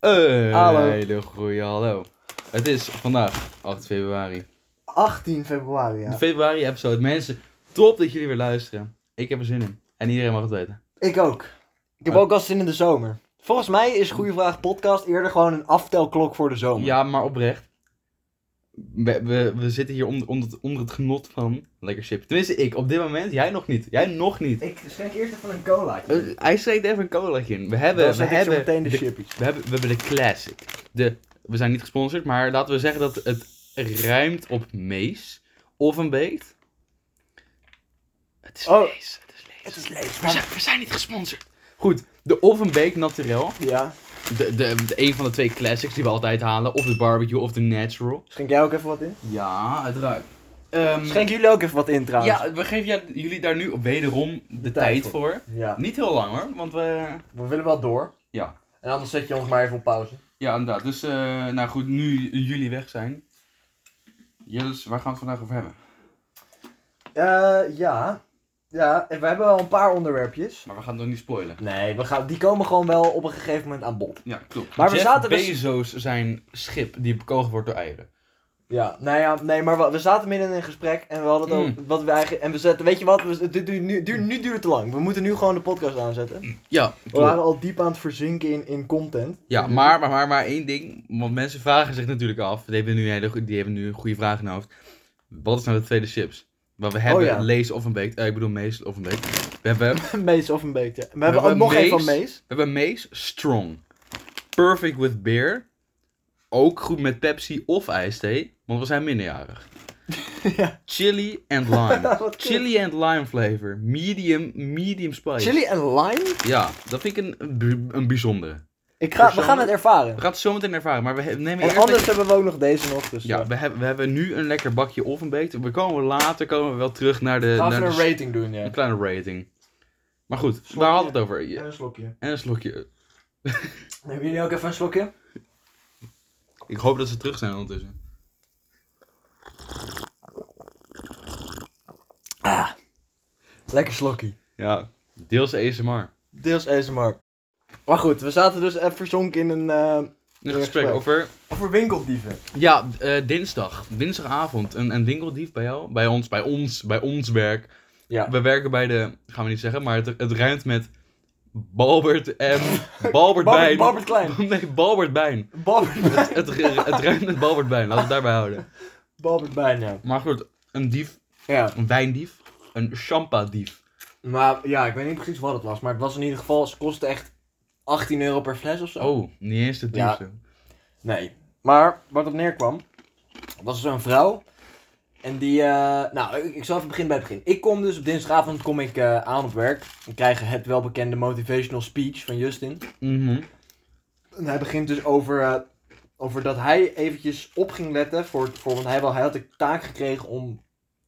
Hey, Hallo. Hele goeie hallo. Het is vandaag 8 februari. 18 februari, ja. De februari episode. Mensen, top dat jullie weer luisteren. Ik heb er zin in. En iedereen mag het weten. Ik ook. Ik heb Ah. ook al zin in de zomer. Volgens mij is Goeie Vraag Podcast eerder gewoon een aftelklok voor de zomer. Ja, maar oprecht. We, we, we zitten hier onder, onder, het, onder het genot van lekker chip. Tenminste, ik op dit moment. Jij nog niet. Jij nog niet. Ik schenk eerst even een cola. Eh, Hij steekt even een colaatje in. We hebben, Dan we zet ik zo hebben, meteen de de- chippies. we, hebben, we hebben de classic. De, we zijn niet gesponsord, maar laten we zeggen dat het ruimt op mees. Of een beet. Het is Oh. lees. Het is lees. Het is leeg. We zijn, we zijn niet gesponsord. Goed, de Of een Beek Naturel. Ja. De, de, de, een van de twee classics die we altijd halen. Of de barbecue of de natural. Schenk jij ook even wat in? Ja, het ruikt. Schenk jullie ook even wat in trouwens. Mm. ja, we geven ja- jullie daar nu wederom de, De tijd tijd voor. voor. ja. Niet heel lang hoor, want we... We willen wel door. Ja. En anders zet je ons maar even op pauze. Ja, inderdaad. Dus, eh, nou goed, nu jullie weg zijn. Jillis, waar gaan we het vandaag over hebben? Eh, ja. Ja, en we hebben wel een paar onderwerpjes. Maar we gaan het nog niet spoilen. Nee, we gaan, die komen gewoon wel op een gegeven moment aan bod. Ja, klopt. Maar we Jeff zaten dus- Bezos zijn schip die bekogen wordt door eieren. Ja, nou ja, nee, maar we, we zaten midden in een gesprek en we hadden het Mm. ook, wat we eigenlijk, en we zetten, weet je wat, we, dit duurt nu, duurt, nu duurt het te lang. We moeten nu gewoon de podcast aanzetten. Ja, We waren al diep aan het verzinken in, in content. Ja, maar, maar, maar, maar één ding. Want mensen vragen zich natuurlijk af. Die hebben nu, een hele, goe- die hebben nu een goede vraag in hun hoofd. Wat is nou de tweede chips? Want we hebben Oh ja. Lees of een Beek. eh, ik bedoel Mees of een Beek. We hebben, we Mees of een beek, ja. We hebben ook nog één van Mees. hebben Mees Strong. Perfect with Beer. Ook goed met Pepsi of ijsthee. Want we zijn minderjarig. Ja. Chili and lime. Wat kut. Chili and lime flavor. Medium, medium spice. Chili en lime? Ja, dat vind ik een, een bijzondere. Ik ga, we gaan het ervaren. We gaan het zo meteen ervaren. Maar we he- nemen En eerst... anders hebben we ook nog deze nog, dus Ja, we hebben, we hebben nu een lekker bakje of een beet. We komen later komen we wel terug naar de, naar de- rating doen, ja. een kleine rating. Maar goed, waar hadden we het over? Ja, een slokje. En een slokje. Hebben jullie ook even een slokje? Ik hoop dat ze terug zijn ondertussen. Lekker slokje. Ja, deels ASMR. Deels ASMR. Maar goed, we zaten dus even verzonken in een... Een eh, Ja, gesprek gesprek. over... Over winkeldieven. Ja, eh, dinsdag. Dinsdagavond. Een, een winkeldief bij jou. Bij ons, bij ons, bij ons werk. Ja. We werken bij de... Gaan we niet zeggen, maar het, het ruimt met... Balbert en... Balbert Bijn. Balbert, Balbert Klein. Nee, Balbert Bijn. Balbert, Het, het ruimt met Balbert Bijn. Laten we het daarbij houden. Balbert bijna. Maar goed, een dief, Ja, een wijndief, een champa-dief. maar ja, ik weet niet precies wat het was, maar het was in ieder geval, ze kostte echt 18 euro per fles of zo. Oh, niet eens de Ja. diefste. Nee. Maar wat op neerkwam, was zo'n vrouw. En die, eh, nou, ik, ik zal even beginnen bij het begin. Ik kom dus op dinsdagavond kom ik, eh, aan op werk. We krijgen het welbekende motivational speech van Justin. Mhm. En hij begint dus over, eh, over dat hij eventjes op ging letten. Voor, voor, want hij, wel, hij had de taak gekregen om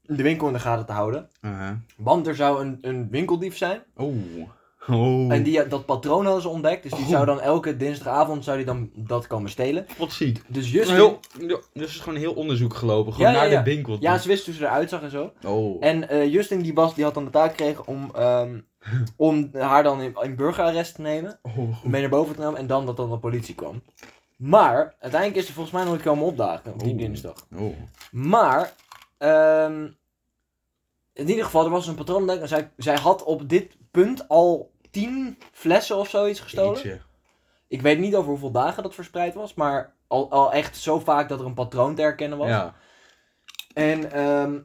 de winkel in de gaten te houden. Aha. Want er zou een, een winkeldief zijn. Oeh. Oh. En die, dat patroon hadden ze ontdekt. Dus die Oh. zou dan elke dinsdagavond zou die dan dat komen stelen. Wat ziek. Dus Dus Justin... heel, ja, dus is gewoon heel onderzoek gelopen. Gewoon Ja, ja, naar ja. de winkel. toe. Ja, ze wist hoe ze eruit zag en zo. Oh. En eh, Justin die, was, die had dan de taak gekregen om, ehm, om haar dan in, in burgerarrest te nemen. oh goed. Mee naar boven te nemen en dan dat dan de politie kwam. Maar uiteindelijk is ze volgens mij nog niet komen opdagen op die Oeh. dinsdag. Oh. Maar ehm, in ieder geval, er was een patroon ontdekt en zij, zij had op dit punt al tien flessen of zoiets gestolen. Jeetje. Ik weet niet over hoeveel dagen dat verspreid was, maar al, al echt zo vaak dat er een patroon te herkennen was. Ja. En ehm,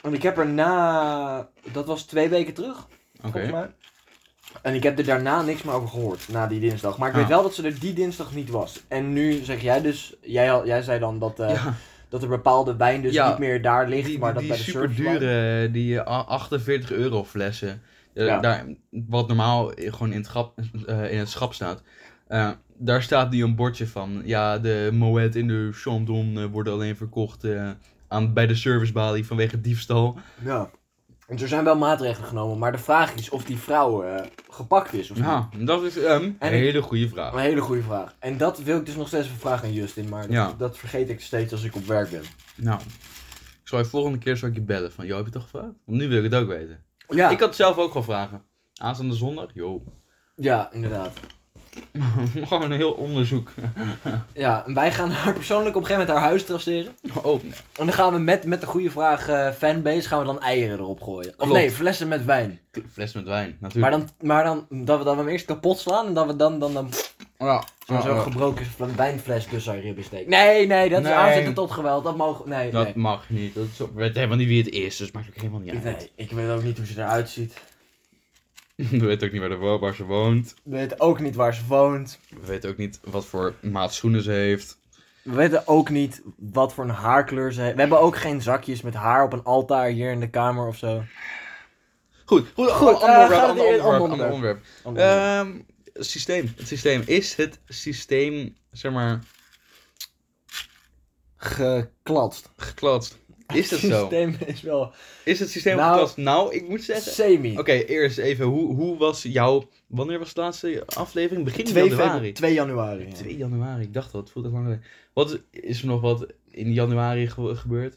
want ik heb er na, dat was twee weken terug, Oké. volgens mij. En ik heb er daarna niks meer over gehoord, na die dinsdag. Maar ik Ah. weet wel dat ze er die dinsdag niet was. En nu zeg jij dus, jij, al- jij zei dan dat, eh, Ja, dat er bepaalde wijn dus Ja, niet meer daar ligt, die die, maar dat die bij de super service dure, die eh, 48 euro flessen. eh, Ja. daar, wat normaal gewoon in het, grap, eh, in het schap staat. Eh, daar staat nu een bordje van. Ja, de Moet in de Chandon eh, worden alleen verkocht eh, aan, bij de servicebalie vanwege diefstal. Ja. Dus er zijn wel maatregelen genomen, maar de vraag is of die vrouw eh, gepakt is of niet. Ja, dat is ehm, een En ik- hele goede vraag. Een hele goede vraag. En dat wil ik dus nog steeds vragen aan Justin, maar dat, Ja. dat vergeet ik steeds als ik op werk ben. Nou, ik zal je volgende keer zal ik je bellen. Van, joh, heb je het toch gevraagd? Want nu wil ik het ook weten. Ja, Ik had het zelf ook gewoon vragen. Aanstaande zondag? Joh. ja inderdaad. Gewoon een heel onderzoek. Ja, en wij gaan haar persoonlijk op een gegeven moment haar huis traceren. Oh, En dan gaan we met, met de goede vraag eh, fanbase gaan we dan eieren erop gooien. Of Klopt. nee, flessen met wijn. fles met wijn, Maar natuurlijk. dan, maar dan dat, we, dat we hem eerst kapot slaan en dat we dan, dan, dan ja, zo'n ja, zo'n ja. gebroken fl- wijnfles tussen haar ribben steken. Nee, nee, dat is Nee. aanzetten tot geweld. Dat mogen... Nee, dat nee. mag niet. Dat is, we weten helemaal niet wie het is, dus het maakt ook helemaal niet uit. Nee, ik weet ook niet hoe ze eruit ziet. We weten ook niet waar, de, wo- waar ze woont. We weten ook niet waar ze woont. We weten ook niet wat voor maat schoenen ze heeft. We weten ook niet wat voor een haarkleur ze heeft. We hebben ook geen zakjes met haar op een altaar hier in de kamer of zo. Goed, goed, Goed, ander eh, onderwerp, gaan we ander die- onderwerp, ander ander onderwerp. Ander- Ehm, het systeem. Het systeem. Is het systeem, zeg maar, Geklatst. geklatst? Is dat Het zo? systeem is wel Is het systeem Nou- geklatst? Nou, ik moet zeggen... semi. Oké, eerst even, hoe, hoe was jouw... Wanneer was de laatste aflevering? Begin 2 januari. februari. 2 januari. ja. 2 januari, ik dacht al, het voelt echt lang geleden. Wat is- is er nog wat in januari ge- gebeurd?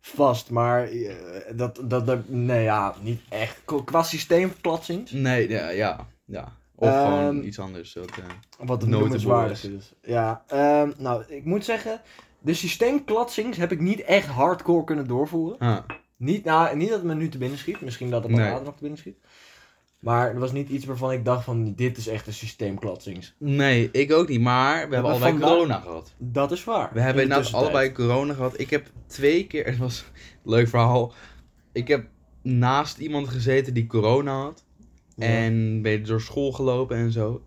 Vast, maar eh, dat, dat, dat, nee ja, niet echt. Qua- Qua systeemklatsing, Nee, ja, ja. ja. Of Ehm, gewoon iets anders. Dat, eh, wat het Notable noemenswaardig is. Ja, ehm, nou, ik moet zeggen, de systeemklatsings heb ik niet echt hardcore kunnen doorvoeren. ah, Niet, nou, niet dat het me nu te binnen schiet, misschien dat het me Nee. later nog te binnen schiet. Maar er was niet iets waarvan ik dacht van, dit is echt een systeemklatsings. Nee, ik ook niet, maar we hebben allebei vandaag- corona gehad. Dat is waar. We In de hebben inderdaad tussentijd. allebei corona gehad. Ik heb twee keer, het was een leuk verhaal. Ik heb naast iemand gezeten die corona had. Ja. En ben je door school gelopen en zo.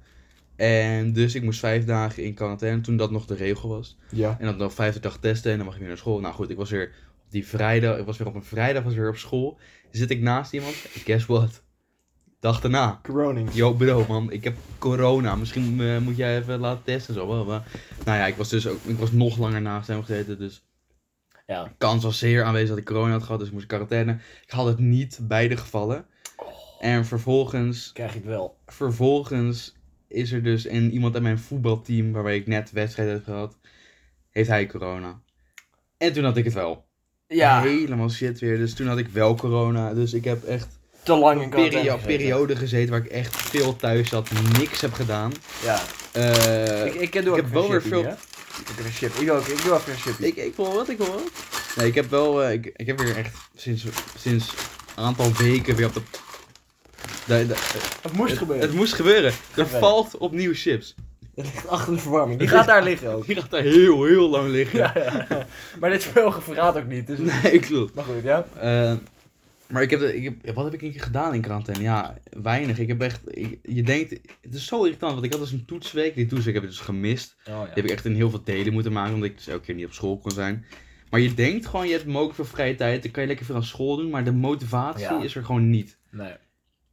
En dus ik moest vijf dagen in quarantaine toen dat nog de regel was. Ja. En dan nog vijfde dag testen en dan mag je weer naar school. Nou goed, ik was weer op die vrijdag, ik was weer op een vrijdag was weer op school. Zit ik naast iemand, guess what? Dag daarna. Coronings. Yo, bro, man, ik heb corona. Misschien eh, moet jij even laten testen en zo. bla, bla. Nou ja, ik was dus ook, ik was nog langer naast hem gezeten. Dus Ja. kans was zeer aanwezig dat ik corona had gehad. Dus ik moest in quarantaine. Ik had het niet beide gevallen. En vervolgens, Krijg je het wel. vervolgens is er dus een, iemand uit mijn voetbalteam, waarbij ik net wedstrijd heb gehad, heeft hij corona. En toen had ik het wel. Ja, Helemaal shit weer. Dus toen had ik wel corona. Dus ik heb echt te lang perio- in quarantaine gezeten. periode gezeten waar ik echt veel thuis zat, niks heb gedaan. Ja. Eh, Ik, ik, doe ook ik heb even wel een weer shippie, veel- hè? Ik heb een ship. Ik ook. Ik doe ook weer een ship. ik, ik wil wat, ik wil wat. Nee, ik heb wel, eh, ik, ik heb weer echt sinds, sinds een aantal weken weer op de... de- de- het- Het moest het, gebeuren. moest gebeuren. Er verder. valt opnieuw chips. Het ligt achter de verwarming. Die gaat daar liggen ook. Die gaat daar heel, heel lang liggen. Ja, ja. Maar dit spel verraadt ook niet. Dus... Oh, Nee, klopt. Maar goed, ja. Eh, maar ik heb, de- ik heb, wat heb ik een keer gedaan in quarantaine? Ja, weinig. Ik heb echt, ik- je denkt, het is zo irritant, want ik had dus een toetsweek. Die toetsweek heb ik dus gemist. Oh, Die heb ik echt in heel veel delen moeten maken, omdat ik dus elke keer niet op school kon zijn. Maar je denkt gewoon, je hebt mogelijk veel vrije tijd, dan kan je lekker veel aan school doen, maar de motivatie Ja. is er gewoon niet. Nee.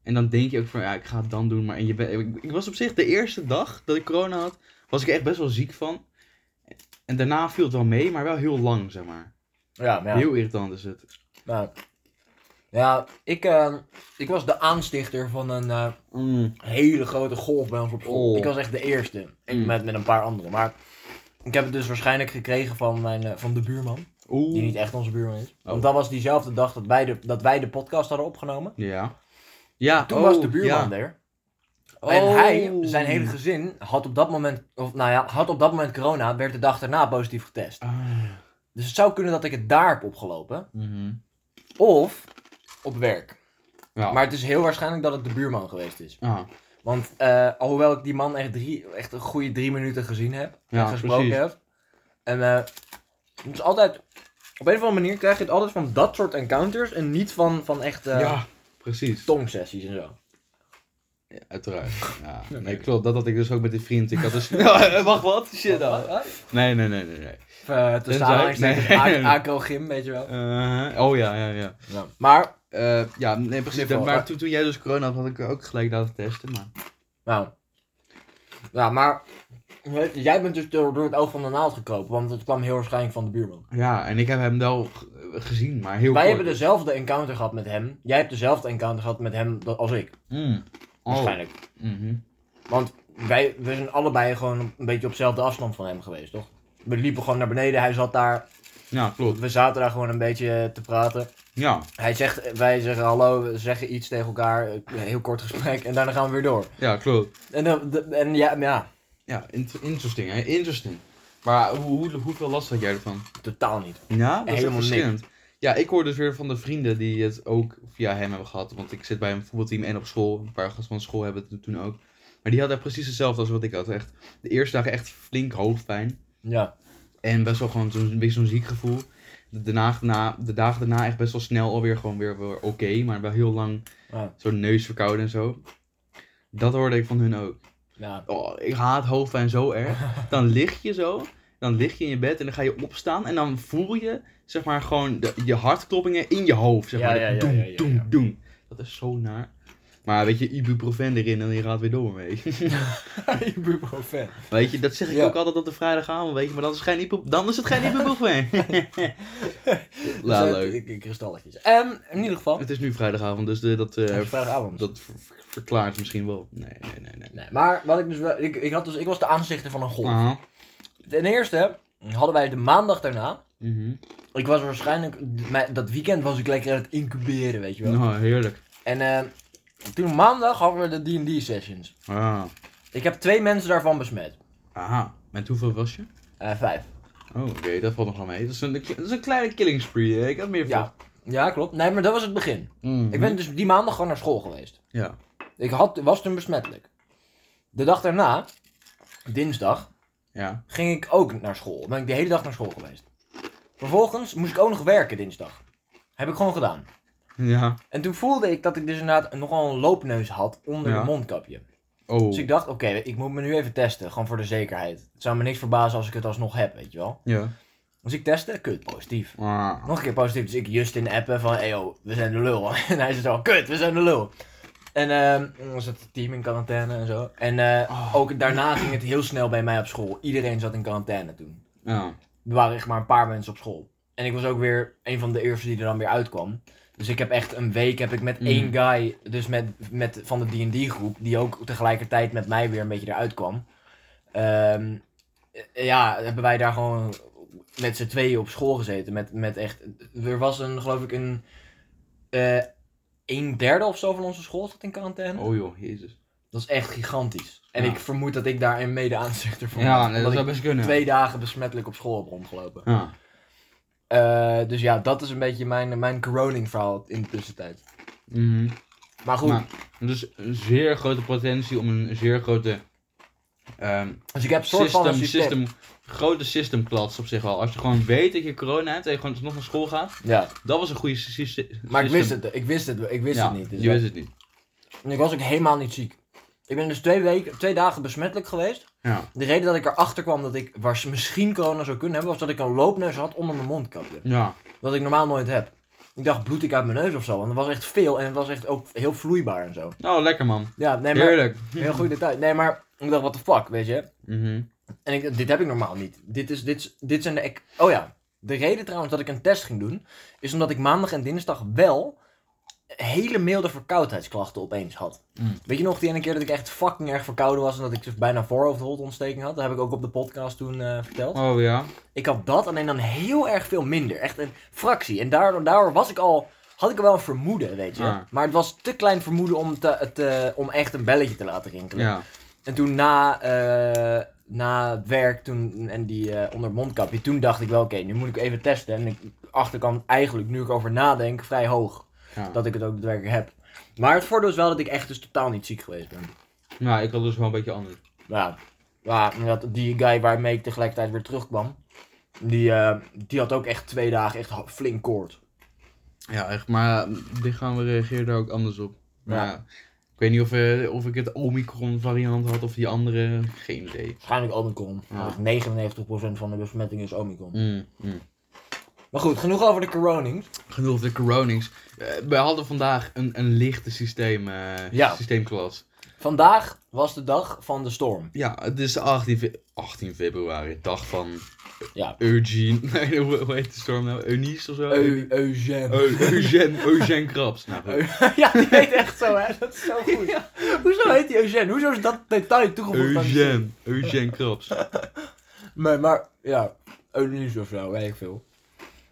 En dan denk je ook van, ja, ik ga het dan doen, maar en je bent- ik, ik was op zich de eerste dag dat ik corona had, was ik er echt best wel ziek van. En daarna viel het wel mee, maar wel heel lang, zeg maar. Ja, maar ja. Heel irritant is het. Nou. Ja, ik, eh, ik was de aanstichter van een eh, hele grote golf bij ons op school. Oh. Ik was echt de eerste. Ik Mm. met, met een paar anderen. Maar ik heb het dus waarschijnlijk gekregen van, mijn, eh, van de buurman. Die Oeh. niet echt onze buurman is. Want Oh. dat was diezelfde dag dat wij de, dat wij de podcast hadden opgenomen. Ja. Ja, Toen oh, was de buurman ja. er. En hij, Oh. zijn hele gezin, had op dat moment, of nou ja, had op dat moment corona, werd de dag daarna positief getest. Ah. Dus het zou kunnen dat ik het daar heb opgelopen. Mhm. Of op werk. Ja. Maar het is heel waarschijnlijk dat het de buurman geweest is. Ah. Want eh, alhoewel ik die man echt, drie, echt een goede drie minuten gezien heb, en Ja, gesproken precies. heb. En eh, het is altijd, op een of andere manier krijg je het altijd van dat soort encounters en niet van, van echt eh ja, precies. tongsessies en zo. Uiteraard. Ja. Nee, klopt. Dat had ik dus ook met die vriend. Ik had dus... Ja, Wacht, wat? Shit, Wat- dan. wat? Nee, nee, nee, nee. nee. Of, eh, tussen Tenzij- aanhalingstekens Nee. nee. acro-gym, weet je wel. Eh, oh ja, ja, ja. Maar, Eh, ja, nee, precies. Dit wel. maar toen, toen jij dus corona had, had ik ook gelijk laten testen. Maar... nou. Ja, maar. weet je, Jij bent dus door, door het oog van de naald gekropen, want het kwam heel waarschijnlijk van de buurman. Ja, en ik heb hem wel g- eh, gezien, maar heel kort. Wij dus. hebben dezelfde encounter gehad met hem. Jij hebt dezelfde encounter gehad met hem da- als ik, Mm. Oh. dus- waarschijnlijk. Mhm. Want wij, we zijn allebei gewoon een beetje op dezelfde afstand van hem geweest, toch? We liepen gewoon naar beneden, hij zat daar. Ja, klopt. We zaten daar gewoon een beetje te praten. Ja, Hij zegt, wij zeggen hallo, we zeggen iets tegen elkaar, een heel kort gesprek en daarna gaan we weer door. ja klopt. En, dan- de- en ja, ja, Ja, int- interesting, hè? Interesting. Maar hoe, hoe, hoeveel last had jij ervan? totaal niet. Ja, dat is echt Helemaal niks. verschillend. Ja, ik hoor dus weer van de vrienden die het ook via hem hebben gehad. Want ik zit bij een voetbalteam en op school. Een paar gasten van school hebben het toen ook. Maar die hadden precies hetzelfde als wat ik had. Echt, de eerste dagen echt flink hoofdpijn. Ja, En best wel gewoon zo'n, een beetje zo'n ziek gevoel. De, daarna- na- de dagen daarna echt best wel snel alweer gewoon weer, weer oké. maar wel heel lang Ah. zo'n neus verkouden en zo. Dat hoorde ik van hun ook. ja. Oh, ik haat hoofdpijn zo erg. Dan lig je zo. Dan lig je in je bed en dan ga je opstaan. En dan voel je, zeg maar, gewoon de, je hartkloppingen in je hoofd. Zeg Ja, maar. ja, ja, doem, ja, ja, doem, ja. doem. Dat is zo naar. Maar weet je, ibuprofen erin en je gaat weer door mee. Ibuprofen. weet je, dat zeg ik Ja. ook altijd op de vrijdagavond, weet je. Maar dat is geen ibu- dan is het geen ibuprofen. La, Dus, eh, leuk. ik- ik- Kristalletjes. Ehm, in ieder geval, Het is nu vrijdagavond, dus de, dat, eh, het is vrijdagavond. dat ver- ver- verklaart misschien wel. Nee, nee, nee. nee. Nee, maar wat ik dus wel, ik, ik, had dus, ik was de aanzichter van een golf. Aha. Ten eerste hadden wij de maandag daarna, Mhm. ik was waarschijnlijk, mijn- dat weekend was ik lekker aan het incuberen, weet je wel. Nou, heerlijk. En eh, toen maandag hadden we de D&D sessions. Ah. Ik heb twee mensen daarvan besmet. Aha. Met hoeveel was je? Eh, vijf. Oh, oké, dat valt nog wel mee. Dat is een, dat is een kleine killing spree, hè? ik had meer Mhm. Ja. ja, klopt. Nee, maar dat was het begin. Ik ben dus die maandag gewoon naar school geweest. Ja. Ik had, was toen besmettelijk. De dag daarna, dinsdag, Ja. ging ik ook naar school. Ben ik de hele dag naar school geweest. Vervolgens moest ik ook nog werken dinsdag. Heb ik gewoon gedaan. Ja. En toen voelde ik dat ik dus inderdaad nogal een loopneus had onder Ja. de mondkapje. Oh. Dus ik dacht, oké, ik moet me nu even testen. Gewoon voor de zekerheid. Het zou me niks verbazen als ik het alsnog heb, weet je wel. Ja. Dus ik testte, kut, positief. Ah. Nog een keer positief. Dus ik Justin appen van, hey yo, we zijn de lul. En hij zit al, kut, we zijn de lul. En ehm was het team in quarantaine en zo. En eh, Oh. ook daarna ging het heel snel bij mij op school. Iedereen zat in quarantaine toen. Ja. Er waren echt maar een paar mensen op school. En ik was ook weer een van de eerste die er dan weer uitkwam. Dus ik heb echt een week heb ik met Mm. één guy, dus met, met van de D&D groep, die ook tegelijkertijd met mij weer een beetje eruit kwam. Ehm, eh, ja, hebben wij daar gewoon met z'n tweeën op school gezeten. Met, met echt, er was een, geloof ik, een, eh een derde of zo van onze school zat in quarantaine. Oh joh, jezus. Dat is echt gigantisch. En Ja. ik vermoed dat ik daar een mede aanzichter van was, Ja, nee, omdat dat ik zou best kunnen. twee dagen besmettelijk op school heb rondgelopen. Ja. Eh, dus ja, dat is een beetje mijn, mijn coroning verhaal in de tussentijd. Mhm. Maar goed, Maar, dus een zeer grote potentie om een zeer grote... ehm dus ik heb een soort van system, een system, systeem. grote systemklats op zich wel. Als je gewoon weet dat je corona hebt en je gewoon nog naar school gaat, Ja, dat was een goede sy- sy- system. maar ik wist het, ik wist het, ik wist ja, het niet. Dus je dat- wist het niet. en ik was ook helemaal niet ziek. Ik ben dus twee, weken, twee dagen besmettelijk geweest. Ja. De reden dat ik erachter kwam dat ik was misschien corona zou kunnen hebben, was dat ik een loopneus had onder mijn mondkapje. Ja. Wat ik normaal nooit heb. Ik dacht, bloed ik uit mijn neus of zo, want het was echt veel en het was echt ook heel vloeibaar en zo. Oh, lekker man. Ja, nee, maar, Heerlijk. heel goed detail. Nee, maar ik dacht, what the fuck, weet je. Mhm. En ik, dit heb ik normaal niet. Dit, is, dit, is- dit zijn de... ek- oh ja, de reden trouwens dat ik een test ging doen... is omdat ik maandag en dinsdag wel... hele milde verkoudheidsklachten opeens had. Mm. Weet je nog die ene keer dat ik echt fucking erg verkouden was... en dat ik dus bijna voorhoofdholtontsteking had? Dat heb ik ook op de podcast toen eh, verteld. Oh ja. Ik had dat, alleen dan heel erg veel minder. Echt een fractie. En daardoor, daardoor was ik al... had ik wel een vermoeden, weet je. Ja. Maar het was te klein vermoeden om, te, te- om echt een belletje te laten rinkelen. Ja. En toen na, eh, na het werk toen, en die eh onder het mondkapje, toen dacht ik wel, oké, nu moet ik even testen. En ik achterkant eigenlijk, nu ik over nadenk, vrij hoog. ja. Dat ik het ook daadwerkelijk heb. Maar het voordeel is wel dat ik echt dus totaal niet ziek geweest ben. Nou, ik had dus wel een beetje anders. Ja, ja inderdaad, die guy waarmee ik tegelijkertijd weer terugkwam, die, eh, die had ook echt twee dagen echt ho- flink koord. Ja, echt, maar dit gaan we reageren daar ook anders op. Maar Ja. ja, ik weet niet of, eh, of ik het Omicron variant had of die andere, geen idee. Waarschijnlijk Omicron. Ja. want 99% van de besmetting is Omicron. Mm, mm. Maar goed, genoeg over de coronings. Genoeg over de coronings. Eh, we hadden vandaag een, een lichte systeem, eh, Ja. systeemklas. Vandaag was de dag van de storm. Ja, het is de 18, fe- 18 februari, dag van Ja. Eugene. Nee, hoe, hoe heet de storm nou? Eunice of zo? Eu- Eugène. Eu- Eugène, Eugène Krabs. Nou, goed. ja, die heet echt zo, hè? Dat is zo goed. Hoezo heet die Eugène? Hoezo is dat detail toegevoegd aan die Eugène, Eugène Krabs. zin? Nee, maar, ja, Eunice of zo, weet ik veel.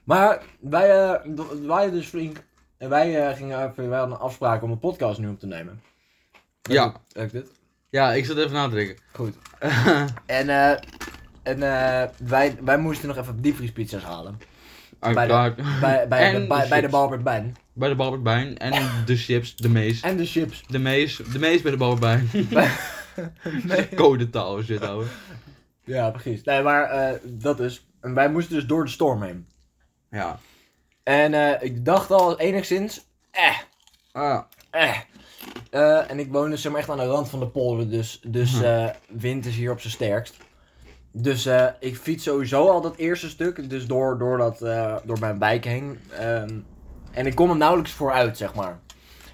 Maar wij eh, d- waren dus flink. En wij, eh, gingen even, wij hadden een afspraak om een podcast nu op te nemen. Heb Ja. ik- Heb ik dit? Ja, ik zat even na te denken. Goed. En, eh, en eh, wij, wij moesten nog even diepvriespizza's halen. Uiteraard. Bij, bij, En de, bij, bij de chips. Balbert Bijn. Bij de Balbert Bijn. En de chips, de mees. En de chips. De mees, de mees bij de Balbert Bijn. Codetaal is dit, ouwe. Ja, precies. Nee, maar eh, dat is. En wij moesten dus door de storm heen. Ja. En eh, ik dacht al enigszins. Eh, Ah, eh. Eh, en ik woon dus zeg maar, echt aan de rand van de polder, dus, dus Hm. eh, wind is hier op zijn sterkst. Dus eh, ik fiets sowieso al dat eerste stuk, dus door, door, dat, eh, door mijn wijk heen. Ehm, en ik kom er nauwelijks vooruit, zeg maar.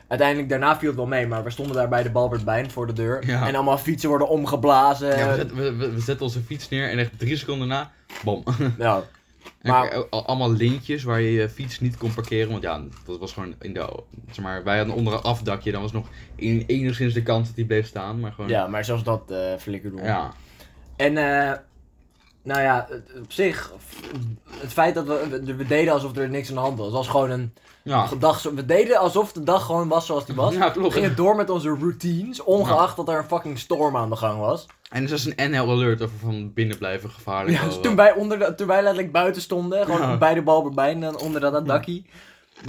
Uiteindelijk, daarna viel het wel mee, maar we stonden daar bij de Balbert Bijn voor de deur. Ja. En allemaal fietsen worden omgeblazen. ja, we, Ja, zetten, we, we- we zetten onze fiets neer en echt drie seconden na, bom. En Maar- ook al- allemaal lintjes waar je je fiets niet kon parkeren, want ja, dat was gewoon in de, zeg maar, wij hadden onder een afdakje, dan was nog in, enigszins de kans dat die bleef staan, maar gewoon, ja, maar zelfs dat eh flikker doen. ja. En eh, nou ja, het- op zich, f- het feit dat we, we, we deden alsof er niks aan de hand was, was gewoon een Ja, dag. zo- We deden alsof de dag gewoon was zoals die was. ja We klopt. gingen door met onze routines, ongeacht dat er een fucking storm aan de gang was. En er was een NL alert over van binnen blijven gevaarlijk. Ja, wel, dus wel. toen wij, onder de, toen wij letterlijk buiten stonden, gewoon Ja. bij de bal bij en dan onder dat, dat dakkie.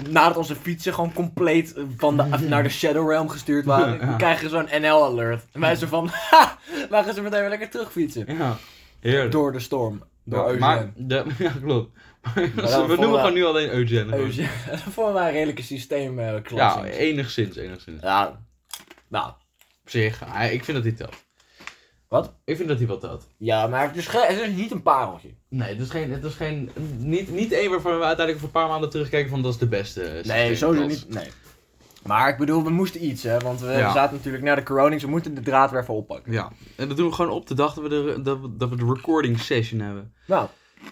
Nadat onze fietsen gewoon compleet van de, naar de Shadow Realm gestuurd waren, Ja, ja. krijgen we zo'n NL-alert. En wij zo van, ha, wij gaan ze meteen weer lekker terugfietsen. Ja, heerlijk. Door de storm. Door Ja, Eugène. maar, de, ja, klopt. Maar dan we vonden- noemen gewoon nu alleen Eugène. gewoon. Eugène. Dat vonden wij een redelijke systeemklasse. Ja, eh, Ja, enigszins, enigszins. ja. Nou, Op zich, hij- ik vind dat hij telt. Wat? Ik vind dat hij wel telt. ja, maar het is, ge- het is niet een pareltje. Nee, het is geen, het is geen, niet, niet één waarvan we uiteindelijk voor een paar maanden terugkijken van dat is de beste. eh, Nee, systeem. sowieso Dat- niet. Nee. Maar ik bedoel, we moesten iets, hè. Want we Ja. zaten natuurlijk na de coronings, we moeten de draad weer even oppakken. Ja, en dat doen we gewoon op de dag dat we de, dat we, dat we de recording session hebben. Nou,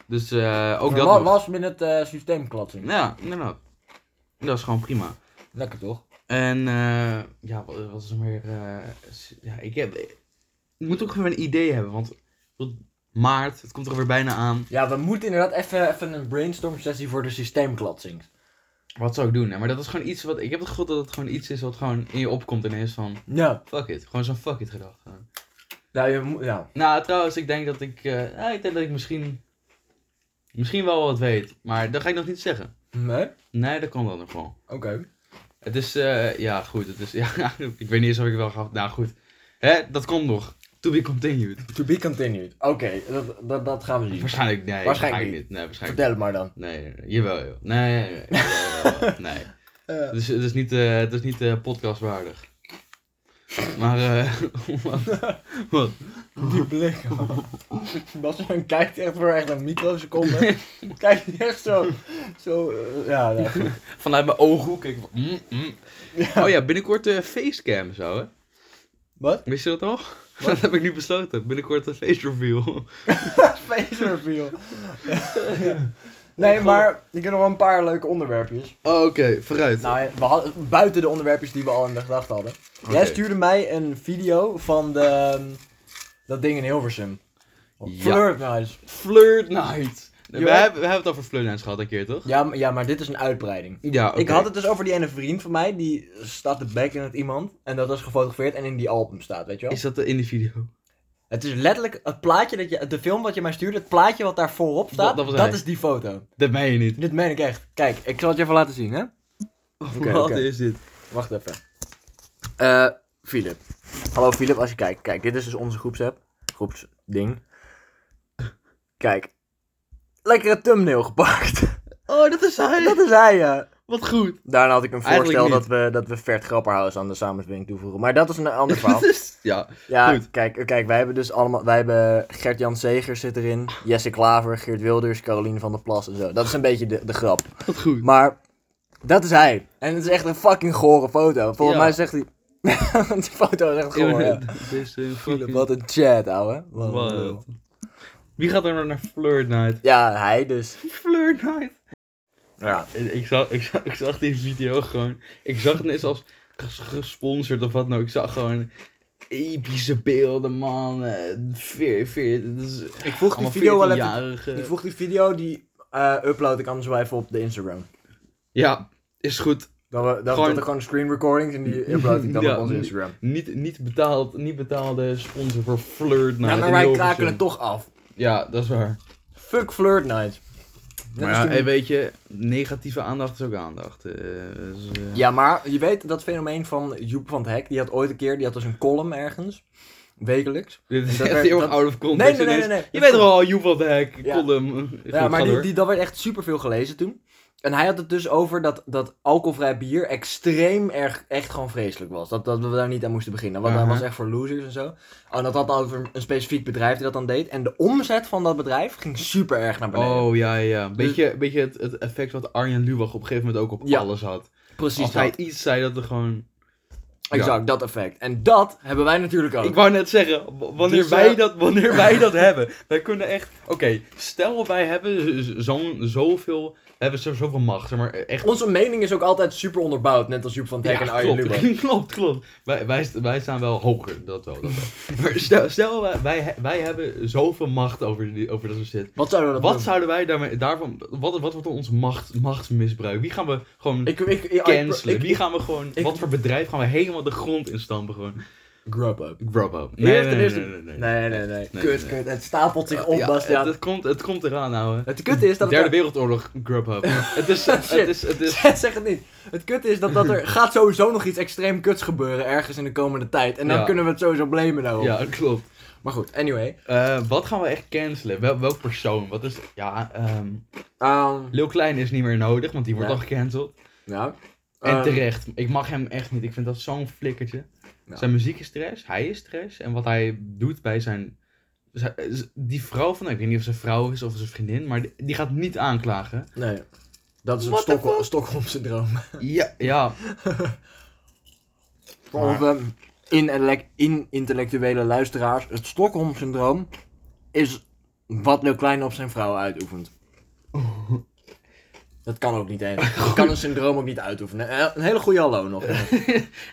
Dus eh, ook ook dat nog. was met het eh systeemklatsen. Ja, inderdaad. Dat is gewoon prima. Lekker toch? En eh, ja, wat, wat is er meer... eh, s- ja, ik heb... Ik moet ook gewoon een idee hebben, want... tot Maart, het komt er weer bijna aan. Ja, we moeten inderdaad even, even een brainstorm sessie voor de systeemklatsing. Wat zou ik doen? hè? Maar dat is gewoon iets wat... Ik heb het gevoel dat het gewoon iets is wat gewoon in je opkomt en is van... Ja. Fuck it. Gewoon zo'n fuck it gedachte. Nou, je moet, ja. Nou, trouwens, ik denk dat ik... eh, nou, ik denk dat ik misschien... Misschien wel wat weet. Maar dat ga ik nog niet zeggen. Nee? Oké. Nee, dat kan wel nog wel. Het is... eh, ja, goed. Het is... Ja, ik weet niet eens of ik wel ga... Nou, goed. Hè, dat komt nog. To be continued. To be continued. Oké, dat, dat, dat gaan we zien. Waarschijnlijk nee. Waarschijnlijk niet. Nee, waarschijnlijk Vertel het maar dan. niet. Nee, nee, nee. jawel joh. Nee, nee, nee. jawel, jawel. nee. Het is, het is niet, eh, het is niet eh, podcastwaardig. Maar, eh wat? wat? Die blik. Bastiaan kijkt echt voor echt een microseconde. kijkt hij echt zo. Zo. eh, ja, ja, goed. Vanuit mijn ooghoek. Ik... Mm, mm. Oh ja, binnenkort eh facecam zo hè. Wat? Wist je dat al? Dat heb ik nu besloten. Binnenkort een face reveal. Face reveal. nee, maar ik heb nog wel een paar leuke onderwerpjes. Oh, Oké, vooruit. Nou, ja, we hadden, buiten de onderwerpjes die we al in de gedachten hadden. Jij Oké. stuurde mij een video van de, ehm, dat ding in Hilversum. Ja. Flirt Nights. Flirt night. We Jawel. hebben, we hebben het over flirt nights gehad een keer toch? Ja, maar- ja, maar dit is een uitbreiding. Ja, oké. Ik had het dus over die ene vriend van mij, die staat de bek in het iemand. En dat is gefotografeerd en in die album staat, weet je wel? Is dat in de video? Het is letterlijk het plaatje dat je, de film wat je mij stuurde, het plaatje wat daar voorop staat, Dat- dat, dat was hij. is die foto. Dat meen je niet. Dit meen ik echt. Kijk, ik zal het je even laten zien, hè? Oké, wat oké. is dit? Wacht even. Eh, Philip. Hallo Philip, als je kijkt. Kijk, dit is dus onze groepsapp. Groepsding. Kijk. Lekkere thumbnail gepakt. Oh, dat is hij. dat is hij, ja. Wat goed. Daarna had ik een Eigenlijk voorstel dat niet. we, dat we Vert Grapperhaus aan de samenwerking toevoegen. Maar dat is een ander verhaal. Dat is, ja. Ja, Goed. kijk, kijk, wij hebben dus allemaal... Wij hebben Gert-Jan Segers zit erin. Jesse Klaver, Geert Wilders, Caroline van der Plas en zo. Dat is een beetje de, de grap. Wat goed. Maar dat is hij. En het is echt een fucking gore foto. Volgens Ja. mij zegt hij... Want die foto is echt goor, ja. Dit is een Philip, fucking- wat een chat, ouwe. Wat een lul. Wat? Wie gaat er nou naar Flirt Night? Ja, hij dus. Flirt Night. Ja. Ik zag, ik, zag, ik zag die video gewoon. Ik zag het net als ges- gesponsord of wat nou. Ik zag gewoon epische beelden, man. Eh, Veer, veer. Dat is Ik vroeg die allemaal video wel even... 14-jarige. Ik vroeg die video die... eh, eh, upload ik anders wel even op de Instagram. Ja, is goed. Dat, we, dat, Gewoon- dat er gewoon screen recordings en die upload ik dan Ja, Nou, op onze nu- Instagram. Niet, niet, betaald, niet betaalde sponsor voor Flirt Night. ja, maar in wij Hilversum. kraken het toch af. Ja, dat is waar. Fuck Flirt Night. Net Maar als ja, toen- hey, weet je, negatieve aandacht is ook aandacht. eh, dus, eh, Ja, maar je weet dat fenomeen van Joep van het Hek. Die had ooit een keer, die had dus een column ergens. Wekelijks. Dit is dat echt werd- heel erg dat- out of Nee, context. nee, nee, ineens. nee. nee. Je weet toch al, Joep van de Hek, Ja. column. Ja, Goed, maar ga die, door. die, dat werd echt superveel gelezen toen. En hij had het dus over dat, dat alcoholvrij bier extreem erg, echt gewoon vreselijk was. Dat, dat we daar niet aan moesten beginnen. Want Aha. dat was echt voor losers en zo. En dat had dan over een- een specifiek bedrijf die dat dan deed. En de omzet van dat bedrijf ging super erg naar beneden. Oh, ja, ja. Dus- Beetje, beetje het, het effect wat Arjen Lubach op een gegeven moment ook op Ja, alles had. Precies Als dat. hij iets zei, dat er gewoon... Exact, dat effect. En dat hebben wij natuurlijk ook. Ik wou net zeggen, w- wanneer, Dus, wij, eh, dat, wanneer wij dat hebben, wij kunnen echt... Oké, stel wij hebben z- zo'n zoveel, hebben zo, zoveel macht, zeg maar echt... Onze mening is ook altijd super onderbouwd. Net als Joep van Dijk en Arjen klopt, Lubach. klopt, klopt. Wij, wij, st- wij staan wel hoger, dat wel. Dat wel. maar stel, stel wij, wij, he- wij hebben zoveel macht over, die, over dat soort shit. Wat zouden we dat Wat doen? zouden wij daarmee, daarvan... Wat, wat wordt dan ons macht, machtsmisbruik? Wie gaan we gewoon Ik, ik, ik, ik- cancelen? ik- Wie gaan we gewoon... ik- wat voor bedrijf gaan we helemaal de grond instampen gewoon? Grubhub. Grubhub. Eerst en eerst- Nee, nee, nee. nee, Kut, nee. Oh, kut. Het stapelt zich op, Ja, Bastiaan. Het, het komt, het komt eraan, ouwe. Het kut is dat... Derde het- Wereldoorlog, Grubhub. het is... Het Shit. is, het is zeg het niet. Het kut is dat, dat er gaat sowieso nog iets extreem kuts gebeuren ergens in de komende tijd. En dan Ja. kunnen we het sowieso blamen daarop. ja, klopt. Maar goed, anyway. Eh, wat gaan we echt cancelen? Wel, welk persoon? Wat is... Ja, ehm Ehm, Lil Klein is niet meer nodig, want die wordt Nee. al gecanceld. ja. En Ehm, terecht. Ik mag hem echt niet. Ik vind dat zo'n flikkertje. Ja. Zijn muziek is trash. Hij is trash. En wat hij doet bij zijn... zijn- Die vrouw van... Ik weet niet of zijn vrouw is of zijn vriendin. Maar die, die gaat niet aanklagen. Nee. Dat is het What the Stockholm, fuck? Stockholm-syndroom. Ja. Ja. Voor onze inelec- in-intellectuele luisteraars. Het Stockholm-syndroom is wat Lil Kleine op zijn vrouw uitoefent. Dat kan ook niet eens. Je kan een syndroom ook niet uitoefenen. Eh, Een hele goede hallo nog.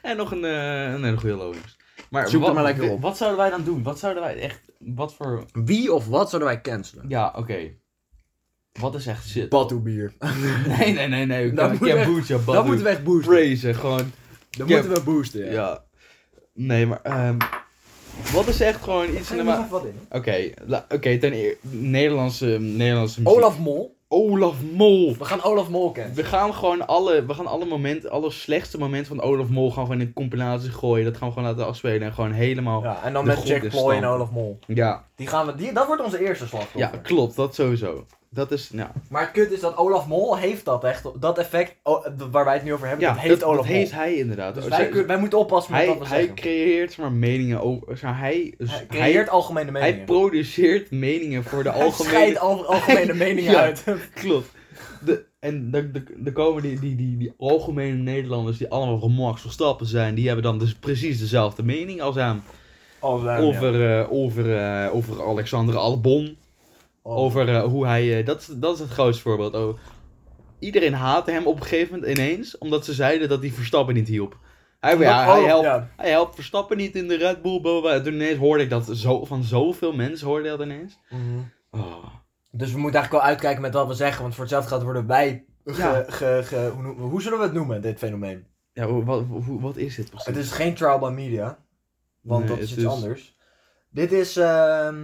En nog een, eh, een hele goede logisch. Maar Zoek er wat, maar lekker op. Wat zouden wij dan doen? Wat zouden wij echt... Wat voor... Wie of wat zouden wij cancelen? Ja, oké. Wat is echt shit? Batoebier. Nee, nee, nee, nee. Dat Ik moet ken echt- Boetje, Dat moeten we echt boosten. Praisen, gewoon. Dat Ja. moeten we boosten, Ja. ja. Nee, maar... ehm, wat is echt gewoon iets in de ma- wat in. Oké, la- oké, ten eerste... Nederlandse, Nederlandse muziek. Olaf Mol. Olaf Mol. We gaan Olaf Mol kennen. We gaan gewoon alle, we gaan alle momenten, alle slechtste momenten van Olaf Mol gaan we gewoon in compilatie gooien. Dat gaan we gewoon laten afspelen en gewoon helemaal... Ja, Ja, en dan De met grond Jack is Ploy en stampen. Olaf Mol. ja, Die gaan we, die, dat wordt onze eerste slachtoffer. klopt, dat sowieso. Dat is, nou... Maar het kut is dat Olaf Mol heeft dat echt. Dat effect oh, d- waar wij het nu over hebben, Ja, dat heeft Olaf Mol. heeft hij inderdaad. Dus Zij- wij, kun- wij moeten oppassen met hij, wat we hij zeggen. creëert zeg maar meningen over... zeg maar, hij, Hij creëert algemene hij, meningen. hij produceert meningen voor de Hij algemene... scheidt al- algemene meningen Ja. uit. Klopt. De, en dan de, de komen die, die, die, die algemene Nederlanders die allemaal van Max Verstappen zijn, die hebben dan dus precies dezelfde mening als hem. Oh, daar, ja. Over, eh, over, eh, over Alexander Albon. Oh. Over eh, hoe hij. eh, dat, is- dat is het grootste voorbeeld. Oh, iedereen haatte hem op een gegeven moment ineens, omdat ze zeiden dat hij Verstappen niet hielp. Hij, Omdat ja, hij, Olaf- helpt, oh, ja. hij helpt Verstappen niet in de Red Bull. bla, bla, bla. Toen ineens hoorde ik dat zo, van zoveel mensen hoorde ik dat ineens. Mhm. Oh. Dus we moeten eigenlijk wel uitkijken met wat we zeggen, want voor hetzelfde geld worden wij. ge- Ja. ge- ge- hoe, noemen- hoe zullen we het noemen, dit fenomeen? Ja, hoe- wat, hoe- wat is dit precies? Het is geen trial by media, want Nee, dat is het iets is- anders. Dit is. ehm,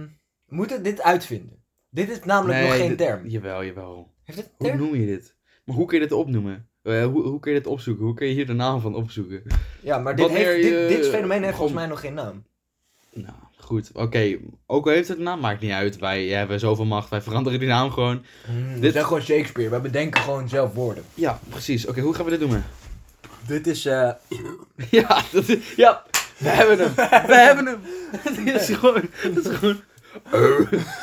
we moeten dit uitvinden. Dit is namelijk nog geen dit- term. Jawel, jawel. Heeft dit een Hoe term? noem je dit? Maar hoe kun je dit opnoemen? Eh, hoe, hoe kun je dit opzoeken? Hoe kun je hier de naam van opzoeken? Ja, maar dit, Wanneer heeft, dit, je- dit fenomeen gewoon- heeft volgens mij nog geen naam. Nou, goed. Oké, ook al heeft het een naam, maakt niet uit. Wij hebben zoveel macht, wij veranderen die naam gewoon. dit... Hmm, We dit- zijn gewoon Shakespeare, we bedenken gewoon zelf woorden. Ja, precies. Oké, hoe gaan we dit noemen? Dit is. eh, ja, dat is, ja, we hebben hem. We hebben hem. Het is gewoon, het is gewoon...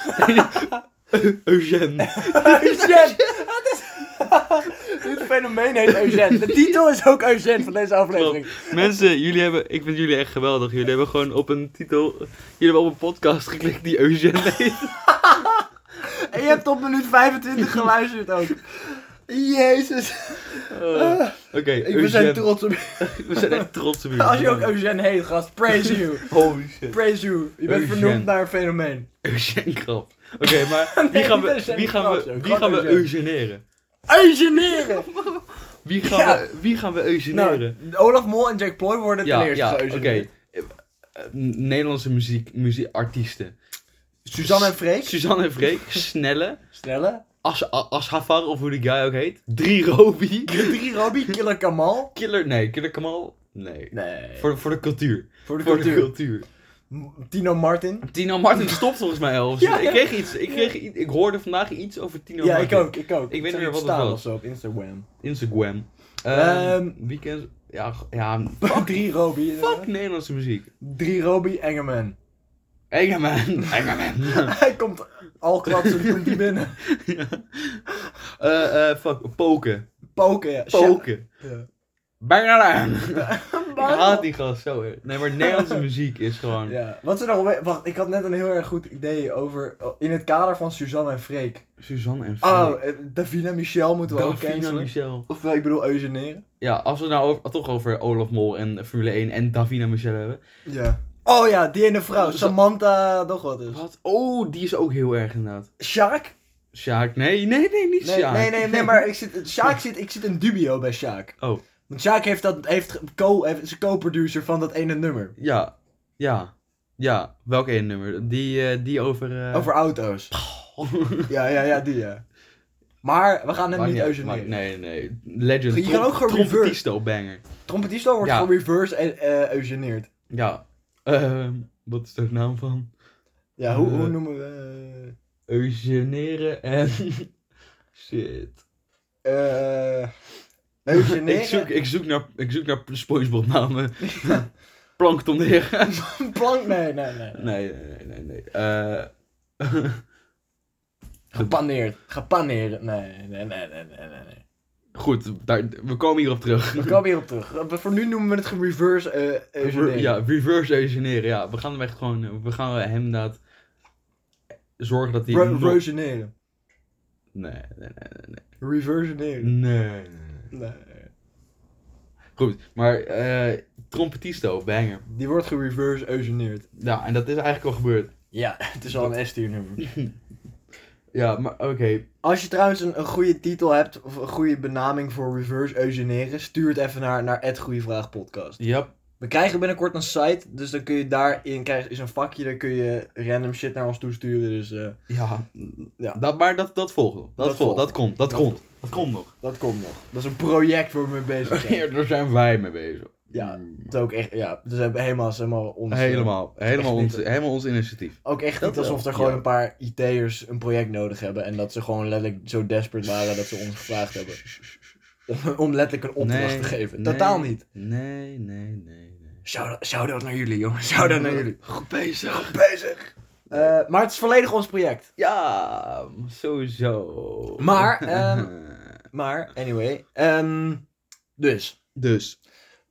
Eugène. Eugène! Wat is- dit fenomeen heet Eugène. De titel is ook Eugène van deze aflevering. Mensen, jullie hebben, ik vind jullie echt geweldig. Jullie hebben gewoon op een titel, jullie hebben op een podcast geklikt die Eugène heet. En je hebt tot minuut 25 geluisterd ook. Jezus. Eh, Oké, ik, we zijn Eugène. trots op je. we zijn echt trots op u. Als je ook Eugène heet, gast, praise you. Holy shit. Praise you. Je bent Eugène. vernoemd naar een fenomeen. Eugène Krap. Oké, maar wie Nee, gaan niet we, Eugène wie gaan Krap, we, joh. wie Gewoon gaan we Eugène. eugeneren? Eugeneren! Wie gaan, Ja. we, wie gaan we Nou, eugeneren? Olaf Mol en Jack Ploy worden ten ja, eerste ja, oké. geëugeneerd. Eh, eh, Nederlandse muziek, muziekartiesten. Suzanne en Freek. Suzanne en Freek, Snelle, Snelle. As, A- Ashafar of hoe die guy ook heet. Drie Robi. Drie Robbie, Killer Kamal. Killer, nee, Killer Kamal, nee. Nee. Voor, voor de cultuur. Voor de Voor de cultuur. cultuur. M- Tino Martin. Tino Martin stopt volgens mij al. of zo. Ja, ja. Ik kreeg iets, ik kreeg i- ik hoorde vandaag iets over Tino ja, Martin. ik ook, ik ook. Ik weet Zag niet meer wat het staan was. of zo op Instagram. Instagram. Ehm, weekend, ja, g- ja, Drie Robbie. eh, fuck Nederlandse muziek. Drie Robbie Engerman. Engerman, Engerman. Hij komt al klatsen komt hij binnen. ja. Eh, eh, fuck, poken. Poken, ja. Poken. Ja. Bangalaan. Ik haat die gast zo. hè. Nee, maar Nederlandse muziek is gewoon. Ja. Wat ze nog... we- Wacht, ik had net een heel erg goed idee over... oh, In het kader van Suzanne en Freek. Suzanne en Freek. Oh, eh, Davina Michel moeten we ook Delphine en cancelen. Michel. Ofwel, ik bedoel eugeneren. Ja, als we het nou over- toch over Olaf Mol en Formule 1 en Davina Michel hebben. Ja. Oh ja, die ene vrouw. Samantha, nog wat is. Wat? Oh, die is ook heel erg inderdaad. Sjaak? Sjaak, nee, nee, nee, niet Nee, Sjaak. nee, nee, nee, maar ik zit, Sjaak zit, ik zit een dubio bij Sjaak. Oh. Want Sjaak heeft dat, heeft, co, heeft, is co-producer van dat ene nummer. Ja, ja, ja. Welk één nummer? Die, eh, die over... eh, Over auto's. Ja, ja, ja, die ja. Maar we gaan hem Maakt niet uit, eugeneren. maakt- Nee, nee. Legend. Je kan ook gewoon reverse. Trompetisto banger. Trompetisto wordt Ja. voor reverse en, eh, eugeneerd. Ja. Ehm, wat is de naam van? Ja, hoe, Eh. hoe noemen we... Eugeneren en... Shit. eh eh, eugeneren? Ik zoek, ik zoek naar, ik zoek naar Spongebob namen. Plankton heer. Plank? Nee, nee, nee. Nee, nee, nee, nee. nee. Eh, Gepaneerd. Gepaneerd. Nee, nee, nee, nee, nee, nee. nee. goed, daar, we komen hierop terug. We komen hierop terug. Eh, Voor nu noemen we het gewoon reverse eh eugeneren. Ja, reverse eugeneren. Ja, we gaan hem echt gewoon... We gaan hem inderdaad zorgen dat hij... Re- nog- Reugeneren. Nee, nee, nee, nee, nee. Reversioneren. Nee, nee, nee. Nee. Goed, maar eh trompetisto, banger. Die wordt gereverse eugeneerd. Ja, en dat is eigenlijk al gebeurd. Ja, het is al een S-tier nummer. Ja, maar oké. Als je trouwens een, een goede titel hebt of een goede benaming voor reverse eugeneren, stuur het even naar, naar het Goeie Vraag Podcast. Yep. We krijgen binnenkort een site, dus dan kun je daarin krijgen, is een vakje, daar kun je random shit naar ons toesturen. Dus eh, Ja. Ja. Dat, maar dat, dat volgt. nog. Dat, Dat volgt. volgt. Dat komt. Dat, Dat komt. Dat komt nog. dat komt nog. Dat is een project waar we mee bezig zijn. Hier, daar zijn wij mee bezig. Ja. Mm. Dat is ook echt, ja, dus hebben helemaal, is helemaal ons. eh, Helemaal. Helemaal Echt ons, niet. helemaal ons initiatief. Ook echt Dat niet alsof wel, er gewoon ja. een paar IT'ers een project nodig hebben en dat ze gewoon letterlijk zo desperate waren dat ze ons gevraagd hebben. Om- Om letterlijk een opdracht Nee, te geven. nee. Totaal niet. Nee, nee, nee, nee. Shout-out shout-out naar jullie, jongen. Shout-out naar jullie. Oh, Goed bezig. Bezig. Eh, maar het is volledig ons project. Ja, sowieso. Maar, ehm, Maar, anyway. ehm, dus, dus,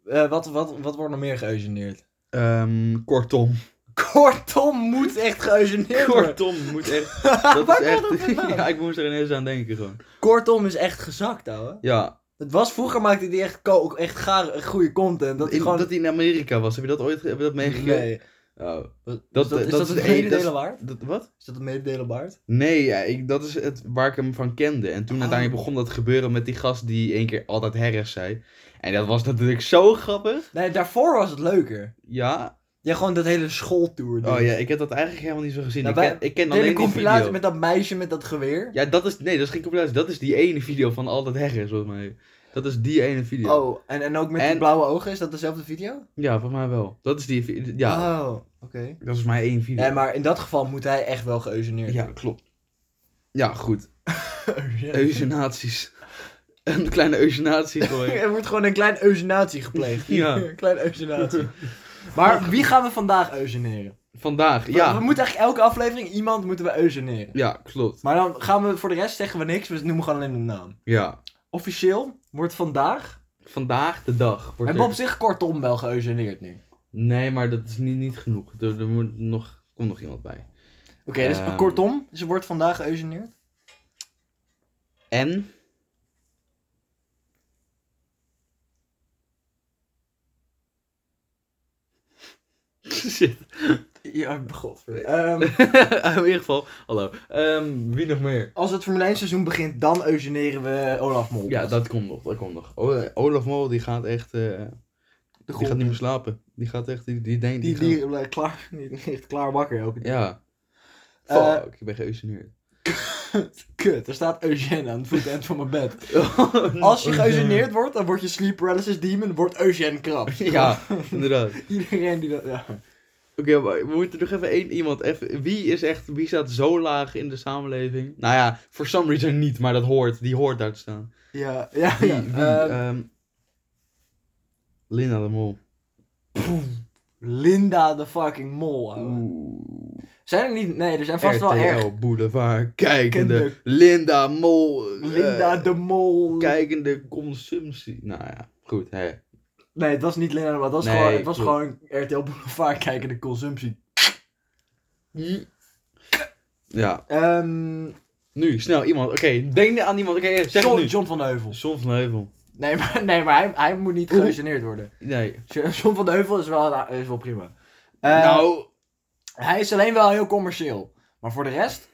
eh, wat, wat, wat wordt nog meer geëugeneerd? ehm, kortom. Kortom moet echt geëugeneerd worden. Kortom moet echt... Dat is Waar komt dat echt... vandaan? ja, ik moest er ineens aan denken gewoon. Kortom is echt gezakt, ouwe. Ja, Het was, vroeger maakte die echt, ko- echt gare, goede content. Dat Dat hij in, gewoon... dat hij in Amerika was, heb je dat ooit ge- heb je dat meegekregen? Nee. Oh. Dat, Dat- is dat, dat is dat is het één- mededelen dat is- waard? Dat, wat? Is dat het mededelen waard? Nee, ja, ik, dat is het waar ik hem van kende. En toen Oh. uiteindelijk begon dat gebeuren met die gast die één keer altijd herres zei. En dat was natuurlijk zo grappig. Nee, daarvoor was het leuker. Ja. Ja, gewoon dat hele schooltour. ding. Oh ja, ik heb dat eigenlijk helemaal niet zo gezien. Nou, ik, wij- ken, ik ken De hele alleen die video. compilatie met dat meisje met dat geweer. Ja, dat is, nee, dat is geen compilatie. Dat is die ene video van altijd herres, volgens mij. Dat is die ene video. Oh, en, en ook met die En- blauwe ogen, is dat dezelfde video? Ja, volgens mij wel. Dat is die, vi- ja, Oh, oké. dat is maar één video. Nee, maar in dat geval moet hij echt wel geëugeneerd Oh, Ja, klopt. Ja, goed. worden. Eugenaties. Een kleine eugenatie gooi. er wordt gewoon een klein eugenatie gepleegd. Ja. Een klein eugenatie. Maar wie gaan we vandaag eugeneren? Vandaag, We ja. moeten eigenlijk elke aflevering iemand moeten we eugeneren. Ja, klopt. Maar dan gaan we voor de rest zeggen we niks, we noemen gewoon alleen de naam. Ja. Officieel wordt vandaag, Vandaag de dag. Wordt hebben we er- op zich kortom wel geëugeneerd nu. Nee, maar dat is niet, niet genoeg. Er, er moet nog, komt nog iemand bij. Oké, dus Ehm. kortom, ze wordt vandaag geëugeneerd. En Shit. Ja, godverdomme. Ehm, in ieder geval, hallo. Ehm, wie nog meer? als het Formule 1 seizoen begint, dan eugeneren we Olaf Mol. Ja, dat komt nog, dat komt nog. O- eh, Olaf Mol, die gaat echt, eh, die gaat niet meer slapen. Die gaat echt, die, die denkt, Die die, gaat- dieren blijven klaar, die ligt klaar wakker elke dag. Ja. Eh, Fuck, ik ben geëuseneerd. Kut, er staat Eugène aan het voetend van mijn bed. Als je geëugeneerd wordt, dan word je Sleep Paralysis Demon, wordt Eugène krap. Ja, inderdaad. Iedereen die dat... Ja. Oké, maar we moeten nog even één iemand. Even, wie is echt, wie staat zo laag in de samenleving? Nou ja, for some reason niet, maar dat hoort, die hoort daar te staan. Ja, ja, Wie, ja. wie? Ehm, Ehm, Linda de Mol. Linda de fucking mol, ouwe. Oeh. Zijn er niet... Nee, er zijn vast wel erg... RTL Boulevard, kijkende. Kende- Linda Mol. eh, Linda de mol. Kijkende consumptie. Nou ja, goed, hè. Nee, het was niet Linda de mol. Het was Nee, gewoon, het was klopt. gewoon RTL Boulevard kijken de consumptie. Ja, Ehm nu, snel, iemand. Oké, denk aan iemand. Oké, zeg het John, nu. John van Heuvel. John van Heuvel. Nee, maar, nee, maar hij, hij moet niet Oeh. geëugeneerd worden. Nee. John van Heuvel is wel, is wel prima. Eh, nou, Hij is alleen wel heel commercieel. Maar voor de rest,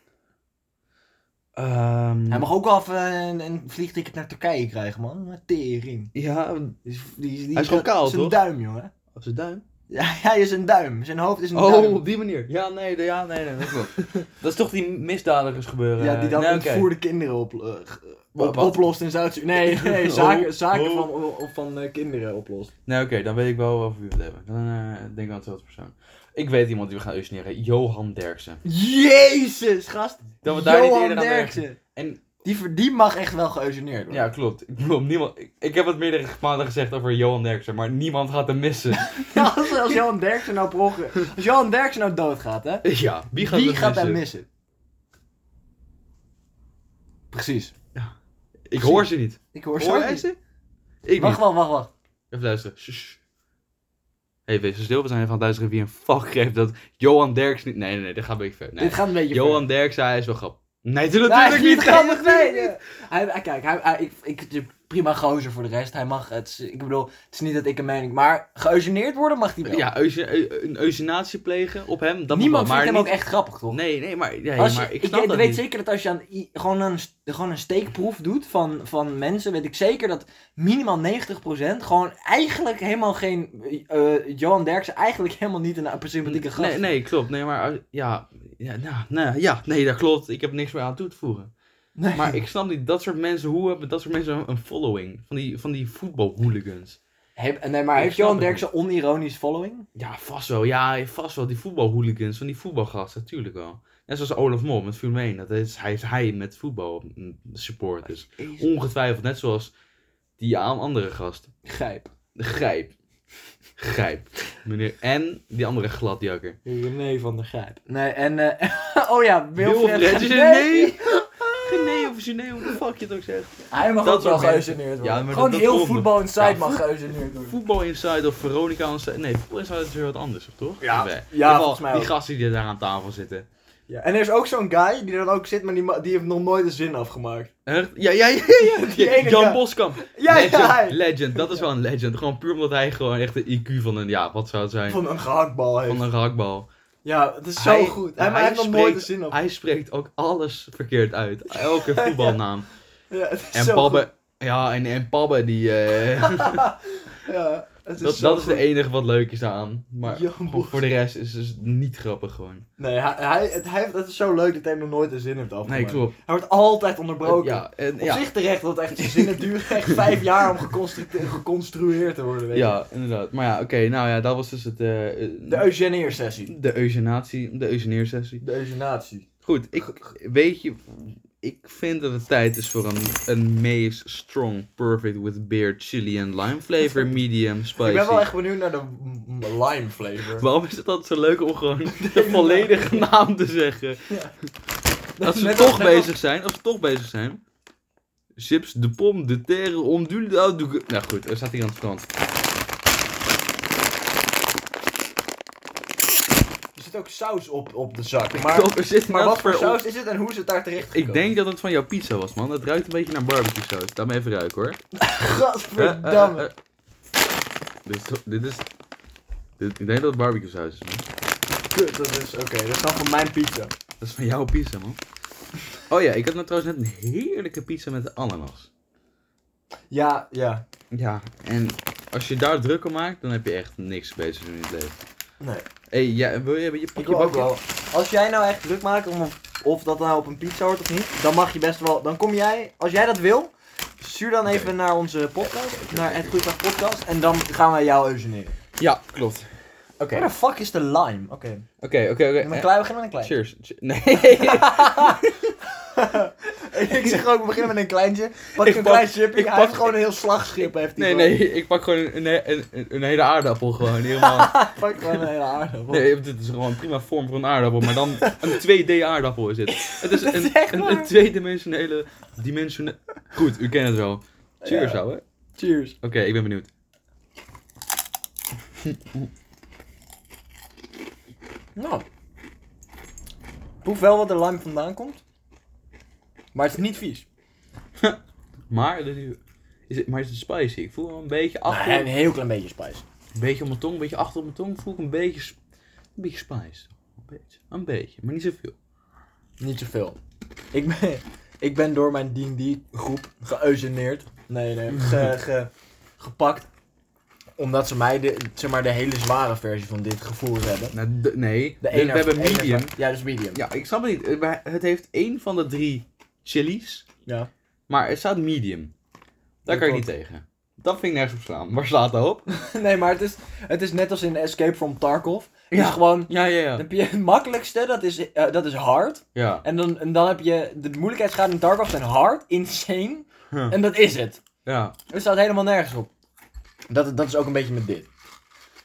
Hm. Ehm, hij mag ook wel even een, een vliegticket naar Turkije krijgen, man. Met tering. Ja, Die is, die, die, Hij is gewoon kaal, zijn toch? duim, jongen. als een duim. Ja, hij is een duim. Zijn hoofd is een Oh, duim. op die manier. Ja, nee, de- ja, nee, nee dat klopt. dat is toch die misdadigers gebeuren. Ja, die dan nee, oké. ontvoerde kinderen op, eh, g- Wa- op- wat? oplost in Zuid-Sudan. Nee, nee, zaken, Oh, zaken oh. van, o- van eh, kinderen oplost. Nee, oké, dan weet ik wel over wie we het hebben. Dan eh, denk ik aan hetzelfde persoon. Ik weet iemand die we gaan usneren. Johan Derksen. Jezus, gast! Dat we daar niet Johan eerder aan Derksen. En Die, ver- die mag echt wel geëugeneerd worden. ja, klopt. Ik, bedoel, niemand, ik, ik heb het meerdere maanden gezegd over Johan Derksen, maar niemand gaat hem missen. Ja, als, als Johan Derksen nou per ongeluk- Als Johan Derksen nou doodgaat, hè? ja, wie gaat hem gaat missen? hem missen? Precies. Ik hoor ze niet. Ik hoor Hoor zo. jij niet. ze? Ik Wacht, wacht, wacht, wacht. Even luisteren. Sss, sss. Hey, wees stil. We zijn even aan het luisteren wie een fuck geeft dat Johan Derks niet... Nee, nee, nee, dat gaat een beetje ver. Nee. Dit gaat een beetje Johan Derks, hij is wel grappig. Nee, doe ver. natuurlijk niet. Nee, grappig. nee, nee. Hij, hij- kijk, hij, hij- ik, ik, de prima gozer voor de rest. Hij mag, het, is- ik bedoel, het is niet dat ik een mening... Maar geëugeneerd worden mag hij wel. Ja, euge- eu- een euthanasie plegen op hem, dat Niemand moet wel, maar vindt hem niet- ook echt grappig, toch? Nee, nee, maar, nee, Als je- maar ik ik snap weet dat niet. zeker dat als je aan, i- gewoon, een, st- gewoon een steekproef doet van, van mensen, weet ik zeker dat minimaal 90% gewoon eigenlijk helemaal geen. eh, Johan Derksen eigenlijk helemaal niet een sympathieke gast. Nee, nee, klopt. Nee, maar als- ja, ja, nou, nou, ja, nee, dat klopt. Ik heb niks meer aan toe te voegen. Nee. Maar ik snap niet, dat soort mensen, hoe hebben dat soort mensen een- een following? Van die, van die voetbalhooligans. Heb- nee, maar Ik heeft snap Johan het Derksen onironisch following? Ja, vast wel. Ja, vast wel. Die voetbalhooligans van die voetbalgasten, natuurlijk wel. Net zoals Olaf Mol met Filmeen. Dat is hij, is hij met voetbal mm, support. Dus ongetwijfeld, net zoals die aan andere gast. Grijp. Grijp. Grijp. Meneer. En die andere gladjakker. René van der Grijp. Nee, en. eh, oh ja, Wilfred. Wilfred Gené. Gené. Gené of Gené, hoe de fuck je het ook zegt. Hij mag Dat ook wel soort mensen. Ja, geëugeneerd worden. maar gewoon dat- dat heel komt voetbal inside Ja, mag voet- geëugeneerd worden. Voetbal Inside of Veronica Inside. Nee, Voetbal Inside is weer wat anders, toch? Ja, Nee. ja, In ieder geval, volgens mij Die ook. gasten die daar aan tafel zitten. Ja. En er is ook zo'n guy die er dan ook zit, maar die, ma- die heeft nog nooit een zin afgemaakt. Echt? Ja, ja, ja, ja. Die ene Jan guy. Boskamp. Ja, legend, ja, hij. legend, dat is wel een legend. Gewoon puur omdat hij gewoon echt de IQ van een, ja, wat zou het zijn? Van, Van een gehaktbal heeft. een rakbal. Ja, het is zo Hij- goed. Hij, hij maar hij heeft nog nooit de spreekt- zin op. Hij spreekt ook alles verkeerd uit. Elke voetbalnaam. Ja, het is En zo Pabbe, ja, en, en Pabbe, die, eh, goed. Ja, het is dat, zo dat is goed. de enige wat leuk is aan. Maar Jan gewoon Bos. voor de rest is het niet grappig gewoon. Nee, hij, hij, het, hij, het is zo leuk dat hij nog nooit de zin heeft afgemaakt. Nee, klopt. Hij wordt altijd onderbroken. Ja, en, Op ja, zich terecht, want echt, zijn zinnen duren echt vijf jaar om geconstructe- geconstrueerd te worden. Weet je. ja, inderdaad. Maar ja, oké, nou ja, dat was dus het, eh, eh, De eugeneersessie. de eugenatie, de eugeneersessie. De eugenatie. Goed, ik, weet je, ik vind dat het tijd is voor een, een Mace Strong Perfect with Beer Chili and Lime Flavor Medium Spicy. Ik ben wel echt benieuwd naar de m- m- lime flavor. Waarom is het altijd zo leuk om gewoon de volledige naam te zeggen? Als ze Net toch als- net als- bezig zijn, als ze toch bezig zijn. Chips, de pom, de terre, om du- de- de- de- Nou goed, er staat hier aan het strand. Er zit ook saus op, op de zak. Maar, Klopt, er zit maar nat wat voor ver- saus is het en hoe is het daar terecht gekomen? Ik denk dat het van jouw pizza was, man. Het ruikt een beetje naar barbecue saus. Laat me even ruiken, hoor. Eh, eh, Gadverdamme. eh, eh. Dit is, dit is Dit- Ik denk dat het barbecue saus is, man. Kut, dat is... Oké, dat gaat van mijn pizza. Dat is van jouw pizza, man. Oh ja, ik had nou trouwens net een heerlijke pizza met ananas. Ja, ja. Ja, en als je daar druk om maakt, dan heb je echt niks bezig in het leven. Nee. hey, ja, wil je, je pak je Ik wil ook bakje? wel. Als jij nou echt druk maakt om of, of dat nou op een pizza hoort of niet, dan mag je best wel. Dan kom jij, als jij dat wil, stuur dan even Oké. naar onze podcast, naar het Goeiedag Podcast, en dan gaan wij jou eugeneren. Ja, klopt. Oké, Waar de fuck is de lime? Oké. oké, oké. oké. Met een klei, we beginnen met een Eh, klein. Cheers. Che- Nee. ik zeg ook, we beginnen met een kleintje. Pak Ik een pak- klein chipje. ik Hij pak- heeft gewoon een heel slagschip. Heeft hij Nee, gewoon. nee, ik pak gewoon een, een, een, een hele aardappel gewoon. Helemaal. Pak gewoon een hele aardappel. Nee, dit is gewoon een prima vorm voor een aardappel, maar dan een 2D aardappel is het. Het is Dat is een, echt een, waar. een tweedimensionele... Dimensione... Goed, u kent het wel. Cheers, Ja. ouwe. Oké, Cheers. ik ben benieuwd. Nou. Proef wel wat de lime vandaan komt. Maar het is niet vies. Maar, het is- is het, maar het is spicy. Ik voel wel een beetje achter... Nee, een heel klein beetje spice. Een beetje op mijn tong, een beetje achter op mijn tong voel ik een beetje, sp- een beetje spice. Een beetje, een beetje, maar niet zoveel. Niet zoveel. Ik ben, ik ben door mijn D&D groep geëugeneerd. Nee, nee. ge- ge- gepakt. Omdat ze mij de, zeg maar, de hele zware versie van dit gevoel hebben. Nou, de- nee, De we we ene- hebben ene- medium. Ja, dus medium. Ja, ik snap het niet. Eh, maar Het heeft één van de drie chilies, Ja. maar het staat medium. Daar Dat kan ik niet tegen. Dat vind ik nergens op slaan. Waar slaat dat op? nee, maar het is, het is net als in Escape from Tarkov. Het Ja. is gewoon... Ja, ja, Dan ja. heb je het makkelijkste, dat is, eh, dat is hard. Ja, En dan, en dan heb je de moeilijkheidsgraad in Tarkov zijn hard, insane. Huh. En dat is het. ja. Het staat helemaal nergens op. Dat, dat is ook een beetje met dit.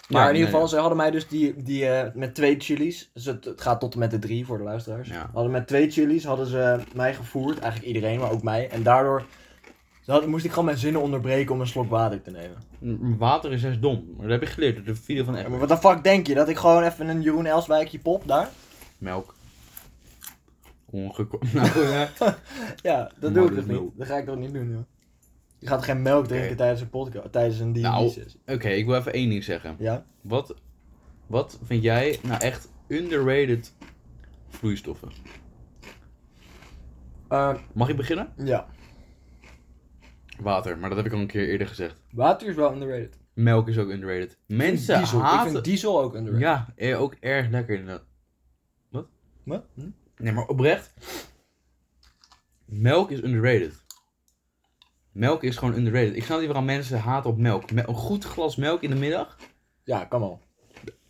Maar Ja, in ieder nee, geval, ze hadden mij dus die, die eh, met twee chilies. Dus het, het gaat tot en met de drie voor de luisteraars. Ja. Hadden met twee chilies hadden ze mij gevoerd. Eigenlijk iedereen, maar ook mij. En daardoor ze hadden- moest ik gewoon mijn zinnen onderbreken om een slok water te nemen. M- Water is juist dom. Dat heb ik geleerd uit de video van Ja, maar Emma. wat de fuck denk je? Dat ik gewoon even een Jeroen Elswijkje pop daar? Melk. Ongekomen. Nou, ja. Ja, dat Maar dus doe dat ik toch is niet. nul. Dat ga ik toch niet doen, joh. Je gaat geen melk drinken Oké. tijdens een podcast, tijdens een Nou. D&D-sessie. Oké, ik wil even één ding zeggen. Ja? Wat, wat vind jij nou echt underrated vloeistoffen? Eh, Mag ik beginnen? ja. Water, maar dat heb ik al een keer eerder gezegd. Water is wel underrated. Ik Melk is ook underrated. vind Mensen diesel. Ik haten... vind diesel ook underrated. Ja, eh, ook erg lekker inderdaad. Wat? Hm? Nee, maar oprecht. Melk is underrated. Melk is gewoon underrated. Ik snap niet waarom mensen haten op melk. Me- een goed glas melk in de middag, Ja, kan wel.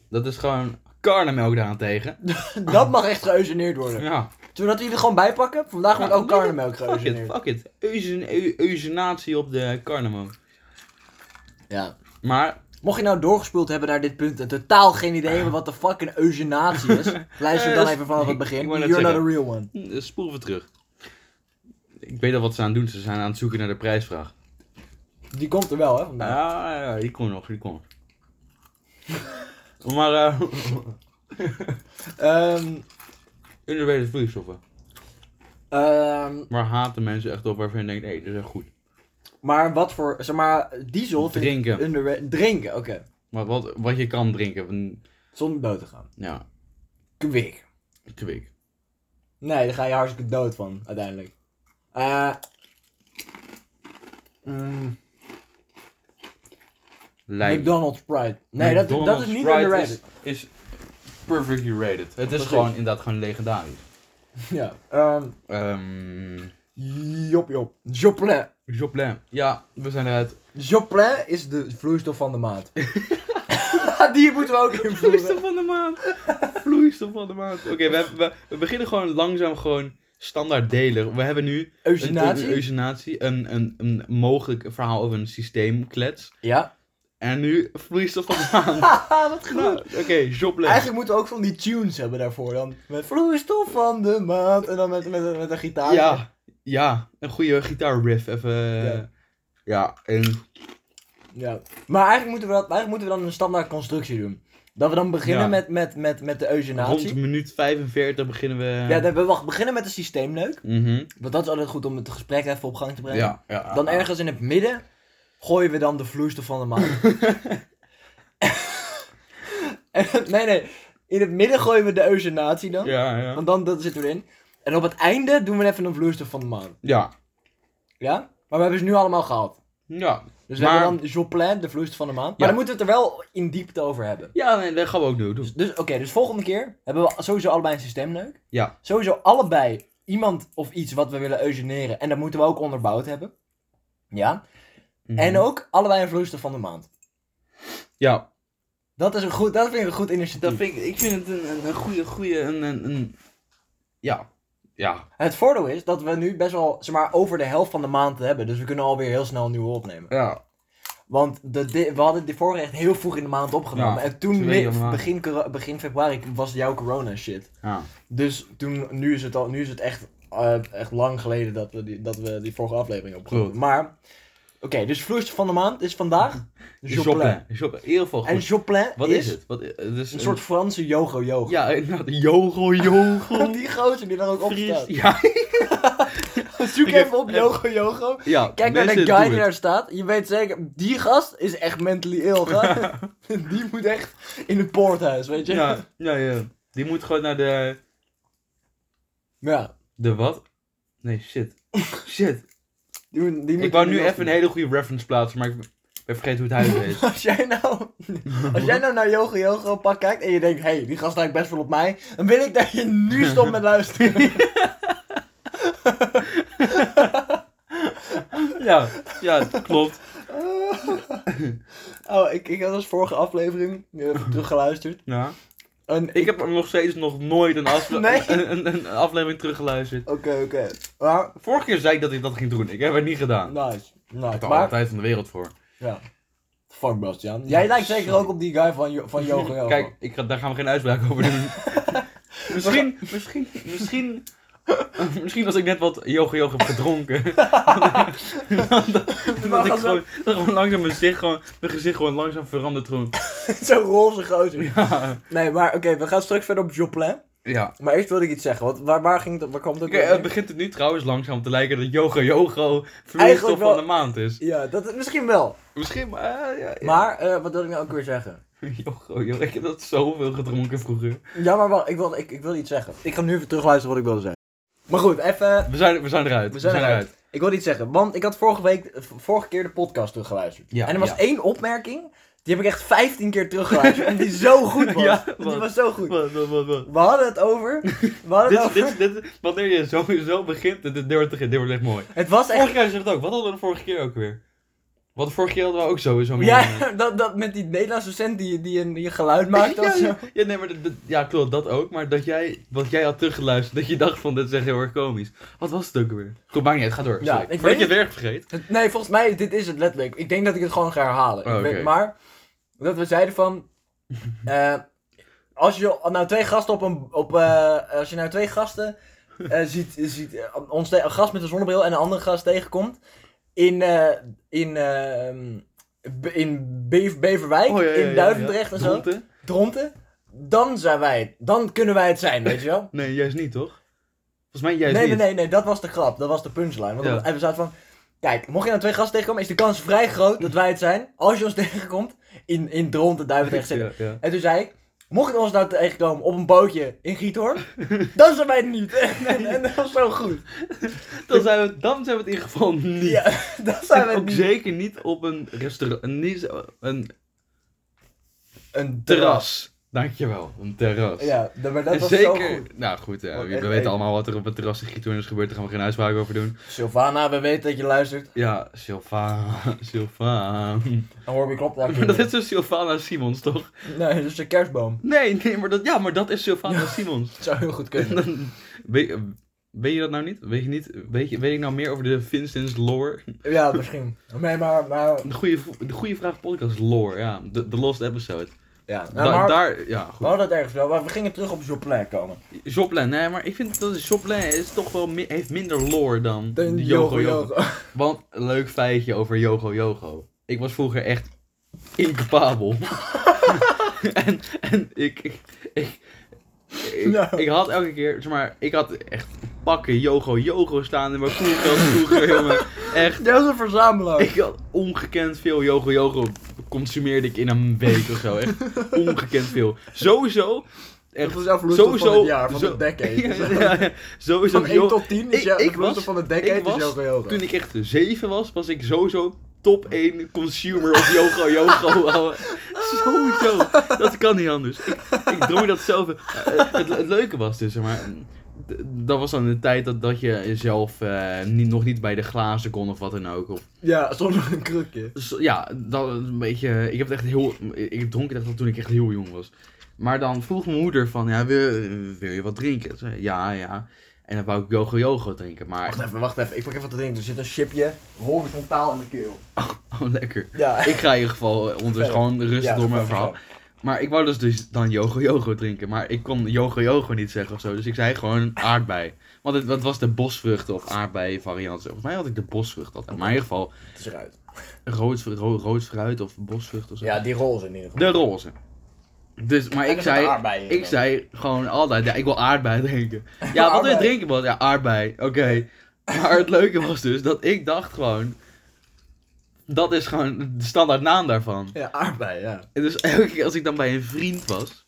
dat is gewoon karnemelk daarentegen. Dat mag echt geëugeneerd worden. Ja, Zullen we dat er gewoon bij pakken? Vandaag wordt Ja, ook nee, karnemelk fuck it, geëugeneerd. fuck it. Eusen- eu- Eusenatie op de karnemelk. Ja. Maar Mocht je nou doorgespeeld hebben naar dit punt en totaal geen idee hebben wat de fuck een eugenatie is, luister Eh, dan dat- even vanaf het begin. ik wou You're net not a zeggen. real one. Hm, eh, Spoelen we terug. Ik weet al wat ze aan het doen. Ze zijn aan het zoeken naar de prijsvraag. Nou, Die komt er wel, hè? Vandaag. Ja, ja, ja, die komt nog, die komt nog. maar, eh Ehm, underrated vloeistoffen. ehm, Waar haten mensen echt op waarvan je denkt, hé, dat is echt goed. maar wat voor, zeg maar, diesel vind ik Drinken. underrated. Drinken, oké. Maar wat, wat je kan drinken, van, Zonder dood te gaan. ja, Kwik. kwik. Nee, daar ga je hartstikke dood van, uiteindelijk. Eh. mm, Lijm. McDonald's Sprite. Nee, dat, dat McDonald's is niet Sprite underrated. Is, is perfectly rated. Het is Precies. gewoon inderdaad gewoon legendarisch. Ja. Ehm Ehm jop, jop. Joplin. Joplin. Ja, we zijn eruit. Joplin is de vloeistof van de maat. Die moeten we ook Vloeistof invoeren. van de maand. Vloeistof van de maand. Oké, we, hebben- we, we beginnen gewoon langzaam gewoon standaard delen. We hebben nu een, een, een Eugenatie? euthanasie, een, een, een mogelijk verhaal over een systeemklets. Ja. En nu vloeistof van de maand. Haha, wat goed. nou, Oké, Joplin. Eigenlijk moeten we ook van die tunes hebben daarvoor dan. Met vloeistof van de maat. En dan met, met, met een gitaar. Ja, ja, een goede gitaarriff even. Ja, Ja. en Ja. Maar eigenlijk moeten, we dat, eigenlijk moeten we dan een standaard constructie doen. Dat we dan beginnen Ja. met, met, met, met de rond eugenatie. minuut 45 beginnen we. Ja, dan, we wacht, beginnen met de systeemneuk. Mhm. Want dat is altijd goed om het gesprek even op gang te brengen. ja, ja. Dan ergens in het midden gooien we dan de vloeistof van de maan. nee, nee. In het midden gooien we de eusenatie dan. Ja, ja. Want dan dat zitten we erin. En op het einde doen we even een vloeistof van de maan. Ja, Ja? Maar we hebben ze nu allemaal gehad. ja. Dus we Maar- hebben dan Joplin, de vloeistof van de maan. Maar Ja. dan moeten we het er wel in diepte over hebben. Ja, nee, dat gaan we ook doen. doen. Dus, dus oké, dus volgende keer hebben we sowieso allebei een systeemneuk. Ja. Sowieso allebei iemand of iets wat we willen eugeneren. En dat moeten we ook onderbouwd hebben. Ja. Mhm. En ook allebei een vloeistof van de maand. Ja, Dat, is een goed, dat vind ik een goed initiatief. dat vind ik, ik vind het een, een, een goede, goede, een, een, een- ja, ja, Het voordeel is dat we nu best wel zeg maar, over de helft van de maand hebben. Dus we kunnen alweer heel snel een nieuwe opnemen. ja, Want de, di- we hadden de vorige echt heel vroeg in de maand opgenomen. Ja, en toen, tweede mid- maand. begin, coro- begin februari, was jouw corona shit. ja. Dus toen, nu, is het al, nu is het echt, eh, echt lang geleden dat we die, dat we die vorige aflevering opgenomen. Klopt. Maar, oké, dus vloeistof van de maand is vandaag Joplin. Joplin. Joplin. In ieder geval En goed. Joplin Wat is, het? Wat, het is een soort Franse yogo-yogo. Ja, inderdaad. Yogo, yogo. Die gozer die daar ook op Fries. staat. Ja, Zoek Ik heb- even op yogo-yogo. ja. Kijk naar mensen de guy doen die het. daar staat. Je weet zeker, die gast is echt mentally ill, gast. die moet echt in het poorthuis, weet je? Ja, ja, ja. Die moet gewoon naar de... Ja, De wat? Nee, shit. Shit. Die, moet- die moet Ik wou in nu de even een hoofd. hele goede reference plaatsen, maar ik ben vergeten hoe het huis heet. Als jij nou, als jij nou naar Yogo Yogo pak kijkt en je denkt, hé, hey, die gast lijkt best wel op mij. Dan wil ik dat je nu stopt met luisteren. Ja, ja, klopt. oh, ik, ik had dus vorige aflevering even teruggeluisterd. Ja. En Ik heb er nog steeds nog nooit een, afle- Nee. een, een, een aflevering teruggeluisterd. Oké, oké. Maar, Vorige keer zei ik dat ik dat ging doen. Ik heb het niet gedaan. nice. Ik had nice. er Maar, alle tijd van de wereld voor. ja. Fuck Bastiaan. Jij lijkt zeker ook op die guy van, Jo- van Yogo Yogo. Kijk, ik ga, daar gaan we geen uitspraak over doen. misschien, misschien, misschien, misschien als ik net wat yoga yoga heb gedronken. dan dat ik als gewoon, dat gewoon langzaam mijn gezicht gewoon, mijn gezicht gewoon langzaam veranderd gewoon. Zo'n roze gozer. Ja. Nee, maar oké, we gaan straks verder op Joplin. ja. Maar eerst wilde ik iets zeggen. Want waar, waar ging dat? Waar kwam het ook Oké, weer het mee? begint het nu trouwens langzaam te lijken dat yoga yoga Eigenlijk vloeistof wel- van de maand is. Ja, dat, misschien wel. Misschien, maar eh, ja, ja. Maar eh, wat wilde ik nou ook weer zeggen? Yoga yoga, ik heb dat zoveel gedronken vroeger. Ja, maar wacht, ik wil, ik, ik wil iets zeggen. Ik ga nu even terugluisteren wat ik wilde zeggen. Maar goed, even. We zijn, we zijn eruit. We zijn eruit. Ik wil iets zeggen. Want ik had vorige week, eh, v- vorige keer de podcast teruggeluisterd. Ja, en er was ja. één opmerking. Die heb ik echt 15 keer teruggeluisterd. en die zo goed was. Ja, die wat? was zo goed. Wat, wat, wat, wat. We hadden het over. We hadden het Dit, over. dit, dit, wanneer je sowieso begint, dit, dit, wordt, dit wordt echt mooi. Het was echt. Vorige keer zegt het ook. Wat hadden we de vorige keer ook weer? Want de vorige keer hadden we ook sowieso meer. Ja, dat, dat met die Nederlandse cent die, die, een, die een geluid maakt. of ja, zo. ja. Ja, nee, maar dat- dat- ja, klopt, dat ook. Maar dat jij, wat jij had teruggeluisterd, dat je dacht van, dit is echt heel erg komisch. Wat was het ook weer? Goed, maakt niet uit, ga door. Ja, sorry. ik Voordat weet je het werk vergeet. Het- Nee, volgens mij, dit is het letterlijk. Ik denk dat ik het gewoon ga herhalen. Oh, Ik weet- oké. Maar, dat we zeiden van... eh, als je nou twee gasten op een... Op, eh, als je nou twee gasten eh, ziet... ziet eh, ons te- een gast met een zonnebril en een andere gast tegenkomt... In... eh, in ehm, Be- in Be- Beverwijk, Oh, ja, ja, ja, in ja. Duivendrecht en zo, Dronten? Dronten, dan zijn wij het. Dan kunnen wij het zijn, weet je wel? Nee, juist niet, toch? Volgens mij juist Nee, nee, niet. nee, nee, dat was de grap. Dat was de punchline. Want Ja. we- en we zaten van... Kijk, mocht je nou twee gasten tegenkomen, is de kans vrij groot dat wij het zijn. Als je ons tegenkomt, in, in Dronten, Duivendrecht zitten. Ja, ja. En toen zei ik, mocht je ons nou tegenkomen op een bootje in Giethoorn, dan zijn wij het niet. en, en dat was zo goed. Dan, zijn we, dan zijn we het in ieder geval niet. Ja, dan zijn en wij het ook niet. zeker niet op een restaurant, niet zo- een Een terras. Dankjewel, een terras. Ja, d- maar dat En was zeker. zo goed. Nou goed, ja, Want we echt weten één. allemaal wat er op het terras in Giethoorn is gebeurd. Daar gaan we geen uitspraak over doen. Sylvana, we weten dat je luistert. Ja, Sylvana. Sylvana. En Horby klopt daar. Maar dat is dus Sylvana Simons, toch? Nee, dat is een kerstboom. Nee, nee, maar dat, ja, maar dat is Sylvana Simons. Dat zou heel goed kunnen. Dan- weet, weet je dat nou niet? Weet je niet? Weet, je, weet ik nou meer over de Vincent's lore? ja, misschien. Nee, maar... maar De goede, de goede vraag podcast lore, ja. De, de lost episode. ja, nou, Da- maar Daar, ja, we goed. hadden het ergens wel. maar We gingen terug op Joplin komen. Joplin, nee, maar ik vind dat Joplin is toch wel mi- heeft minder lore dan De de Yogo Yogo. Want een leuk feitje over Yogo Yogo. Ik was vroeger echt incapabel. en en ik, ik, ik, ik, Ja. ik had elke keer, zeg maar, ik had echt pakken Yogo Yogo staan in mijn koelkast vroeger, jongen. Echt, Jij was een verzamelaar. ik had ongekend veel Yogo Yogo consumeerde ik in een week of zo. Echt ongekend veel. Sowieso. Dat Echt, was jouw vloeistof sowieso. van het jaar, van zo- het decade. Ja, ja, ja. sowieso. Van 1 joh, tot 10 is ik- jouw ik de vloeistof was- van het ik decade is was jouw yoga. toen ik echt 7 was, was ik sowieso top 1 consumer of yoga yoga. ouwe. sowieso. Dat kan niet anders. Ik, ik drong dat zelf. Eh, Het, het leuke was dus, zeg maar. d- Dat was dan de tijd dat, dat je jezelf eh, niet, nog niet bij de glazen kon of wat dan ook. Of Ja, zonder een krukje. Dus ja, dan een beetje. Ik heb het echt heel. Ik dronk het echt al toen ik echt heel jong was. Maar dan vroeg mijn moeder van, ja, wil, wil je wat drinken? Toen zei ik, ja, ja. En dan wou ik yogo yogo drinken, Wacht Oh, maar... even, wacht even. Ik pak even wat te drinken. Er zit een chipje horizontaal in de keel. Oh, lekker. Ja. Ik ga in ieder geval eh, ondertussen gewoon Dus rustig Ja, door mijn dat kan verhaal. Maar ik wou dus, dus dan yogo yogo drinken, maar ik kon yogo yogo niet zeggen of zo. Dus ik zei gewoon aardbei. Want het, het was de bosvruchten of aardbei variant. Volgens mij had ik de bosvrucht altijd. Maar in ieder geval Het is eruit. rood, rood, rood fruit of bosvrucht of zo. Ja, die roze in ieder geval. De roze. Dus, maar ik zei, ik zei gewoon altijd, ja, ik wil aardbei drinken. Ja, wat wil je Aardbei. drinken? Bas? Ja, aardbei. Oké. Maar het leuke was dus dat ik dacht gewoon, dat is gewoon de standaard naam daarvan. Ja, aardbei, ja. En dus elke keer als ik dan bij een vriend was,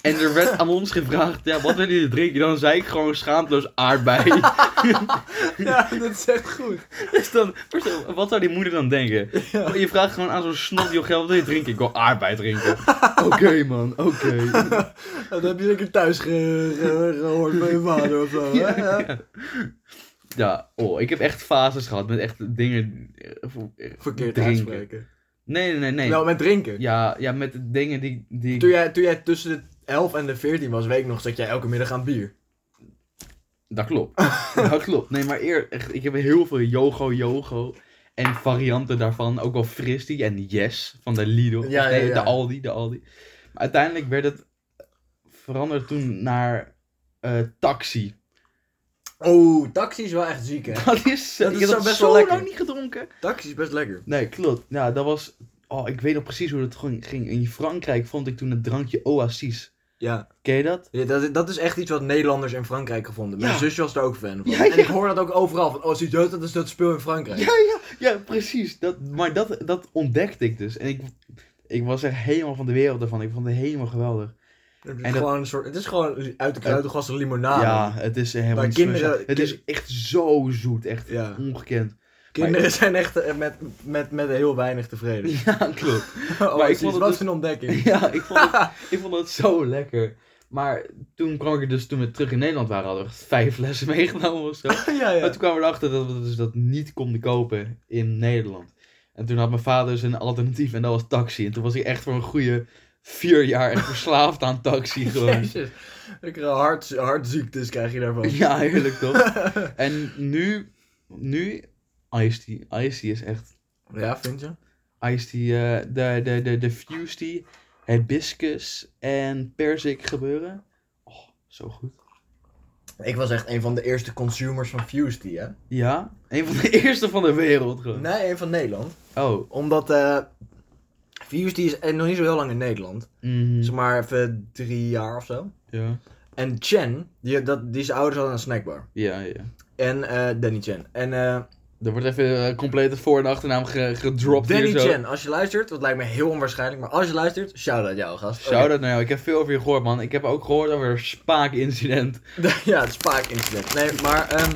en er werd aan ons gevraagd, ja, wat willen jullie drinken? Dan zei ik gewoon schaamteloos aardbei. Ja, dat is echt goed. dus dan, voorstel, wat zou die moeder dan denken? Je vraagt gewoon aan zo'n snot, joh, geld, wat wil je drinken? Ik wil aardbei drinken. Oké man, oké. Dat Nou, heb je zeker thuis ge- ge- gehoord bij je vader of zo. hè? Ja. Ja, oh, ik heb echt fases gehad met echt dingen. eh, voor- eh, Verkeerd drinken. uitspreken. Nee, nee, nee. nee. Wel, met drinken. Ja, ja, met de dingen die. die ik- Toen, jij, toen jij tussen de 11 en de 14 was, weet ik nog, zat jij elke middag aan bier. Dat klopt. dat klopt. Nee, maar eer, echt, ik heb heel veel Yogo Yogo. En varianten daarvan. Ook wel Fristie en Yes van de Lidl. Ja, Of nee, ja, ja. De Aldi, de Aldi. Maar uiteindelijk werd het veranderd toen naar eh, Taxi. Oh, taxi is wel echt ziek, hè? Dat is, Dat ik is heb zo dat best zo wel lekker. lang niet gedronken. Taxi is best lekker. Nee, klopt. Ja, dat was... Oh, ik weet nog precies hoe dat gewoon ging. In Frankrijk vond ik toen het drankje Oasis. Ja. Ken je dat? Ja, dat, dat is echt iets wat Nederlanders in Frankrijk gevonden. Mijn Ja. zusje was er ook fan van. Ja, ja. En ik hoor dat ook overal. Van, oh, zie je dat? Dat is dat speel in Frankrijk. Ja, ja, ja, precies. Dat, maar dat, dat ontdekte ik dus. En ik, ik was echt helemaal van de wereld ervan. Ik vond het helemaal geweldig. Het, is En dat- gewoon een soort, het is gewoon uit de kruidengas een limonade. ja, het is eh, helemaal Ah, Maar niet zo- kinderen- Het is echt zo zoet. Echt Ja. ongekend. Kinderen zijn echt eh, met, met, met heel weinig tevreden. Ja, klopt. Oh, Maar ik precies. vond het Wat dus- een ontdekking. Ja, ik vond, het, ik vond het zo lekker. Maar toen kwam ik er dus, toen we terug in Nederland waren, hadden we echt vijf lessen meegenomen of zo. ja, Maar ja. toen kwamen we erachter dat we dus dat niet konden kopen in Nederland. En toen had mijn vader zijn alternatief en dat was taxi. En toen was ik echt voor een goede vier jaar echt verslaafd aan taxi gewoon. Jezus. eh, Lekkere hart, hartziektes krijg je daarvan. Ja, heerlijk toch? En nu, nu, Ice Tea. Ice Tea is echt, Ja, vind je? Ice Tea, eh, de, de, de, de Fuse Tea, Hibiscus en Perzik gebeuren. Oh, zo goed. Ik was echt een van de eerste consumers van Fused, hè? Ja, een van de eerste van de wereld gewoon. Nee, een van Nederland. Oh, Omdat eh Fused is eh, nog niet zo heel lang in Nederland. mhm, Zeg maar even drie jaar of zo. ja. En Chen, die, dat, die zijn ouders hadden een snackbar. Ja, ja. En eh, Danny Chen. En eh, Er wordt even eh, complete voor- en achternaam ge- gedropt Danny hier zo. Chen, als je luistert, dat lijkt me heel onwaarschijnlijk, maar als je luistert, shout-out jou, gast. Shout-out naar jou. nou, Ik heb veel over je gehoord, man. Ik heb ook gehoord over een spaak-incident. out. ja, het spaak-incident. Nee, maar ehm,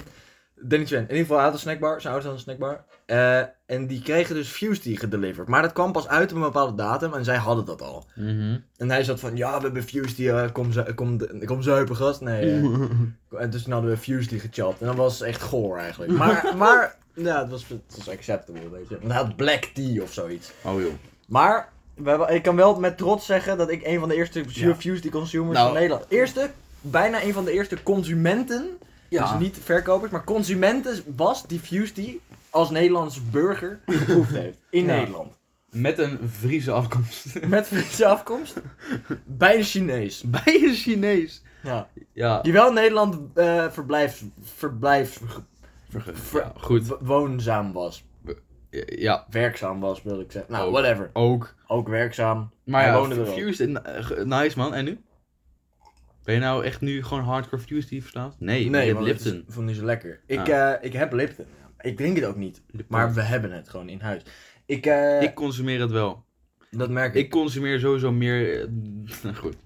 Danny Chen, in ieder geval hij had een snackbar, zijn ouders hadden een snackbar. Eh, en die kregen dus Fusty gedeliverd. Maar dat kwam pas uit op een bepaalde datum en zij hadden dat al. En hij zat van, ja, we hebben Fusty, eh kom, zu- kom, de- kom zuipen, gast. Nee, Mhm. eh, En dus toen hadden we Fusely gechapt. En dat was echt goor eigenlijk. Maar, maar ja, het was, het was acceptable, weet je. Want hij had black tea of zoiets. Oh, joh. Maar we hebben- ik kan wel met trots zeggen dat ik een van de eerste Ja. Fusely consumers Nou. van Nederland... Eerste, bijna een van de eerste consumenten. Ja. Dus niet verkopers, maar consumenten was die Fusely als Nederlands burger geproefd heeft. In Ja. Nederland. Met een Friese afkomst. Met Friese afkomst. Bij een Chinees. Bij een Chinees. Ja. Ja. Die wel in Nederland eh verblijf, verblijf Ver- ja, goed. w- woonzaam was. Ja, werkzaam was, wil ik zeggen. Nou, Ook. whatever. ook. Ook werkzaam. Maar Hij ja, woonde er wel. Fused in- eh, ge- nice, man. En nu? Ben je nou echt nu gewoon hardcore Fused die verslaafd? Nee, nee je hebt want het is- Lipton. vond niet zo lekker. Ik, Ah. eh, ik heb Lipton. Ik drink het ook niet. Lipton. Maar we hebben het gewoon in huis. Ik, eh, Ik consumeer het wel. Dat merk ik. Ik consumeer sowieso meer. eh, nou goed.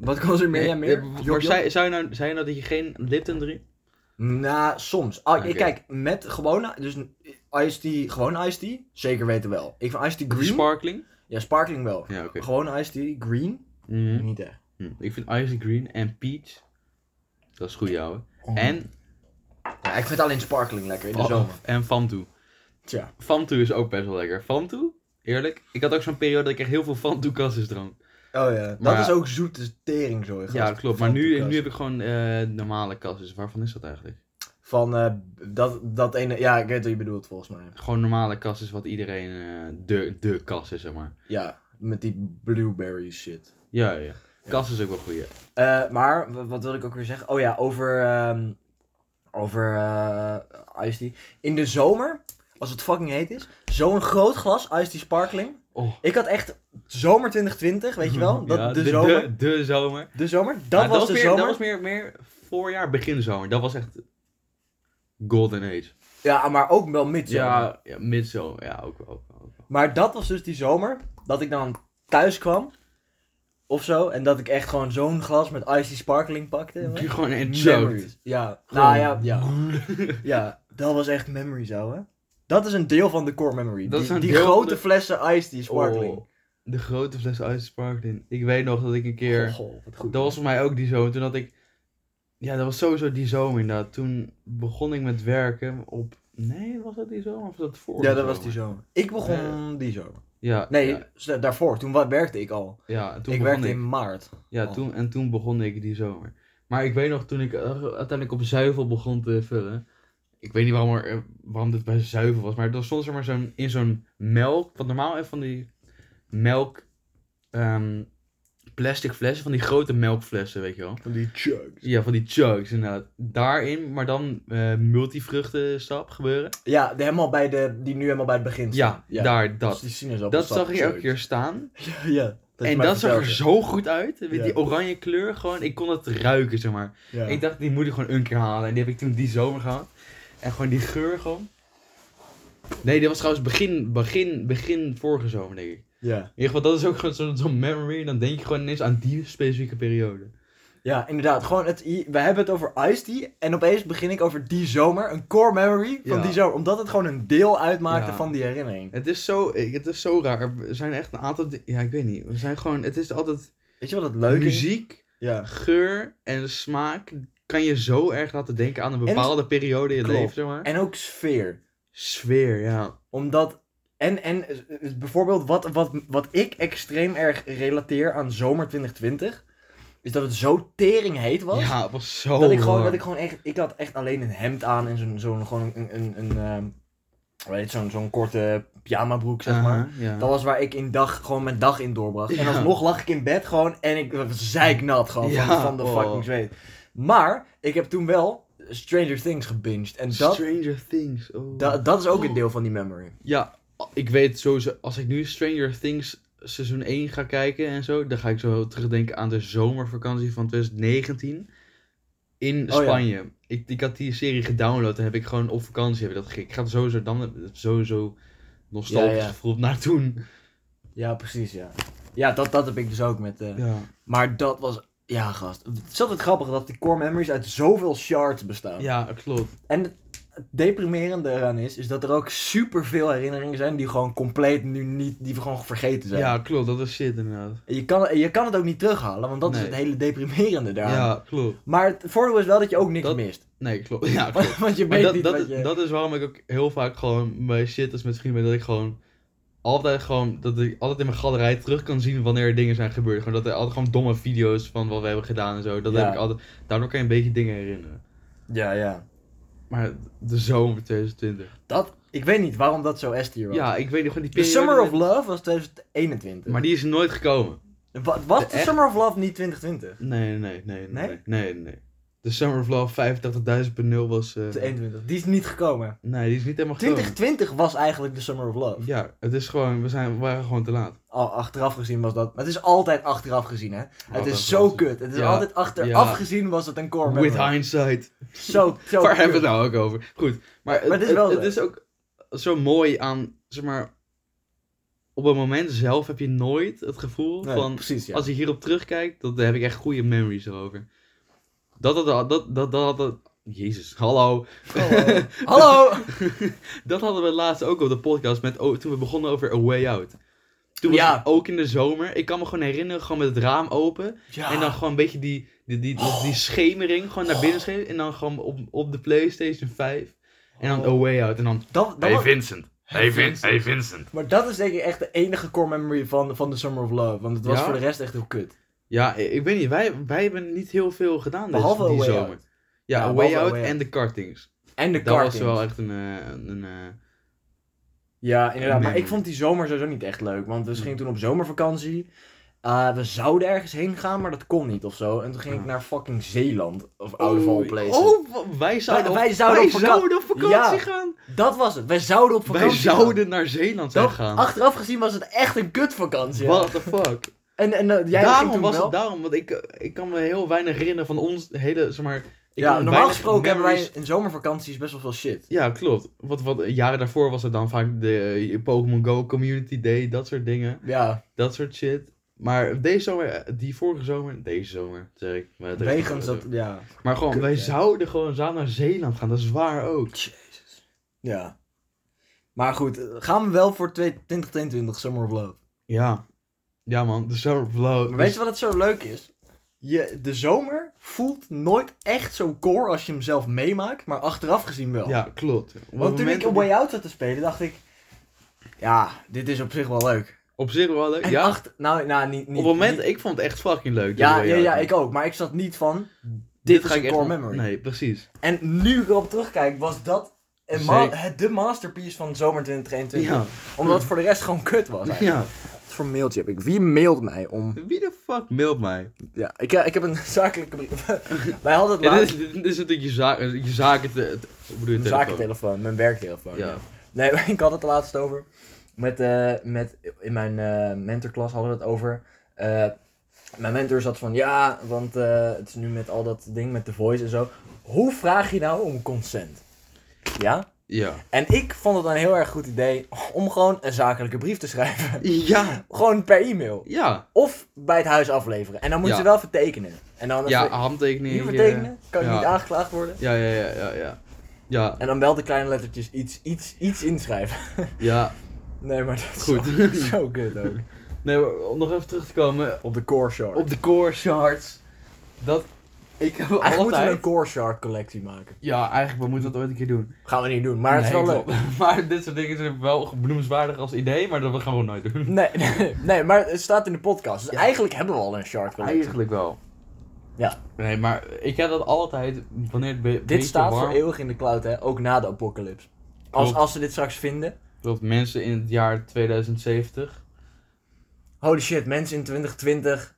Wat kan er meer? Ja, meer? Eh, Job, Maar Job? zei, zei, je nou, zei je nou dat je geen Lipton drinkt? Nou, soms. Ah, Oké. Kijk, met gewone, dus een iced tea, gewoon iced tea, zeker weten wel. Ik vind iced tea green. Sparkling? ja, sparkling wel. Ja, oké. Gewoon iced tea, green. Mhm. Niet echt. Hm, Ik vind Icy Green en Peach. Dat is goed, ouwe. En, Ja, ik vind alleen sparkling lekker in Oh. de zomer. en Fantu. Tja. Fantu is ook best wel lekker. Fantu? Eerlijk? Ik had ook zo'n periode dat ik echt heel veel Fantu kassis dronk. Oh ja, dat Maar- is ook zoete tering zo. gast. Ja, klopt. Maar Van nu, Lucas. nu heb ik gewoon eh, normale kassis. Waarvan is dat eigenlijk? Van eh, dat, dat ene, ja, ik weet wat je bedoelt volgens mij. Gewoon normale kassis wat iedereen... eh, de, de kas is, zeg maar. Ja, met die blueberry shit. Ja, ja. Kas is ook wel goeie. Eh, maar, w- wat wil ik ook weer zeggen? Oh ja, over, ehm over eh iced tea. In de zomer, als het fucking heet is, zo'n groot glas iced tea sparkling. Oh. Ik had echt zomer 2020, weet je wel? Dat, Ja, de, zomer. De, de zomer. De, zomer. Dat Maar was de meer, zomer. Dat was meer, meer voorjaar, begin zomer. Dat was echt golden age. Ja, maar ook wel midzomer. Ja, ja midzomer. Ja, ook wel. Ook wel, ook wel. Maar dat was dus die zomer dat ik dan thuis kwam. Of zo. En dat ik echt gewoon zo'n glas met iced tea sparkling pakte. Ik man. ben Gewoon een joke. Memories. Ja. Nou ja, ja. Ja, dat was echt memories, ouwe. Dat is een deel van de core memory. Dat is die een die deel van grote de- Oh, flessen iced tea sparkling. de grote fles Ice Sparkling. Ik weet nog dat ik een keer... Goh, goh, wat goed. Dat was voor mij ook die zomer. Toen had ik... Ja, dat was sowieso die zomer inderdaad. Toen begon ik met werken op... Nee, was dat die zomer of was dat voor? ja, dat was die zomer. Ik begon die zomer. Ja, Nee, ja, s- daarvoor. Toen wa- werkte ik al. ja, en toen ik begon werkte in maart. Ja, Oh. toen, en toen begon ik die zomer. Maar ik weet nog, toen ik eh, uiteindelijk op zuivel begon te vullen. Ik weet niet waarom, er, eh, waarom dit bij zuivel was, maar het was soms er maar zo'n, in zo'n melk. Want normaal eh, van die melk. ehm, plastic flessen, van die grote melkflessen, weet je wel. Van die chugs. Ja, van die chugs inderdaad. Daarin, maar dan eh multivruchtensap gebeuren. Ja, de, helemaal bij de, die nu helemaal bij het begin Ja, staan. daar, Dat dat. is die Dat sinaasappelsap. zag ik elke chugs. keer staan. ja, dat je en mij dat zag er vertelde. zo goed uit. Met Ja. die oranje kleur gewoon. Ik kon het ruiken, zeg maar. Ja. Ik dacht, die moet ik gewoon een keer halen. En die heb ik toen die zomer gehad. En gewoon die geur gewoon. Nee, dit was trouwens begin, begin, begin vorige zomer, denk ik. Ja. In ieder geval, dat is ook gewoon zo'n zo'n memory. En dan denk je gewoon ineens aan die specifieke periode. ja, inderdaad. Gewoon het, we hebben het over iced tea. En opeens begin ik over die zomer. Een core memory van Ja. die zomer. Omdat het gewoon een deel uitmaakte Ja. van die herinnering. Het is zo, ik- het is zo raar. Er zijn echt een aantal di- Ja, ik weet niet. We zijn gewoon... Het is altijd Weet je wat het leuke is? muziek, Ja. geur en smaak. Kan je zo erg laten denken aan een bepaalde periode in je Klopt. leven, zeg maar. En ook sfeer. Sfeer, ja. Omdat... En, en eh, eh, bijvoorbeeld wat, wat, wat ik extreem erg relateer aan zomer 2020... Is dat het zo tering heet was. Ja, het was zo dat ik gewoon, warm. dat ik gewoon echt, ik had echt alleen een hemd aan en zo'n, zo'n gewoon een, een, een ehm, hoe heet het, zo'n, zo'n korte pyjama broek, zeg maar. Aha, ja. Dat was waar ik in dag, gewoon mijn dag in doorbracht. En Uh-huh. Ja. alsnog lag ik in bed gewoon en ik was zeiknat gewoon van- Ja, van, de oh. fucking zweet. Maar, ik heb toen wel Stranger Things gebinged en dat, Stranger Things. Oh. da- dat is ook een deel van die memory. Ja, ik weet sowieso, als ik nu Stranger Things seizoen 1 ga kijken en zo, dan ga ik zo terugdenken aan de zomervakantie van 2019 in Oh ja. Spanje. ik, ik had die serie gedownload en heb ik gewoon op vakantie heb ik dat gek. Ik ga er sowieso dan sowieso nostalgisch Ja, ja. gevoeld naar toen. Ja, precies, ja. Ja, dat, dat heb ik dus ook met, eh, Ja. maar dat was, ja gast. Het is altijd grappig dat die core memories uit zoveel shards bestaan. ja, klopt. En het het deprimerende eraan is, is dat er ook superveel herinneringen zijn die gewoon compleet nu niet, die we gewoon vergeten zijn. Ja, klopt. Dat is shit inderdaad. En Je, kan, je kan het ook niet terughalen, want dat is Nee. het hele Ja, deprimerende daar. klopt. Maar het voordeel is wel dat je ook niks Dat- mist. Nee, klopt. Ja, klopt. want je Maar weet dat, niet dat, wat je... dat is waarom ik ook heel vaak gewoon bij shit als met vrienden ben, dat ik gewoon altijd gewoon, dat ik altijd in mijn galerij terug kan zien wanneer er dingen zijn gebeurd. Gewoon dat er altijd gewoon domme video's van wat we hebben gedaan en zo, dat Ja. heb ik altijd, daardoor kan je een beetje dingen herinneren. Ja, ja. Maar de zomer 2020. Dat, ik weet niet waarom dat zo S-tier was. Ja, ik weet nog gewoon die periode. The Summer of met- Love was 2021. Maar die is nooit gekomen. Wa- was De The echt- Summer of Love niet 2020? Nee, nee, nee, nee, Nee? nee, nee. nee. De Summer of Love 85.000.0 was, eh, 2021. Die is niet gekomen. nee, die is niet helemaal gekomen. 2020 was eigenlijk The Summer of Love. Ja, het is gewoon, we, zijn, we waren gewoon te laat. Al achteraf gezien was dat. Maar het is altijd achteraf gezien, hè? het Altijd is zo achteraf. kut. Het is Ja, altijd achteraf ja. gezien was het een core memory. With hindsight. Zo, zo. Waar hebben kut. we het nou ook over? Goed, maar, Maar het, dit is wel het, zo. is ook zo mooi aan, zeg maar, op het moment zelf heb je nooit het gevoel Nee, van... precies, ja. Als ik hierop terugkijk, dat, daar heb ik echt goede memories erover. Dat had... Dat, dat, dat, dat, dat- Jezus, hallo. Hallo! Dat hadden we laatst ook op de podcast met, oh, toen we begonnen over A Way Out. Toen was Ja. het ook in de zomer. Ik kan me gewoon herinneren, gewoon met het raam open. Ja. En dan gewoon een beetje die, die, die, die schemering, gewoon naar binnen schemeren. En dan gewoon op, op de PlayStation 5. En dan A Way Out. En dan, dat, dat Oh. hey was- Vincent. Hey, Vin hey Vincent. maar dat is denk ik echt de enige core memory van, van The Summer of Love. Want het was Ja? voor de rest echt heel kut. Ja, ik ik weet niet. Wij, wij hebben niet heel veel gedaan dus, Behalve A die Way zomer. Out. Ja, Ja, A Way behalve A Out Way Out. en de kartings. En de Dat was karting. wel echt een... eh, een, een, eh, Ja, inderdaad. Maar Nee. ik vond die zomer sowieso niet echt leuk. Want we Mm. gingen toen op zomervakantie. Eh, we zouden ergens heen gaan, maar dat kon niet of zo. En toen ging ik naar fucking Zeeland. Of out of all places. Ah. Oh, wa- wij zouden, Wij- wij zouden op vakantie- zouden op vakantie Ja. gaan. Dat was het. Wij zouden op vakantie Wij zouden naar Zeeland gaan. zijn Dat- gegaan. Achteraf gezien was het echt een kutvakantie. ja. What the fuck? En, en eh, jij ging daarom toen was wel... het daarom, want ik, eh, ik kan me heel weinig herinneren van ons hele, zeg maar... ik kan Ja, normaal weinig gesproken hebben wij memories- in zomervakanties best wel veel shit. Ja, klopt. Wat, wat jaren daarvoor was het dan vaak de eh, Pokémon Go Community Day, dat soort dingen. Ja, Dat soort shit. Maar deze zomer, eh, die vorige zomer, deze zomer, zeg ik. Maar het is- wegens dat... Ja. Maar gewoon, Kut, wij hè. zouden gewoon samen naar Zeeland gaan, dat is waar ook. Ja. Maar goed, eh, gaan we wel voor 2022 Summer of Love. Ja. Ja man, de dus- Summer of Love. Maar weet je wat het zo leuk is? Je, de zomer voelt nooit echt zo core als je hem zelf meemaakt, maar achteraf gezien wel. Ja, klopt. Op het Want toen moment ik op Way Out zat te spelen, dacht ik... Ja, dit is op zich wel leuk. Op zich wel leuk. En Ja, achter- nou, nou, niet... op niet het moment, niet- ik vond het echt fucking leuk. de ja, Way ja, Out. ja, ik ook. Maar ik zat niet van... Dit, is ga een ik echt core nog- memory. Nee, precies. En nu ik erop terugkijk, was dat een ma- Zeker. het, de masterpiece van zomer 2022. Ja, Omdat het voor de rest gewoon kut was eigenlijk. ja. Wat voor mailtje heb ik? Wie mailt mij om... Wie de fuck mailt mij? Ja, ik, eh, ik heb een zakelijke brief. Wij hadden het Ja, dit, laatst... is, dit is natuurlijk je zaak, je zaken te, te, hoe bedoel je Mijn telefoon? zakentelefoon, mijn werktelefoon. Ja. Nee, maar ik had het laatst over. Met, eh, met, in mijn eh, mentorklas hadden we het over. Eh, mijn mentor zat van ja, want eh, het is nu met al dat ding met de voice en zo. Hoe vraag je nou om consent? Ja? Ja. En ik vond het een heel erg goed idee om gewoon een zakelijke brief te schrijven. Ja. gewoon per e-mail. Ja. Of bij het huis afleveren. En dan moet Ja. je wel vertekenen. En dan Ja, even- handtekening. hier eh, vertekenen, kan je ja. niet aangeklaagd worden. Ja, ja, ja, ja, ja. Ja, En dan wel de kleine lettertjes iets, iets, iets inschrijven. ja. Nee, maar dat is Goed. Zo, zo kut ook. Nee, maar om nog even terug te komen Op de core shard. op de core charts. Dat, ik heb Eigenlijk moeten we altijd... een core shard collectie maken. Ja, eigenlijk, we moeten dat ooit een keer doen. Gaan we niet doen, maar het is wel Nee, leuk. klopt. Maar dit soort dingen zijn wel benoemenswaardig als idee, maar dat gaan we nooit doen. Nee, nee, nee, maar het staat in de podcast. Dus eigenlijk hebben we al een shard collectie. Eigenlijk wel. Ja. Nee, maar ik heb dat altijd wanneer het be- Dit beetje staat warm voor eeuwig in de cloud, hè? Ook na de apocalypse. Als, Klopt. als ze dit straks vinden. Klopt, mensen in het jaar 2070. Holy shit, mensen in 2020.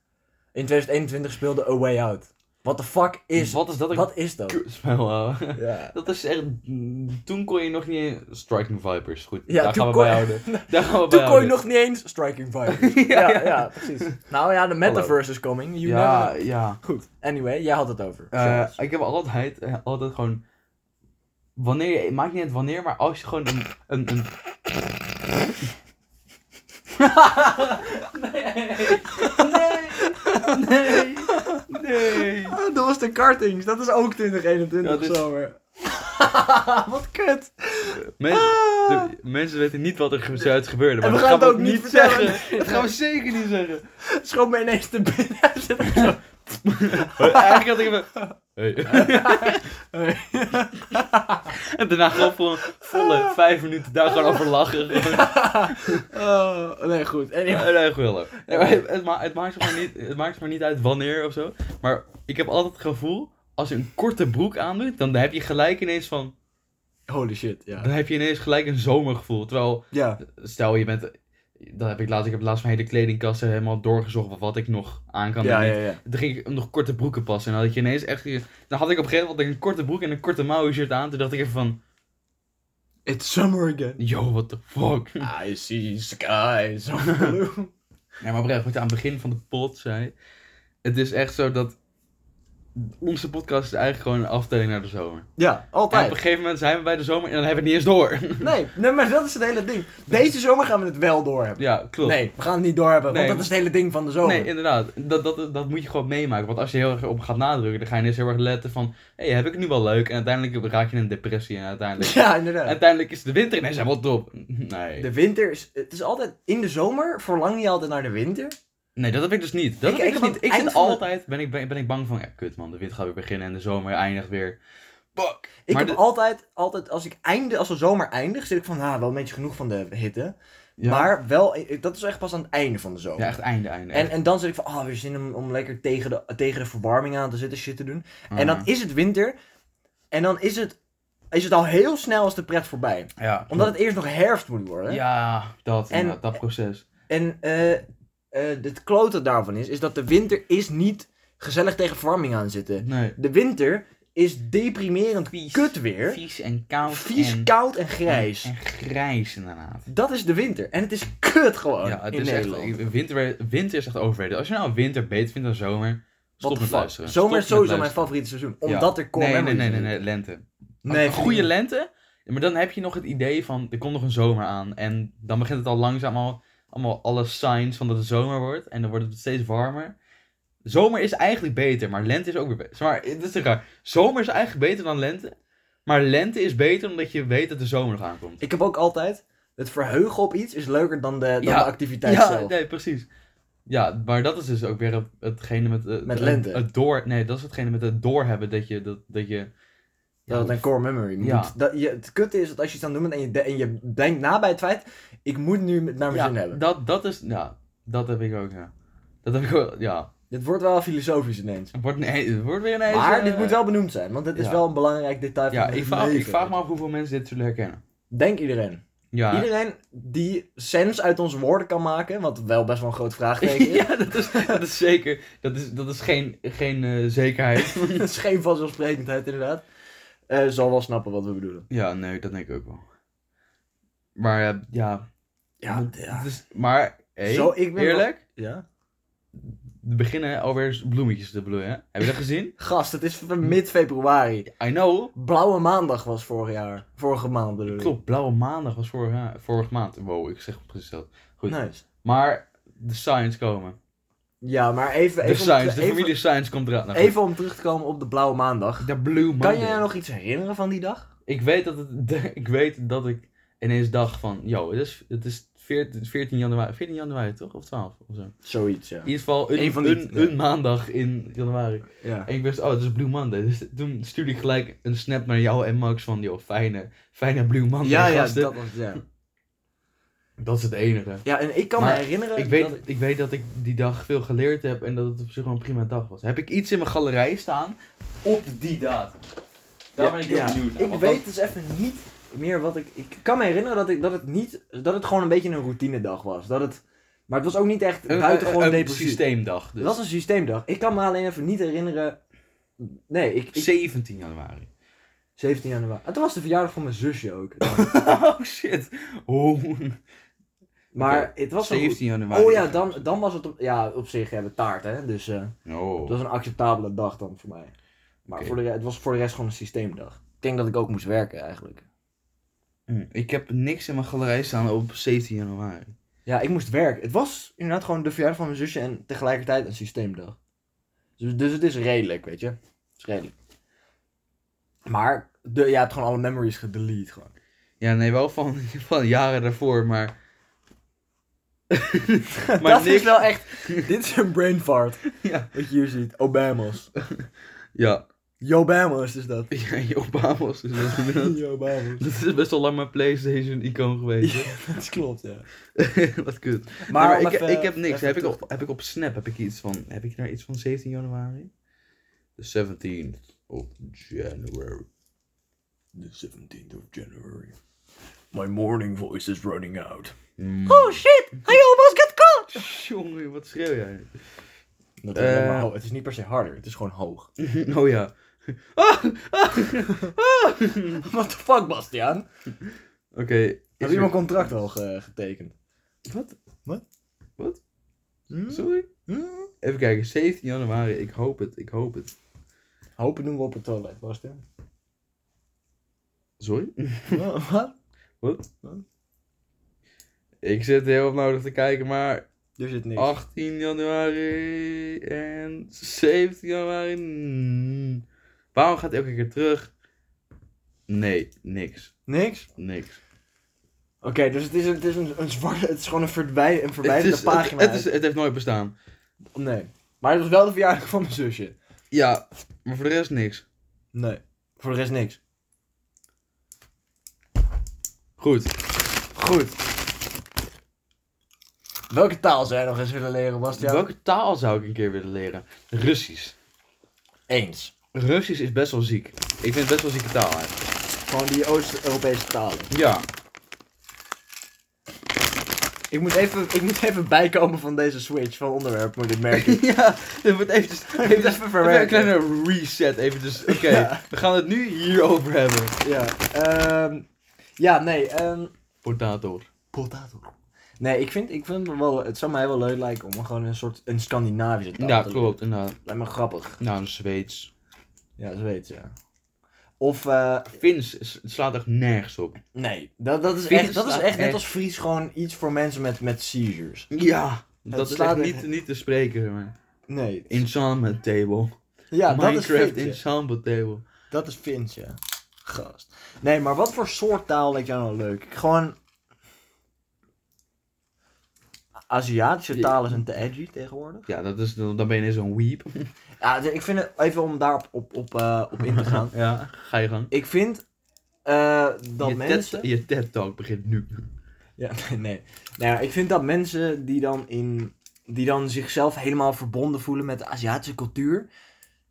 In 2021 speelden A Way Out. What the fuck is. Wat is dat? Een Wat is dat? kutspel, ouwe? Ja. Dat is echt... Toen kon je nog niet... eens- Striking Vipers, goed. Ja, daar toen gaan we kon- bij houden. Daar gaan we bij Toen kon je houden. nog niet eens Striking Vipers. ja, ja, precies. Nou ja, de metaverse is coming. You never Ja, know. ja. Goed. Anyway, jij had het over. Eh, Charles. ik heb altijd, eh, altijd gewoon... Wanneer je... het Maakt niet uit wanneer, maar als je gewoon een... een, een... nee. Nee. Nee. Ah, dat was de kartings. Dat is ook 2021 Ja, dit- zomer. Wat kut. Ah. Mensen, de- mensen weten niet wat er ge- zojuit gebeurde. Maar we dat gaan gaan het we ook niet vertellen. zeggen. Dat gaan we zeker niet zeggen. Schoot me ineens te binnen. Hij zit er zo- Eigenlijk had ik even. Hey. en daarna gewoon voor een volle vijf minuten daar gewoon over lachen. Oh, nee, goed. Anyway. Nee, nee, gewoon lachen. Nee, maar het, het ma- het maakt zeg maar niet, het maakt zeg maar niet uit wanneer of zo. Maar ik heb altijd het gevoel, als je een korte broek aandoet, dan heb je gelijk ineens van. Holy shit, ja. Dan heb je ineens gelijk een zomergevoel. Terwijl, Ja. stel je bent. Dat heb ik laatst. Ik heb laatst mijn hele kledingkast helemaal doorgezocht van wat ik nog aan kan doen. Ja, ja, ja. Toen ging ik nog korte broeken passen. En dan had je ineens echt. Dan had ik op een gegeven moment een korte broek en een korte mouwen shirt aan. Toen dacht ik even van. It's summer again. Yo, what the fuck. I see skies of blue. Ja, maar oprecht, wat je aan het begin van de pot zei. Het is echt zo dat. onze podcast is eigenlijk gewoon een aftelling naar de zomer. Ja, En op altijd. een gegeven moment zijn we bij de zomer en dan hebben we het niet eens door. Nee, nee, maar dat is het hele ding. Deze zomer gaan we het wel doorhebben. ja, klopt. Nee, we gaan het niet doorhebben, Nee. want dat is het hele ding van de zomer. Nee, inderdaad. Dat, dat, dat moet je gewoon meemaken. Want als je heel erg op gaat nadrukken, dan ga je ineens heel erg letten van... Hé, hey, heb ik het nu wel leuk? En uiteindelijk raak je in een depressie en uiteindelijk... Ja, inderdaad. Uiteindelijk is de winter ineens helemaal top. Nee. De winter is... Het is altijd... In de zomer verlang je altijd naar de winter. Nee, dat heb ik dus niet. Dat Ik- heb ik, ik dus heb niet. aan Ik zit het eind van de- altijd... Ben ik, ben, ben ik bang van... Ja, kut man, de winter gaat weer beginnen en de zomer eindigt weer. Fuck. Ik Maar heb de- altijd, altijd, als ik einde, als de zomer eindig, zit ik van, ah, wel een beetje genoeg van de hitte. Ja. Maar wel, dat is echt pas aan het einde van de zomer. Ja, echt einde, einde. En, en dan zit ik van, ah, weer zin om, om lekker tegen de, tegen de verwarming aan te zitten, shit te doen. Mhm. En dan is het winter. En dan is het, is het al heel snel als de pret voorbij. Ja. Omdat het eerst nog herfst moet worden. Ja, dat, En- inderdaad, dat proces. En eh, eh, het klote daarvan is, is dat de winter is niet gezellig tegen verwarming aan zitten. Nee. De winter is deprimerend Vies. kut weer. Vies en koud. Vies, en, koud en grijs. En grijs, inderdaad. Dat is de winter. En het is kut gewoon ja, het in is Nederland. echt. Winter, winter is echt overrated. Als je nou winter beter vindt dan zomer, What stop the met fuck. luisteren. Zomer is Stop met sowieso mijn luisteren. favoriete seizoen. Ja. Omdat er core nee, nee, memories Oh, nee, nee, in nee, lente. zitten. een goede lente, maar dan heb je nog het idee van er komt nog een zomer aan. En dan begint het al langzaam al, allemaal alle signs van dat het zomer wordt. En dan wordt het steeds warmer. Zomer is eigenlijk beter, maar lente is ook weer beter. Maar het is te raar. Zomer is eigenlijk beter dan lente. Maar lente is beter omdat je weet dat de zomer nog aankomt. Ik heb ook altijd... Het verheugen op iets is leuker dan de, dan Ja. de activiteit ja, zelf. nee, precies. Ja, maar dat is dus ook weer het- hetgene met... eh, Met het- lente. Het door, nee, dat is hetgene met het doorhebben dat je... Dat, dat je Dat het een core memory moet. Ja. Dat, je, het kutte is dat als je iets aan het doen bent en je, de- en je denkt na bij het feit... Ik moet nu met- naar mijn ja, zin hebben. Dat, dat is... Ja, dat heb ik ook, ja. Dat heb ik ook, ja. Dit wordt wel filosofisch ineens. Het wordt, nee, het wordt weer ineens... maar eh, dit moet wel benoemd zijn. Want dit is ja. wel een belangrijk detail Ja, van ik het vraag, ik leven. vraag me af hoeveel mensen dit zullen herkennen. Denk iedereen. Ja. Iedereen die sens uit onze woorden kan maken. Wat wel best wel een groot vraagteken is. ja, dat is, dat is zeker... Dat is, dat is geen, geen eh, zekerheid. Dat is geen vanzelfsprekendheid, inderdaad. Eh zal wel snappen wat we bedoelen. ja, nee, dat denk ik ook wel. Maar eh, ja... Ja, het is- maar... Hey, Zo, ik ben wel- eerlijk? Ja? We beginnen alweer bloemetjes te bloeien. hè? Heb je dat gezien? Gast, het is v- mid-februari. I know. Blauwe maandag was vorig jaar. Vorige maand bedoel ik. Klopt, Blauwe Maandag was vorige, ja, vorige maand. Wow, ik zeg precies dat. Goed. Nice. Maar de signs komen. Ja, maar even, De even, om, signs, te- de even, familie signs komt eraan. Nou, goed. even om terug te komen op de blauwe maandag. De Blue Monday. Kan je je nog iets herinneren van die dag? Ik weet dat, het, de- ik, weet dat ik ineens dacht van... Yo, het is, het is 14, 14 januari. 14 januari toch? Of 12? Of zo. In Zoiets, ja. ieder geval een, Eén van die- een, ja. een maandag in januari. ja. En ik wist, oh, het is Blue Monday. Dus toen stuurde ik gelijk een snap naar jou en Max van... Yo, fijne, fijne Blue Monday, Ja, ja, gasten. dat was het, ja. Dat is het enige. Ja, en ik kan Maar me herinneren... Ik weet, Eh, dat ik- ik weet dat ik die dag veel geleerd heb en dat het op zich wel een prima dag was. Heb ik iets in mijn galerij staan op die datum? Daar ben ik heel Ja, benieuwd naar. Ik want weet dus even niet meer wat ik... Ik kan me herinneren dat, ik, dat het niet... Dat het gewoon een beetje een routinedag was. Dat het... Maar het was ook niet echt dat- buitengewoon een, een, depressief. systeemdag. Dus. Dat was een systeemdag. Ik kan me alleen even niet herinneren. Nee, ik. ik 17 januari. 17 januari. En toen was de verjaardag van mijn zusje ook. Oh shit. Oh. Maar Oké, het was wel goed. 17 januari. Oh ja, dan, dan was het op, ja, op zich hebben we taart, hè. Dus eh Oh. het was een acceptabele dag dan voor mij. Maar Oké. voor de, re- het was voor de rest gewoon een systeemdag. Ik denk dat ik ook moest werken eigenlijk. Hm, Ik heb niks in mijn galerij staan op 17 januari. Ja, ik moest werken. Het was inderdaad gewoon de verjaardag van mijn zusje en tegelijkertijd een systeemdag. Dus, dus het is redelijk, weet je. Het is redelijk. Maar de, ja, hebt gewoon alle memories gedelete gewoon. Ja, nee, wel van, van jaren daarvoor, maar... maar dat niks- is wel echt. dit is een brain fart. Ja. Wat je hier ziet. Obama's. Ja, Obama's is dat. ja je Obama's. Dus dat is inderdaad- Obama's. Dat is best wel lang mijn PlayStation-icoon geweest. hè? dat klopt, ja. Wat kut. Nee, Maar, Maar, om ik, even- ik heb niks. even Heb ik, terug- op, heb ik op Snap heb ik iets van. Heb ik daar iets van 17 januari? De 17th of January. The 17th of January. My morning voice is running out. Oh shit! I almost got caught! jongen, wat schreeuw jij? Dat Eh. is maar, het is niet per se harder, het is gewoon hoog. oh ja. Ah, ah, ah. Oké. What the fuck, Bastiaan? is Heb er- je mijn contract al ge- getekend? Wat? Wat? Wat? Hmm? Sorry? Even kijken, 17 januari. Ik hoop het, ik hoop het. Hopen doen we op het toilet, Bastian. Sorry? Wat? Ik zit heel opnodig te kijken, maar Er zit niks. 18 januari en 17 januari. mm. Waarom gaat elke keer terug? Nee, niks. Niks? Niks. Oké, dus het is, een, het is een, een zwarte... Het is gewoon een, verdwij, een Het, verwijderde is, het, pagina. het, is, het heeft nooit bestaan. uit- Nee. Maar het was wel de verjaardag van mijn zusje. Ja, maar voor de rest niks. Nee. Voor de rest niks. Goed. Goed. Welke taal zou jij nog eens willen leren, Bastiaan? Welke taal zou ik een keer willen leren? Russisch. Eens. Russisch is best wel ziek. Ik vind het best wel zieke taal eigenlijk. Gewoon die Oost-Europese talen. Ja. Ik moet, even, ik moet even bijkomen van deze switch van onderwerp, moet ik merken. ja, dit wordt eventjes... eventjes- moet even Even een verwerken. kleine reset, eventjes. Oké, Ja. we gaan het nu hierover hebben. Ja, ehm, ja nee. ehm Potator. Potato. Nee, ik vind, ik vind het wel, het zou mij wel leuk lijken om gewoon een soort een Scandinavische taal Ja, te leren. klopt, inderdaad. Lijkt me grappig. Nou, een Zweeds. Ja, Zweeds, ja. Of, eh, Fins s- slaat echt nergens op. nee, dat, dat is Fins echt, dat is slaat echt net echt- als Fries gewoon iets voor mensen met, met seizures. Ja. Het Dat is slaat echt echt- niet, niet te spreken, zeg maar. Nee. Ensemble table. Ja, dat is Minecraft Fins, ja. ensemble table. Dat is Fins, ja. Gast. Nee, maar wat voor soort taal lijkt jou nou leuk? Gewoon... Aziatische Ja. talen zijn te edgy tegenwoordig. Ja, dat is, dan dan ben je ineens zo'n weep. Ja, dus ik vind het... Even om daarop op, op, eh, op in te gaan. Ja, ga je gang. Ik vind eh, dat je, mensen... TED, je TED Talk begint nu. Ja, nee, nee. Nou ja, ik vind dat mensen die dan, in, die dan zichzelf helemaal verbonden voelen met de Aziatische cultuur.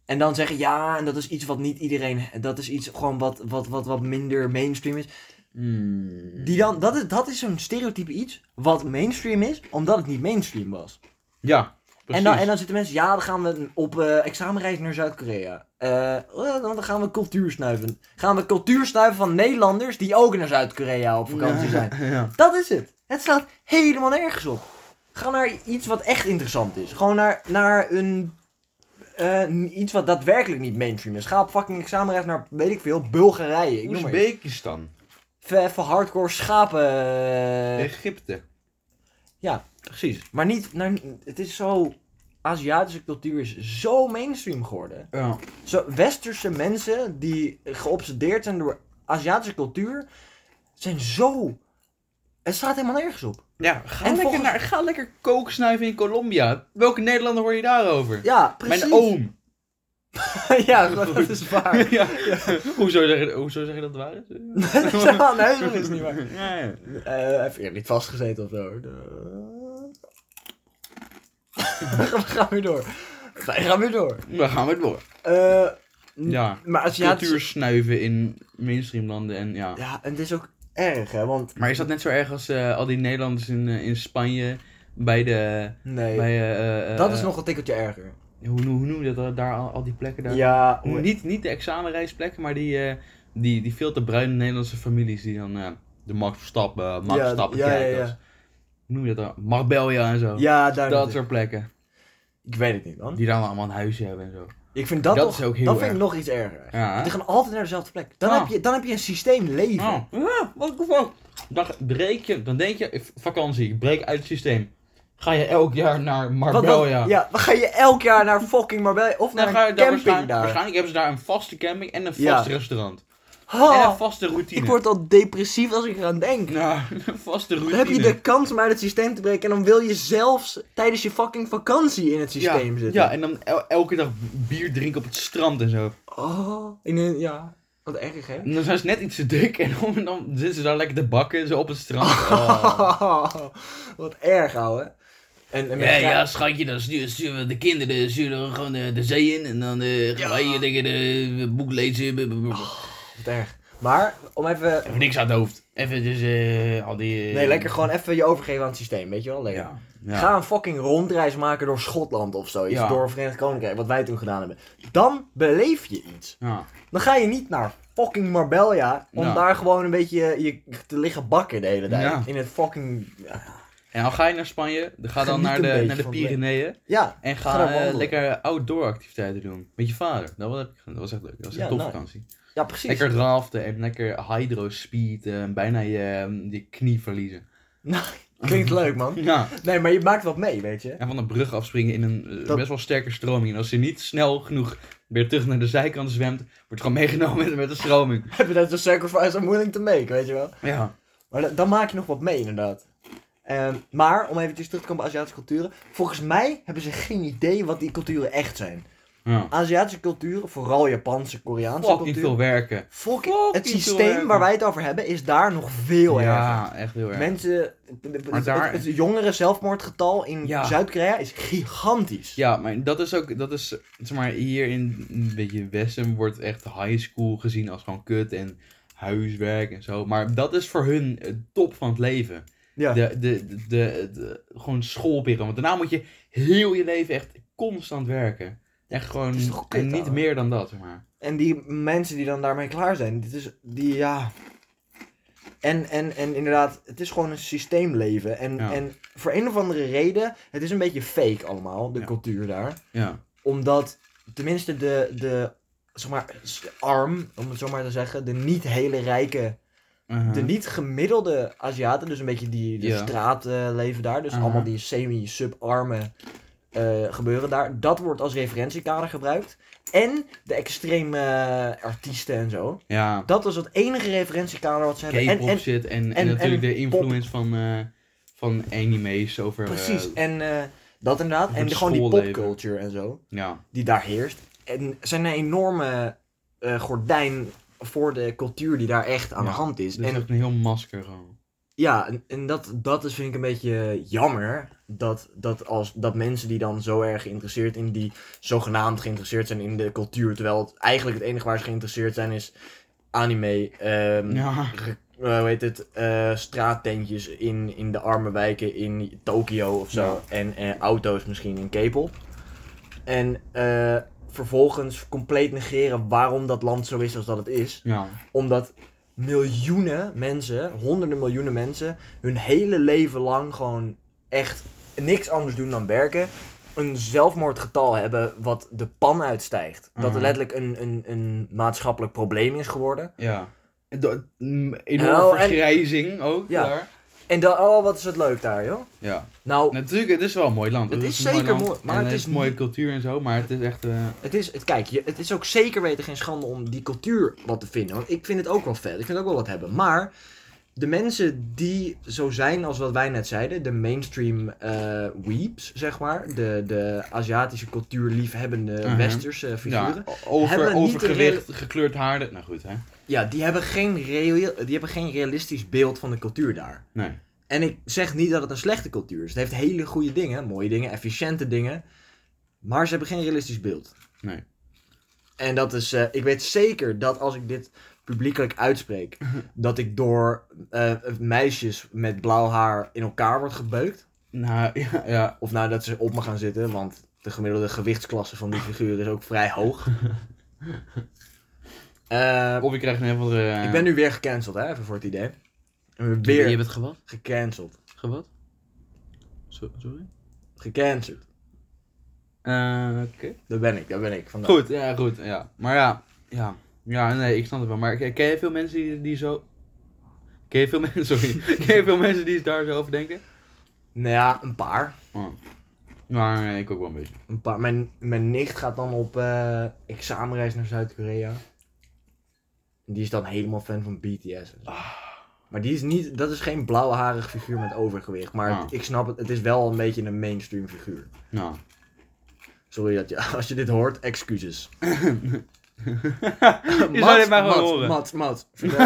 En dan zeggen ja, en dat is iets wat niet iedereen. Dat is iets gewoon wat, wat, wat, wat minder mainstream is. Hmm. Die dan, dat is, dat is zo'n stereotype iets wat mainstream is, omdat het niet mainstream was. Ja, En precies. dan, en dan zitten mensen, ja, dan gaan we op eh, examenreis naar Zuid-Korea. Eh, eh, dan gaan we cultuur snuiven. Gaan we cultuur snuiven van Nederlanders die ook naar Zuid-Korea op vakantie zijn. Ja. Dat is het. Het staat helemaal nergens op. Ga naar iets wat echt interessant is. Gewoon naar, naar een. eh, iets wat daadwerkelijk niet mainstream is. Ga op fucking examenreis naar, weet ik veel, Bulgarije. Ik noem maar iets. Oezbekistan. Even even hardcore schapen. eh, Egypte. precies. Maar niet. Naar, het is zo. Aziatische cultuur is zo mainstream geworden. Ja. Zo, westerse mensen die geobsedeerd zijn door Aziatische cultuur. zijn zo. Het staat helemaal nergens op. Ja, ga, En lekker, volgens- naar, ga lekker kook snuiven in Colombia. Welke Nederlander hoor je daarover? Ja, precies. Mijn oom. ja, dat dat is waar. ja. Hoezo, zeg je, hoezo zeg je dat het waar is? Ja, nee, dat is niet waar. Ja, ja. Eh even eerlijk, niet vastgezeten of zo. hoor. We gaan weer door. Wij gaan weer door. Dan gaan we door. Eh, n- Ja, Maar Aziatische... Cultuur snuiven in mainstream landen en ja. Ja, en het is ook erg, hè, want... Maar is dat net zo erg als eh, al die Nederlanders in, eh, in Spanje bij de... Nee, Bij, eh, eh, dat eh, is nog een tikkeltje erger. Hoe, hoe noem je dat eh, daar, al, al die plekken daar? Ja, hoe- Niet, niet de examenreisplekken, maar die, eh, die, die veel te bruine Nederlandse families die dan eh, de Max Verstappen, eh, Max Ja, Verstappen ja, ja, kijken. ja. als- Hoe noem je dat dan? Marbella en zo. ja, daar... dat soort plekken. Ik weet het niet, man. Die dan allemaal een huisje hebben en zo. Ik vind dat, Dat toch, is ook heel dat vind erg. ik nog iets erger. eigenlijk. Ja. Want die gaan altijd naar dezelfde plek. Dan, Ah. heb, je, dan heb je een systeem leven. Oh, ja, wat de fuck? Dan breek je, dan denk je, v- vakantie, ik breek uit het systeem. Ga je elk jaar naar Wat- wat- Marbella. ja, dan ga je elk jaar naar fucking Marbella of naar Dan ga je een daar camping waarschijnlijk, daar. waarschijnlijk hebben ze daar een vaste camping en een vast Ja. restaurant. Ha, En een vaste routine. ik word al depressief als ik eraan denk. Nou, een vaste routine. Dan heb je de kans om uit het systeem te breken en dan wil je zelfs tijdens je fucking vakantie in het ja, systeem zitten. Ja, en dan el- elke dag bier drinken op het strand en zo. Oh, in een, ja. Wat erg, hè? En dan zijn ze net iets te dik en dan, en dan zitten ze daar lekker te bakken zo op het strand. wat erg, ouwe. En, en met Nou. Ja, elkaar- ja, schatje, dan sturen, sturen we de kinderen sturen we gewoon de, de zee in. En dan eh, gaan wij hier lekker de boek lezen. b- b- b- Wat erg. Maar, om even... Even niks aan het hoofd. Even dus eh, al die... eh, Nee, lekker gewoon even je overgeven aan het systeem, weet je wel? Lekker. Ja. ja. Ga een fucking rondreis maken door Schotland of zoiets. Ja. Door Verenigd Koninkrijk, wat wij toen gedaan hebben. Dan beleef je iets. Ja. Dan ga je niet naar fucking Marbella om Ja. daar gewoon een beetje je te liggen bakken de hele tijd. Ja. In het fucking... ja, En dan ga je naar Spanje, dan ga dan Geniet naar een de, beetje naar de van het Pyreneeën. Ja, En Ga daar ga eh, wandelen. lekker outdoor activiteiten doen. Met je vader. Dat was, dat was echt leuk. Dat was echt Ja, nou, een tof nice. vakantie. ja precies. Lekker raften en lekker hydrospeed. en bijna je, eh, je knie verliezen. Klinkt leuk, man. Ja. Nee, maar je maakt wat mee, weet je. En van een brug afspringen in een eh, Dat- best wel sterke stroming. En als je niet snel genoeg weer terug naar de zijkant zwemt, wordt gewoon meegenomen met, met de stroming. That's a sacrifice I'm willing to make, weet je wel. Ja. Maar da- dan maak je nog wat mee, inderdaad. Ehm, maar, om eventjes terug te komen bij Aziatische culturen. Volgens mij hebben ze geen idee wat die culturen echt zijn. ja. Aziatische culturen, vooral Japanse, Koreaanse Fucking culturen. veel werken. Fucking, het Fucking veel systeem werken. waar wij het over hebben is daar nog veel erger. Ja, echt heel erg. Mensen, Maar het, daar- het, het jongere zelfmoordgetal in Ja. Zuid-Korea is gigantisch. Ja, maar dat is ook, dat is, zeg maar, hier in een beetje Westen wordt echt high school gezien als gewoon kut en huiswerk en zo. Maar dat is voor hun het top van het leven. Ja. De, de, de, de, de- gewoon schoolperiode. Want daarna moet je heel je leven echt constant werken. Echt gewoon, is toch kut, en niet ouwe? meer dan dat, zeg maar. En die mensen die dan daarmee klaar zijn, dit is, die, ja... En, en, en inderdaad, het is gewoon een systeemleven. En, Ja. en voor een of andere reden, het is een beetje fake allemaal, de Ja. cultuur daar. Ja, Omdat, tenminste de, de, zeg maar, s- arm, om het zo maar te zeggen, de niet hele rijke, Uh-huh. de niet gemiddelde Aziaten, dus een beetje die de Ja. Mhm. straatleven daar, dus Aha. allemaal die semi-subarme eh gebeuren daar, dat wordt als referentiekader gebruikt. En de extreme eh, artiesten en zo. ja. Dat was het enige referentiekader wat ze hebben. En, K-pop en shit en, en, en- natuurlijk en de influence van, eh, van anime's over... eh, precies, en eh, dat inderdaad. Voor En het gewoon die schoolleven. popculture en zo, ja, die daar heerst. En zijn een enorme eh, gordijn voor de cultuur die daar echt aan Ja, de hand is. dus dat is en echt een heel masker gewoon. Ja, en, en dat, dat is vind ik een beetje jammer. Dat, dat, als, dat mensen die dan zo erg geïnteresseerd in die zogenaamd geïnteresseerd zijn in de cultuur. Terwijl het eigenlijk het enige waar ze geïnteresseerd zijn is anime. ehm Ja. ge- eh, hoe heet het? eh, straattentjes in, in de arme wijken in Tokio of zo. En eh, auto's misschien in K-pop. En eh, vervolgens compleet negeren waarom dat land zo is als dat het is Ja. omdat miljoenen mensen, honderden miljoenen mensen, hun hele leven lang gewoon echt niks anders doen dan werken. Een zelfmoordgetal hebben wat de pan uitstijgt. Dat Mhm. er letterlijk een, een, een maatschappelijk probleem is geworden. Ja. En dat- mm, Enorme Oh, en- vergrijzing ook Ja. daar. En dan, oh, wat is het leuk daar, joh. Ja. Nou, Natuurlijk, het is wel een mooi land. Het is een zeker land. mooi, maar En het is heeft mooie niet- cultuur en zo, maar het is echt... eh, het is, het, kijk, je, het is ook zeker weten geen schande om die cultuur wat te vinden. Want ik vind het ook wel vet, ik vind het ook wel wat hebben. Maar de mensen die zo zijn als wat wij net zeiden, de mainstream eh weeps, zeg maar. De, de Aziatische cultuurliefhebbende Mhm. westerse figuren. ja, o- over, Hebben niet overgewicht, gekleurd haar. dat- Nou goed, hè. Ja, die, hebben geen reëel- die hebben geen realistisch beeld van de cultuur daar. Nee. En ik zeg niet dat het een slechte cultuur is. Het heeft hele goede dingen, mooie dingen, efficiënte dingen. Maar ze hebben geen realistisch beeld. Nee. En dat is, eh, ik weet zeker dat als ik dit publiekelijk uitspreek, dat ik door eh, meisjes met blauw haar in elkaar word gebeukt. Nou, ja, ja. Of nou dat ze op me gaan zitten, want de gemiddelde gewichtsklasse van die figuur is ook vrij hoog. Eh, Of je krijgt een of andere... eh, ik ben nu weer gecanceld, hè, even voor het idee. En Je, je weer bent gewat? gecanceld. Gewat? Zo- sorry? Gecanceld. Eh, Oké. Daar ben ik, daar ben ik. Vandaag. Goed, ja, goed, ja. Maar ja, ja. Ja, nee, ik snap het wel. Maar ken ken je veel mensen die, die zo... Ken je veel mensen, sorry. Ken je veel mensen die daar zo over denken? Nou ja, een paar. Oh. Maar eh, ik ook wel een beetje. Een paar. Mijn, mijn nicht gaat dan op eh, examenreis naar Zuid-Korea. En Die is dan helemaal fan van BTS. en zo. Ah. Maar die is niet, dat is geen blauwharig figuur met overgewicht. Maar het- Ah. ik snap het, het is wel een beetje een mainstream figuur. Nou. Sorry dat je, als je dit hoort, excuses. je zou dit maar gewoon horen. Mat, Mat, vertel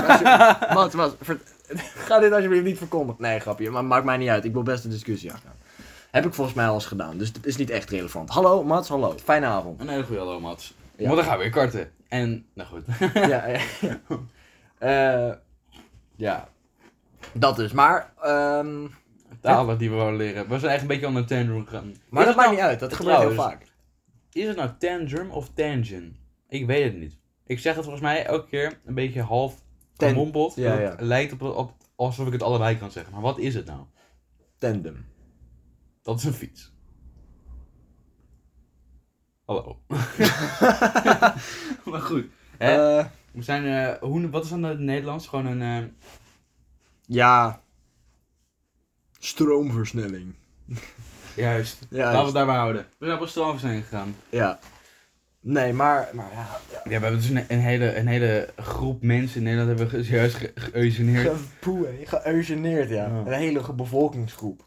alsjeblieft- Mat, Mat, ver- ga dit alsjeblieft niet verkondigen. Nee, grapje, maar maakt mij niet uit. Ik wil best een discussie aangaan. Heb ik volgens mij al eens gedaan, dus het is niet echt relevant. Hallo, Mats, hallo. Fijne avond. Een hele goede hallo, Mats. Ja. Want dan gaan we weer karten. En, nou goed. ja, ja. ja. Eh, ja. Dat dus, maar... ehm, Talen die we wouden leren. We zijn echt een beetje aan de tantrum gegaan. maar is dat het maakt nou, niet uit, dat het gebeurt heel trouwens- vaak. Is het nou tantrum of tangent? Ik weet het niet. Ik zeg het volgens mij elke keer een beetje half Tan- gemompeld. ja, want Het lijkt op, op alsof ik het allebei kan zeggen. Maar wat is het nou? tandem. Dat is een fiets. Hallo. maar goed. Hè? Eh, We zijn, eh, hoe, wat is dan het Nederlands? Gewoon een... eh, ja. Stroomversnelling. juist. Ja, Laten we het daarbij houden. We zijn op een stroomversnelling gegaan. ja. Nee, maar, maar ja. Ja, we hebben dus een, een hele, een hele groep mensen in Nederland hebben we ge- juist ge- geëugeneerd. Gepoe, geëugeneerd, ja. Ja. Een hele bevolkingsgroep.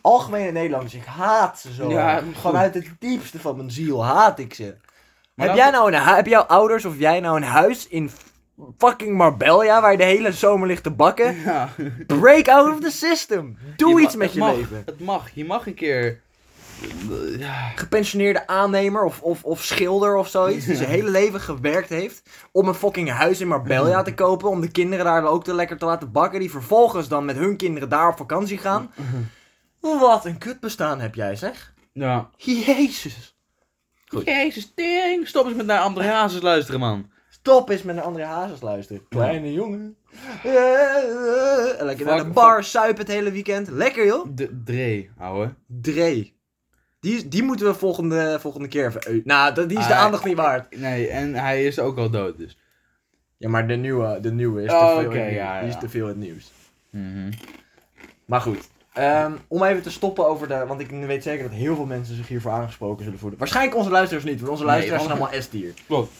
Algemene Nederlanders, ik haat ze zo. Ja, goed. Gewoon uit het diepste van mijn ziel haat ik ze. Maar laten heb, jij nou een hu- heb jouw ouders of jij nou een huis in fucking Marbella waar je de hele zomer ligt te bakken? Ja. Break out of the system. Doe Je iets mag- met het je mag, leven. Het mag. Je mag een keer... Ja. Gepensioneerde aannemer of, of, of schilder of zoiets. Die zijn hele leven gewerkt heeft. Om een fucking huis in Marbella te kopen. Om de kinderen daar ook te lekker te laten bakken. Die vervolgens dan met hun kinderen daar op vakantie gaan. mhm. Wat een kut bestaan heb jij zeg. ja. Jezus. Goed. Jezus, tering. Stop eens met naar André Hazes luisteren, man. Stop eens met een andere hazes luisteren. Kleine jongen. Eh, eh, eh. Lekker naar de Fuck, bar, suipen het hele weekend. Lekker joh. De Dree, ouwe. Dre. Die, die moeten we volgende, volgende keer even... eu- Nou, dat- die is de Ah, aandacht niet waard. Nee, en hij is ook al dood, dus. Ja, maar de nieuwe, de nieuwe is Oh, te veel oké, in het nieuws. ja, Die ja. is te veel in het nieuws. Mhm. Maar goed. ehm, om even te stoppen over de... Want ik weet zeker dat heel veel mensen zich hiervoor aangesproken zullen voelen. Waarschijnlijk onze luisteraars niet, want onze Nee, luisteraars want- zijn allemaal S-tier. Klopt.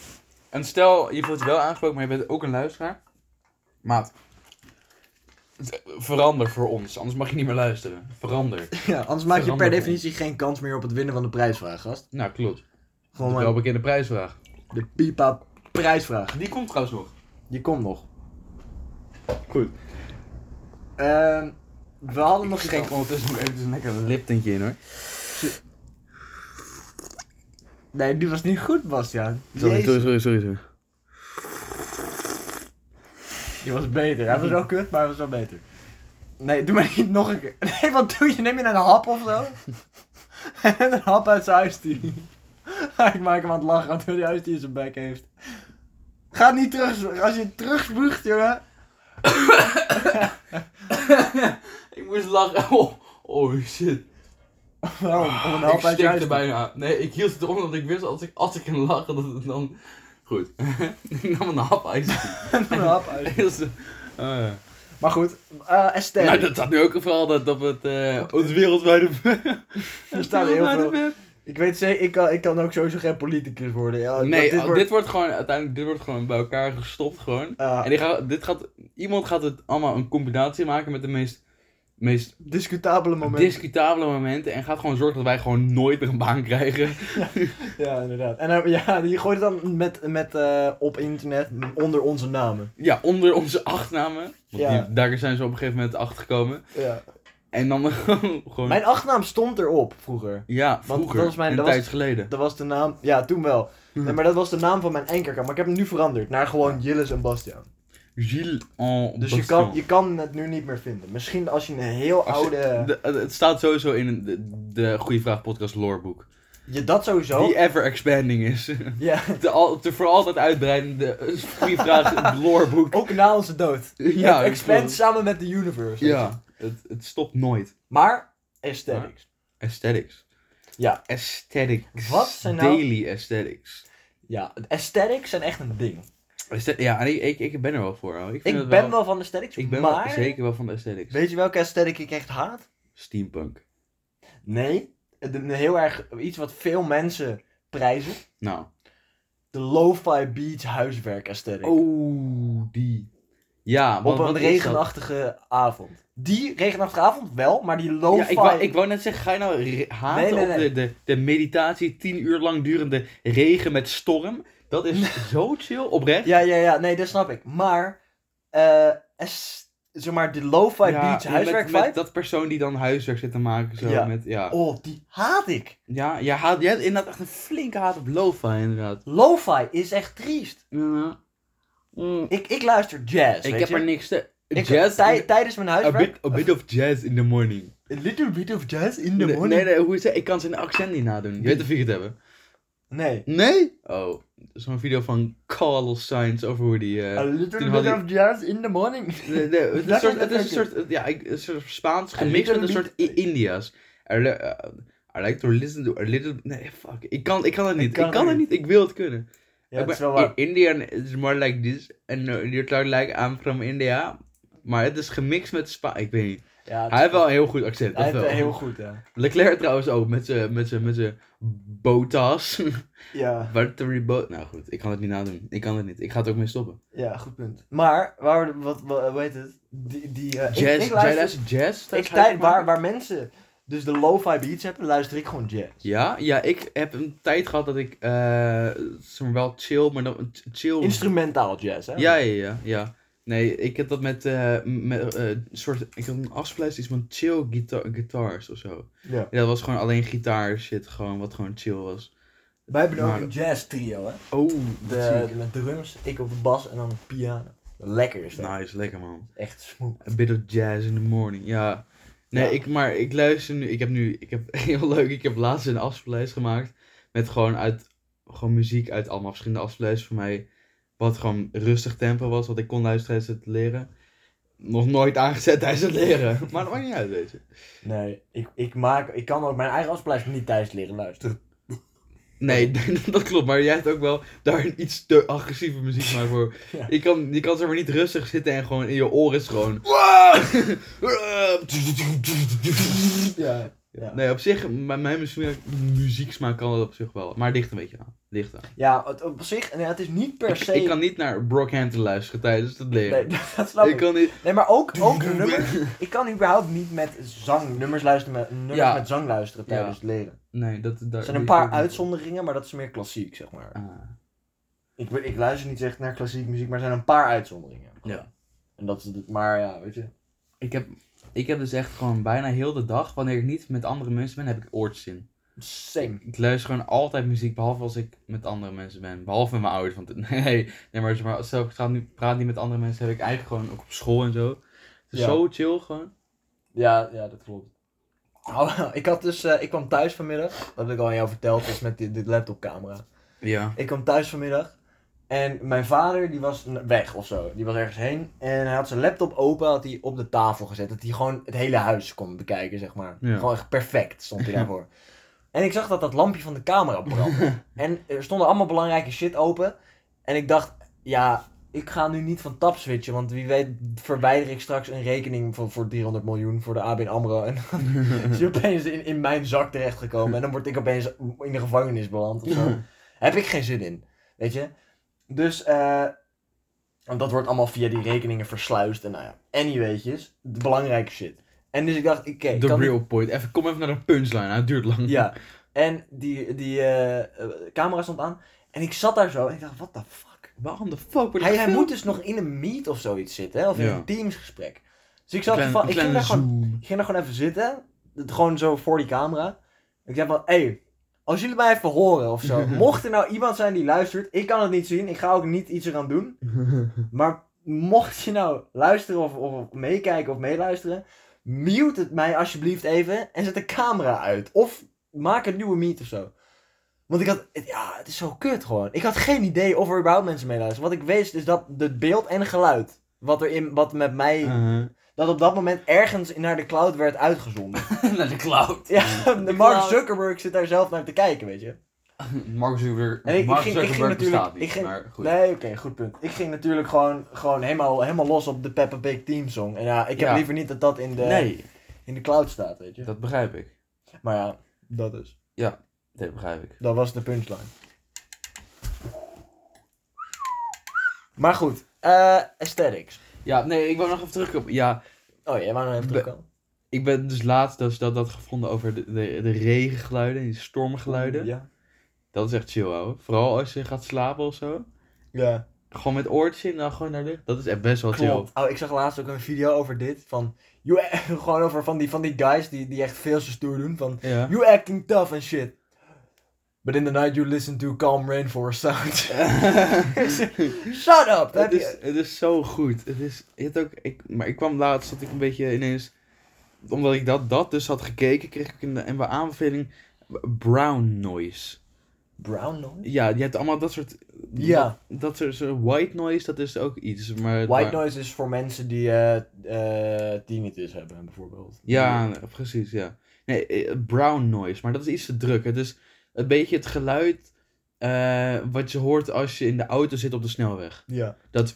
En stel, je voelt je wel aangesproken, maar je bent ook een luisteraar. Maat. het- Verander voor ons, anders mag je niet meer luisteren. Verander. Ja, anders maak je per Verander definitie geen kans meer op het winnen van de prijsvraag, gast. Nou, klopt. Gewoon Wel maar bekende prijsvraag. de pipa prijsvraag. Die komt trouwens nog. Die komt nog. Goed. Ehm, we hadden nog Ik schenk geen... ondertussen nog even een lekker liptintje in hoor. Nee, die was niet goed, Bastiaan. Sorry, Jezus. sorry, sorry, sorry. sorry. Die was beter. Hij was wel kut, maar hij was wel beter. Nee, doe maar niet nog een keer. Nee, wat doe je? Neem je nou een hap of zo? Hij neemt een hap uit zijn huisdier. Ik maak hem aan het lachen, want hij huisdier zijn bek heeft. Ga niet terug. Als je het terugspuugt, jongen. Ik moest lachen. Oh, oh shit. Waarom? Om een ik hap uit je stikte huisdier. bijna. Nee, ik hield het eronder, want ik wist als ik, als ik ging lachen, dat het dan... Goed. ik nam een hap uit. Om een hap uit. Heel zo- Eh. Maar goed, eh Estelle. Nou, dat staat nu ook vooral dat op het, eh, op het wereldwijde web. er staan heel Wereldwijde veel. web. Ik weet zeker, ik kan, ik kan ook sowieso geen politicus worden. Ja, Nee, Oh, dit dit, wordt- dit wordt gewoon uiteindelijk dit wordt gewoon bij elkaar gestopt gewoon. eh, En die gaan, dit gaat, iemand gaat het allemaal een combinatie maken met de meest, meest discutabele momenten. discutabele momenten. En gaat gewoon zorgen dat wij gewoon nooit meer een baan krijgen. Ja, inderdaad. En eh, ja, je gooit het dan met, met, eh, op internet onder onze namen. Ja, onder onze achtnamen. Want Ja. die, daar zijn ze op een gegeven moment achter gekomen. Ja. En dan gewoon. Mijn achternaam stond erop vroeger. Ja, Want vroeger. dat was mijn- een dat was- tijd geleden. Dat was de naam, ja, toen wel. Mhm. Nee, maar dat was de naam van mijn ankerkant. Maar ik heb hem nu veranderd naar gewoon Jillis en Bastiaan. Gilles en Dus je kan, je kan het nu niet meer vinden. Misschien als je een heel Als je- oude. De- het- het staat sowieso in een- de, de Goeie Vraag podcast loreboek. Je, dat sowieso. Die ever expanding is. Ja, De, al, de voor altijd uitbreidende eh, Goeie Vraag loreboek. ook na onze dood. Ja, het ik expand bedoel- samen met de universe. Ja, het, het stopt nooit. Maar, aesthetics. Aesthetics. Ja. Aesthetics. Wat zijn nou- Daily aesthetics. Ja, aesthetics zijn echt een ding. Aesthet- ja, en ik, ik, ik ben er wel voor. hoor. Ik, vind Ik het ben wel van aesthetics, Ik ben maar... wel zeker wel van de aesthetics. Weet je welke aesthetic ik echt haat? Steampunk. Nee, het- een heel erg iets wat veel mensen prijzen. Nou. De lo-fi beach huiswerk aesthetic. Oh, die. Ja, Op want een wat is dat? regenachtige avond. Die regenachtige avond wel, maar die lo-fi... Ja, ik, wou, ik wou net zeggen, ga je nou re- haten Oh, Nee, nee, nee. op de, de, de meditatie, tien uur lang durende regen met storm? Dat is zo chill, oprecht. ja, ja, ja, nee, dat snap ik. Maar, eh, es- zeg maar, de lo-fi Ja, beach met- huiswerk met, vibe, dat persoon die dan huiswerk zit te maken. Zo, Ja. Met, ja. oh, die haat ik. ja, jij, haat, jij hebt inderdaad echt een flinke haat op lo-fi, inderdaad. Lo-fi is echt triest. Mm. Ik, ik luister jazz, Ik weet heb je. er niks te... Ik- jazz? tij- in- tijdens mijn a, huiswerk... bit, a bit of jazz in the morning. A little bit of jazz in the Nee, morning. nee, nee, hoe is het? Ik kan zijn accent niet nadoen. Je weet of ik het hebben. Nee. Nee? Oh, zo'n video van Carlos Sainz over hoe die... eh, A little toen had bit ik- of jazz in the morning. Nee, nee, het is een Dat soort, is het is een lekker. soort, ja, ik- een soort Spaans Een gemixt met een little soort I- India's. I, li- uh, I like to listen to a little... Nee, fuck. Ik kan, ik kan het niet. Ik kan, kan het het niet. Ik wil het kunnen. Ja, Ik dat is ben- wel waar. In Indian is more like this. And uh, you talk like I'm from India. Maar het is gemixt met Spa... Ik weet niet. Ja, Hij heeft wel een heel goed accent. hij Dat heeft wel. het heel goed, ja. Leclerc trouwens ook. Met zijn met zijn- met zijn botas. Ja, Valtteri Bot... Nou goed, ik kan het niet nadoen. Ik kan het niet. Ik ga het ook mee stoppen. ja, goed punt. Maar, waar, we de- wat, wat, hoe heet het? Die, die, eh, ik- Jazz. ik Jij luister, luistert jazz? ik tijd, waar, waar mensen dus de lo-fi beats hebben, luister ik gewoon jazz. Ja, ja, ik heb een tijd gehad dat ik eh zeg maar wel chill, maar dan ch- chill. Instrumentaal jazz, hè? ja, ja, ja, ja. Nee, ik heb dat met, eh, met eh, een soort, ik had een afspeellijst iets van chill guitar, guitars of zo. Ja. En dat was gewoon alleen gitaar shit, gewoon, wat gewoon chill was. Wij hebben ook Maar- een jazz trio, hè? Oh, De, met drums, ik op de bas en dan de piano. Lekker is dat. Nice, lekker man. Echt smooth. A bit of jazz in the morning, ja. Nee, Ja. ik, maar ik luister nu, ik heb nu, ik heb heel leuk, ik heb laatst een afspeellijst gemaakt met gewoon uit, gewoon muziek uit allemaal verschillende afspeellijsten voor mij, wat gewoon rustig tempo was, wat ik kon luisteren tijdens het leren. Nog nooit aangezet tijdens het leren, maar dat maakt niet uit, weet je. Nee, ik, ik, maak, ik kan ook mijn eigen afspeellijst niet thuis leren luisteren. Nee, dat klopt, maar jij hebt ook wel daar een iets te agressieve muziek maar voor. Ja. Je kan, je kan zeg maar niet rustig zitten en gewoon in je oren is gewoon... Ja. Ja. Nee, op zich, mijn, mijn muziek, muzieksmaak kan dat op zich wel. Maar het ligt een beetje aan. Het Ligt aan. Ja, het- op zich, en het is niet per Ik, se... ik kan niet naar Brockhampton luisteren tijdens het leren. Nee, dat snap ik ik. kan niet... Nee, maar ook, ook de nummers. Ik kan überhaupt niet met zang, nummers luisteren, met, nummers Ja. met zang luisteren Ja. tijdens het leren. Nee, dat... Daar, Er zijn een paar uitzonderingen, maar dat is meer klassiek, zeg maar. Ah, Ik, weet- ik luister niet echt naar klassiek muziek, maar er zijn een paar uitzonderingen. Ja. En dat is het, maar ja, weet je. ik, heb, ik heb dus echt gewoon bijna heel de dag, wanneer ik niet met andere mensen ben, heb ik oortjes Same. Ik luister gewoon altijd muziek, behalve als ik met andere mensen ben. Behalve met mijn ouders, want nee, nee maar, zeg maar stel ik praat niet, praat niet met andere mensen, heb ik eigenlijk gewoon ook op school en zo. Het is Ja. zo chill gewoon. Ja, ja, dat klopt. Oh, ik had dus, eh, ik kwam thuis vanmiddag, dat heb ik al aan jou verteld, dus met dit, dit laptopcamera. Ja. Ik kwam thuis vanmiddag en mijn vader die was n- weg of zo, die was ergens heen en hij had zijn laptop open, had hij op de tafel gezet, dat hij gewoon het hele huis kon bekijken zeg maar. Ja. Gewoon echt perfect stond hij daarvoor. En ik zag dat dat lampje van de camera brandde en er stonden allemaal belangrijke shit open en ik dacht, ja, ik ga nu niet van tap switchen, want wie weet verwijder ik straks een rekening van, voor 300 miljoen voor de ABN AMRO en is hij opeens in, in mijn zak terechtgekomen. En dan word ik opeens in de gevangenis beland of zo. Heb ik geen zin in. Weet je? Dus, eh. want dat wordt allemaal via die rekeningen versluist. En nou ja, anyway'tjes. De belangrijke shit. En dus ik dacht, oké. ik The kan real point. Even, kom even naar een punchline, hè. het duurt lang. ja. En die, die eh, eh, camera stond aan. En ik zat daar zo en ik dacht, what the fuck? Waarom de fuck wordt Hij, hij moet dus nog in een meet of zoiets zitten. Hè? Of in Ja. een teamsgesprek. Dus ik zat van, ik ging daar gewoon Ik ging er gewoon even zitten. Het- Gewoon zo voor die camera. Ik zei van, hé, hey, als jullie mij even horen of zo. mocht er nou iemand zijn die luistert, ik kan het niet zien. Ik ga ook niet iets eraan doen. Maar mocht je nou luisteren of, of meekijken of meeluisteren, mute het mij alsjeblieft even en zet de camera uit. Of maak een nieuwe meet of zo. Want ik had, het- ja, het is zo kut gewoon. Ik had geen idee of er überhaupt mensen meeluisteren. Wat ik wist is dat het beeld en geluid, wat, er in, wat met mij, Eh. dat op dat moment ergens naar de cloud werd uitgezonden. naar de cloud. Ja, de Mark Zuckerberg zit daar zelf naar te kijken, weet je. Mark Zuckerberg, En ik- ik Mark ging- ik ging Zuckerberg bestaat natuurlijk- niet, ik ging- maar goed. Nee, oké, goed punt. Ik ging natuurlijk gewoon, gewoon helemaal, helemaal los op de Peppa Pig Team Song. En ja, ik heb Ja. liever niet dat dat in de, Nee, in de cloud staat, weet je. dat begrijp ik. Maar ja, dat is. Dat begrijp ik. Dat was de punchline. Maar goed, eh, aesthetics. Ja, nee, ik wou nog even terugkomen. Ja, Oh, jij wou nog even terugkomen. ik ben dus laatst dus dat, dat gevonden over de, de, de regengeluiden, die stormgeluiden. Mm, Ja. Dat is echt chill, ouwe. Vooral als je gaat slapen of zo. Ja. Gewoon met oortjes in, dan gewoon naar de... Dat is echt best wel chill. Klopt. Oh, ik zag laatst ook een video over dit. Van, you, gewoon over van die, van die guys die, die echt veel te stoer doen. Van, Ja. You acting tough and shit. But in the night you listen to calm rainforest sounds. Shut Het up! Heb is, je... het is zo goed. Het is, je hebt ook, ik, maar ik kwam laatst dat ik een beetje ineens... Omdat ik dat, dat dus had gekeken, kreeg ik een, een aanbeveling... Brown noise. Brown noise? Ja, je hebt allemaal dat soort... Ja. Dat, dat soort soort white noise, dat is ook iets. Maar, White maar- noise is voor mensen die eh eh tinnitus hebben, bijvoorbeeld. Ja, precies, ja. Nee, eh, brown noise, maar dat is iets te druk. Het is een beetje het geluid eh, wat je hoort als je in de auto zit op de snelweg. Ja. Dat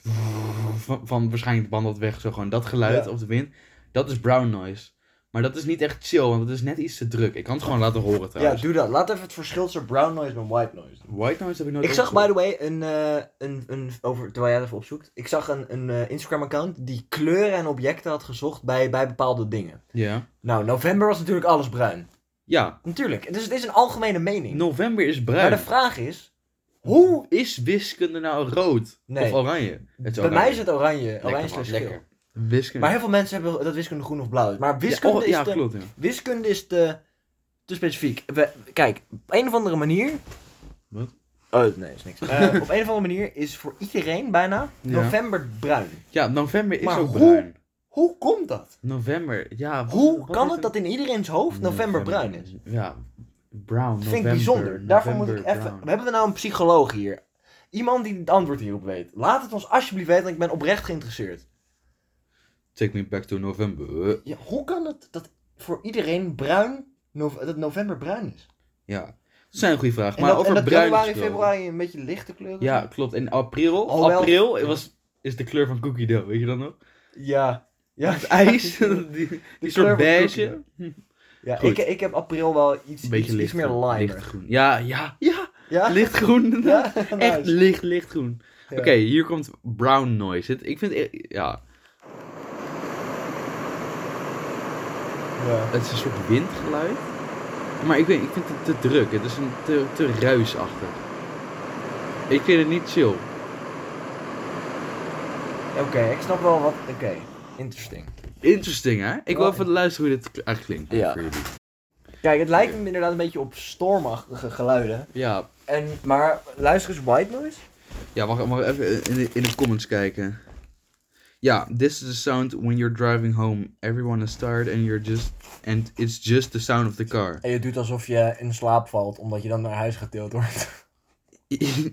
van, van waarschijnlijk wandelt weg, zo gewoon dat geluid Ja. of de wind. Dat is brown noise. Maar dat is niet echt chill, want het is net iets te druk. Ik kan het gewoon laten horen Ja, trouwens. doe dat. Laat even het verschil tussen brown noise en white noise. White noise heb ik nooit Ik zag, by opgezocht. the way, een, eh, een, een over, terwijl jij het even opzoekt, ik zag een, een eh, Instagram-account die kleuren en objecten had gezocht bij, bij bepaalde dingen. Ja. Nou, november was natuurlijk alles bruin. Ja, Natuurlijk, dus het is een algemene mening. november is Maar bruin. de vraag is, hoe... Is wiskunde nou rood Nee. of oranje? Het Bij mij is het oranje. Oranje man, is lekker. lekker. Wiskunde. Maar heel veel mensen hebben dat wiskunde groen of blauw is. Maar wiskunde, ja, oh, ja, is, te, klopt, ja. wiskunde is te, te specifiek. We- kijk, op een of andere manier... Wat? Oh, nee, is niks. Eh, op een of andere manier is voor iedereen bijna Ja. november bruin. Ja, november is Maar ook hoe- bruin. Hoe komt dat? November, ja. wat- Hoe wat kan is het dat in iedereen's hoofd november bruin is? Ja, brown, Dat november. vind ik bijzonder. Daarvoor moet ik november, even... brown. Hebben we nou een psycholoog hier? Iemand die het antwoord hierop weet. Laat het ons alsjeblieft weten, want ik ben oprecht geïnteresseerd. Take me back to november. Ja, hoe kan het dat voor iedereen bruin, nov- dat november bruin is? Ja, dat is een goede vraag. En Maar dat, over en dat bruin januari, gesproken. februari een beetje lichte kleuren? Ja, zijn? klopt. In april, Alhoewel- april was, is de kleur van cookie dough, weet je dat nog? Ja. Ja, Het ijs, die, die kleur soort van beige. cookie dough. ja Goed. ik, ik heb april wel iets, Een iets, beetje iets licht, meer lime. lichtgroen. Ja, ja, ja, Ja? lichtgroen. Ja? Echt Nice. licht, lichtgroen. Ja. Oké, hier komt brown noise. Het- Ik vind, e- ja, Ja. Het is een soort windgeluid. Maar ik, weet, ik vind het te druk. Het is een te, te ruisachtig. Ik vind het niet chill. Oké, ik snap wel wat... Oké, interesting. Interesting, hè? Ik wil Ja. even luisteren hoe dit eigenlijk klinkt eh, Ja. voor jullie. Kijk, het lijkt me inderdaad een beetje op stormachtige geluiden. Ja, En, maar luister eens white noise. ja wacht, mag ik even in de, in de comments kijken. Ja, this is the sound when you're driving home. Everyone is tired and you're just... And it's just the sound of the car. En je doet alsof je in slaap valt, omdat je dan naar huis getild wordt.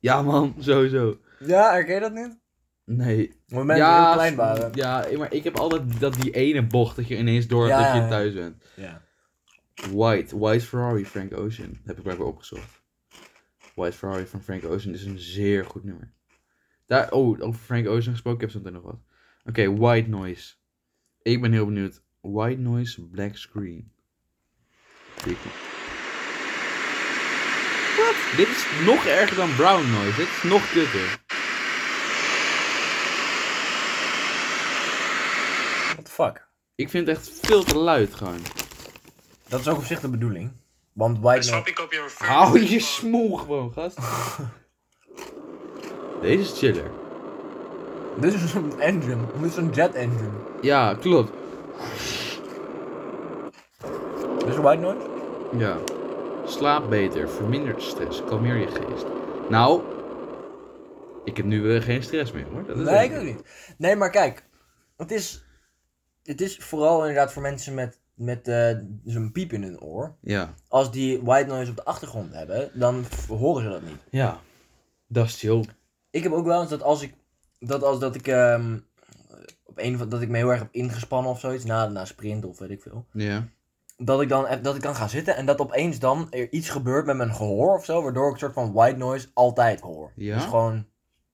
ja, man. Sowieso. Ja, herken je dat niet? Nee. Momenten ja, heel klein waren. Ja, maar ik heb altijd dat die ene bocht dat je ineens door hebt Ja. dat je thuis bent. Ja. White, White Ferrari, Frank Ocean. Heb ik blijkbaar opgezocht. White Ferrari van Frank Ocean is een zeer goed nummer. Daar, oh, over Frank Ocean gesproken, ik heb zo meteen nog wat. Oké, White Noise. Ik ben heel benieuwd. White Noise, Black Screen. Dit- Wat? Dit is nog erger dan Brown Noise. Dit is nog kutter. What the fuck? Ik vind het echt veel te luid gewoon. Dat is ook op zich de bedoeling. Want white noise... Swapping op je Hou je smoel gewoon, gast. Deze is chiller. Dit is een engine. Dit is een jet engine. Ja, klopt. Dit is white noise? Ja. Slaap beter, vermindert stress, kalmeer je geest. Nou, ik heb nu weer geen stress meer hoor. Dat is Nee, ik ook niet. Nee, maar kijk. Het is... Het is vooral inderdaad voor mensen met, met eh, zo'n piep in hun oor. Ja. Als die white noise op de achtergrond hebben, dan f- horen ze dat niet. Ja. Dat is chill. Ik heb ook wel eens dat als ik. Dat als dat ik. ehm, op een van, dat ik me heel erg heb ingespannen of zoiets. Na, na sprint of weet ik veel. Ja. Dat ik, dan, e-, dat ik dan ga zitten en dat opeens dan er iets gebeurt met mijn gehoor of zo. Waardoor ik een soort van white noise altijd hoor. Ja? Dus gewoon,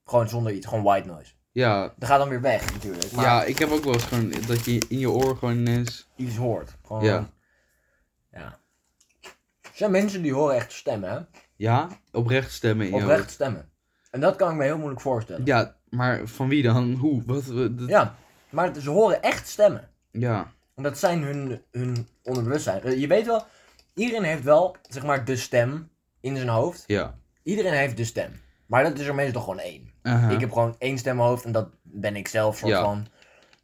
gewoon zonder iets. Gewoon white noise. Ja. Dat gaat dan weer weg natuurlijk. Maar Ja, ik heb ook wel eens gewoon dat je in je oor gewoon ineens... iets hoort. Gewoon, Ja. ja. Er zijn mensen die horen echt stemmen, hè? Ja, oprecht stemmen in je Oprecht stemmen. En dat kan ik me heel moeilijk voorstellen. oor. Ja, maar van wie dan? Hoe? Wat? wat- dat- ja. Maar ze horen echt stemmen. ja. Want dat zijn hun, hun onderbewustzijn. Eh, Je weet wel, iedereen heeft wel, zeg maar, de stem in zijn hoofd. Ja. Iedereen heeft de stem. Maar dat is er meestal gewoon één. Aha. Ik heb gewoon één stem in mijn hoofd en dat ben ik zelf soort Ja. van.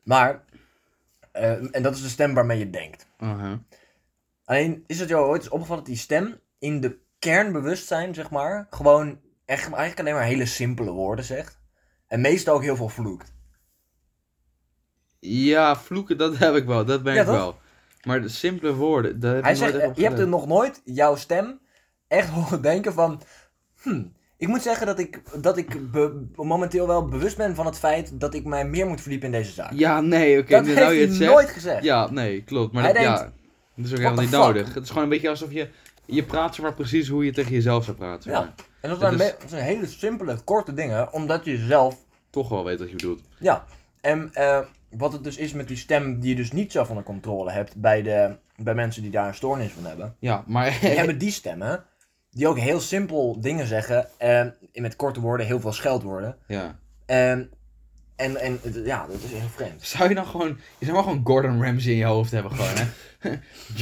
Maar, eh, en dat is de stem waarmee je denkt. Aha. Alleen, is het jou ooit eens opgevallen dat die stem in de kernbewustzijn, zeg maar, gewoon echt, eigenlijk alleen maar hele simpele woorden zegt? En meestal ook heel veel vloekt. Ja, vloeken, dat heb ik wel. Dat ben Ja, ik toch? wel. Maar de simpele woorden, dat heb Hij ik nooit zegt, echt eh, je hebt er opgelet. nog nooit jouw stem echt horen denken van... hmm, ik moet zeggen dat ik, dat ik be- momenteel wel bewust ben van het feit dat ik mij meer moet verdiepen in deze zaak. Ja, nee, oké. dat nu heeft nou je hij het zegt. nooit gezegd. Ja, nee, klopt. Maar Hij dat, denkt, ja, dat is ook what helemaal the niet fuck? nodig. Het is gewoon een beetje alsof je... Je praat zeg maar precies hoe je tegen jezelf zou praten. Ja. maar En dat Dat zijn, is- me- dat zijn hele simpele, korte dingen, omdat je zelf... Toch wel weet wat je bedoelt. Ja, en eh, wat het dus is met die stem die je dus niet zelf onder controle hebt bij, de, bij mensen die daar een stoornis van hebben. Ja, maar... Die hebben die stemmen die ook heel simpel dingen zeggen. En met korte woorden heel veel scheldwoorden. ja. En, en, en het- ja, dat is heel vreemd. Zou je dan gewoon... Je zou maar gewoon Gordon Ramsay in je hoofd hebben gewoon, hè?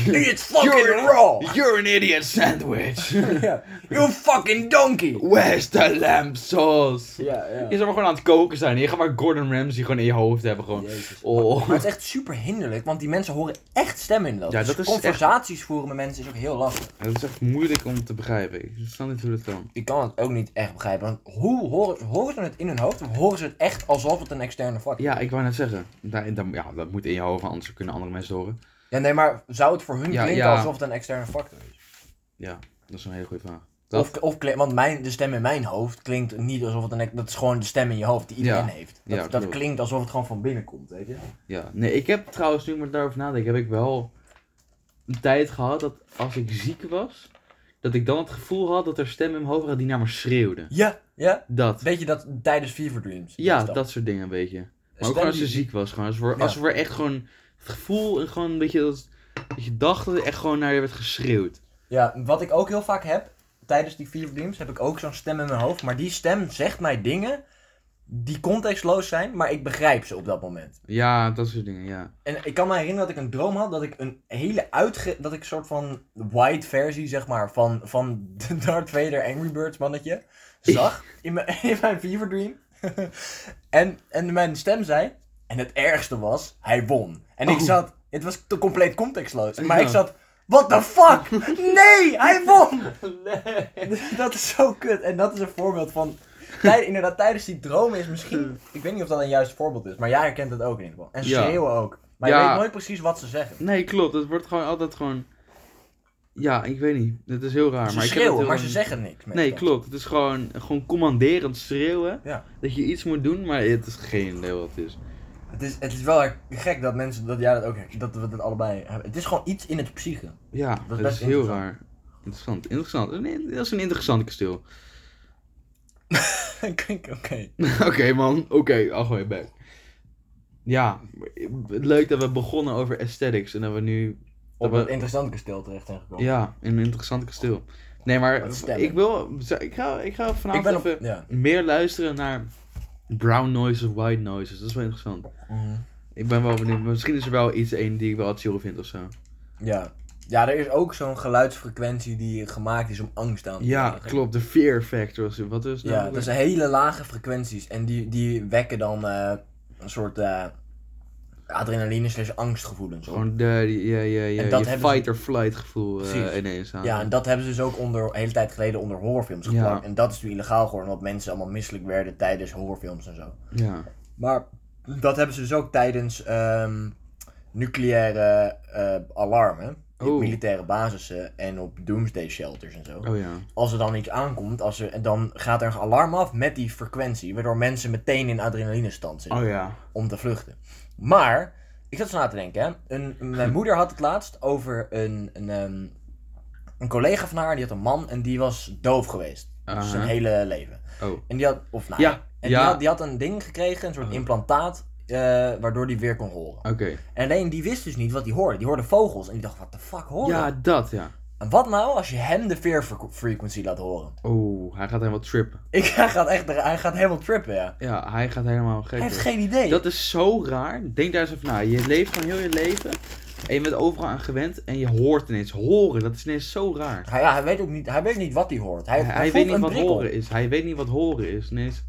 You're- It's fucking You're- raw! You're an idiot sandwich. Ja. You fucking donkey! Where's the lamb sauce? Ja, ja. Je zou maar gewoon aan het koken zijn. Je gaat maar Gordon Ramsay gewoon in je hoofd hebben gewoon. Jezus. Oh. Maar het is echt super hinderlijk, want die mensen horen echt stemmen in dat. Ja, Dus dat is conversaties voeren met mensen is ook heel lastig. Dat is echt moeilijk om te begrijpen. Ik snap niet hoe dat kan. Ik kan het ook niet echt begrijpen. Want hoe horen, horen ze het in hun hoofd? Of horen ze het echt alsof het een externe vak is? Ja, ik wou net zeggen. Daar, dan, ja, dat moet in je hoofd, anders kunnen andere mensen het horen. Ja, nee, maar zou het voor hun Ja, klinken ja. alsof het een externe factor is? Ja, dat is een hele goede vraag. Dat- Of, of, kli- want mijn, de stem in mijn hoofd klinkt niet alsof het een... Dat is gewoon de stem in je hoofd die iedereen Ja. heeft. Dat, Ja, dat klopt. klinkt alsof het gewoon van binnen komt, weet je? Ja, nee, ik heb trouwens, nu ik maar daarover nadenk, heb ik wel een tijd gehad dat als ik ziek was, dat ik dan het gevoel had dat er stemmen in mijn hoofd waren die naar me schreeuwden. Ja, ja. Dat. Weet je dat tijdens Fever Dreams? Ja, is dat soort dingen een beetje. Maar Stem ook gewoon als die- ze ziek was, gewoon. Als we, Ja. als we echt gewoon het gevoel en gewoon een beetje dat, dat je dacht dat er echt gewoon naar je werd geschreeuwd. Ja, wat ik ook heel vaak heb, tijdens die Fever Dreams heb ik ook zo'n stem in mijn hoofd. Maar die stem zegt mij dingen die contextloos zijn, maar ik begrijp ze op dat moment. Ja, dat soort dingen, ja. En ik kan me herinneren dat ik een droom had dat ik een hele uitge... Dat ik een soort van white versie, zeg maar, van, van de Darth Vader Angry Birds mannetje zag in mijn, in mijn fever dream. en, en mijn stem zei... En het ergste was, hij won. En ik Oh. zat... Het was to- compleet contextloos. Maar Ja. ik zat... What the fuck? Nee, hij won! Dat is zo kut. En dat is een voorbeeld van... Tij, inderdaad, tijdens die dromen is misschien... Ik weet niet of dat een juist voorbeeld is, maar jij herkent het ook in ieder geval. En Ja. schreeuwen ook. Maar je Ja. weet nooit precies wat ze zeggen. Nee, klopt. Het wordt gewoon altijd gewoon... Ja, ik weet niet. Het is heel raar. Ze maar ik heb het schreeuwen, heel maar lang- ze zeggen niks. meestal. Nee, klopt. Het is gewoon, gewoon commanderend schreeuwen. Ja. Dat je iets moet doen, maar het is geen idee wat het is. Het is, het is wel her- gek dat mensen, dat jij dat ook herkent, dat we dat allebei hebben. Het is gewoon iets in het psyche. Ja, dat best is heel interessant. raar. Interessant, interessant. Dat is een- Dat is een interessant kasteel. Kijk, Oké. oké man, oké, I'll go back. Ja, leuk dat we begonnen over aesthetics en dat we nu... dat Op we- een interessant kasteel terecht zijn gekomen. ja, in een interessant kasteel. Nee, maar Wat stemmen. ik wil... Ik ga, ik ga ik vanavond ben op... even Ja. meer luisteren naar brown noises, white noises. Dat is wel interessant. Mhm. Ik ben wel benieuwd. Misschien is er wel iets één die ik wel wat chill vind of zo. ja. Ja, er is ook zo'n geluidsfrequentie die gemaakt is om angst aan te Ja, jagen. klopt. De fear factor. of zo. Wat is nou Ja, ook dat weer? zijn hele lage frequenties. En die, die wekken dan eh, een soort eh, adrenaline slash angstgevoelens. op. Gewoon de, die- je, je, je, En dat je hebben ze- fight or flight gevoel eh, Precies. ineens aan. Ja, en dat hebben ze dus ook onder, een hele tijd geleden onder horrorfilms Ja. geplakt. En dat is nu illegaal geworden, omdat mensen allemaal misselijk werden tijdens horrorfilms en zo. ja. Maar dat hebben ze dus ook tijdens ehm, nucleaire eh, alarmen. Oh. Op militaire basissen en op doomsday shelters en zo. Oh ja. Als er dan iets aankomt, als er, en dan gaat er een alarm af met die frequentie. Waardoor mensen meteen in adrenalinestand zitten Oh ja. om te vluchten. Maar, ik zat zo na te denken, hè. Een, mijn moeder had het laatst over een, een, ehm, een collega van haar, die had een man en die was doof geweest. Dus zijn Aha. hele leven. Oh. En die had, of nou, Ja. en ja. Die, had, die had een ding gekregen, een soort Oh. implantaat, eh, waardoor die weer kon horen. Oké. En alleen die wist dus niet wat hij hoorde. Die hoorde vogels en die dacht, wat de fuck hoor Ja, ik?" dat ja. En wat nou als je hem de fear fre- frequency laat horen? Oh, hij gaat helemaal trippen. Ik, hij, gaat echt, hij gaat helemaal trippen, ja. Ja, hij gaat helemaal gek Hij heeft worden. geen idee. Dat is zo raar. Denk daar eens over na. Je leeft gewoon heel je leven. En je bent overal aan gewend. En je hoort ineens horen. Dat is ineens zo raar. Hij, ja, hij weet ook niet, hij weet niet wat hij hoort. Hij, Hij, hij voelt weet niet een wat prikkel. horen is. Hij weet niet wat horen is. Ineens.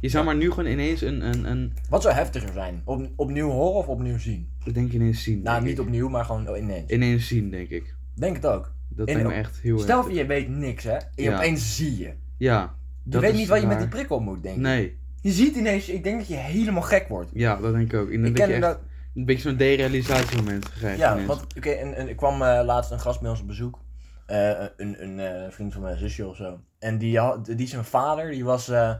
Je zou maar nu gewoon ineens een. een, een Wat zou heftiger zijn? Op, opnieuw horen of opnieuw zien? ik denk ineens zien. Nou, denk niet ik. opnieuw, maar gewoon ineens. Ineens zien, denk ik. Denk het ook. Dat In- lijkt me echt heel Stel, heftig. je weet niks, hè? En je Ja. opeens zie je. Je Ja. Dat weet is niet wat je met die raar. prikkel moet, denk ik. Nee. Je ziet ineens, ik denk dat je helemaal gek wordt. Ja, dat denk ik ook. En Ik dan dat ken je echt dat. een beetje zo'n derealisatiemoment gegeven. Ja, ineens. want oké, en, en ik kwam eh, laatst een gast bij ons op bezoek. Eh, eh, een, een eh, vriend van mijn zusje of zo. En die, had- die zijn vader, die was eh,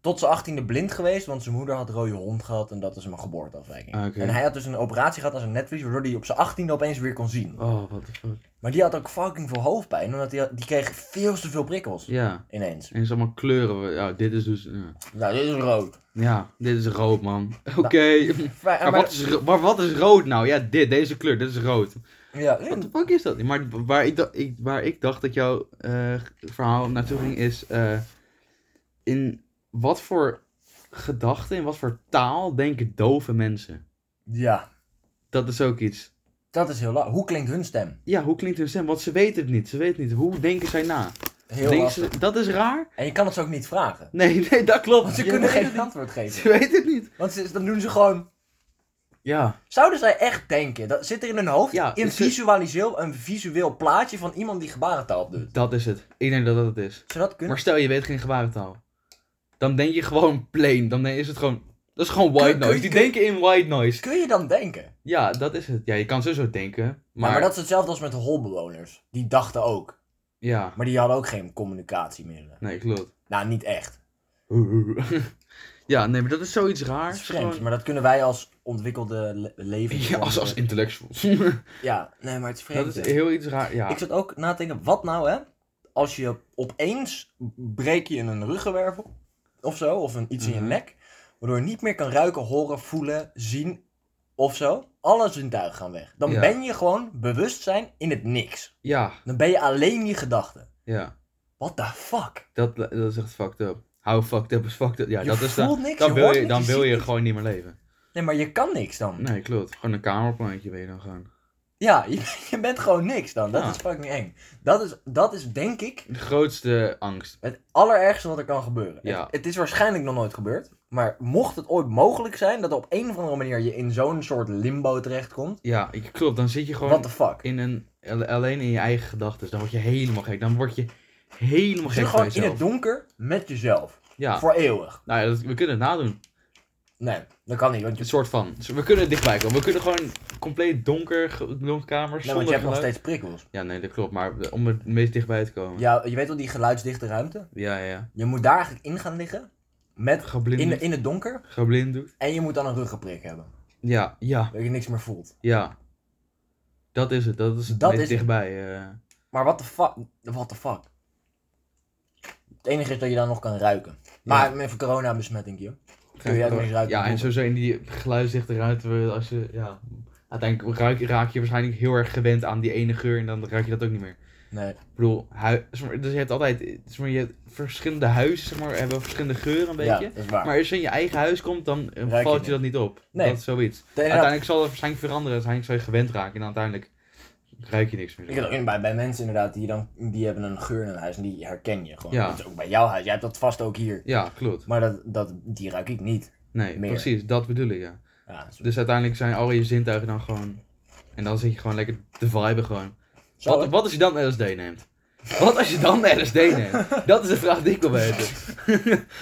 tot zijn achttiende blind geweest, want zijn moeder had rode hond gehad en dat is hem een geboorteafwijking. Ah, oké. En hij had dus een operatie gehad aan zijn netvlies, waardoor hij op zijn achttiende opeens weer kon zien. Oh, what the fuck. Maar die had ook fucking veel hoofdpijn, omdat die, die kreeg veel te veel prikkels Ja. ineens. En het is allemaal kleuren. Ja, dit is dus... Ja, Nou, dit is rood. Ja, dit is rood, man. Oké. Maar, Maar, maar- wat is, ro- maar wat is rood nou? Ja, dit. Deze kleur. Dit is rood. ja, Wat de fuck is dat? Maar waar ik, da- ik, waar ik dacht dat jouw eh, verhaal naartoe ging is... eh, in wat voor gedachten, in wat voor taal denken dove mensen? ja, Dat is ook iets. dat is heel lastig. Hoe klinkt hun stem? Ja, hoe klinkt hun stem? Want ze weten het niet. Ze weten niet. Hoe denken zij na? Heel Denken lastig. ze, dat is raar? En je kan het ze ook niet vragen. Nee, nee, dat klopt. Want ze Je kunnen weet geen het niet. antwoord geven. Ze weten het niet. Want ze, dan doen ze gewoon... Ja. Zouden zij echt denken? Dat zit er in hun hoofd Ja, een, ze- visualiseel, een visueel plaatje van iemand die gebarentaal doet. Dat is het. Ik denk dat dat het is. Zou dat kunnen? Maar stel je weet geen gebarentaal. Dan denk je gewoon plain. Dan is het gewoon. Dat is gewoon white Kun- kun- noise. Die denken in white noise. Kun je dan denken? Ja, Ja, dat is het. Ja, je kan sowieso denken. Maar, Maar, dat is hetzelfde als met de holbewoners. Die dachten ook. Ja. Maar die hadden ook geen communicatiemiddelen. Nee, klopt. Nou, niet echt. ja, nee, maar dat is zoiets raar. Dat is vreemd. Gewoon- Maar dat kunnen wij als ontwikkelde le leven. Ja, als, als intellectuals. Ja, nee, maar het is vreemd. dat is hè. heel iets raar. Ja. Ik zat ook na te denken, wat nou hè? Als je opeens breek je een ruggenwervel of zo, of een, iets in Mhm. je nek, waardoor je niet meer kan ruiken, horen, voelen, zien of zo. Alle zintuigen gaan weg. Dan Ja. ben je gewoon bewustzijn in het niks. Ja, Dan ben je alleen je gedachten. ja. What the fuck? Dat, dat is echt fucked up. How fucked up is fucked up. Ja, Je dat is voelt dan, niks, dan je wil hoort je, niks, dan je wil ziet je niks. gewoon niet meer leven. Nee, maar je kan niks dan. Nee, klopt. Gewoon een kamerplankje ben je dan gewoon. Ja, je, je bent gewoon niks dan. Dat Ja. is fucking eng. Dat is, dat is denk ik De grootste angst. Het allerergste wat er kan gebeuren. Ja. Het, het is waarschijnlijk nog nooit gebeurd. Maar mocht het ooit mogelijk zijn dat op een of andere manier je in zo'n soort limbo terechtkomt. Ja, ik, klopt. Dan zit je gewoon What the fuck? in een, al- alleen in je eigen gedachten. Dan word je helemaal gek. Dan word je helemaal gek Zit van gewoon in het jezelf. donker met jezelf. Ja, Voor eeuwig. nou ja, dat, we kunnen het nadoen. Nee, dat kan niet. Want je, Een soort van. Dus We kunnen het dichtbij komen. We kunnen gewoon compleet donker, ge- donkere kamers, nee, want zonder je hebt nog geluid. steeds prikkels. Ja, nee, dat klopt. Maar om het meest dichtbij te komen. Ja, Ja, je weet wel die geluidsdichte ruimte? ja, ja. Je moet daar eigenlijk in gaan liggen. Met, in, de- Geblinddoekt. in het donker. Geblinddoekt. En je moet dan een ruggenprik hebben. Ja, ja, Dat je niks meer voelt. ja. Dat is het. Dat is het Dat meest is het. dichtbij. eh. Maar what the fuck? What the fuck? Het enige is dat je dan nog kan ruiken. Maar met even coronabesmetting, joh. Kun je uitmaken ruiken? Ja, en sowieso in die geluidsdichte ruimte, we- als je, ja, uiteindelijk ruik, raak je waarschijnlijk heel erg gewend aan die ene geur en dan ruik je dat ook niet meer. Nee. Ik bedoel, hui, zeg maar, dus je hebt altijd, zeg maar, je hebt verschillende huizen, zeg maar, hebben verschillende geuren een ja, beetje. dat is waar. Maar als je in je eigen huis komt, dan eh, je valt niet. je dat niet op. Nee. Dat is zoiets. De- inderdaad, Uiteindelijk zal het waarschijnlijk veranderen, dus uiteindelijk zal je gewend raken en uiteindelijk ruik je niks meer. ik heb ook in- bij, bij mensen inderdaad, die, dan, die hebben een geur in hun huis en die herken je gewoon. Ja. Dat is ook bij jouw huis. Jij hebt dat vast ook hier. Ja, klopt. Maar dat, dat, die ruik ik niet. Nee, Meer. precies, dat bedoel ik, ja. Ja, zo- Dus uiteindelijk zijn al je zintuigen dan gewoon, en dan zit je gewoon lekker te viben gewoon. zo, Wat, hè? wat als je dan LSD neemt? Wat als je dan LSD neemt? Dat is de vraag die ik wil weten.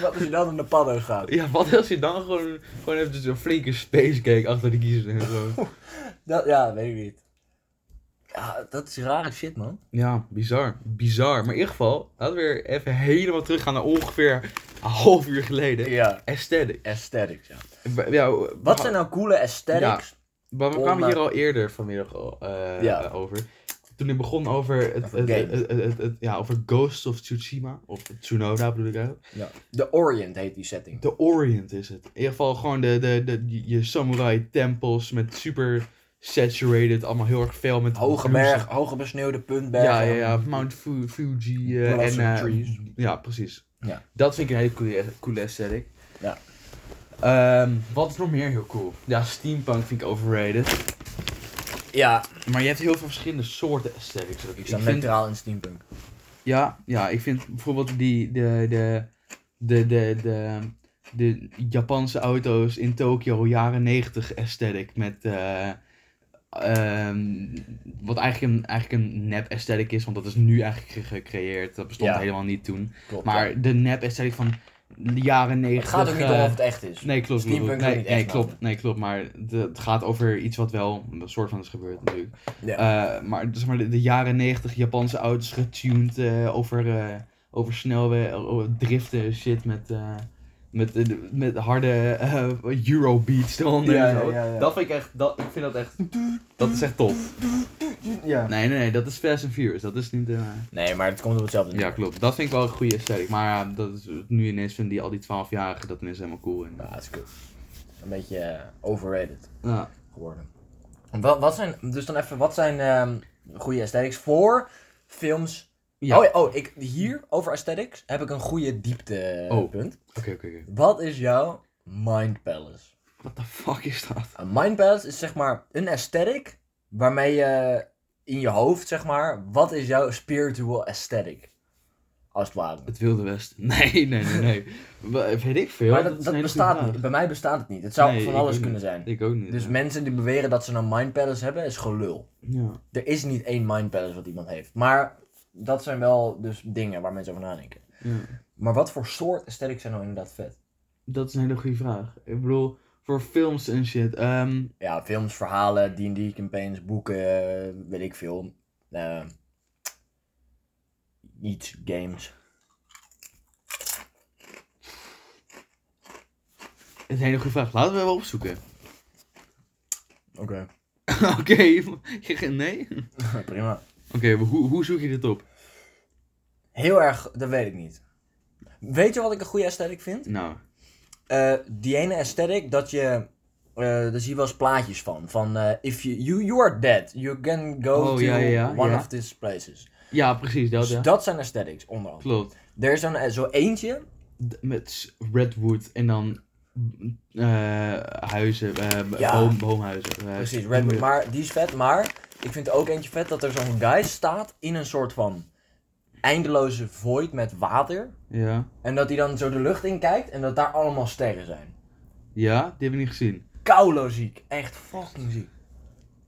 Wat als je dan in de paddo gaat? Ja, wat als je dan gewoon, gewoon eventjes een flinke spacecake achter de kiezer en zo. Dat, ja, weet ik niet. Ja, dat is rare shit, man. Ja, bizar. Bizar. Maar in ieder geval, laten we weer even helemaal teruggaan naar ongeveer een half uur geleden. Ja, Aesthetic. aesthetics, ja. Ja, Wat zijn nou coole aesthetics? Maar we Om, kwamen hier eh, al eerder vanmiddag al, eh, Ja. eh, over. Toen ik begon over, het, het, games. het- het- het- ja, over Ghost of Tsushima. Of Tsunoda bedoel ik eigenlijk. Ja. De Orient heet die setting. De Orient is het. In ieder geval gewoon de, de, de, je samurai tempels met super saturated, allemaal heel erg veel met Hoge bloesem- berg, hoge besneeuwde puntberg. Ja, ja, ja, Mount Fu- Fuji eh, en Blossom eh, Ehm, trees. ja, precies. Ja. Dat vind ik een hele coole, coole aesthetic. Ja. Ehm, wat is nog meer heel cool? Ja, steampunk vind ik overrated. Ja, Maar je hebt heel veel verschillende soorten aesthetics. ook. ik sta Ik vind- neutraal in steampunk. ja, ja, ik vind bijvoorbeeld die, de, de, de, de, de, de Japanse auto's in Tokio jaren 90 aesthetic met eh, ehm, wat eigenlijk een, eigenlijk een nep aesthetic is, want dat is nu eigenlijk ge- gecreëerd, dat bestond Ja. helemaal niet toen. Klopt. Maar de nep aesthetic van jaren Het negentig. gaat ook niet om eh, of het echt is. Nee, klopt. klopt, Steampunk klopt. is ook Nee, niet nee, echt klopt, makkelijk. nee, klopt. Maar de- het gaat over iets wat wel een soort van is gebeurd natuurlijk. Ja. Eh, maar zeg maar de, de jaren 90 Japanse auto's getuned eh, over, eh, over snelweg, over driften, shit met, eh, met, eh, met harde eh, Eurobeats eronder. Ja, en zo. ja, ja, ja. Dat vind ik echt, dat, ik vind dat echt, dat is echt tof. Ja. Nee, nee, nee, dat is Fast and Furious, dat is niet... eh, Nee, maar het komt op hetzelfde neer. ja, klopt. Dat vind ik wel een goede aesthetic. Maar ja, dat is, nu ineens vinden die al die 12-jarigen dat ineens helemaal cool. En, Ja, Ah, het is kut. Een beetje eh, overrated ja. geworden. Wat, wat zijn, dus dan even, wat zijn ehm, goede aesthetics voor films? Ja. Oh, ja, oh ik, hier over aesthetics heb ik een goede dieptepunt. Oké, oké, oké. Wat is jouw mind palace? What the fuck is dat? Een mind palace is zeg maar een aesthetic waarmee je in je hoofd zeg maar, wat is jouw spiritual aesthetic? Als het ware. Het Wilde Westen. Nee, nee, nee, nee. Wa- Weet ik veel. maar is dat, een hele dat goede bestaat vraag. niet. Bij mij bestaat het niet. Het zou Nee, van ik alles ook kunnen niet. zijn. Ik ook niet. Dus ja. mensen die beweren dat ze een mind palace hebben, is gelul. Ja. Er is niet één mind palace wat iemand heeft. Maar dat zijn wel dus dingen waar mensen over nadenken. ja. Maar wat voor soort aesthetics zijn nou inderdaad vet? Dat is een hele goede vraag. Ik bedoel, voor films en shit. ehm, Ja, films, verhalen, D&D campaigns, boeken, eh, weet ik veel. Eh, iets, games. het is een hele goede vraag. Laten we wel opzoeken. Oké. Oké. Nee? Oké, Prima. maar hoe, hoe zoek je dit op? Heel erg, dat weet ik niet. Weet je wat ik een goede aesthetic vind? Nou. eh, die ene aesthetic dat je. eh daar zie je wel eens plaatjes van. Van eh, if you, you, you are dead, you can go Oh, to ja, ja, ja, one ja. of these places. Ja, precies. Dat, Dus ja. dat zijn aesthetics, onder andere. Klopt. Er is zo'n eh, zo eentje. D- Met s- redwood en dan eh, huizen, eh Ja. boom, boomhuizen. eh, Precies, Redwood. Maar die is vet. Maar ik vind ook eentje vet dat er zo'n guy staat in een soort van eindeloze void met water. Ja. En dat hij dan zo de lucht in kijkt en dat daar allemaal sterren zijn. Ja, die hebben we niet gezien. Kaulo ziek. Echt fucking ziek.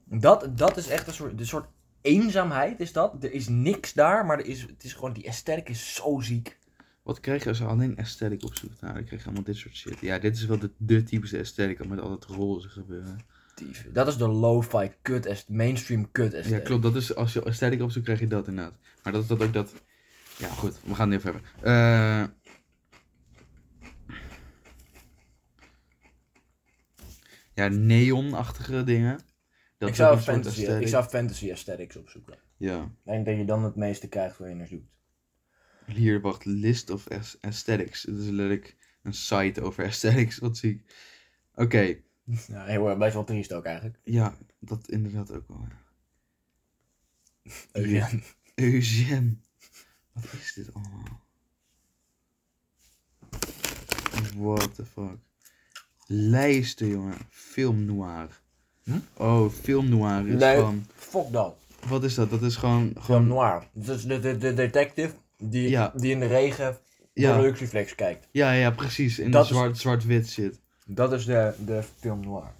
Dat, dat is echt een soort, een soort eenzaamheid is dat. Er is niks daar, maar er is, het is gewoon, die aesthetic is zo ziek. Wat krijg je als je alleen aesthetic opzoekt? Nou, dan krijg je allemaal dit soort shit. Ja, dit is wel de, de typische aesthetic met al dat roze gebeuren. Dief. Dat is de lo-fi kut, aest- mainstream kut Ja, aesthetic. klopt. Dat is, als je aesthetic opzoekt, krijg je dat inderdaad. Maar dat is dat ook dat... Ja, goed. We gaan het even hebben. Eh, Ja, neonachtige dingen. Dat ik, is ook zou een soort fantasy, aesthetic. ik zou fantasy aesthetics opzoeken. Ja. Ik denk dat je dan het meeste krijgt voor je naar zoekt. Hier, wacht. List of aes- aesthetics. Dit is letterlijk een site over aesthetics. Wat zie ik. Oké. Nou, heel erg, best wel triest ook eigenlijk. Ja, dat inderdaad ook wel. ja. Ja. Eugène. Wat is dit allemaal? What the fuck. Lijsten, jongen. Film noir. Hm? Oh, film noir is Nee. gewoon... Fuck dat. Wat is dat? Dat is gewoon... Gewoon gewoon noir. Dus de, de, de detective die, Ja. die in de regen door de ja, luxreflex kijkt. ja, ja, precies. In Dat de is- zwart, zwart-wit shit. Dat is de, de film noir.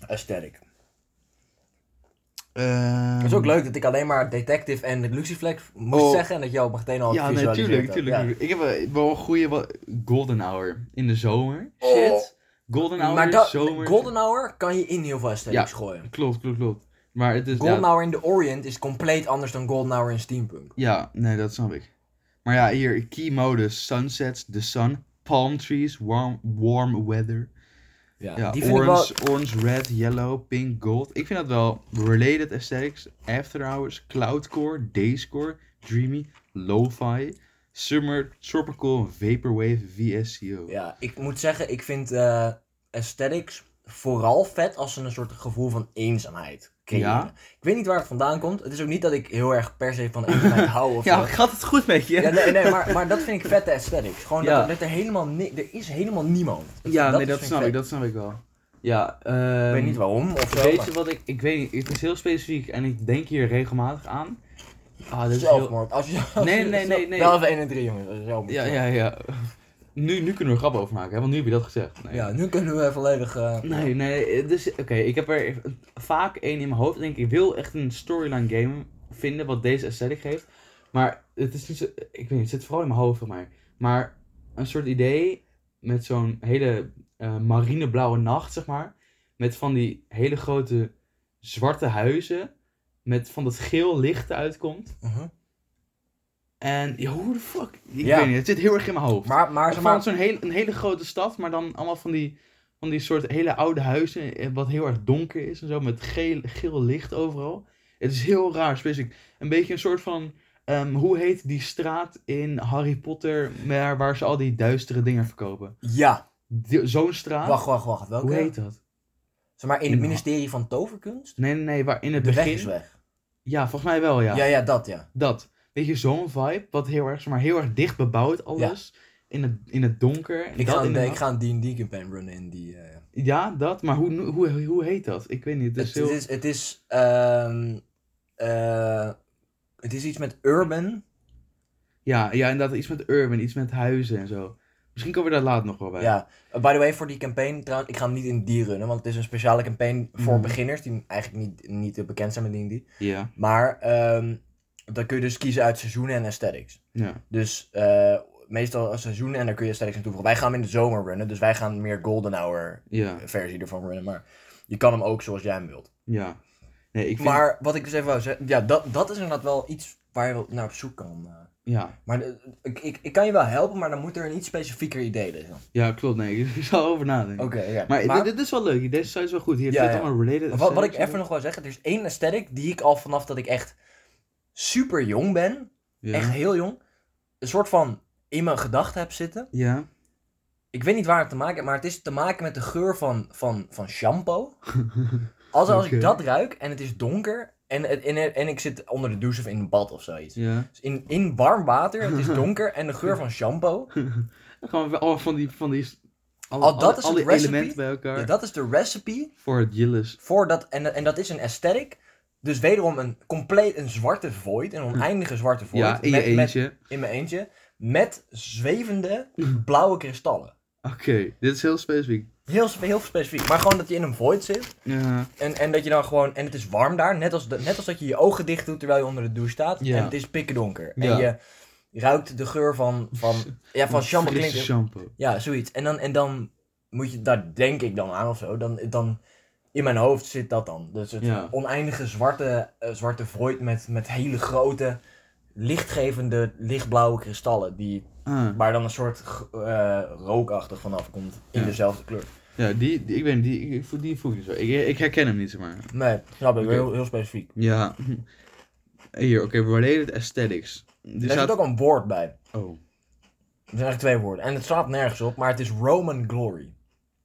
Aesthetic. Ehm, Het is ook leuk dat ik alleen maar detective en luxiflex moest Oh. zeggen en dat jou meteen al Ja, visualiseert natuurlijk, ook. natuurlijk. Ja. Ik heb wel- wel een goede... wa- Golden hour. In de zomer. Shit. Golden hour, Oh. Maar dat, zomer. golden hour kan je in heel veel aesthetics Ja. gooien. Klopt, klopt, klopt. Maar het is... Golden ja, hour in de Orient is compleet anders dan golden hour in steampunk. Ja, nee, dat snap ik. Maar ja, hier, key modus, sunsets, the sun, palm trees, warm, warm weather. Ja, Ja, die vind ik wel... orange, orange, red, yellow, pink, gold. Ik vind dat wel related aesthetics, after hours, cloudcore, dayscore, dreamy, lo-fi, summer, tropical, vaporwave, VSCO. Ja, ik moet zeggen, ik vind eh, aesthetics vooral vet als ze een soort gevoel van eenzaamheid creëren. Ja. Ik weet niet waar het vandaan komt. Het is ook niet dat ik heel erg per se van eenzaamheid hou of zo. gaat het goed met je? Ja, nee, nee maar, maar dat vind ik vette aesthetics. Gewoon dat, Ja. er- dat er helemaal ni- Er is helemaal niemand. Ja, nee, is- dat vind snap ik, vet. dat snap ik wel. Ja, Ik weet ehm, niet waarom of zo. Weet maar je wat ik, ik weet niet, het is heel specifiek en ik denk hier regelmatig aan. Ah, dit is heel, Zelfmoord. Als je, Nee, nee, nee, nee. Wel even 1 en 3, jongens. als je Zelfmoord. Ja, ja, ja. Nu, nu kunnen we er grap over maken, hè? want nu heb je dat gezegd. Nee, Ja, nu kunnen we volledig... eh, nee, nee dus oké, ik heb er vaak één in mijn hoofd. Ik denk, ik wil echt een storyline game vinden wat deze aesthetic geeft. Maar het is niet zo, ik weet niet, het zit vooral in mijn hoofd van mij. Maar een soort idee met zo'n hele eh, marineblauwe nacht, zeg maar. Met van die hele grote zwarte huizen. Met van dat geel licht uitkomt. Mhm. En ja, hoe de fuck? Ik Ja. weet niet, het zit heel erg in mijn hoofd. Maar, maar, Van zeg maar zo'n hele, een hele grote stad, maar dan allemaal van die, van die soort hele oude huizen, eh, wat heel erg donker is en zo, met geel, geel licht overal. Het is heel raar, specifiek. Een beetje een soort van, ehm, hoe heet die straat in Harry Potter, waar, waar ze al die duistere dingen verkopen? ja. Die- Zo'n straat? Wacht, wacht, wacht. Hoe Welke? heet dat? Zeg maar in het ministerie van Toverkunst? Nee, nee, nee, waar in het de weg begin... is weg. Ja, volgens mij wel, Ja. ja. ja, dat ja. Dat. Weet je, zo'n vibe, wat heel erg, zeg maar heel erg dicht bebouwd alles. In, het, in het donker. en Ik dat ga, een, inderdaad. eh, ik ga een D&D campaign runnen in die... eh, Ja, dat, maar hoe, hoe, hoe heet dat? Ik weet niet. Het is het, heel... het is... Het is, ehm, eh, het is iets met urban. Ja, ja, inderdaad, iets met urban, iets met huizen en zo. Misschien komen we daar later nog wel bij. Ja. Uh, by the way, voor die campaign trouwens, ik ga hem niet in die runnen, want het is een speciale campaign voor Mhm. beginners die eigenlijk niet, niet eh, bekend zijn met D&D. Ja, Maar ehm, dan kun je dus kiezen uit seizoenen en aesthetics. ja. Dus eh, meestal een seizoen en daar kun je aesthetics aan toevoegen. Wij gaan hem in de zomer runnen, dus wij gaan meer golden hour ja, versie ervan runnen. Maar je kan hem ook zoals jij hem wilt. ja. Nee, ik vind... Maar wat ik dus even wou zeggen, ja, dat, dat is inderdaad wel iets waar je wel naar op zoek kan. eh. Ja, Maar eh, ik, ik, ik kan je wel helpen, maar dan moet er een iets specifieker idee liggen. ja, klopt, nee, ik zal over nadenken. Oké, ja. Mm. Maar, dit- dit, is wel leuk, deze site is wel goed. Hier Ja, zit ja. allemaal related Wat, wat ik aesthetics even in. nog wil zeggen, er is één aesthetic die ik al vanaf dat ik echt super jong ben, Ja. echt heel jong, een soort van in mijn gedachten heb zitten. Ja. Ik weet niet waar het te maken heeft, maar het is te maken met de geur van, van, van shampoo. Als, als Oké. ik dat ruik en het is donker en, het- en, en ik zit onder de douche of in een bad of zoiets. ja. Dus in, in warm water, het is donker en de geur van shampoo. Dan gaan we al van die... Van die al, Al Oh, dat al- is al een die recipe? elementen bij elkaar. Ja, dat is de recipe Voor het Jillis. voor dat, en, en dat is een aesthetic. Dus wederom een compleet een zwarte void, een oneindige zwarte void. Ja, in je met- met- eentje. in mijn eentje. Met zwevende blauwe kristallen. Oké, dit is heel specifiek. Heel, spe- heel specifiek. Maar gewoon dat je in een void zit. Ja, En, en dat je dan gewoon. En het is warm daar. Net als, de- net als dat je je ogen dicht doet terwijl je onder de douche staat. Ja. En het is pikken donker. Ja. En je ruikt de geur van. van ja, van shampoo Frisse klinkt. shampoo. Ja, zoiets. En dan, en dan moet je. Daar denk ik dan aan of zo. Dan. dan in mijn hoofd zit dat dan. Dus het Ja. oneindige zwarte, eh, zwarte void met, met hele grote, lichtgevende, lichtblauwe kristallen. Die Ah. Waar dan een soort g- eh, rookachtig vanaf komt in Ja. dezelfde kleur. Ja, die, die- ik weet niet, die, ik, voel- die voel ik niet zo. Ik, ik herken hem niet, zeg maar. Nee, snap ik. Oké. Heel, heel specifiek. Ja. Hier, oké, related aesthetics. Die Er zit ook een woord bij. Oh. Er zijn eigenlijk twee woorden. En het slaat nergens op, maar het is Roman Glory.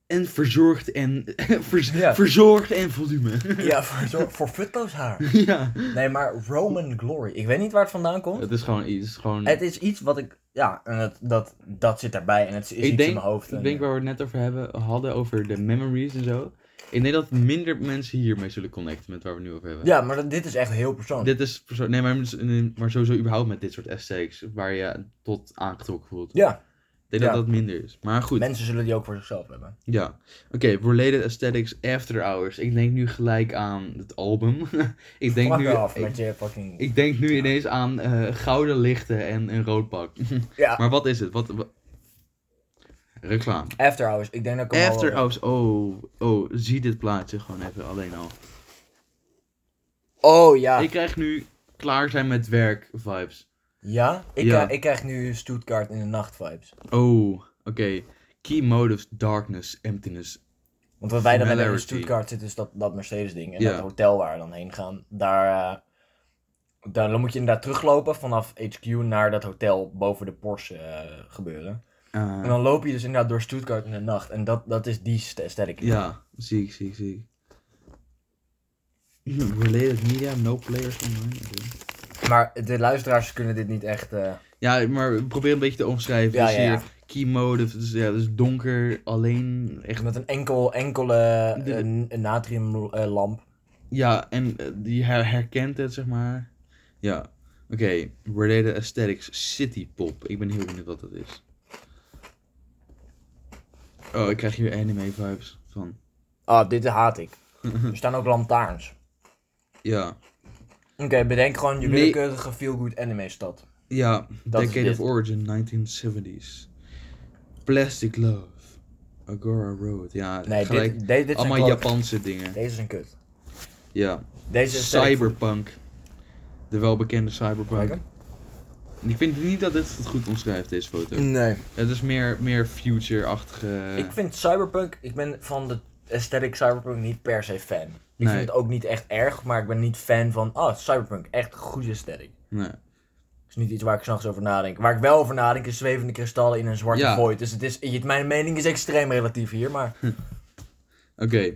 En verzorgd en... verz- Ja. Verzorgd en volume. Ja, voor, zo- voor futloos haar. ja. Nee, maar Roman Glory. Ik weet niet waar het vandaan komt. Het is gewoon iets, gewoon... Het is iets wat ik... Ja, en het, dat, dat zit daarbij. En eh, het is iets ik denk, in mijn hoofd. ik denk waar we het net over hebben, hadden, over de memories en zo. Ik denk dat minder mensen hiermee zullen connecten met waar we het nu over hebben. Ja, maar dat- dit is echt heel persoonlijk. Dit is perso- Nee, maar, maar sowieso überhaupt met dit soort aesthetics, waar je tot aangetrokken voelt. Ja, Ik denk Ja. dat dat minder is. Maar goed. mensen zullen die ook voor zichzelf hebben. Ja, oké, related aesthetics after hours. Ik denk nu gelijk aan het album. ik, denk Fuck nu, af ik, met je fucking... ik denk nu ineens aan eh, gouden lichten en een rood pak. ja, maar wat is het? Wat, wa- Reclame. After Hours. Ik denk dat ik hem al- After hours, oh, oh, zie dit plaatje gewoon even alleen al. Oh ja. Ik krijg nu klaar zijn met werk vibes. Ja, ik, Ja. eh, ik krijg nu Stuttgart in de nacht vibes. Oh, oké. Key motives, darkness, emptiness. Want wat wij dan hebben in Familiarity. Stuttgart zit is dat, dat Mercedes ding. En Ja. dat hotel waar we dan heen gaan. Daar, eh, daar, dan moet je inderdaad teruglopen vanaf HQ naar dat hotel boven de Porsche eh, gebeuren. Eh, En dan loop je dus inderdaad door Stuttgart in de nacht. En dat, dat is die st- aesthetic. ja, zie ik, zie ik, zie ik. Hm, Related media, no players online. oké. Maar de luisteraars kunnen dit niet echt... eh, Ja, maar probeer een beetje te omschrijven. Ja, dus ja, ja. hier, key mode, dus, ja, dus donker, alleen, echt. dus met een enkel, enkele eh, De- natriumlamp. Ja, en eh, die her- herkent het, zeg maar. Ja, oké. Related aesthetics, city pop. Ik ben heel benieuwd wat dat is. Oh, ik krijg hier anime vibes van. ah, dit haat ik. er staan ook lantaarns. Ja, Oké, bedenk gewoon je Nee. willekeurige feel-good anime stad. ja. Dat is Decade of dit. Origin, 1970s. Plastic Love. Agora Road. Ja, Nee, gelijk. dit, dit, dit zijn allemaal klote- Japanse dingen. Deze is een kut. Ja. Deze is Cyberpunk. De welbekende Kijk cyberpunk. hem. En Ik vind niet dat dit het goed omschrijft, deze foto. Nee. Het is meer, meer future-achtige... Mm. Ik vind cyberpunk, ik ben van de aesthetic cyberpunk niet per se fan. Nee. Ik vind het ook niet echt erg, maar ik ben niet fan van, ah, cyberpunk, echt goede aesthetic. Nee. is niet iets waar ik s'nachts over nadenk. Waar ik wel over nadenk is zwevende kristallen in een zwarte Ja. Hm. void. Dus het is, je- mijn mening is extreem relatief hier, maar... Oké.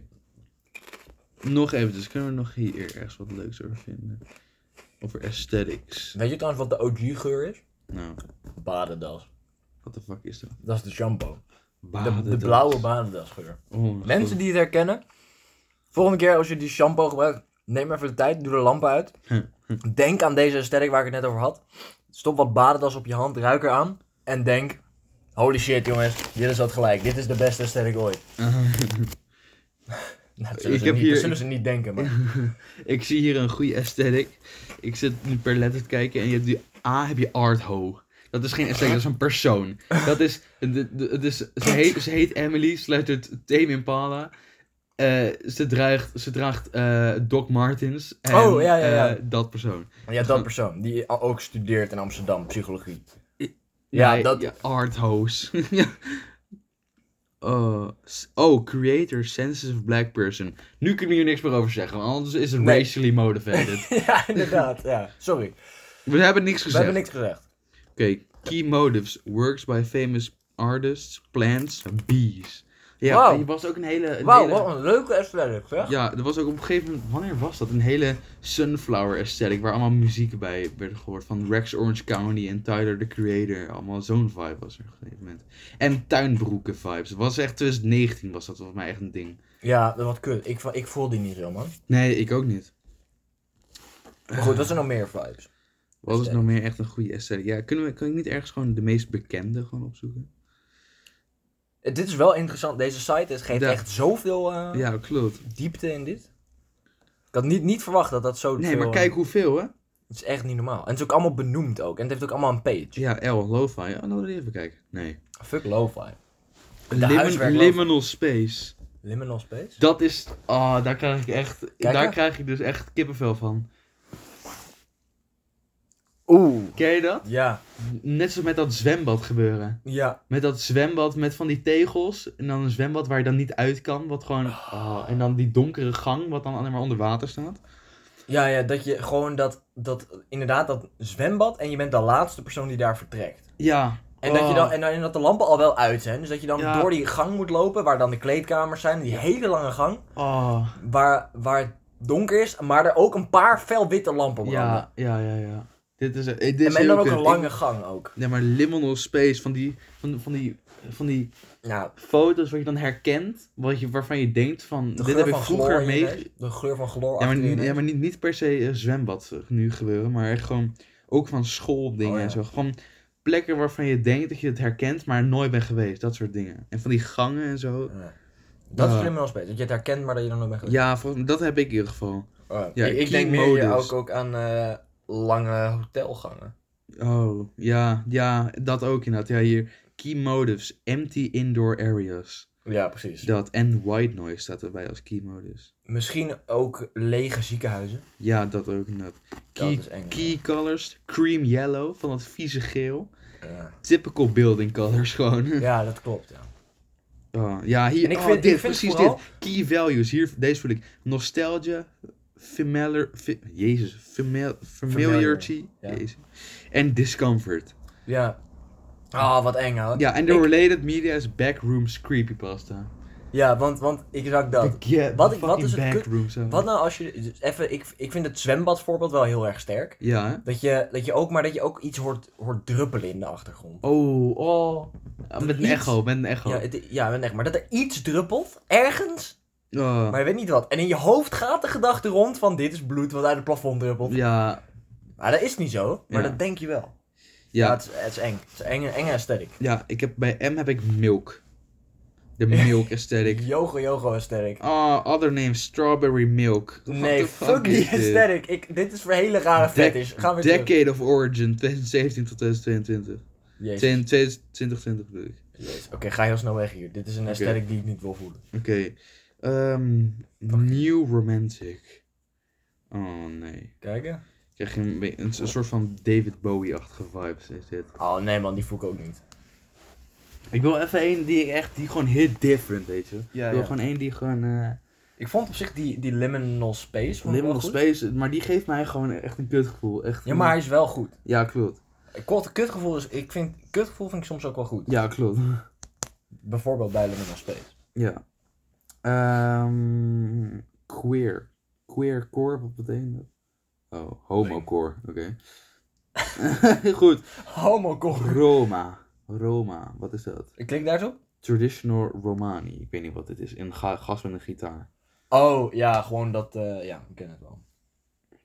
Nog eventjes. Kunnen we nog hier ergens wat leuks over vinden? Over aesthetics. Weet je trouwens wat de OG-geur is? Nou, Badendas. what the fuck is dat? Dat is de shampoo. De, de Badendas. blauwe badendasgeur. Oh, mijn Mensen god. die het herkennen, volgende keer als je die shampoo gebruikt, neem even de tijd, doe de lamp uit. Denk aan deze aesthetic waar ik het net over had. Stop wat badendas op je hand, ruik er aan. En denk, holy shit jongens, dit is wat gelijk. Dit is de beste aesthetic ooit. Nou, dat zullen, Ik ze, heb niet, hier- dat zullen ze niet denken, maar... Ik zie hier een goede aesthetic. Ik zit nu per letter te kijken en je hebt die A heb je Artho. Dat is geen aesthetic, dat is een persoon. Dat is, de- de- het is ze, heet, ze heet Emily, ze luistert Tame Impala. Eh, ze draagt, ze draagt eh, Doc Martens en Oh, ja, ja, ja. eh, dat persoon. Ja, dat persoon, die a- ook studeert in Amsterdam, psychologie. Ja, Ja, dat- dat... arthouse. ja. Oh, s- oh, creator, sensitive black person. Nu kunnen we hier niks meer over zeggen, want anders is het Nee. racially motivated. ja, inderdaad, ja. Sorry, we hebben niks we gezegd. hebben niks gezegd. Oké, key motives. Works by famous artists, plants, bees. Ja, Wauw. er was ook een hele... Een Wauw, hele- wat een leuke aesthetic, zeg. Ja, er was ook op een gegeven moment... Wanneer was dat? Een hele sunflower aesthetic waar allemaal muziek bij werd gehoord. Van Rex Orange County en Tyler, the Creator. Allemaal zo'n vibe was er op een gegeven moment. En tuinbroeken vibes. Het was echt 2019 was dat volgens mij echt een ding. Ja, dat was kut. Ik, vo- ik voel die niet zo, man. Nee, ik ook niet. Maar goed, wat zijn nog meer vibes? Wat is nog meer echt een goede aesthetic? Ja, kunnen we, kan ik niet ergens gewoon de meest bekende gewoon opzoeken? Eh, Dit is wel interessant. Deze site het geeft Ja. echt zoveel eh, Ja, klopt. diepte in dit. Ik had niet, niet verwacht dat dat zo Nee, veel- maar kijk hoeveel, hè? Het is echt niet normaal. En het is ook allemaal benoemd ook. En het heeft ook allemaal een page. Ja, L, lo-fi. Ja, nou, laten we even kijken. Nee. Fuck lo-fi. Lim- huiswerk lo-fi. liminal space. Liminal space? Dat is... Ah, daar krijg ik echt... Kijk, hè? daar krijg ik dus echt kippenvel van. Oeh. Ken je dat? Ja, Net zoals met dat zwembad gebeuren. ja. Met dat zwembad met van die tegels. En dan een zwembad waar je dan niet uit kan. Wat gewoon... ah, en dan die donkere gang wat dan alleen maar onder water staat. Ja, ja, dat je gewoon dat, dat, inderdaad, dat zwembad en je bent de laatste persoon die daar vertrekt. Ja. En, dat, je Oh. dan, en, dan- en dat de lampen al wel uit zijn, dus dat je dan Ja. door die gang moet lopen, waar dan de kleedkamers zijn, die hele lange gang, Ah. waar, waar het donker is, maar er ook een paar fel witte lampen branden. Ja, ja, ja, ja. Dit is... eh, Dit En, is en heel dan ook kut. een lange gang ook. Ik- Nee, maar liminal space van die... Van, van die... Van die Nou, foto's wat je dan herkent, wat je, waarvan je denkt van, de dit geur heb ik van chloor vroeger in mee... je neus, De geur van chloor Ja, maar, achter je niet- ja, neus. maar niet, niet per se eh, zwembad eh, nu gebeuren, maar echt gewoon ook van schooldingen Oh, ja. en zo. Gewoon plekken waarvan je denkt dat je het herkent, maar nooit bent geweest. Dat soort dingen. En van die gangen en zo. Ja. Dat is Ja. criminal space, dat je het herkent, maar dat je er nooit bent geweest. Ja, volgens- dat heb ik in ieder geval. Oh, Ja, ik, ik key denk meer hier modus. ook, ook aan eh, lange hotelgangen. Oh, ja, ja, dat ook inderdaad. Ja, hier. Key motives, empty indoor areas. Ja, precies. Dat en white noise staat erbij als key motives. Misschien ook lege ziekenhuizen. Ja, dat ook inderdaad. Dat Key, is eng. key colors, cream yellow van dat vieze geel. Ja. Typical building colors gewoon. Ja, dat klopt. Ja. Oh, ja, hier, En ik oh, vind- ik dit, vind precies vooral- dit. Key values, hier, deze voel ik. Nostalgia, familiar, fi- jezus, famil- familiarity, ja. jezus. En discomfort. Ja. Ah, wat eng hoor. Ja, en de Ik- related media is backrooms creepypasta. Ja, want, want ik zag dat. Get Wat ik- wat is het kut- backrooms. hè? Wat nou als je. dus Even, ik, ik vind het zwembadvoorbeeld wel heel erg sterk. Ja, hè? Dat je, dat je ook, maar dat je ook iets hoort, hoort druppelen in de achtergrond. Oh, oh. Ah, Met een iets- echo, met een echo. Ja, het, ja, echt. Maar dat er iets druppelt, ergens, Oh, maar je weet niet wat. En in je hoofd gaat de gedachte rond van dit is bloed wat uit het plafond druppelt. ja, Maar dat is niet zo, maar Ja. dat denk je wel. Ja, ja, het, is, het is eng. Het is een enge, enge aesthetic. ja, ik heb, bij M heb ik milk. De milk aesthetic. Yogo yogo aesthetic. Ah, other name, strawberry milk. What Nee, the fuck die is dit? aesthetic. Ik, dit is voor hele rare Dec- fetish. Gaan we Decade of Origin, 2017 tot 2022. Jezus. 20, 2020 bedoel ik. Jezus. Oké, ga heel snel weg hier. Dit is een aesthetic die ik niet wil voelen. Oké. ehm, New Romantic. Oh nee. Kijken? Ik krijg een, be- een, een soort van David Bowie-achtige vibes is dit. Oh nee man, die voel ik ook niet. Ik wil even één die ik echt, die gewoon hit different, weet je. Ja, ik wil ja. gewoon één die gewoon, eh Ik vond op zich die, die Liminal Space vond ik wel Liminal goed. Space, maar die geeft mij gewoon echt een kutgevoel. Echt Ja, maar hij is wel goed. Ja, klopt. Kort, kutgevoel is, ik vind, kutgevoel vind ik soms ook wel goed. Ja, klopt. Bijvoorbeeld bij Liminal Space. Ja. Ehm queer. Queer core, wat betekent dat? Oh, homocore, oké. Goed. Oh Homocore. Roma. Roma, wat is dat? Ik klik daar eens op. Traditional Romani. Ik weet niet wat dit is. Een ga gast met een gitaar. Oh, ja, gewoon dat, eh, ja, we kennen het wel.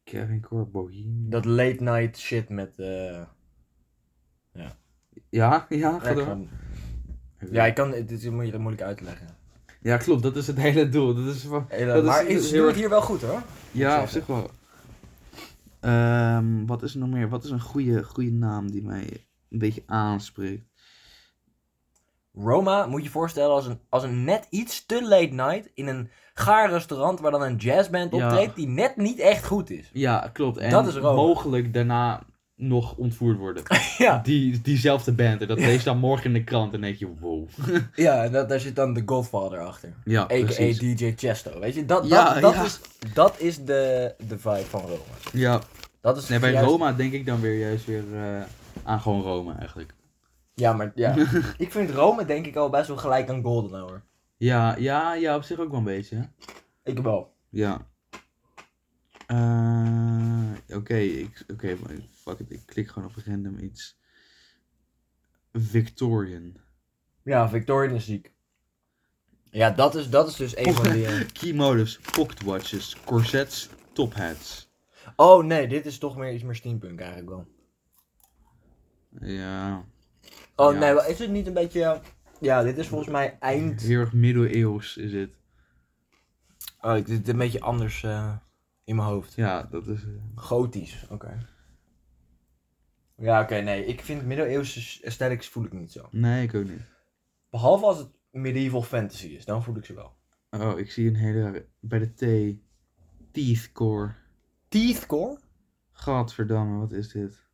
Kevin Core, Bohemian. Dat late night shit met, eh, Ja, ja, ga door. Ja, ik kan, dit is moeilijk, moeilijk uit te leggen. Ja, klopt. Dat is het hele doel. Dat is van... Hele- Dat is- Eh, maar dat is ze heel doen het erg- hier wel goed hoor. Ja, op zeggen. zich wel. Ehm, wat is er nog meer? Wat is een goede, goede naam die mij een beetje aanspreekt? Roma moet je voorstellen als een, als een net iets te late night in een gaar restaurant waar dan een jazzband Ja. optreedt die net niet echt goed is. Ja, klopt. En Dat is Rome. mogelijk daarna nog ontvoerd worden. Ja. Die, diezelfde band. En dat lees dan morgen in de krant en denk je, wow. Ja, en dat, daar zit dan The Godfather achter. Ja, A.k.a. precies. DJ Chesto, weet je? Dat, dat, Ja, dat ja. is, dat is de, de vibe van Roma. Ja. Dat is Nee, bij juist- Roma denk ik dan weer juist weer eh, aan gewoon Rome eigenlijk. Ja, maar ja. ik vind Rome denk ik al best wel gelijk aan Golden Hour. Ja, ja, ja, op zich ook wel een beetje. hè? Ik wel. Ja. Eh, Oké, ik- oké, fuck it. Ik klik gewoon op random iets. Victorian. Ja, Victorian is ziek. Ja, dat is, dat is dus een van die... eh, Key motives, pocket watches, corsets, top hats. Oh nee, dit is toch meer iets meer steampunk eigenlijk wel. Ja, Oh Ja. nee, wel, is het niet een beetje... eh, Ja, dit is volgens mij eind... heel erg middeleeuws is het. Oh, ik zit een beetje anders eh, in mijn hoofd. Ja, dat is... eh, Gotisch, oké. Ja, oké, nee. Ik vind middeleeuwse aesthetics voel ik niet zo. Nee, ik ook niet. Behalve als het medieval fantasy is, dan voel ik ze wel. Oh, ik zie een hele rare... Bij de T. Teethcore. Teethcore? Gadverdamme, wat is dit?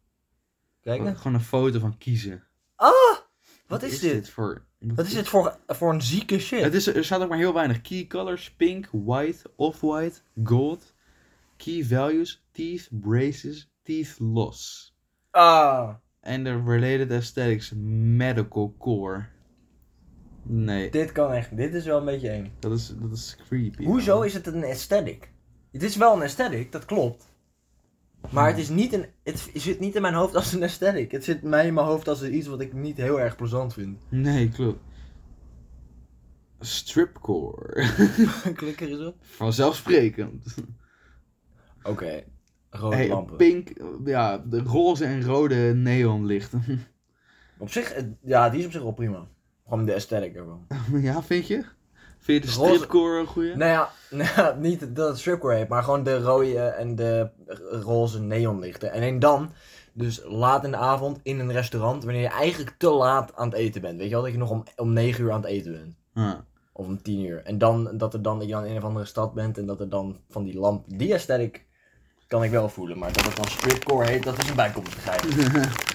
Kijk Wat- eens. gewoon een foto van kiezen. Ah! Wat is dit? dit? voor... Wat is dit voor, voor een zieke shit? Het is, er staat ook maar heel weinig. Key colors, pink, white, off-white, gold. Key values, teeth, braces, teeth loss. Ah! En de related aesthetics, medical core. Nee, Dit kan echt. Dit is wel een beetje eng. dat is, dat is creepy. Hoezo is het een aesthetic? Het is wel een aesthetic, dat klopt. Maar het is niet een... Het zit niet in mijn hoofd als een aesthetic. Het zit mij in mijn hoofd als iets wat ik niet heel erg plezant vind. Nee, klopt. Stripcore. Klik er eens op. Vanzelfsprekend. Oké. Rode Hey, lampen. pink, ja, de roze en rode neonlichten. Op zich, eh, ja, die is op zich wel prima. Gewoon de aesthetic ervan. ja, vind je? Vind je de Roze- stripcore een goeie? nou, ja, nou ja, niet dat het stripcore heet, maar gewoon de rode en de roze neonlichten. En alleen dan, dus laat in de avond in een restaurant, wanneer je eigenlijk te laat aan het eten bent. Weet je wel, dat je nog om, om 9 uur aan het eten bent. Ah, Of om 10 uur. En dan dat, er dan dat je dan in een of andere stad bent en dat er dan van die lamp, die aesthetic kan ik wel voelen. Maar dat het dan stripcore heet, dat is een bijkomstigheid.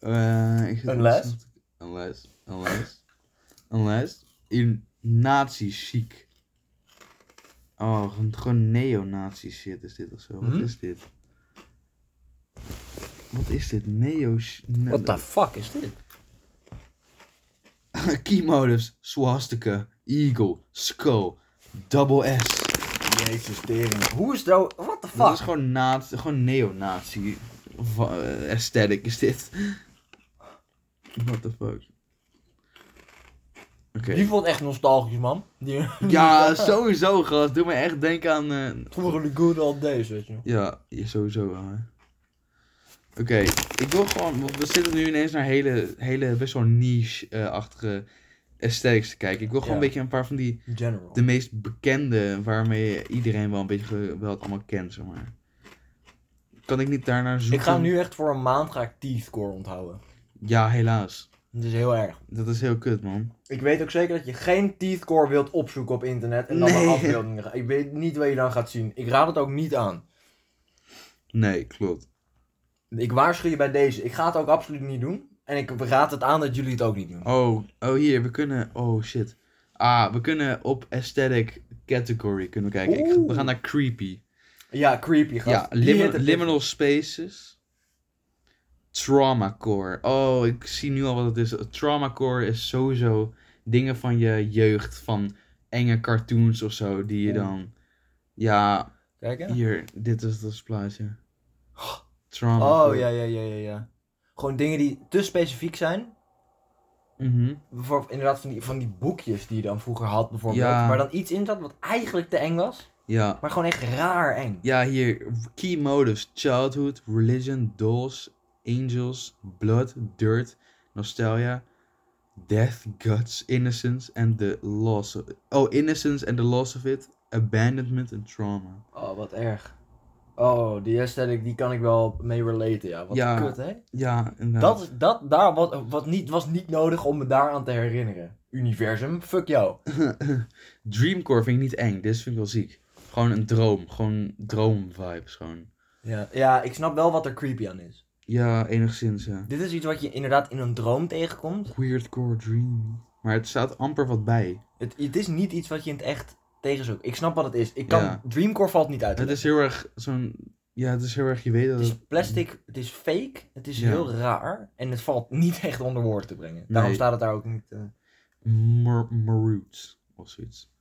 Eh, ik zit Unless? op- Unless. Unless. Unless. In nazi-chic. Oh, gewoon- gewoon neonazi shit is dit of zo. Wat Hm? is dit? Wat is dit? Neo... What the fuck is dit? Key motives. Swastika. Eagle. Skull. Double S. Jezus tering. Hoe is dat? What the Dat fuck? is gewoon, naat, gewoon neonazi va- eh, aesthetic is dit. What the fuck. Oké. Die voelt echt nostalgisch, man. Die Ja, sowieso, gast. Doe me echt denken aan. eh, vroeger de good old days, weet je nog. Ja, ja, sowieso wel, hè. Oké, ik wil gewoon. Want we zitten nu ineens naar hele, hele best wel niche-achtige aesthetics te kijken. Ik wil gewoon Ja. een beetje een paar van die. General. De meest bekende, waarmee iedereen wel een beetje ge- wel het allemaal kent, zeg maar. Kan ik niet daarnaar zoeken? Ik ga nu echt voor een maand ga ik Teethcore onthouden. Ja, helaas. Dat is heel erg. Dat is heel kut, man. Ik weet ook zeker dat je geen teethcore wilt opzoeken op internet en dan Nee. naar afbeeldingen gaat. Ik weet niet wat je dan gaat zien. Ik raad het ook niet aan. Nee, klopt. Ik waarschuw je bij deze. Ik ga het ook absoluut niet doen. En ik raad het aan dat jullie het ook niet doen. Oh, oh hier, we kunnen... Oh, shit. Ah, we kunnen op aesthetic category kunnen we kijken. Ik ga- we Oeh. gaan naar creepy. Ja, creepy gast. Ja, Die lim- hit het liminal spaces. Trauma core. Oh, ik zie nu al wat het is. Trauma core is sowieso dingen van je jeugd, van enge cartoons of zo, die je Oeh. dan. Ja, Kijk hè? hier, dit is het plaatje. Trauma. Oh core. ja, ja, ja, ja, ja. Gewoon dingen die te specifiek zijn. Mhm. Bijvoorbeeld inderdaad van die, van die boekjes die je dan vroeger had bijvoorbeeld. Ja. Waar dan iets in zat wat eigenlijk te eng was. ja. Maar gewoon echt raar eng. ja, hier. Key motives: childhood, religion, dolls, angels, blood, dirt, nostalgia. Death, Guts, Innocence and the Loss of Oh, Innocence and the Loss of It, Abandonment and Trauma. Oh, wat erg. Oh, die aesthetic die kan ik wel mee relaten, ja. Wat Ja. kut, hè? Ja, inderdaad. Dat, is- dat daar wat, wat niet, was niet nodig om me daaraan te herinneren. Universum, fuck jou. Dreamcore vind ik niet eng, dit vind ik wel ziek. Gewoon een droom, gewoon droom-vibes gewoon. Ja. ja, ik snap wel wat er creepy aan is. Ja, enigszins ja. Dit is iets wat je inderdaad in een droom tegenkomt. Weirdcore dream. Maar het staat amper wat bij. Het, het is niet iets wat je in het echt tegenzoekt. Ik snap wat het is. Ik kan, Ja. Dreamcore valt niet uit. te Het is leggen. heel erg zo'n... Ja, het is heel erg, je weet dat het het... is plastic, het is fake, het is Ja. heel raar. En het valt niet echt onder woorden te brengen. Daarom Nee. staat het daar ook niet. eh. Mar- Maroot of zoiets.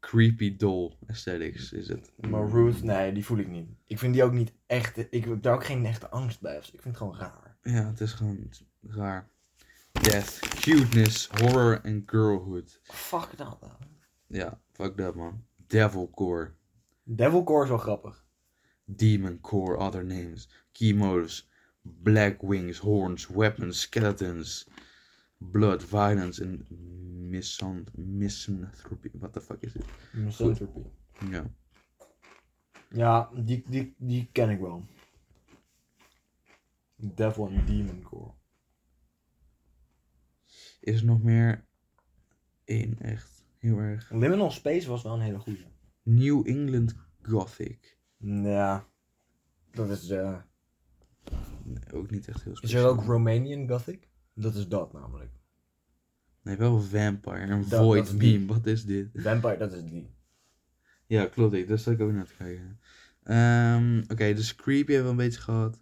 Creepy doll aesthetics is het. Maar Ruth, nee, die voel ik niet. Ik vind die ook niet echt. Ik heb daar ook geen echte angst bij. of zo. Ik vind het gewoon raar. Ja, het is gewoon raar. Death, cuteness, horror en girlhood. Fuck dat. nou. Ja, fuck dat man. Devilcore, Devilcore is wel grappig. demoncore, other names, key motives, black wings, horns, weapons, skeletons, blood, violence en misant- misanthropy. What the fuck is dit? Misanthropy. Ja. Ja, die, die, die ken ik wel. Devil and Demon Core. Is er nog meer? Eén, echt. Heel erg. Liminal Space was wel een hele goede. New England Gothic. Ja. Dat is. eh Nee, ook niet echt heel is er speciaal. ook Romanian Gothic? Dat is dat namelijk. Nee, wel vampire. Een Dat- void dat is die. beam. Wat is dit? Vampire, dat is die. Ja, klopt. Ik. Dat zat ik ook naar te kijken. Ehm, Oké, dus creepy hebben we een beetje gehad.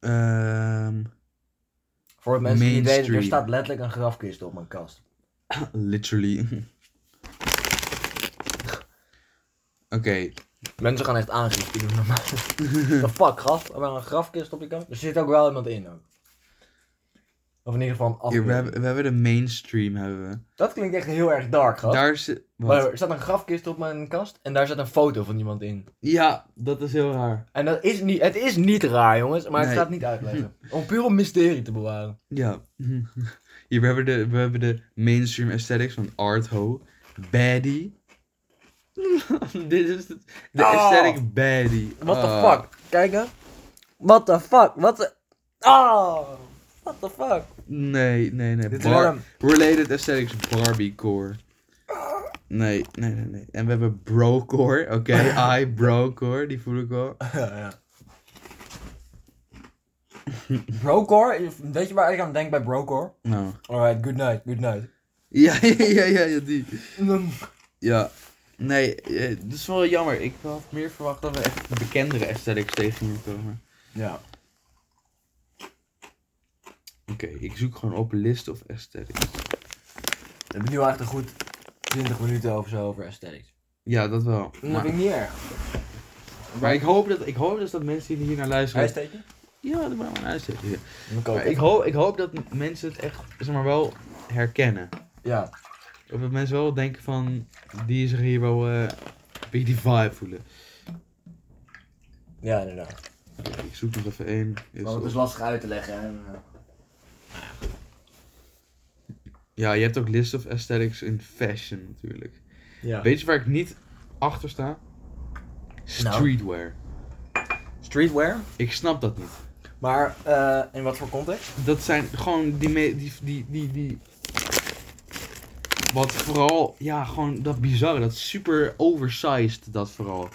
Ehm, Voor het mensen die niet weten, er Mainstream. staat letterlijk een grafkist op mijn kast. literally. Oké, Mensen gaan echt aangifte doen normaal. The fuck, gast? Er een grafkist op je kast? Er zit ook wel iemand in ook. Of in ieder geval een hier, we, afbeelding. hebben, we hebben de mainstream. Hebben we. Dat klinkt echt heel erg dark, gast. Daar zit. wat? Maar er staat een grafkist op mijn kast en daar zit een foto van iemand in. Ja, dat is heel raar. En dat is niet, het is niet raar, jongens, maar Nee. ik ga het niet uitleggen. Om puur om mysterie te bewaren. Ja. Hier, we hebben de, we hebben de mainstream aesthetics van Art Ho. Baddie. Dit is het, de Ah. aesthetic baddie. What the Ah. fuck? Kijk hè. What the fuck? Wat de... Oh! What the fuck? Nee, nee, nee. Dit is Bar- wel een- related aesthetics Barbiecore. Nee, nee, nee, nee. En we hebben Brocore. Oké, I Brocore. Die voel ik wel. ja, ja. Brocore? Weet je waar ik aan denk bij Brocore? Nou. Alright, good night, good night. Ja, ja, ja, ja, ja, die. Mm. Ja. Nee, eh, dat is wel jammer. Ik had meer verwacht dat we echt bekendere aesthetics tegen gingen komen. Ja. Oké, ik zoek gewoon op list of aesthetics. We hebben nu echt een goed 20 minuten over zo over aesthetics. Ja, dat wel. dat Maar, vind ik niet erg. Nou, maar ik, hoop dat, ik hoop dus dat mensen die hier naar luisteren... Huisteetje? Ja, dat moet maar een uitzetten. ja. Ik Maar ik, hoop, ik hoop dat m- mensen het echt, zeg maar, wel herkennen. Ja. Of dat mensen wel denken van, die zich hier wel eh, een beetje die vibe voelen. Ja, inderdaad. Oké, ik zoek nog even één. Is Maar het op- Oh, is lastig uit te leggen. hè. Ja, je hebt ook list of aesthetics in fashion natuurlijk. Ja. Weet je waar ik niet achter Nou. sta? Streetwear. Streetwear? Ik snap dat niet. Maar eh, in wat voor context? Dat zijn gewoon die, me- die, die, die, die... Wat vooral, ja, gewoon dat bizarre, dat super oversized, dat vooral.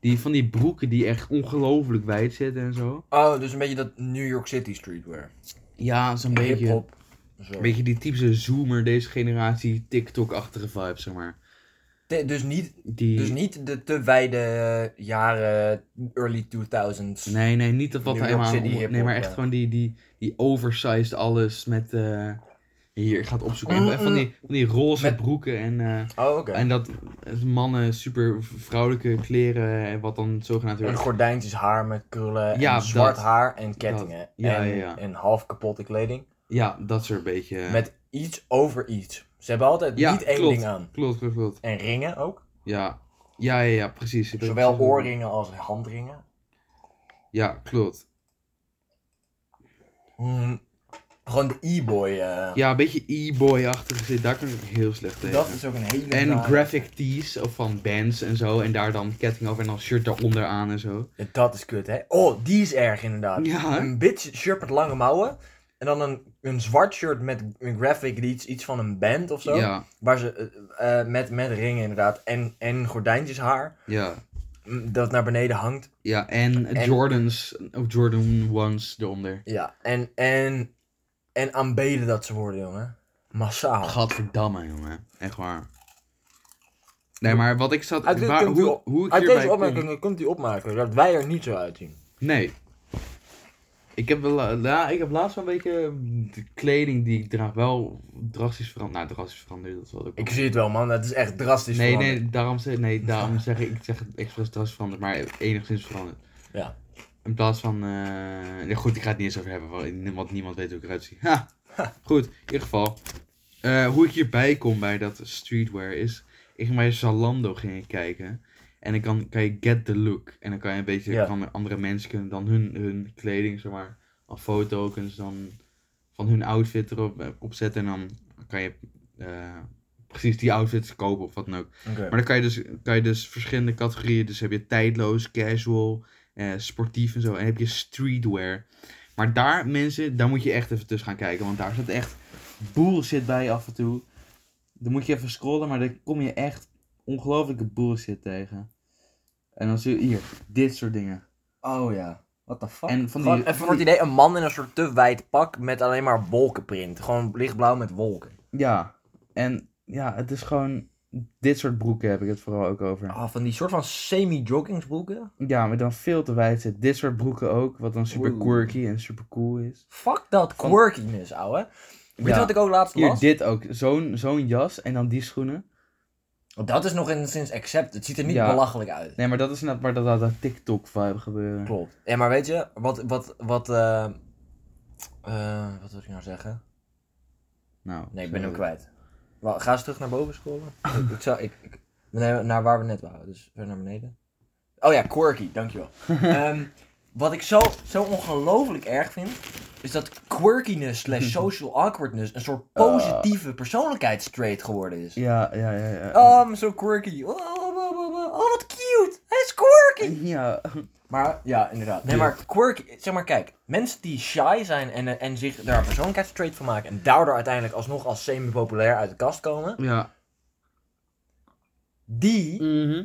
Die van die broeken die echt ongelooflijk wijd zitten en zo. Oh, dus een beetje dat New York City streetwear. Ja, zo'n beetje. Hip-hop. Zo. Een beetje die typische zoomer, deze generatie, TikTok-achtige vibe, zeg maar. Te- dus, niet, Die... dus niet de te wijde eh, jaren early 2000s. Nee, nee, niet dat wat New hij York helemaal City om- hip-hop, Nee, maar echt ja. gewoon die, die, die oversized alles met... eh, Hier, ik ga het opzoeken. Mm, Van, die, van die roze Met- broeken en... eh, Oh, oké. En dat mannen super vrouwelijke kleren, en wat dan zogenaamd En weer... gordijntjes haar met krullen. Ja, en zwart dat. haar en kettingen. Ja, en, ja, ja. en half kapotte kleding. Ja, dat soort beetje... Met iets over iets. Ze hebben altijd Ja, niet één klopt. ding aan. Klopt, klopt, klopt. En ringen ook. Ja. Ja, ja, ja, precies. Ik weet Zowel precies wat- oorringen als handringen. Ja, klopt. Hmm. Gewoon de e-boy. eh. Ja, een beetje e-boy-achtig zit, daar kan ik heel slecht tegen. dat is ook een hele. En nare- graphic tees of van bands en zo. En daar dan ketting over en dan shirt daaronder aan en zo. Ja, Dat is kut, hè? Oh, die is erg inderdaad. Ja. Een bitch shirt met lange mouwen. En dan een, een zwart shirt met een graphic iets, iets van een band of zo. Ja, Waar ze eh, eh, met, met ringen inderdaad. En, en gordijntjes haar. Mm, ja. Dat naar beneden hangt. Ja, en, En- Jordans, of Jordan ones eronder. Ja. En, en, en aanbeden dat ze worden, jongen. Massaal. Gadverdamme, jongen. Echt waar. Nee, maar wat ik zat... Uit dit waar- komt u hoe, op- hoe ik Uit hierbij deze kom- opmerking komt u opmaken dat wij er niet zo uitzien. Nee. Ik heb, wel, eh, ja, ik heb laatst wel een beetje ehm, de kleding die ik draag wel drastisch veranderd. Nou, drastisch veranderd, dat is wel ook. Ik zie het wel, man. Dat is echt drastisch nee, veranderd. nee, daarom, zeg- nee, daarom zeg ik, ik zeg het expres drastisch veranderd, maar enigszins veranderd. Ja. In plaats van. eh, ja, goed, ik ga het niet eens over hebben, want- want niemand weet hoe ik eruit zie. Ha! Goed, in ieder geval. eh, hoe ik hierbij kom bij dat streetwear is. Ik ging bij Zalando ging ik kijken. En dan kan, kan je get the look. En dan kan je een beetje. Ja. Kan andere mensen kunnen dan hun, hun kleding, zeg maar. Of foto kunnen ze dan van hun outfit erop eh, opzetten. En dan kan je eh, precies die outfits kopen of wat dan ook. Oké. Maar dan kan je dus, kan je dus verschillende categorieën. Dus heb je tijdloos, casual, eh, sportief en zo. En heb je streetwear. Maar daar, mensen, daar moet je echt even tussen gaan kijken. Want daar zit echt bullshit bij af en toe. Dan moet je even scrollen, maar dan kom je echt ongelooflijke bullshit tegen. En dan zie je hier, dit soort dingen. Oh ja. What the fuck? En van die, Gewoon even van voor het die- idee, een man in een soort te wijd pak met alleen maar wolkenprint. Gewoon lichtblauw met wolken. Ja. En ja, het is gewoon... Dit soort broeken heb ik het vooral ook over. Ah, van die soort van semi-joggingsbroeken. Ja, maar dan veel te wijd zit. Dit soort broeken ook, wat dan super Oeh. quirky en super cool is. Fuck dat quirkiness, ouwe. Weet Ja. je wat ik ook laatst Hier, las? dit ook. Zo'n zo'n jas en dan die schoenen. Dat is nog enigszins accept. Het ziet er niet Ja. belachelijk uit. Nee, maar dat is net waar dat, dat, dat TikTok-vibe gebeuren. Klopt. Ja, maar weet je, wat, wat, wat, eh, eh, wat wil ik nou zeggen? Nou, Nee, ik ben zo. hem kwijt. Wel, ga eens terug naar boven scrollen. ik, ik zou, ik, ik- nee, naar waar we net waren, dus weer naar beneden. Oh ja, quirky, dankjewel. Ehm, wat ik zo, zo ongelooflijk erg vind, is dat quirkiness slash social awkwardness een soort positieve persoonlijkheidstrait geworden is. Ja, ja, ja. ja. Oh, I'm so quirky. Oh, oh, oh, oh, oh, oh, wat cute. Hij is quirky. Ja. Maar ja, inderdaad. Nee, Ja. maar quirky, zeg maar kijk, mensen die shy zijn en, eh, en zich daar een persoonlijkheidstrait van maken en daardoor uiteindelijk alsnog als semi-populair uit de kast komen, Ja. die, Mhm.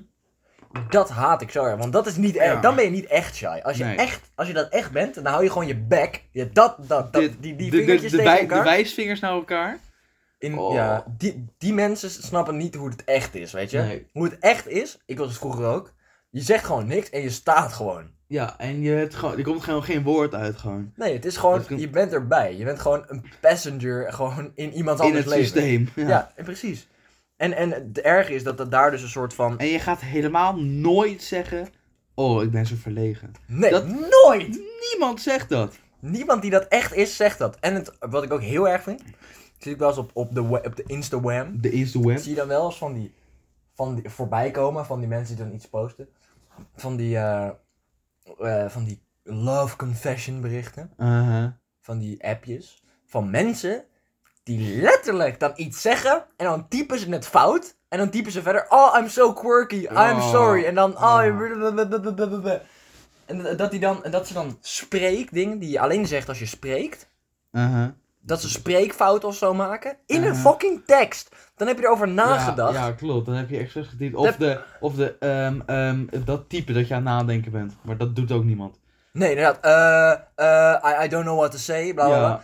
dat haat ik zo erg. Want dat is niet erg. Ja. Dan ben je niet echt shy. Als je, Nee. echt, als je dat echt bent, dan hou je gewoon je bek. Ja, dat, dat, dat, Dit- die, die de- de, vingertjes de, tegen wij- elkaar. de wijsvingers naar elkaar. In, Oh. ja, die, die mensen snappen niet hoe het echt is, weet je? Nee. Hoe het echt is, ik was het vroeger ook. Je zegt gewoon niks en je staat gewoon. Ja, en je hebt gewoon, er komt gewoon geen woord uit gewoon. Nee, het is gewoon, Dat kan- je bent erbij. Je bent gewoon een passenger gewoon in iemands In anders het leven. systeem. Ja. Ja, en precies. En, en het erge is dat, dat daar dus een soort van... En je gaat helemaal nooit zeggen... Oh, ik ben zo verlegen. Nee, dat- nooit! Niemand zegt dat. Niemand die dat echt is, zegt dat. En het, wat ik ook heel erg vind, zie ik wel eens op, op, de, we- op de Instagram. De Instagram. Zie je dan wel eens van die, van die voorbij komen, van die mensen die dan iets posten. Van die, eh, eh, van die love confession berichten. Uh-huh. Van die appjes. Van mensen die letterlijk dan iets zeggen en dan typen ze het fout. En dan typen ze verder, oh I'm so quirky, I'm Oh. sorry. En dan, oh... Oh. blablabla. En dat, die dan, en dat ze dan spreekdingen die je alleen zegt als je spreekt. Uh-huh. Dat ze spreekfouten of zo maken. In een Ja. fucking tekst. Dan heb je erover nagedacht. Ja, ja, klopt. Dan heb je expres getypt. Of, Dat- de, of de, ehm, ehm, dat type dat je aan het nadenken bent. Maar dat doet ook niemand. Nee, inderdaad. eh eh, I, I don't know what to say. Bla bla bla. Ja,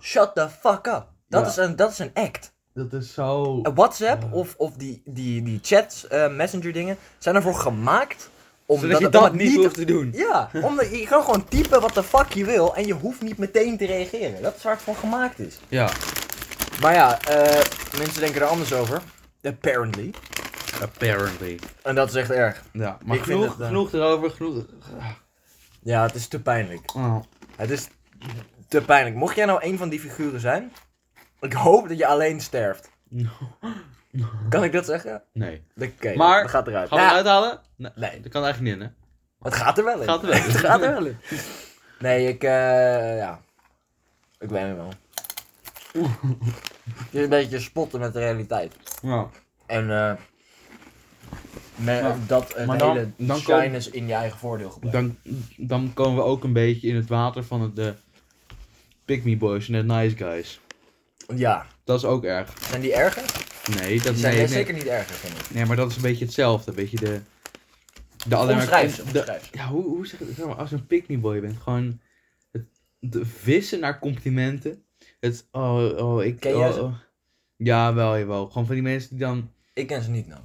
Shut the fuck up. Dat, Ja. is, een, dat is een act. dat is zo... Eh, WhatsApp Ja. of, of die, die, die chats, eh, messenger dingen, zijn ervoor gemaakt om Zodat je om dat het niet hoeft te doen. Ja, omdat je kan gewoon typen wat de fuck je wil en je hoeft niet meteen te reageren. Dat is waar het voor gemaakt is. Ja. Maar ja, eh, mensen denken er anders over. Apparently. Apparently. En dat is echt erg. Ja, maar Ik vind genoeg, het, eh, genoeg erover. Genoeg... Ja, het is te pijnlijk. Oh. Het is te pijnlijk. Mocht jij nou een van die figuren zijn, ik hoop dat je alleen sterft. Kan ik dat zeggen? Nee. Oké, Maar- dat gaat eruit. Gaan we Ja, het uithalen? Nee. Nee, Dat kan eigenlijk niet in, hè? het gaat er wel in. Gaat er wel in. het gaat er wel in. Nee, ik, eh, ja. Ik weet het wel. Het is een beetje spotten met de realiteit. Ja. En eh me- Ja. dat het Maar dan- hele dan shyness in je eigen voordeel gebruikt. Dan, dan komen we ook een beetje in het water van het, de Pick Me Boys en de Nice Guys. Ja. Dat is ook erg. Zijn die erger? Nee, dat Die nee, zijn nee. zeker niet erger, vind ik. Nee, maar dat is een beetje hetzelfde. Weet je, de. de alleen maar- Omschrijf ze, de- omschrijf ze. Ja, hoe, hoe zeg je dat? Zeg maar, Als je een pick boy bent, gewoon. Het, de vissen naar complimenten. Het. Oh, oh, ik. Ken jij oh, ze? oh. Ja, wel, jawel. Gewoon van die mensen die dan. Ik ken ze niet nou.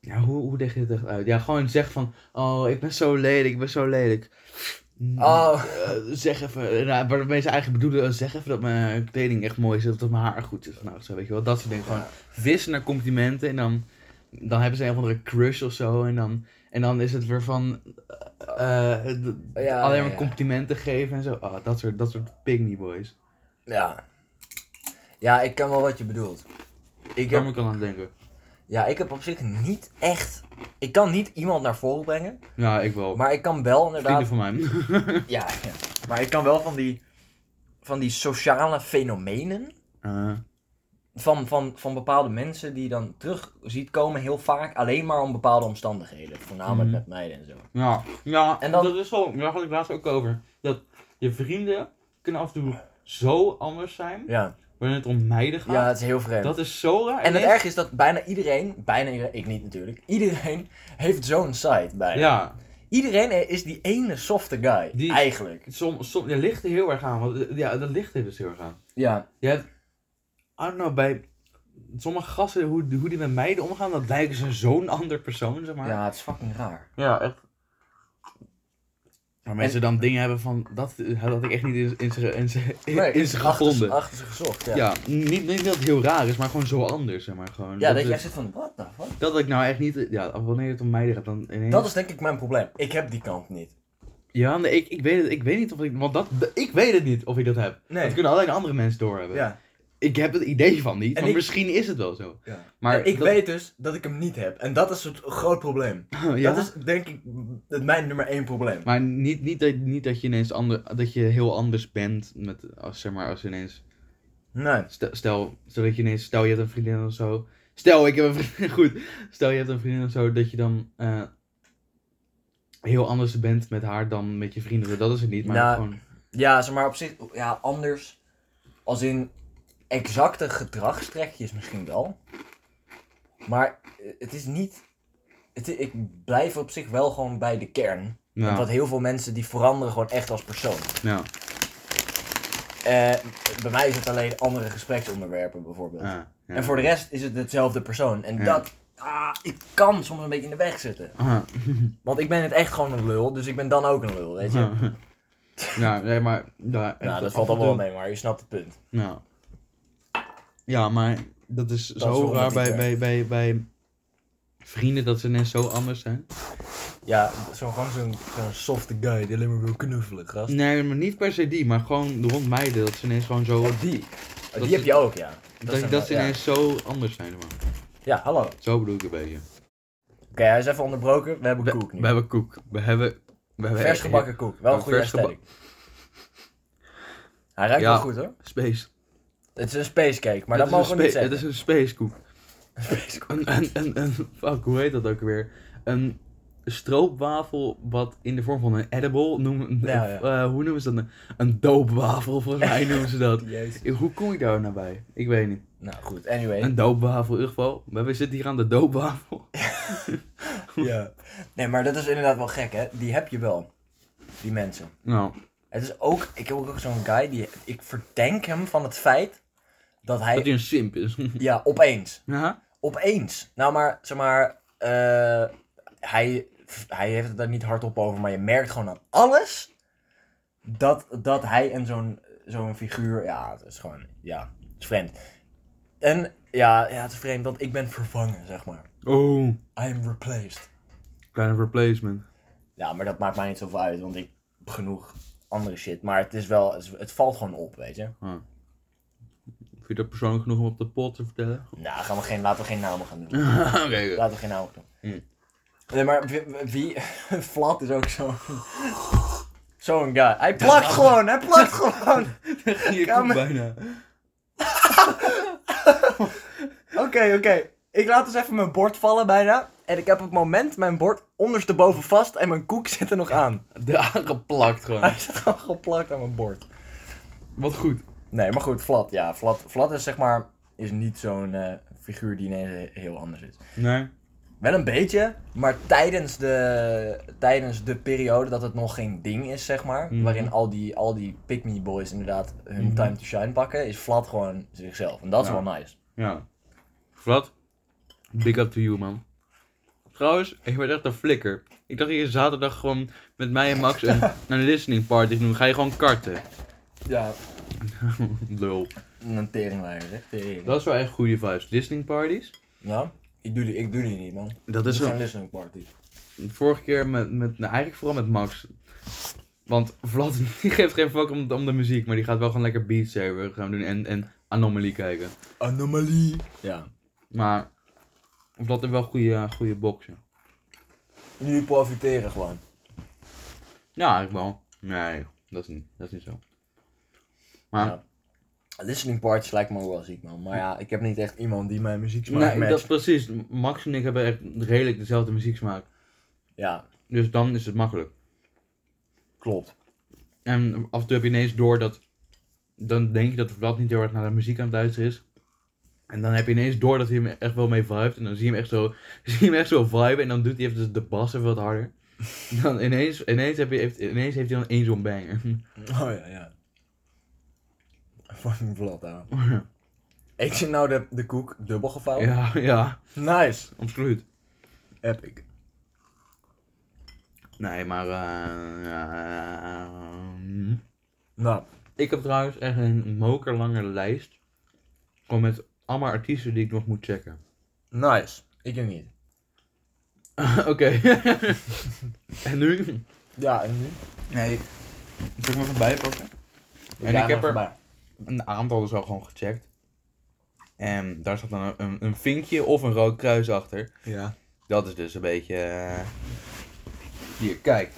Ja, hoe, hoe leg je het echt uit? Ja, gewoon zeggen van. Oh, ik ben zo lelijk, ik ben zo lelijk. Oh, Eh, zeg even, nou, waar mensen eigenlijk bedoelen, eh, zeg even dat mijn kleding echt mooi is, of dat mijn haar goed is. Nou, zo weet je wel, dat soort dingen. Gewoon vissen naar complimenten en dan, dan hebben ze een of andere crush of zo. En dan, en dan is het weer van eh, eh, d- Ja, alleen ja, maar ja. complimenten geven en zo. Ah, dat soort, dat soort pygmy boys. ja. Ja, ik ken wel wat je bedoelt. Ik Ik kan heb, me kan aan denken. ja, ik heb op zich niet echt... Ik kan niet iemand naar voren brengen, Ja, ik wel. maar ik kan wel inderdaad... Vrienden van mij. Ja, ja. maar ik kan wel van die, van die sociale fenomenen Eh, van, van, van bepaalde mensen die je dan terug ziet komen heel vaak alleen maar om bepaalde omstandigheden. Voornamelijk Mhm. met meiden en zo. ja, ja En dan- dat is zo. Daar had ik laatst ook over. Dat je vrienden kunnen af en toe zo anders zijn, Ja, wanneer het om meiden gaat. ja het is heel vreemd. Dat is zo raar. En het Ineens- erg is dat bijna iedereen, bijna iedereen, ik niet natuurlijk, iedereen heeft zo'n site bij. Ja, Iedereen is die ene softe guy, Die- eigenlijk. soms som, ja, ligt er heel erg aan. Want, eh, ja, dat ligt er dus heel erg aan. Ja. Je hebt, I don't know, bij sommige gasten, hoe, hoe die met meiden omgaan, dat lijken ze zo'n ander persoon, zeg maar. ja, het is fucking raar. Ja, echt. Maar mensen dan dingen hebben van, dat eh, had ik echt niet in, in, ze- in, ze- in, Nee, in ze achter- gevonden. Achter ze gezocht, ja. ja, niet, niet dat het heel raar is, maar gewoon zo anders, zeg maar. Gewoon, Ja, dat is- jij zit van, what the fuck? dat ik nou echt niet, ja, wanneer het om meiden gaat, dan ineens... Dat is denk ik mijn probleem. Ik heb die kant niet. Ja, nee, ik, ik, weet het, ik weet niet of ik, want dat, ik weet het niet of ik dat heb. Nee. Dat kunnen alleen andere mensen doorhebben. Ja. Ik heb het idee van niet, En maar ik- misschien is het wel zo. Ja. Maar En ik dat- weet dus dat ik hem niet heb. En dat is het groot probleem. ja? Dat is denk ik het mijn nummer één probleem. Maar niet, niet, dat, niet dat je ineens ander, dat je heel anders bent met, als, zeg maar, als je ineens, Nee. stel, stel, zodat je ineens, stel je hebt een vriendin of zo. Stel, ik heb een vriendin, goed. Stel je hebt een vriendin of zo, dat je dan eh, heel anders bent met haar dan met je vrienden. Dat is het niet, maar Nou, gewoon, Ja, zeg maar op zich, ja, anders. Als in exacte gedragstrekjes misschien wel. Maar eh, het is niet. Het, i- ik blijf op zich wel gewoon bij de kern. nou, Want heel veel mensen die veranderen gewoon echt als persoon. nou, Eh, bij mij is het alleen andere gespreksonderwerpen bijvoorbeeld. ah, ja. En voor de rest is het hetzelfde persoon. En Ja. dat. Ah, ik kan soms een beetje in de weg zitten. Ah. Want ik ben het echt gewoon een lul, dus ik ben dan ook een lul, weet je? Ja. nou, nee, maar... Ja, nou, dat af valt en allemaal wel toe- mee, maar je snapt het punt. Nou. Ja, maar dat is is zo wel raar wat bij, ik bij, bij, bij vrienden dat ze net zo anders zijn. Ja, zo gewoon zo'n zo'n softe guy die alleen maar wil knuffelen, gast. Nee, maar niet per se die, maar gewoon rond meiden dat ze ineens gewoon zo... Oh, die. Oh, Dat die heb is- je ook, ja. Dat, dat, zijn ze wel- ja. ineens zo anders zijn, man. Ja, hallo. Oké, Zo bedoel ik een beetje. hij is even onderbroken. We hebben We, koek nu. we hebben koek. We hebben... We hebben Vers gebakken koek. Wel een Ja, goede vers geba- aesthetic. Hij ruikt Ja. wel goed, hoor. Space. Het is een spacecake, Het maar dat is een mogen we niet spa- Het zeggen. is een space koek. Een spacekoek. Een, een, een, een- fuck, hoe heet dat ook weer? Een stroopwafel wat in de vorm van een edible noemen. Ja, of, eh, hoe noemen ze dat? Een doopwafel, volgens mij noemen ze dat. Jezus. Hoe kom je daar nou bij? Ik weet niet. Nou goed, anyway. Een doopwafel in ieder geval. Maar we zitten hier aan de doopwafel. Ja. Nee, maar dat is inderdaad wel gek, hè? Die heb je wel. Die mensen. Nou, Het is ook, ik heb ook zo'n guy die, ik verdenk hem van het feit dat hij, dat hij een simp is. ja, opeens, ja? opeens. Nou, maar, zeg maar, eh, hij, hij heeft het daar niet hardop over, maar je merkt gewoon aan alles dat, dat hij en zo'n, zo'n figuur, ja, het is gewoon, ja, het is vreemd. En, ja, ja, het is vreemd, want ik ben vervangen, zeg maar. Oh, I am replaced. kleine replacement. Ja, maar dat maakt mij niet zoveel uit, want ik heb genoeg andere shit. Maar het is wel, het, het valt gewoon op, weet je. Vind je dat persoonlijk genoeg om op de pot te vertellen? Nou, gaan we geen, laten we geen namen gaan doen. Oké. Laten we geen namen doen. Hmm. Nee, maar wie... wie Vlad is ook zo... Zo'n guy. Hij plakt gewoon, hij plakt gewoon. Je Kamer- komt bijna. Oké, oké. Ik laat dus even mijn bord vallen bijna. En ik heb op het moment mijn bord ondersteboven vast en mijn koek zit er nog aan. Daar geplakt gewoon. Hij zit gewoon geplakt aan mijn bord. Wat goed. Nee, maar goed, Vlad, ja. Vlad, Vlad is zeg maar... Is niet zo'n eh, figuur die ineens heel anders is. Nee. Wel een beetje, maar tijdens de, tijdens de periode dat het nog geen ding is, zeg maar. Mhm. Waarin al die, al die pick-me boys inderdaad hun Mhm. time to shine pakken, is Vlad gewoon zichzelf. En dat is Ja. wel nice. Ja. Vlad, big up to you, man. Trouwens, ik werd echt een flikker. Ik dacht hier zaterdag gewoon met mij en Max een, een listening party te doen. Ga je gewoon karten. Ja. Lul. Een teringleier, hè? Tering. Dat is wel echt goede vibes. Listening parties. Ja? Ik doe, die, ik doe die niet, man. Dat Dat is is wel... geen listening party. Vorige keer met, met nou, eigenlijk vooral met Max. Want Vlad, die geeft geen fuck om, om de muziek, maar die gaat wel gewoon lekker Beat Saber gaan doen en, en Anomaly kijken. Anomalie. Ja. Maar Vlad heeft wel goede, goede boksen. Jullie profiteren gewoon. Ja, eigenlijk wel. Nee, dat is niet, dat is niet zo. Maar Ja. Listening parties lijkt me ook wel ziek, man. Maar ja, ik heb niet echt iemand die mijn muziek smaakt. Nee, dat is precies. Max en ik hebben echt redelijk dezelfde muzieksmaak. Ja, Dus dan is het makkelijk. klopt. En af en toe heb je ineens door dat... Dan denk je dat Vlad niet heel erg naar de muziek aan het luisteren is. En dan heb je ineens door dat hij hem echt wel mee vibet. En dan zie je hem echt zo, zie je hem echt zo viben. En dan doet hij even dus de bas even wat harder. En dan ineens, ineens, heb je, heeft, ineens heeft hij dan één zo'n banger. Oh ja, ja. Fucking vlot aan. Eet je nou de, de koek dubbel gevouwen? ja, ja, Nice. absoluut. Epic. Nee, maar... eh, ja, eh, Nou, Ik heb trouwens echt een mokerlange lijst. Gewoon met allemaal artiesten die ik nog moet checken. nice. Ik heb niet. Oké. en nu? Ja, en nu? Nee. Zal ik me voorbij pakken? En ik heb er een aantal dus al gewoon gecheckt. En daar zat dan een, een, een vinkje of een rood kruis achter. Ja. Dat is dus een beetje... eh, Hier, kijk.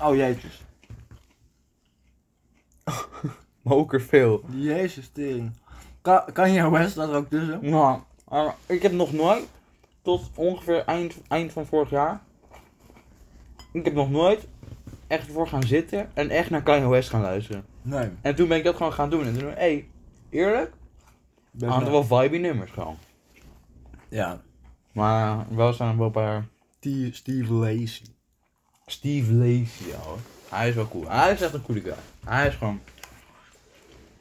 Oh jeetjes. Moker veel. Jezus tering. Kan, Kanye West staat er ook tussen. Nou, eh, ik heb nog nooit, tot ongeveer eind, eind van vorig jaar, ik heb nog nooit echt voor gaan zitten en echt naar Kanye West gaan luisteren. Nee. En toen ben ik dat gewoon gaan doen. En toen, hé, hey, eerlijk, een aantal wel vibe nummers gewoon. nou- Ja. Maar wel staan er wel een paar. Steve Lacey. Steve Lacey, hoor. Hij is wel cool. Hij is echt een coole guy. Hij is gewoon.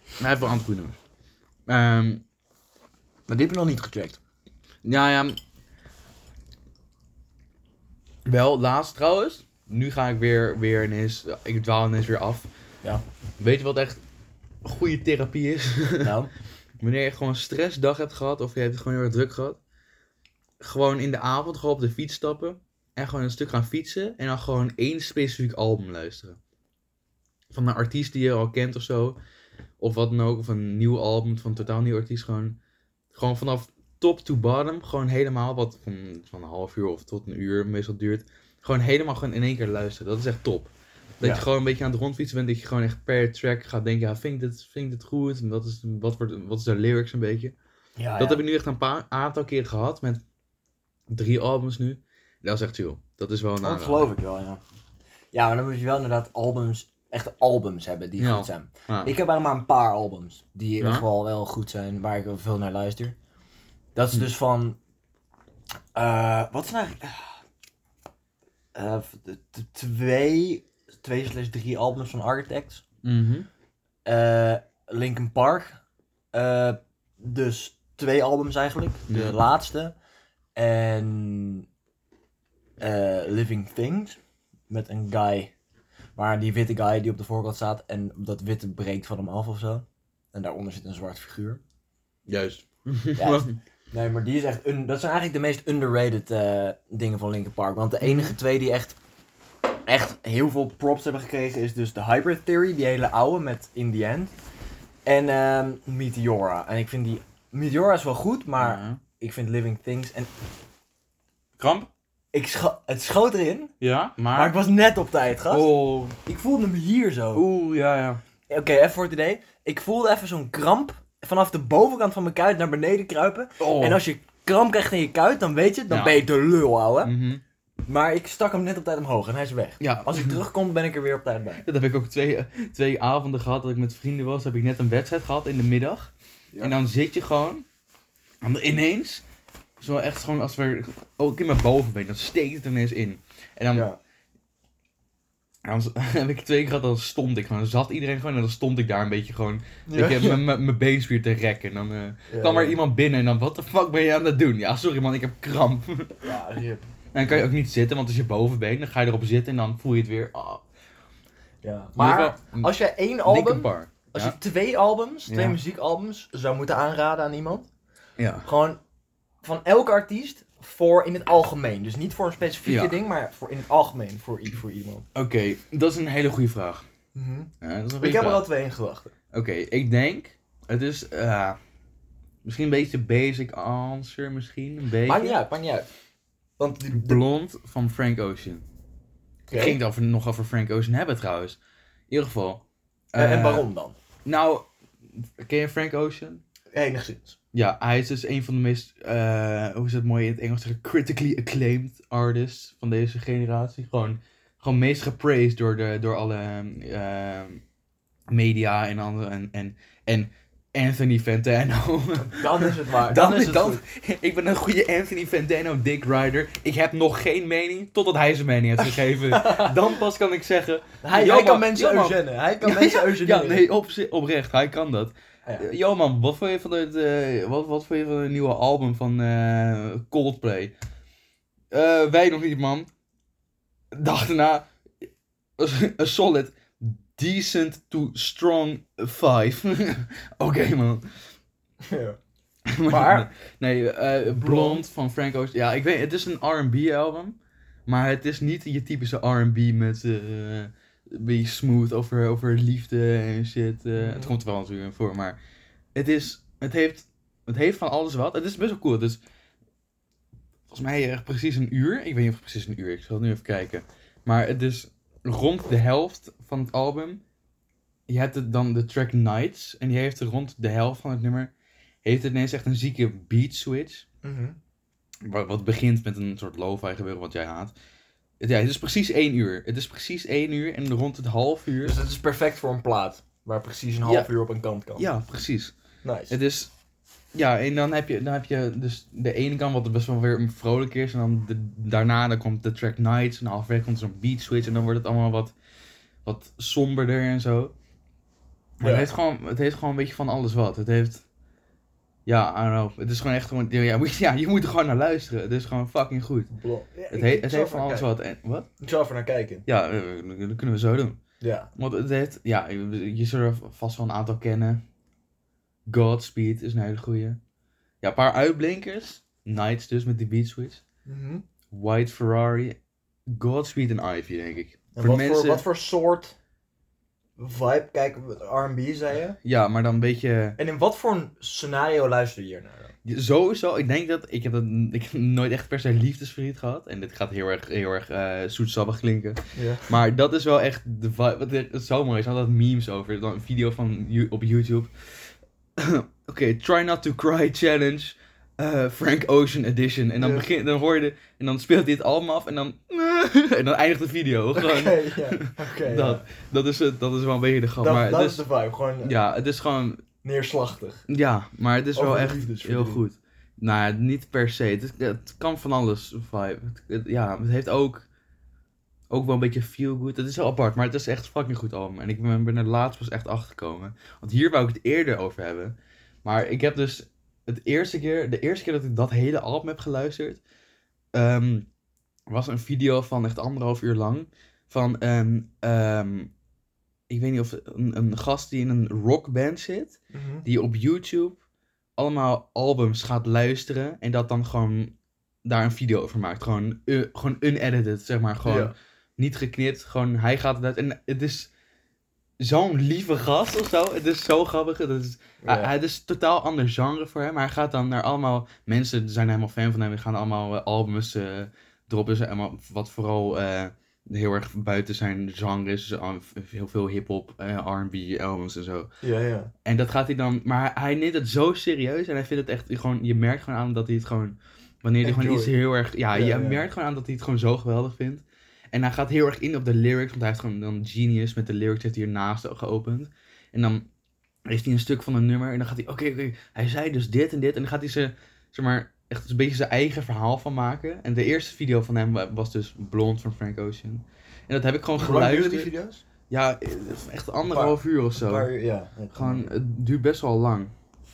Hij heeft wel andere coole nummers. Ehm, Maar die heb je nog niet gecheckt. Ja, ja. Wel, laatst trouwens. Nu ga ik weer, weer ineens... Ik dwaal ineens weer af. Ja. Weet je wat echt goede therapie is? Nou. Wanneer je gewoon een stressdag hebt gehad... of je hebt het gewoon heel erg druk gehad... gewoon in de avond gewoon op de fiets stappen... en gewoon een stuk gaan fietsen... en dan gewoon één specifiek album luisteren. Van een artiest die je al kent of zo. Of wat dan ook. Of een nieuw album van een totaal nieuw artiest. Gewoon, gewoon vanaf top to bottom, gewoon helemaal, wat van, van een half uur of tot een uur meestal duurt, gewoon helemaal gewoon in één keer luisteren. Dat is echt top. Dat Ja. je gewoon een beetje aan het rondfietsen bent, dat je gewoon echt per track gaat denken, ja, vind ik dit, vind ik dit goed? En wat is, wat, wordt, wat is de lyrics een beetje? Ah, Ja, dat heb ik nu echt een paar aantal keer gehad, met drie albums nu. Dat is echt chill. Dat is wel een Dat aanrader. geloof ik wel, ja. Ja, maar dan moet je wel inderdaad albums, echte albums hebben die Ja. goed zijn. Ja. Ik heb eigenlijk maar een paar albums die Ah. Ja? echt wel, wel goed zijn, waar ik wel veel naar luister. Dat is dus van... eh, wat is nou eigenlijk... eh, eh, t- t- twee, twee slash drie albums van Architects. Mhm. Eh, Linkin Park. Eh, dus twee albums eigenlijk. De Ja. laatste. En eh, Living Things. Met een guy. Maar die witte guy die op de voorkant staat. En dat witte breekt van hem af of zo. En daaronder zit een zwart figuur. Juist. Ja. Nee, maar die is echt. un- dat zijn eigenlijk de meest underrated eh, dingen van Linkin Park. Want de Mhm. enige twee die echt, echt heel veel props hebben gekregen is dus de Hybrid Theory, die hele oude met In the End. En ehm, Meteora. En ik vind die. Meteora is wel goed, maar Ja. ik vind Living Things. En Kramp? ik scho- het schoot erin, Ja, maar maar... ik was net op tijd, gast. Oh. Ik voelde hem hier zo. Oeh, ja, ja. Oké, even voor het idee. Ik voelde even zo'n kramp vanaf de bovenkant van mijn kuit naar beneden kruipen. Oh. En als je kramp krijgt in je kuit, dan weet je het, dan Ja. ben je de lul, ouwe. Mhm. Maar ik stak hem net op tijd omhoog en hij is weg. Ja, Als ik terugkom, ben ik er weer op tijd bij. Dat heb ik ook twee, eh, twee avonden gehad dat ik met vrienden was. Heb ik net een wedstrijd gehad in de middag. En dan zit je gewoon. En dan ineens. Zo echt gewoon als we. Ook in mijn bovenbeen. Dan steekt het ineens in. En dan. Ja. En dan z- heb ik twee keer gehad. Dan stond ik gewoon. Dan zat iedereen gewoon. En dan stond ik daar een beetje gewoon. Ik heb mijn- mijn mijn beenspier te rekken. En dan eh, kwam er iemand binnen. En dan. Wat de fuck ben je aan het doen? Ja, sorry man. Ik heb kramp. Ja, rip. En dan kan je ook niet zitten. Want als je bovenbeen. Dan ga je erop zitten. En dan voel je het weer. ah. Ja. In Maar ieder geval, als jij één Linkin album, Park. als Ja. je twee albums, twee Ja. muziekalbums zou moeten aanraden aan iemand. Ja. Gewoon van elke artiest voor in het algemeen. Dus niet voor een specifieke Ja. ding, maar voor in het algemeen voor, i- voor iemand. Oké, dat is een hele goede vraag. Ja, dat is een goede Ik heb er vraag. al twee in gedachten. Oké, ik denk, het is eh, misschien een beetje basic answer, misschien een beetje. Maakt niet uit, maakt niet uit. Want die, de- Blond van Frank Ocean. Oké. Ik ging het over, nog over Frank Ocean hebben trouwens. In ieder geval. Eh, en eh, waarom dan? Nou, ken je Frank Ocean? Enigszins. Ja, hij is dus een van de meest, eh, hoe is dat mooi in het Engels zeggen, critically acclaimed artists van deze generatie. Gewoon, gewoon meest gepraised door, de, door alle ehm, media en, andere, en, en, en Anthony Fantano. Dan is het waar. Dan, Dan is het dan- goed. ik ben een goede Anthony Fantano dick rider. Ik heb nog geen mening totdat hij zijn mening heeft gegeven. dan pas kan ik zeggen. Hij, Ja, hij man. kan mensen Ja, man. eugenen. Hij kan mensen Ja, eugeneren. nee, op, oprecht, hij kan dat. Ah, Ja. Eh, Yo man, wat vond je van het, eh, wat, wat vond je van het nieuwe album van eh, Coldplay? Eh, wij nog niet man. Dag daarna, een solid, decent to strong 5. Oké man. Ja. Maar? Nee, eh Blond van Frank Ocean. Ja, ik weet, het is een R&B album. Maar het is niet je typische R&B met eh eh, een beetje smooth over, over liefde en shit. eh. Het komt er wel natuurlijk in voor, maar het is, het heeft, het heeft van alles wat. Het is best wel cool. Dus volgens mij echt precies een uur. Ik weet niet of het precies een uur. is. Ik zal nu even kijken. Maar het is rond de helft van het album. Je hebt het dan de track Nights. En die heeft er rond de helft van het nummer heeft het ineens echt een zieke beat switch. Mhm. Wa- Wat begint met een soort lo-fi gebeuren wat jij haat. Het- Ja, het is precies één uur. Het is precies één uur en rond het half uur. Dus dat is perfect voor een plaat. Waar precies een half uur op een kant kan. Ja, precies. Nice. Het is. Ja, en dan heb je, dan heb je dus de ene kant wat best wel weer vrolijk is. En dan de- daarna dan komt de track Nights. En halverwege komt zo'n beat switch. En dan wordt het allemaal wat, wat somberder en zo. Maar Ja. het, heeft gewoon, het heeft gewoon een beetje van alles wat. Het heeft. Ja, I don't know. Het is gewoon echt gewoon. Ja, moet- ja, je moet er gewoon naar luisteren. Het is gewoon fucking goed. Blok. Ja, Het, ik- he- ik het zal heeft van even alles kijken. wat. En, wat? Ik zal even naar kijken. Ja, eh, eh, dat kunnen we zo doen. Ja. Want het heeft. Ja, je, je zult er vast wel een aantal kennen. Godspeed is een hele goeie. Ja, een paar uitblinkers. Knights dus met die beat switch. Mhm. White Ferrari. Godspeed en Ivy, denk ik. En Voor wat, mensen- voor, wat voor soort vibe kijk R&B zei je? Ja, maar dan een beetje. En in wat voor een scenario luister je hier naar? dan? Sowieso, ik denk dat. Ik heb, dat, ik heb nooit echt per se liefdesverdriet gehad. En dit gaat heel erg, heel erg eh zoetsappig klinken. Ja. Maar dat is wel echt de vibe. Wat er het zo mooi is, altijd memes over. Dan een video van, You- op YouTube. Oké, try not to cry challenge. Eh, eh, Frank Ocean Edition. En dan, Ja. begin, dan hoor je de, en dan speelt hij het album af en dan, en dan eindigt de video. Gewoon ja. Oké. dat. Dat, is, het- dat is wel een beetje de grap. Dat, maar dat het is is- de vibe. Gewoon eh, ja, het is gewoon, neerslachtig. ja, maar het is wel Over echt heel liefdesverdriet. goed. Nou, ja, niet per se. Het, is- het kan van alles, vibe. Het, het- ja, het heeft ook, ook wel een beetje feel good. Het is wel apart, maar het is echt fucking goed album. En ik ben, ben er laatst pas echt achter gekomen. Want hier wou ik het eerder over hebben. Maar ik heb dus het eerste keer, de eerste keer dat ik dat hele album heb geluisterd, ehm, was een video van echt anderhalf uur lang. Van een, ehm, ik weet niet of een, een gast die in een rockband zit die op YouTube allemaal albums gaat luisteren en dat dan gewoon daar een video over maakt. Gewoon, eh, gewoon unedited, zeg maar. Gewoon Ja. niet geknipt, gewoon hij gaat het uit. En het is zo'n lieve gast of zo. Het is zo grappig. Het is, Ja. Ah, hij- het is een totaal ander genre voor hem, maar hij gaat dan naar allemaal... Mensen zijn helemaal fan van hem en gaan allemaal eh, albums eh, droppen. Dus allemaal, wat vooral... eh, Heel erg buiten zijn genre is dus, eh, heel veel hip-hop, eh, RB albums en zo. Ja, ja. En dat gaat hij dan. Maar hij, hij neemt het zo serieus. En hij vindt het echt gewoon. Je merkt gewoon aan dat hij het gewoon. Wanneer hij gewoon Enjoy. iets heel erg. Ja, Ja, je ja. merkt gewoon aan dat hij het gewoon zo geweldig vindt. En hij gaat heel erg in op de lyrics. Want hij heeft gewoon dan Genius met de lyrics heeft hij hiernaast geopend. En dan heeft hij een stuk van een nummer. En dan gaat hij. Oké, oké. Hij zei dus dit en dit. En dan gaat hij ze. Zeg maar. Echt een beetje zijn eigen verhaal van maken. En de eerste video van hem was dus Blond van Frank Ocean. En dat heb ik gewoon geluisterd. video's? Ja, eh, echt anderhalf uur of zo. Een paar uur, ja. Ja, Gewoon, het duurt best wel lang.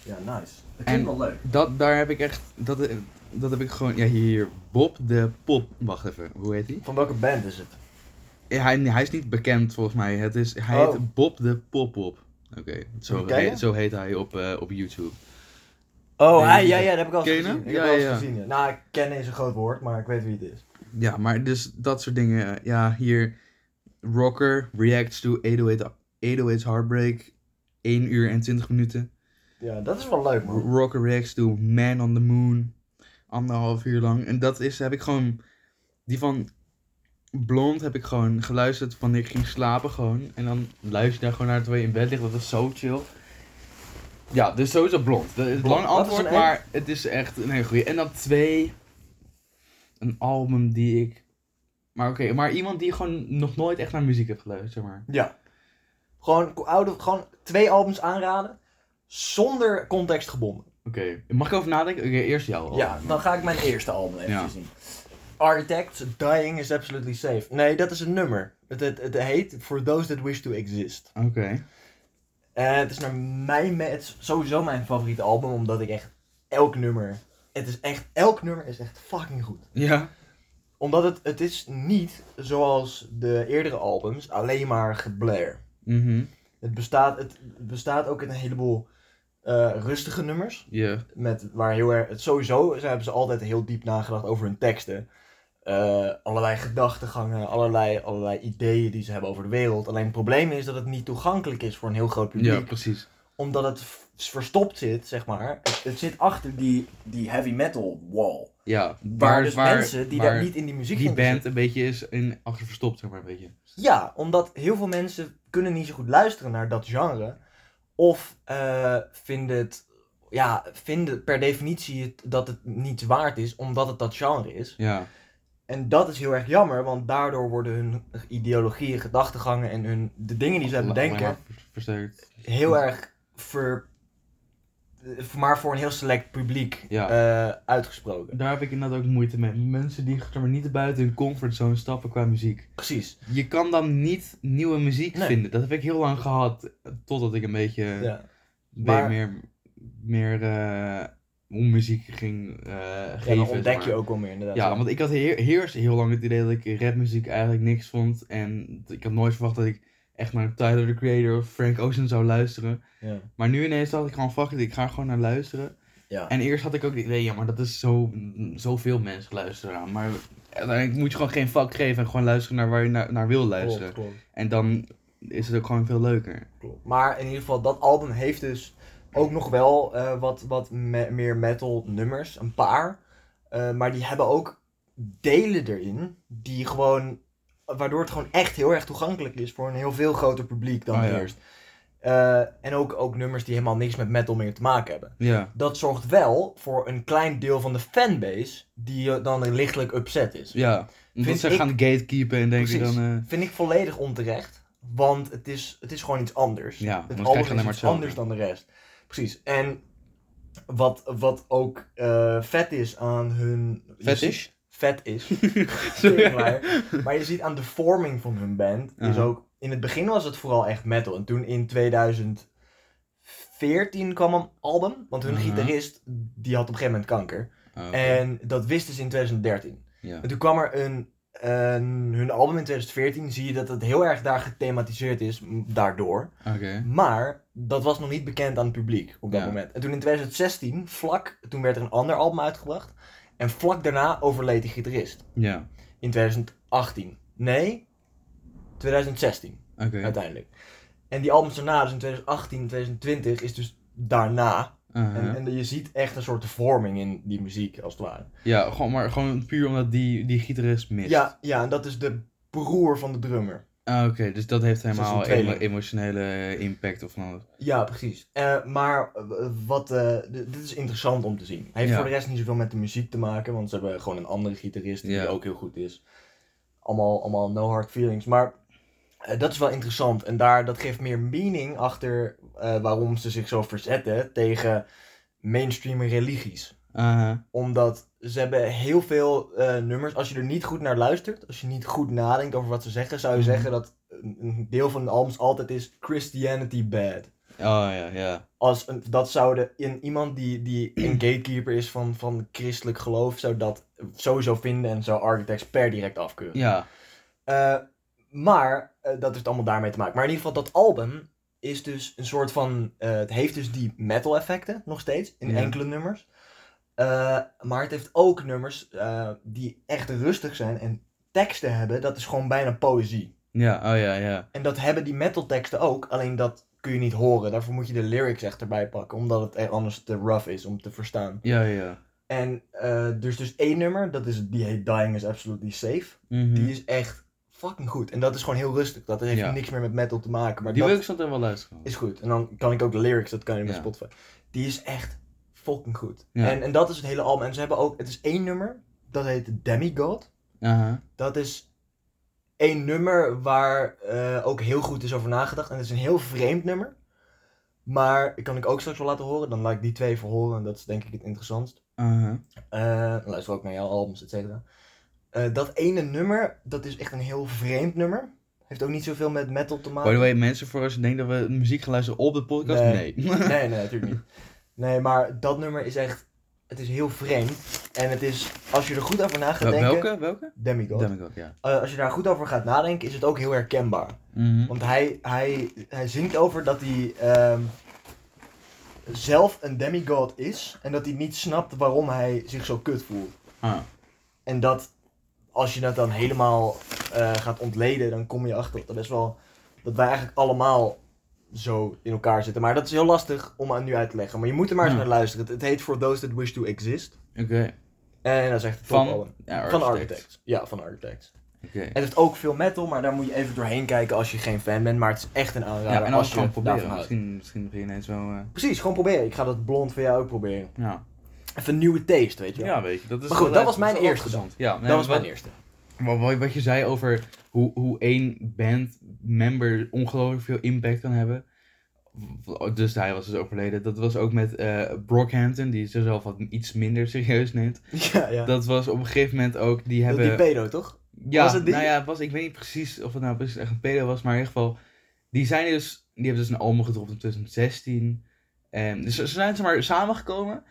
Ja, nice. Het klinkt En- wel leuk. Dat, daar heb ik echt, dat, dat heb ik gewoon, ja hier, Bob de Pop, wacht even, hoe heet hij? Van welke band is het? Ja, hij, hij is niet bekend volgens mij, het is, hij Oh. heet Bob de Pop Pop. Oké, zo, Ken je? heet- zo heet hij op, eh, op YouTube. Oh, hij- ja, ja, ja, dat heb ik al Ken je gezien. gezien. hem? Ik Ik heb heb Ja, al wel eens ja. gezien. gezien, Nou, kennen is een groot woord, maar ik weet wie het is. Ja, maar dus dat soort dingen, ja hier, Rocker reacts to 808, 808's Heartbreak, 1 uur en 20 minuten. Ja, dat is wel leuk, man. Rocker reacts to Man on the Moon. Anderhalf uur lang. En dat is, heb ik gewoon. Die van Blond heb ik gewoon geluisterd wanneer ik ging slapen gewoon. En dan luister je daar gewoon naar terwijl je in bed ligt. Dat is zo chill. Ja, dus sowieso Blond. Dat is een Blond, lang dat is antwoord, een één. maar het is echt een hele goeie. En dan twee. Een album die ik... Maar oké, maar iemand die gewoon nog nooit echt naar muziek heeft geluisterd, zeg maar. Ja. Gewoon, oude, gewoon twee albums aanraden, zonder context gebonden. Oké, mag ik over nadenken? Oké, eerst jou. Ja. Dan ga ik mijn eerste album even Oh, Ja. zien. Architects, Dying is Absolutely Safe. Nee, dat is een nummer. Het, het, het heet For Those That Wish To Exist. Oké. En het is naar mijn, me- het is sowieso mijn favoriete album, omdat ik echt elk nummer, het is echt, elk nummer is echt fucking goed. Ja. Omdat het, het is niet zoals de eerdere albums, alleen maar geblair. Mhm. Het bestaat, het bestaat ook uit een heleboel eh, rustige nummers. Ja. Met, waar heel erg, het sowieso ze hebben ze altijd heel diep nagedacht over hun teksten. Eh, allerlei gedachtegangen, allerlei, allerlei ideeën die ze hebben over de wereld. Alleen het probleem is dat het niet toegankelijk is voor een heel groot Ja, publiek. precies. Omdat het v- verstopt zit, zeg maar. Het, het zit achter die, die heavy metal wall. Ja, Waar waar, dus waar, Mensen die waar daar niet in die muziek die geïnteresseerd band een beetje is in achter verstopt, zeg maar een beetje. Ja, omdat heel veel mensen kunnen niet zo goed luisteren naar dat genre. Of eh, vinden het, ja, vinden per definitie het, dat het niets waard is, omdat het dat genre is. Ja, En dat is heel erg jammer, want daardoor worden hun ideologieën, gedachtegangen en hun, de dingen die zij Alleen bedenken maar ver- versterkt. heel erg ver, eh, maar voor een heel select publiek Ja. eh, uitgesproken. Daar heb ik inderdaad ook moeite mee. Mensen die zeg maar, niet buiten hun comfortzone stappen qua muziek. Precies. Je kan dan niet nieuwe muziek Nee. vinden. Dat heb ik heel lang gehad. eh, Totdat ik een beetje Ja. be- maar- meer, meer eh, om muziek ging eh Ja, geven. dan zeg ontdek maar. je ook wel meer inderdaad. Ja, want ik had heer- heerst heel lang het idee dat ik rapmuziek eigenlijk niks vond. En ik had nooit verwacht dat ik echt naar Tyler, the Creator of Frank Ocean zou luisteren. Ja. Maar nu ineens dacht ik gewoon, fuck it, ik ga er gewoon naar luisteren. Ja. En eerst had ik ook het idee, ja, maar dat is zo, zoveel mensen luisteren aan. Maar uiteindelijk moet je gewoon geen fuck geven en gewoon luisteren naar waar je naar, naar wil luisteren. Klopt, klopt. En dan is het ook gewoon veel leuker. Klopt. Maar in ieder geval, dat album heeft dus ook nog wel eh, wat, wat me- meer metal nummers, een paar. Eh, maar die hebben ook delen erin die gewoon, waardoor het gewoon echt heel erg toegankelijk is voor een heel veel groter publiek dan Ah, ja. eerst. Eh, en ook, ook nummers die helemaal niks met metal meer te maken hebben. Ja. Dat zorgt wel voor een klein deel van de fanbase die eh, dan lichtelijk upset is. Ja. Omdat Vind ze ik- gaan gatekeepen en denken Precies. dan... eh, Vind ik volledig onterecht, want het is, het is gewoon iets anders. ja, Het dan album krijg is je alleen maar iets anders hetzelfde. dan de rest. Precies. En wat, wat ook eh, vet is aan hun... je ziet- Fetish? Vet is. Sorry. maar, maar je ziet aan de vorming van hun band is Aha. ook... In het begin was het vooral echt metal. En toen in 2014 kwam een album. Want hun Aha. gitarist, die had op een gegeven moment kanker. Oh, Mhm. oké. En dat wisten ze in 2013. Ja. En toen kwam er een, een... Hun album in 2014 zie je dat het heel erg daar gethematiseerd is. m- Daardoor. Oké. Maar dat was nog niet bekend aan het publiek op dat Ja. moment. En toen in 2016, vlak, toen werd er een ander album uitgebracht. En vlak daarna overleed de gitarist. Ja. In 2018. Nee, 2016 Oké. uiteindelijk. En die albums daarna, dus in 2018, 2020, is dus daarna. Aha. En, en je ziet echt een soort vorming in die muziek, als het ware. Ja, gewoon, maar gewoon puur omdat die, die gitarist mist. Ja, ja, en dat is de broer van de drummer. Ah, Oké, dus dat heeft is helemaal een tweeling. emo- emotionele impact of nou- van alles. Ja, precies. Eh, maar eh, wat, eh, d- dit is interessant om te zien. Hij heeft Ja. voor de rest niet zoveel met de muziek te maken, want ze hebben gewoon een andere gitarist die Ja. ook heel goed is. Allemaal, allemaal no hard feelings. Maar eh, dat is wel interessant en daar, dat geeft meer meaning achter eh, waarom ze zich zo verzetten tegen mainstream religies. Ah, Aha. Omdat ze hebben heel veel eh, nummers, als je er niet goed naar luistert, als je niet goed nadenkt over wat ze zeggen, zou je Mhm. zeggen dat een- een deel van de albums altijd is Christianity bad Oh ja, ja. als een, dat zouden in iemand die, die een gatekeeper is van, van christelijk geloof, zou dat sowieso vinden en zou Architects per direct afkeuren. Ja, Eh, maar eh, dat heeft allemaal daarmee te maken. Maar in ieder geval, dat album is dus een soort van. eh, het heeft dus die metal effecten nog steeds in Ja. enkele nummers. Eh, maar het heeft ook nummers eh, die echt rustig zijn en teksten hebben. Dat is gewoon bijna poëzie. ja, oh ja, ja. En dat hebben die metal teksten ook, alleen dat kun je niet horen. Daarvoor moet je de lyrics echt erbij pakken, omdat het er anders te rough is om te verstaan. Ja, ja. En eh, er is dus één nummer, dat is, die heet Dying is Absolutely Safe. Mhm. Die Die, is echt fucking goed. En dat is gewoon heel rustig. Dat heeft Ja. niks meer met metal te maken, maar dat wil ik zo meteen wel luisteren. is goed. En dan kan ik ook de lyrics, dat kan je met Ja. Spotify. Die is echt fucking goed. Ja. En, en dat is het hele album. En ze hebben ook, het is één nummer, dat heet Demigod. Aha. Dat is één nummer waar eh, ook heel goed is over nagedacht. En het is een heel vreemd nummer. Maar ik kan ik ook straks wel laten horen. Dan laat ik die twee voor horen. En dat is denk ik het interessantst. Aha. Eh, dan luister ook naar jouw albums, et cetera. Eh, dat ene nummer, dat is echt een heel vreemd nummer. Heeft ook niet zoveel met metal te By the maken. way, mensen, voor als je denkt dat we muziek gaan luisteren op de podcast, nee. Nee. Nee, nee, natuurlijk niet. Nee, maar dat nummer is echt... Het is heel vreemd. En het is, als je er goed over na gaat Wel- denken... welke? Welke? Demigod. Demigod, ja. Eh, als je daar goed over gaat nadenken, is het ook heel herkenbaar. Mhm. Want hij, hij, hij zingt over dat hij ehm, zelf een demigod is. En dat hij niet snapt waarom hij zich zo kut voelt. Ah. En dat als je dat dan helemaal eh, gaat ontleden, dan kom je achter dat best wel dat wij eigenlijk allemaal zo in elkaar zitten. Maar dat is heel lastig om aan nu uit te leggen. Maar je moet er maar eens Ja. naar luisteren. Het, het heet For Those That Wish To Exist. Oké. En dat is echt een Van, topalbum. ja, Van Architect. Architects. Ja, van Architects. Oké. Het heeft ook veel metal, maar daar moet je even doorheen kijken als je geen fan bent. Maar het is echt een aanrader Ja, en eh, als anders je gewoon daarvan proberen. houdt. Misschien, misschien begin je ineens wel... eh, Precies, gewoon proberen. Ik ga dat blond van jou ook proberen. ja. Even nieuwe taste, weet je ja. wel. weet je. Dat is Maar goed, wel- dat was mijn is wel eerste interessant. Ja, nee, dat was wat- mijn eerste. Maar wat, wat je zei over hoe, hoe één bandmember ongelooflijk veel impact kan hebben. Dus hij was dus overleden. Dat was ook met eh, Brockhampton, die zichzelf wat iets minder serieus neemt. Ja, ja. Dat was op een gegeven moment ook, die hebben... Die pedo, toch? ja, was het die? nou ja, het was, ik weet niet precies of het nou precies echt een pedo was, maar in ieder geval... Die zijn dus, die hebben dus een album gedropt in 2016. En, dus ze zijn zeg maar samengekomen.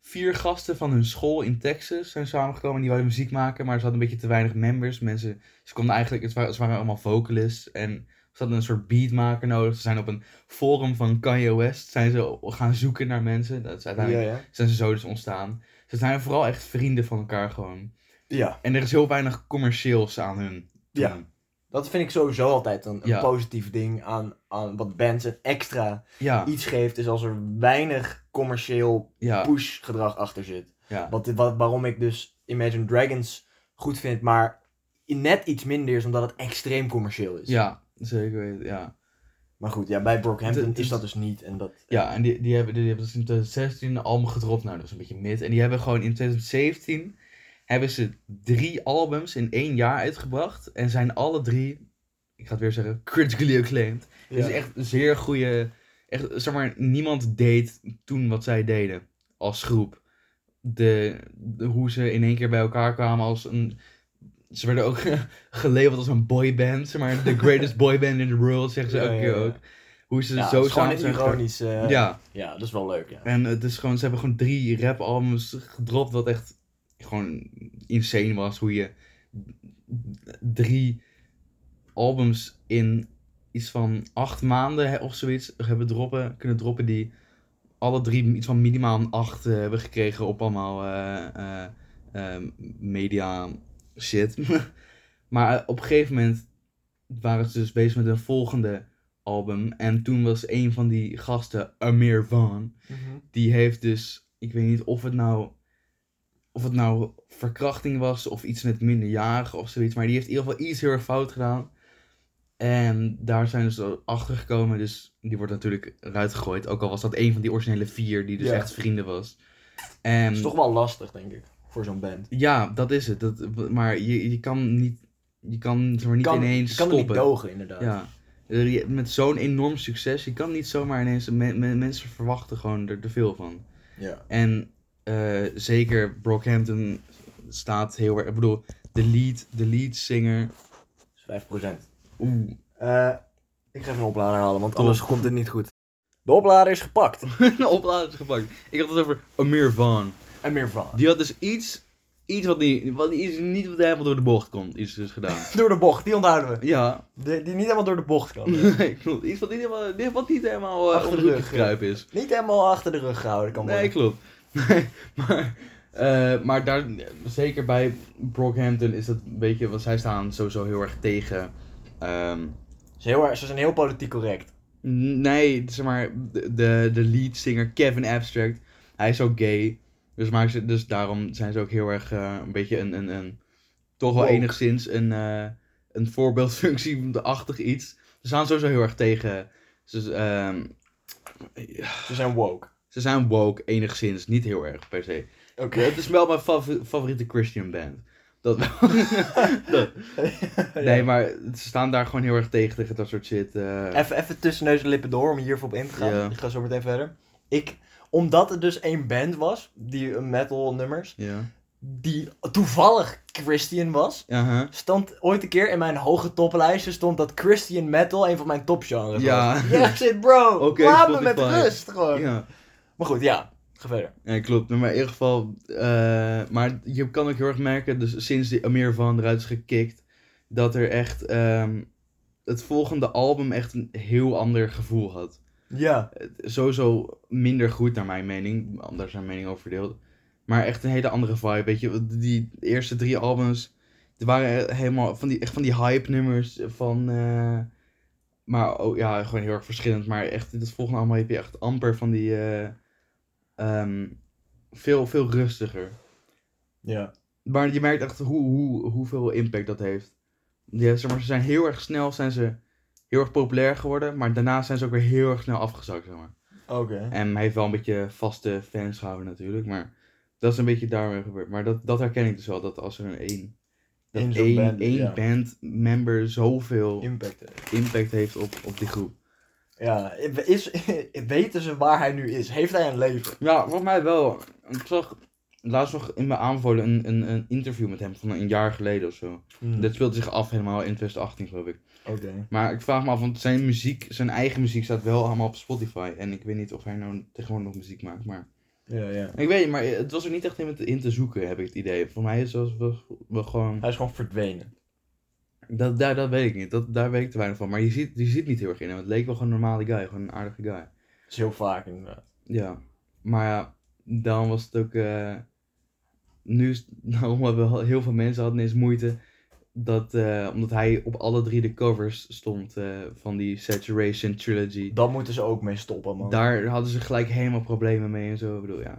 Vier gasten van hun school in Texas zijn samengekomen. Die wilden muziek maken, maar ze hadden een beetje te weinig members. Mensen, ze konden eigenlijk, het waren, ze waren allemaal vocalists. En ze hadden een soort beatmaker nodig. Ze zijn op een forum van Kanye West zijn ze gaan zoeken naar mensen. Dat is Ja, uiteindelijk ja. zijn ze zo dus ontstaan. Ze zijn vooral echt vrienden van elkaar gewoon. Ja, En er is heel weinig commercieels aan hun. Ja. toen. dat vind ik sowieso altijd een, een Ja. positief ding aan, aan wat bands een extra Ja, iets geeft. Is als er weinig commercieel ja, push gedrag achter zit. ja. Wat, wat, waarom ik dus Imagine Dragons goed vind, maar net iets minder is omdat het extreem commercieel is. Ja, zeker weten, ja. Maar goed, ja, bij Brockhampton Het- het- is dat dus niet. En dat, Ja, en die, die, hebben, die hebben dus in 2016 een album gedropt. Nou, dat is een beetje mid. En die hebben gewoon in 2017 hebben ze drie albums in één jaar uitgebracht. En zijn alle drie, ik ga het weer zeggen, critically acclaimed. Het is echt zeer goede. Echt, zeg maar, niemand deed toen wat zij deden als groep. De, de- hoe ze in één keer bij elkaar kwamen als een. Ze werden ook gelabeld als een boyband. Zeg maar, the greatest boyband in the world, zeggen ze Ja, elke ja, keer ja. ook. Hoe ze Ja, het zo is gewoon samen zijn. een ge- ironisch. eh, ja. Ja. dat is wel leuk, ja. En het is gewoon, ze hebben gewoon drie rap-albums gedropt, wat echt gewoon insane was. Hoe je drie albums in iets van acht maanden hè, of zoiets hebben droppen, kunnen droppen, die alle drie iets van minimaal een acht eh, hebben gekregen op allemaal eh, eh, eh, media shit. maar eh, op een gegeven moment waren ze dus bezig met een volgende album. En toen was een van die gasten, Amir Van, die heeft dus, ik weet niet of het nou, of het nou verkrachting was of iets met minderjarigen of zoiets, maar die heeft in ieder geval iets heel erg fout gedaan. En daar zijn ze achter gekomen, dus die wordt natuurlijk eruit gegooid. Ook al was dat een van die originele vier, die dus Ja. echt vrienden was. En... is toch wel lastig, denk ik, voor zo'n band. Ja, dat is het. Dat, maar je, je kan niet, je kan, zeg maar, niet kan, ineens je kan stoppen. er niet dogen, inderdaad. ja. Eh, je- Met zo'n enorm succes, je kan niet zomaar ineens... men- men- mensen verwachten gewoon er te veel van. Ja. En eh, zeker Brockhampton staat heel erg... Ik bedoel, de lead, de lead singer... Dus 5%. Oeh, Eh, ik ga even een oplader halen, want Top. anders komt het niet goed. De oplader is gepakt. een oplader is gepakt. Ik had het over Amir Van. En meer van. Die had dus iets, iets wat, niet, wat iets niet wat helemaal door de bocht komt, iets dus gedaan. Door de bocht, die onthouden we. ja, De- die niet helemaal door de bocht kan. Nee, klopt. Iets wat niet helemaal, dit- wat niet helemaal eh, Achter onder de de hoek rug, gekruip is. niet helemaal achter de rug gehouden kan worden. Nee, klopt. Nee, maar, eh, maar daar, zeker bij Brockhampton is dat een beetje, want zij staan sowieso heel erg tegen. ehm, Ze, heel erg- ze zijn heel politiek correct. nee, zeg maar, de, de, de lead singer Kevin Abstract, hij is ook gay. Dus, maar ze, dus daarom zijn ze ook heel erg eh, een beetje een, een, een toch wel Woke. enigszins een, eh, een voorbeeldfunctie-achtig iets. Ze staan sowieso heel erg tegen. Dus, ehm, Ze zijn woke. Ze zijn woke enigszins, niet heel erg per se. Oké. Het is wel mijn favori- favoriete Christian band. Dat wel. Dat- Nee, maar ze staan daar gewoon heel erg tegen, tegen dat soort shit. eh. Even, even tussen neus en lippen door om hiervoor op in te gaan. Ja. Ik ga zo meteen verder. Ik, omdat het dus één band was, die eh, metal nummers, ja. die toevallig Christian was, Aha. stond ooit een keer in mijn hoge toplijstje stond dat Christian metal een van mijn topgenres was. Ja. Ja, ik zit bro. Oké, laat me met Spotify. rust gewoon. Ja. Maar goed, ja. Ga verder. ja, klopt. Maar in ieder geval, eh, maar je kan ook heel erg merken, dus sinds die Amir van eruit is gekikt, dat er echt ehm, het volgende album echt een heel ander gevoel had. Ja. sowieso minder goed naar mijn mening. Daar zijn meningen over verdeeld. Maar echt een hele andere vibe. Weet je, Want die eerste drie albums. Er waren helemaal van die, echt van die hype nummers. Van, eh, maar oh, ja, gewoon heel erg verschillend. Maar echt, in het volgende album heb je echt amper van die. eh, ehm, veel, veel rustiger. Ja. Maar je merkt echt hoe, hoe, hoeveel impact dat heeft. Die, hebben, zeg maar, ze zijn heel erg snel zijn ze heel erg populair geworden. Maar daarna zijn ze ook weer heel erg snel afgezakt. Zeg maar. Oké. En hij heeft wel een beetje vaste fans gehouden natuurlijk, maar dat is een beetje daarmee gebeurd. Maar dat, dat herken ik dus wel, dat als er een één, dat Eén zo'n één, band, één ja. bandmember zoveel Impact. impact heeft op, op die groep. Ja. Is, weten ze waar hij nu is? Heeft hij een leven? Ja, voor mij wel. Ik zag laatst nog in mijn aanbevolen een, een, een interview met hem van een jaar geleden of zo. Dat speelde zich af helemaal in 2018 geloof ik. Oké. Maar ik vraag me af, want zijn muziek, zijn eigen muziek staat wel allemaal op Spotify. En ik weet niet of hij nou tegenwoordig nog muziek maakt, maar... Ja, ja. Ik weet niet, maar het was er niet echt in te- in te zoeken, heb ik het idee. Voor mij is dat wel, wel gewoon... Hij is gewoon verdwenen. Dat, daar, dat weet ik niet, dat, daar weet ik te weinig van. Maar je ziet, je ziet niet heel erg in hem. Het leek wel gewoon een normale guy, gewoon een aardige guy. Dat is heel vaak inderdaad. Ja. Maar ja, dan was het ook... eh, Nu, is- nou, omdat we al- heel veel mensen hadden eens moeite... Dat, eh, omdat hij op alle drie de covers stond eh, van die Saturation Trilogy. Dan moeten ze ook mee stoppen, man. Daar hadden ze gelijk helemaal problemen mee en zo. Ik bedoel, ja...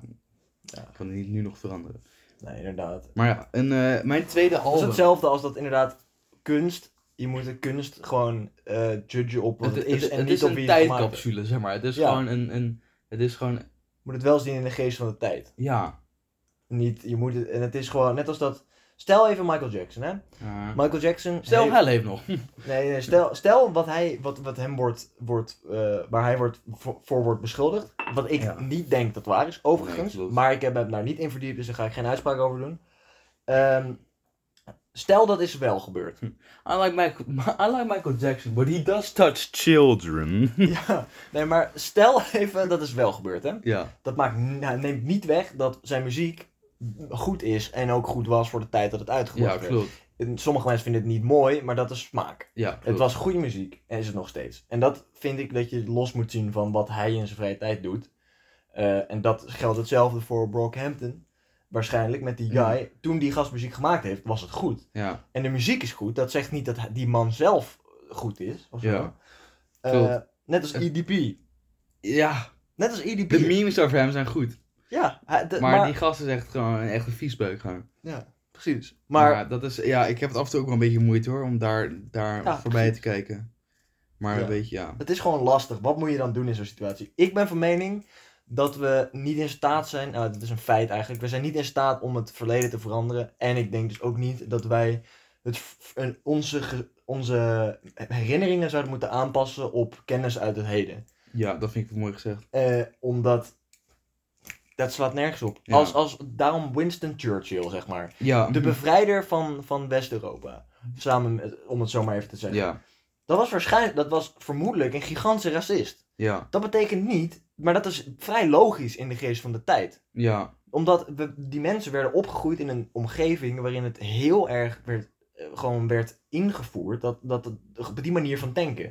Ik kan het niet nu nog veranderen. Nee, inderdaad. Maar ja, en, eh, mijn tweede Dat is album... hetzelfde als dat inderdaad kunst je moet de kunst gewoon eh judgen op Het, wat het, het- is en het niet is op een wie het gemaakt heeft. tijdcapsule, zeg maar. Het is Ja. gewoon een, een... Het is gewoon... Je moet het wel zien in de geest van de tijd. Ja. Niet, je moet het, en het is gewoon, net als dat... Stel even Michael Jackson, hè. Eh, Michael Jackson stel, heeft- hij leeft nog. Nee, nee, stel, stel wat hij, wat, wat hem wordt, wordt eh, waar hij wordt, voor, voor wordt beschuldigd. Wat ik Ja. niet denk dat waar is, Nee, overigens. klopt. maar ik heb hem daar niet in verdiept, dus daar ga ik geen uitspraak over doen. Ehm, stel dat is wel gebeurd. I like, Michael, I like Michael Jackson, but he does touch children. ja. Nee, maar stel even dat is wel gebeurd, hè. ja. Dat maakt, nou, neemt niet weg dat zijn muziek goed is en ook goed was voor de tijd dat het Ja, uitgebracht werd. klopt. En Sommige mensen vinden het niet mooi, maar dat is smaak. Ja, klopt. Het was goede muziek en is het nog steeds. En dat vind ik dat je los moet zien van wat hij in zijn vrije tijd doet. Eh, en dat geldt hetzelfde voor Brockhampton. Waarschijnlijk met die Ja. guy. Toen die gast muziek gemaakt heeft, was het goed. Ja, En de muziek is goed. Dat zegt niet dat hij- die man zelf goed is. Of zo. Ja. Eh, Klopt. net als E En- EDP. ja Net als de EDP. memes over hem zijn goed. Ja, hij- de- Maar, maar, die gast is echt gewoon echt een viesbeuk gewoon. ja, precies. Maar Maar dat is, ja, ik heb het af en toe ook wel een beetje moeite hoor, om daar, daar Ja, voorbij te kijken. Maar Ja. weet je, ja. Het is gewoon lastig. Wat moet je dan doen in zo'n situatie? Ik ben van mening dat we niet in staat zijn. Nou, dat is een feit eigenlijk. We zijn niet in staat om het verleden te veranderen. En ik denk dus ook niet dat wij het, v- een- onze, ge- onze herinneringen zouden moeten aanpassen op kennis uit het heden. Ja, dat vind ik mooi gezegd. Eh, omdat. Dat slaat nergens op. Ja. Als, als, daarom Winston Churchill, zeg maar. Ja. De bevrijder van, van West-Europa. Samen met, om het zo maar even te zeggen. ja, Dat was waarschijnlijk, dat was vermoedelijk een gigantische racist. ja, Dat betekent niet, maar dat is vrij logisch in de geest van de tijd. ja, Omdat we, die mensen werden opgegroeid in een omgeving waarin het heel erg werd, eh, gewoon werd ingevoerd. Dat, dat, het- op die manier van denken.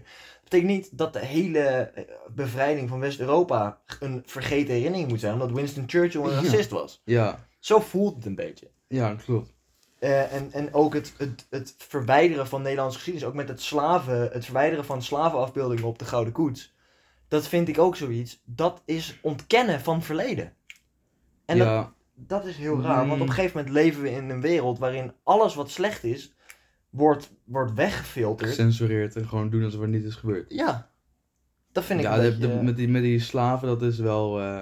Dat betekent niet dat de hele eh, bevrijding van West-Europa een vergeten herinnering moet zijn. Omdat Winston Churchill een Ja. racist was. ja. Zo voelt het een beetje. Ja, dat klopt. Eh, en, en ook het, het, het verwijderen van Nederlandse geschiedenis, ook met het slaven, het verwijderen van slavenafbeeldingen op de Gouden Koets. Dat vind ik ook zoiets. Dat is ontkennen van verleden. En dat, ja, dat is heel raar, want op Mm. een gegeven moment leven we in een wereld waarin alles wat slecht is, wordt, wordt weggefilterd. gecensureerd en gewoon doen alsof er niet is gebeurd. Ja, dat vind ik ja, een de- beetje... de- met, die, met die slaven, dat is wel... eh,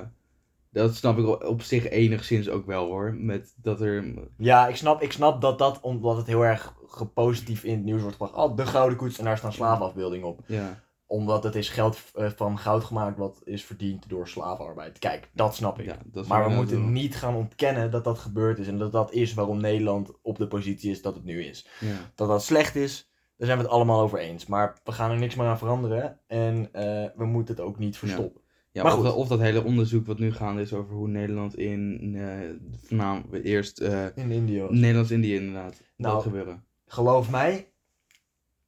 dat snap ik op- op zich enigszins ook wel hoor. Met dat er... Ja, ik snap, ik snap dat dat, omdat het heel erg gepositief in het nieuws wordt gebracht. Oh, de Gouden Koets en daar staan slavenafbeeldingen op. Ja, Omdat het is geld eh, van goud gemaakt wat is verdiend door slavenarbeid. Kijk, dat snap ik. ja dat is maar we wel- moeten niet gaan ontkennen dat dat gebeurd is. En dat dat is waarom Nederland op de positie is dat het nu is. Ja, Dat dat slecht is, daar zijn we het allemaal over eens. Maar we gaan er niks meer aan veranderen. En eh, we moeten het ook niet verstoppen. ja Maar of, goed. dat, of dat hele onderzoek wat nu gaande is over hoe Nederland in... eh voornamelijk eerst... eh, In India. was- Nederlands-Indië inderdaad. Nou. Dat gebeuren. Geloof mij,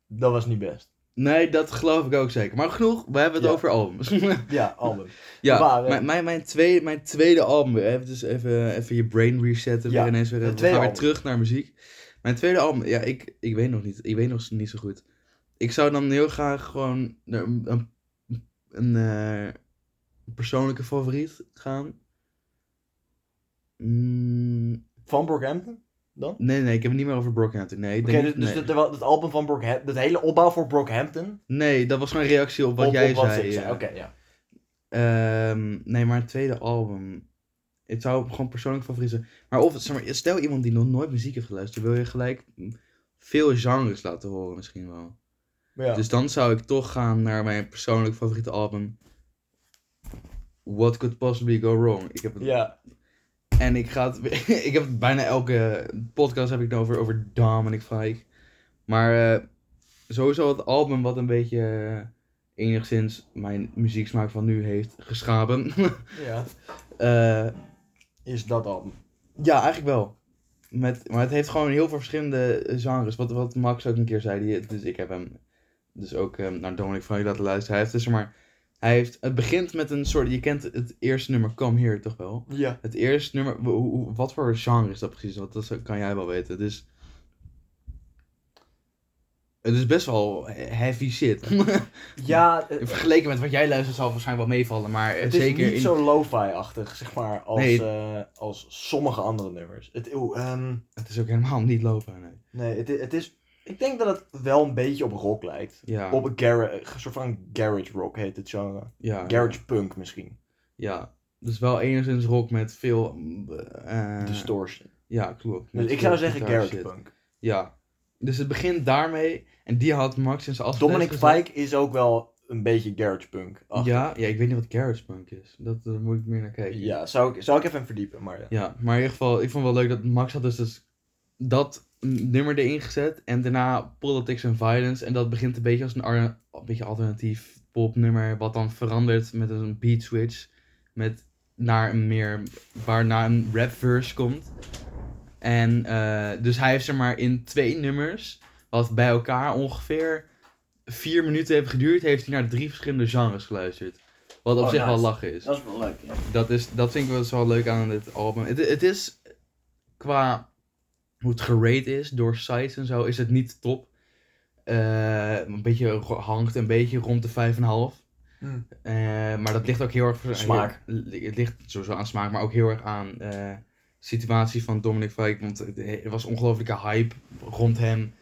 dat was niet best. Nee, dat geloof ik ook zeker. Maar genoeg, we hebben het Ja. over albums. Ja, album. ja, Waar, hè? mijn, mijn, mijn, tweede, mijn tweede album. weer. Even, dus even, even je brain resetten. Ja, weer ineens weer, mijn we gaan tweede weer album. terug naar muziek. Mijn tweede album, ja, ik, ik weet nog niet. Ik weet nog niet zo goed. Ik zou dan heel graag gewoon naar een, een, een, eh, persoonlijke favoriet gaan. Mm, Van Brockhampton? Dan? nee, nee, ik heb het niet meer over Brockhampton. Nee, ik Oké, denk dus, niet- dus nee. dat- dat album van Brockhampton, dat hele opbouw voor Brockhampton. nee, dat was mijn reactie op wat op, jij op wat zei. ze- ja. Oké, ja. Ehm, nee, maar het tweede album. Het zou gewoon persoonlijk favoriet zijn. Maar, of, zeg maar stel iemand die nog nooit muziek heeft geluisterd, wil je gelijk veel genres laten horen misschien wel. ja. Dus dan zou ik toch gaan naar mijn persoonlijk favoriete album. What Could Possibly Go Wrong. Ik heb het, ja. En ik ga het, ik heb het bijna elke podcast heb ik het over, over Dominic Fike. Maar eh, sowieso het album wat een beetje eh, enigszins mijn muzieksmaak van nu heeft geschapen. Ja, Eh, is dat al. ja, eigenlijk wel. Met, maar het heeft gewoon heel veel verschillende eh, genres. Wat, wat Max ook een keer zei. Die, dus ik heb hem dus ook eh, naar Dominic Frank laten luisteren. Hij heeft dus maar. Hij heeft, het begint met een soort. Je kent het eerste nummer Come Here toch wel? Ja. Het eerste nummer. wa- hoe- hoe- Wat voor genre is dat precies? Want dat zou- kan jij wel weten. Dus. Het is best wel heavy shit. Ja, eh, Vergeleken met wat jij luistert zal het waarschijnlijk wel meevallen. Maar eh, het is zeker niet in. zo lo-fi-achtig, zeg maar, als, Nee. eh, als sommige andere nummers. Het, oeh, ehm, Het is ook helemaal niet lopen. Nee. nee, het, i- het is... Ik denk dat het wel een beetje op rock lijkt. Ja. Op een, garage, een soort van garage rock heet het genre. ja. Garage punk misschien. Ja. Dus wel enigszins rock met veel... eh, Distortion. ja, klopt. Dus Met ik zou veel zeggen gitaar garage shit. punk. Ja. Dus het begint daarmee. En die had Max in zijn afspraak Dominic Fike is ook wel een beetje garage punk. Ach, ja. Ja, ja, ik weet niet wat garage punk is. Dat, daar moet ik meer naar kijken. zou, ik, zou ik even verdiepen, maar ja. Ja, maar in ieder geval, ik vond wel leuk dat Max had dus, dus dat nummer erin gezet. En daarna Politics and Violence. En dat begint een beetje als een, ar- een beetje alternatief popnummer. Wat dan verandert met een beat switch. Met naar een meer, waarna een rap verse komt. En eh, dus hij heeft zeg maar in twee nummers, wat bij elkaar ongeveer vier minuten heeft geduurd, heeft hij naar drie verschillende genres geluisterd. Wat op Oh, zich wel nice. lachen is. Dat is wel leuk, ja. Dat, is, dat vind ik wel zo leuk aan dit album. Het, het is qua hoe het gerate is door sites en zo, is het niet top. Eh, een beetje ro- hangt een beetje rond de 5,5. Hmm. Eh, maar dat ligt ook heel erg voor Smaak. heel- li- het ligt sowieso aan smaak, maar ook heel erg aan eh, situatie van Dominic Fike. Want het- er was ongelofelijke hype rond hem.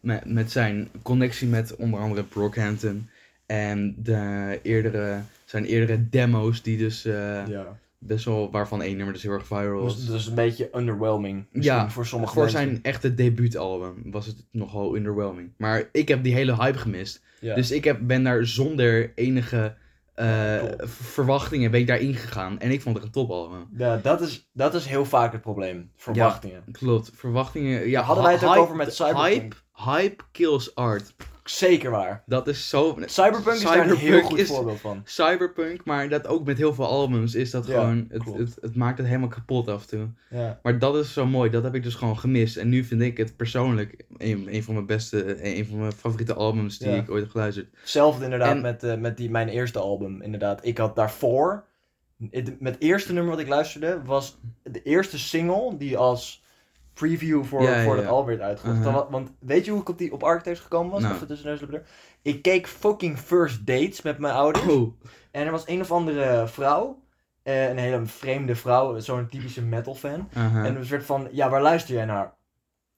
Met, met zijn connectie met onder andere Brockhampton. En de eerdere, zijn eerdere demo's, die dus eh, Ja. best wel waarvan één nummer dus heel erg viral was. Dus, dus een beetje underwhelming. Ja, misschien voor sommige Voor mensen. zijn echte debuutalbum was het nogal underwhelming. Maar ik heb die hele hype gemist. Ja. Dus ik heb, ben daar zonder enige eh, Klopt. v- verwachtingen ben ik daarin gegaan. En ik vond het een topalbum. Ja, dat is, dat is heel vaak het probleem. Verwachtingen. Klopt, verwachtingen. Ja, Hadden wij het ook hype- over met Cyberpunk? Hype, hype kills art. Zeker waar. Dat is zo... Cyberpunk is daar een heel Cyberpunk goed is- voorbeeld van. Cyberpunk, maar dat ook met heel veel albums is dat Ja, gewoon... Het, klopt. het, het maakt het helemaal kapot af en toe. Ja. Maar dat is zo mooi, dat heb ik dus gewoon gemist. En nu vind ik het persoonlijk een, een van mijn beste, een van mijn favoriete albums die Ja. ik ooit heb geluisterd. Hetzelfde inderdaad En- met, eh, met die, mijn eerste album. Inderdaad, ik had daarvoor... Het, met het eerste nummer wat ik luisterde was de eerste single die als preview voor, Ja, ja, voor het ja. album werd uitgebracht. Mhm. Dan wa- Want weet je hoe ik op, die, op Architects gekomen was? Nou. Even tussen neus en lippen door. Ik keek fucking First Dates met mijn ouders. Oh, En er was een of andere vrouw. eh, Een hele vreemde vrouw, zo'n typische metal fan. aha. En een soort van, ja, waar luister jij naar?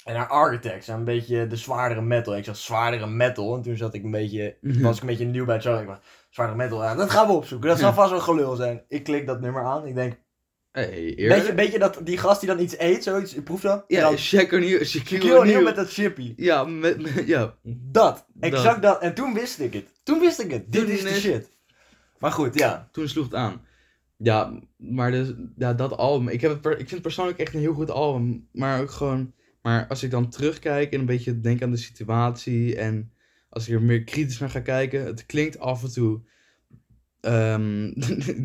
En naar Architects, en een beetje de zwaardere metal. En ik zag zwaardere metal, en toen zat ik een beetje, Mhm. was ik een beetje nieuw bij het genre. Ik dacht, zwaardere metal, ja, dat gaan we opzoeken. Dat zal vast wel gelul zijn. Ik klik dat nummer aan, ik denk, hey, weet je, eerlijk? weet je dat die gast die dan iets eet, zoiets, ik proef dat? en Ja, dan Shaquille O'Neal. Shaquille Shaquille O'Neal O'Neal. met dat chippy. Ja, met, met- ja. Dat, exact dat. En toen wist ik het. Toen wist ik het. Dit Toen is de is- shit. Maar goed, ja. Toen sloeg het aan. Ja, maar dus, ja, dat album. Ik, heb het per- ik vind het persoonlijk echt een heel goed album. Maar ook gewoon. Maar als ik dan terugkijk en een beetje denk aan de situatie. En als ik er meer kritisch naar ga kijken. Het klinkt af en toe. ehm,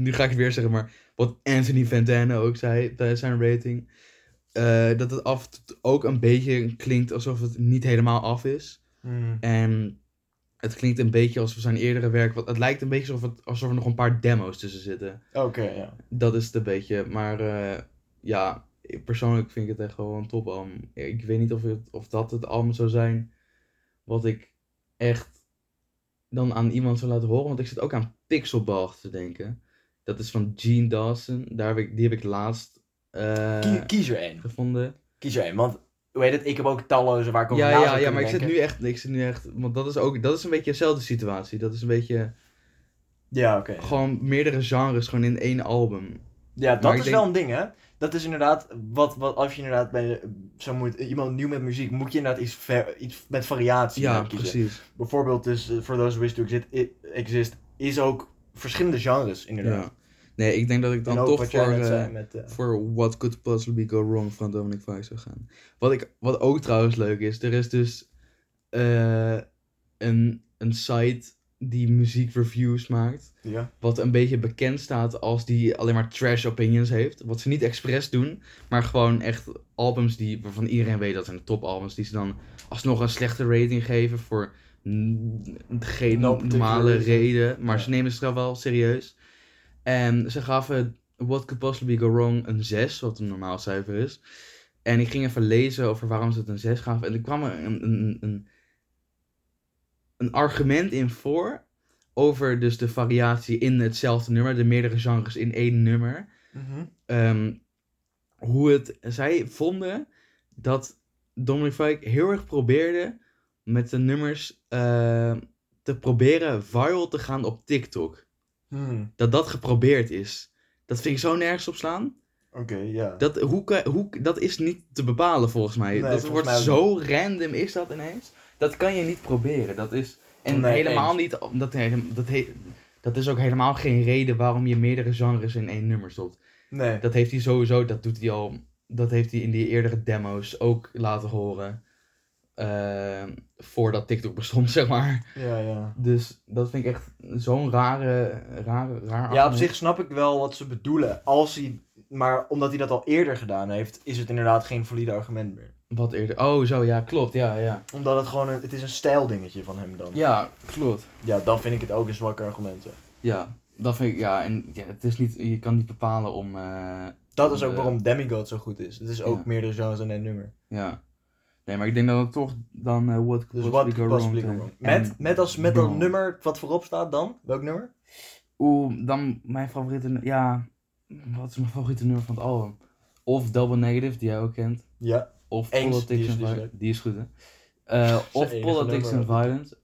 nu ga ik het weer zeggen, maar. Wat Anthony Fantana ook zei bij zijn rating. eh, dat het af en toe ook een beetje klinkt alsof het niet helemaal af is. Hmm. En het klinkt een beetje alsof zijn eerdere werk. want Het lijkt een beetje alsof, het, alsof er nog een paar demo's tussen zitten. Oké, ja. Dat is het een beetje. Maar eh, ja, ik- persoonlijk vind ik het echt wel een topalbum. Ik weet niet of, het, of dat het album zou zijn wat ik echt dan aan iemand zou laten horen. Want ik zit ook aan Pixelbalg te denken. Dat is van Gene Dawson. Daar heb ik, die heb ik laatst eh, Kie- kies er één. gevonden. Kies er één, want hoe heet het? Ik heb ook talloze waar ik over Ja, na zou ja, ja, kunnen maar ik zit, denken. nu echt, ik zit nu echt. Want dat is ook. Dat is een beetje dezelfde situatie. Dat is een beetje. Ja, oké. Gewoon meerdere genres, gewoon in één album. Ja, dat Maar ik is denk- wel een ding, hè? Dat is inderdaad, wat, wat als je inderdaad bij, zo moet, iemand nieuw met muziek, moet je inderdaad iets, ver- iets met variatie Ja, gaan kiezen. precies. Bijvoorbeeld dus, eh, For Those Who Wish To Exist, i- exist is ook verschillende genres, inderdaad. Ja. Nee, ik denk dat ik dan En ook toch wat jij voor, net eh, zei met... eh, voor What Could Possibly Go Wrong van Dominic Fike zou gaan. Wat, ik, wat ook trouwens leuk is, er is dus eh, een, een site die muziekreviews maakt. ja. Wat een beetje bekend staat als die alleen maar trash opinions heeft. Wat ze niet expres doen, maar gewoon echt albums die, waarvan iedereen weet dat zijn de topalbums. Die ze dan alsnog een slechte rating geven voor n- geen No particular normale reason. reden. Maar Ja. ze nemen het wel wel serieus. En ze gaven What Could Possibly Go Wrong een 6, wat een normaal cijfer is. En ik ging even lezen over waarom ze het een 6 gaven. En er kwam er een, een, een, een argument in voor. Over dus de variatie in hetzelfde nummer. De meerdere genres in één nummer ehm, hoe het, zij vonden dat Dominic Fike heel erg probeerde met de nummers eh, te proberen viral te gaan op TikTok. Hmm, Dat dat geprobeerd is. Dat vind ik zo nergens op slaan. Oké, ja. Dat, hoe, kan- hoe, dat is niet te bepalen volgens mij. Nee, dat volgens wordt mij ook zo random is dat ineens. Dat kan je niet proberen. Dat is, en Nee, helemaal niet. Dat, he- dat, he- dat is ook helemaal geen reden waarom je meerdere genres in één nummer stopt. Nee. Dat heeft hij sowieso, dat doet hij al. Dat heeft hij in die eerdere demo's ook laten horen. eh, voordat TikTok bestond, zeg maar. Ja, ja. Dus dat vind ik echt zo'n rare, rare, raar. Ja, op zich snap ik wel wat ze bedoelen. Als hij, maar omdat hij dat al eerder gedaan heeft, is het inderdaad geen valide argument meer. Wat eerder. Oh, zo ja, klopt. Ja, ja. Omdat het gewoon een, het is een stijldingetje van hem dan. Ja. Ja, klopt. dan vind ik het ook een zwak argument. hè. Ja, dat vind ik. Ja, en ja, het is niet, je kan niet bepalen om. eh, Dat is ook Eh. waarom Demigod zo goed is. Het is ook Ja. meerdere genres dan één nummer. ja. Nee, maar ik denk dat het toch dan. eh, what could Dus possibly wat go possibly wrong go wrong. en- Met, met, als, met dat wrong. nummer wat voorop staat dan? Welk nummer? Oeh, dan mijn favoriete. nu- Ja, wat is mijn favoriete nummer van het album? Of Double Negative, die jij ook kent. Ja. Of Eens, die Politics is- and die is Violence. leuk. Die is goed, hè? Eh, of enige Politics and nummer. Violence.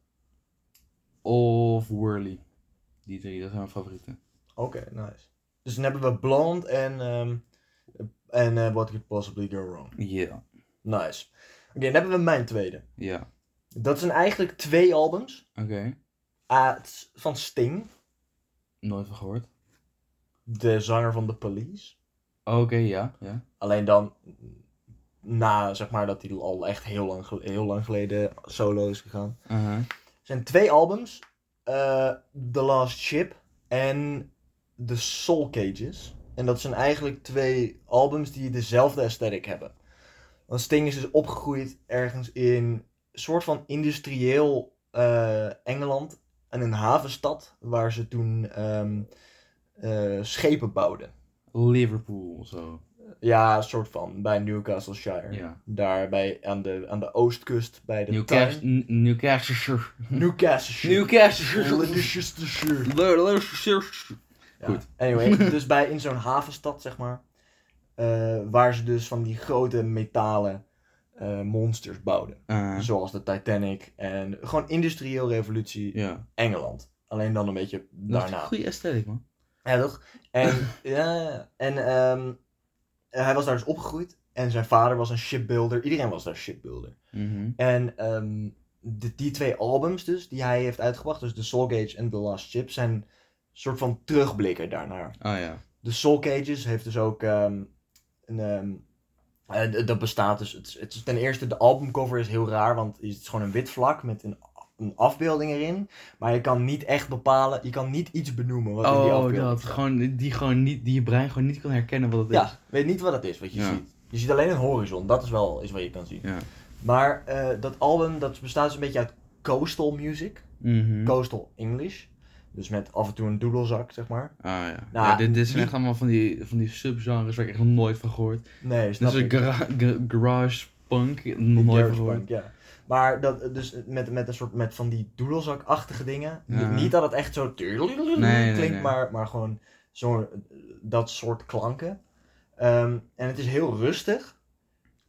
Of Whirly. Die drie, dat zijn mijn favorieten. Oké, nice. Dus dan hebben we Blonde en, ehm, en eh, What Could Possibly Go Wrong. Ja, Nice. Oké, dan hebben we mijn tweede. ja. Dat zijn eigenlijk twee albums. Oké. Ah, het is van Sting, Nooit van gehoord. de zanger van The Police. Oké, ja, ja. Alleen dan na, zeg maar, dat hij al echt heel lang, gel- heel lang geleden solo is gegaan. Uh-huh. Er zijn twee albums. eh, The Last Ship en The Soul Cages. En dat zijn eigenlijk twee albums die dezelfde aesthetic hebben. Want Sting is dus opgegroeid ergens in een soort van industrieel eh, Engeland. En een havenstad waar ze toen ehm, eh, schepen bouwden. Liverpool of zo. Ja, een soort van, bij Newcastleshire. Ja. Daar bij, aan, de, aan de oostkust bij de Newcastle. tuin. N- Newcastleshire. Newcastleshire. Newcastleshire. Newcastleshire. Newcastleshire. Ja. Goed. Anyway, dus bij, in zo'n havenstad, zeg maar. eh, waar ze dus van die grote metalen eh, monsters bouwden. Eh, Zoals de Titanic en gewoon industrieel revolutie Ja. Engeland. Alleen dan een beetje Dat is een daarna. goede aesthetic, man. Ja, toch? En, ja, en ehm, hij was daar dus opgegroeid. En zijn vader was een shipbuilder. Iedereen was daar shipbuilder. Mhm. En ehm, de, die twee albums dus, die hij heeft uitgebracht. Dus The Soul Gauge en The Last Ship. Zijn een soort van terugblikken daarnaar. Ah ja. De Soul Cages heeft dus ook ehm, een. ehm, eh, d- dat bestaat dus. Het, is- het is ten eerste, de albumcover is heel raar, want het is gewoon een wit vlak met een, een afbeelding erin. Maar je kan niet echt bepalen, je kan niet iets benoemen wat in die Oh, afbeelding dat. staat. Gewoon, die, gewoon niet, die je brein gewoon niet kan herkennen wat het is. Ja, weet niet wat dat is wat je Ja. ziet. Je ziet alleen een horizon, dat is wel is wat je kan zien. Ja. Maar eh, dat album dat bestaat dus een beetje uit coastal music, Mhm. coastal English. Dus met af en toe een doedelzak, zeg maar. Ah ja. Nou, ja dit, dit zijn die- echt allemaal van die, van die subgenres waar ik echt nog nooit van gehoord. Nee, Dit is snap Dus een ik. gara- ga- garage punk, nog nooit van Garage gehoord. punk, ja. Maar dat, dus met, met een soort met van die doedelzakachtige dingen. Ni- Ja. Niet dat het echt zo nee, klinkt, nee. Maar, maar gewoon zo, dat soort klanken. Ehm, en het is heel rustig.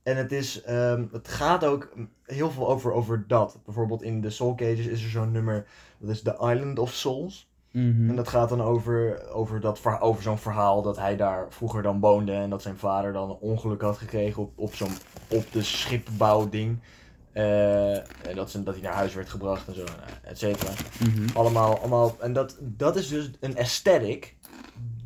En het, is, ehm, het gaat ook heel veel over, over dat. Bijvoorbeeld in de Soul Cages is er zo'n nummer, dat is The Island of Souls. Mhm. En dat gaat dan over, over, dat verha- over zo'n verhaal dat hij daar vroeger dan woonde en dat zijn vader dan een ongeluk had gekregen op, op, zo'n, op de schipbouwding. Eh, en dat, ze, dat hij naar huis werd gebracht en zo, nou, et cetera. Mhm. Allemaal, allemaal. En dat, dat is dus een aesthetic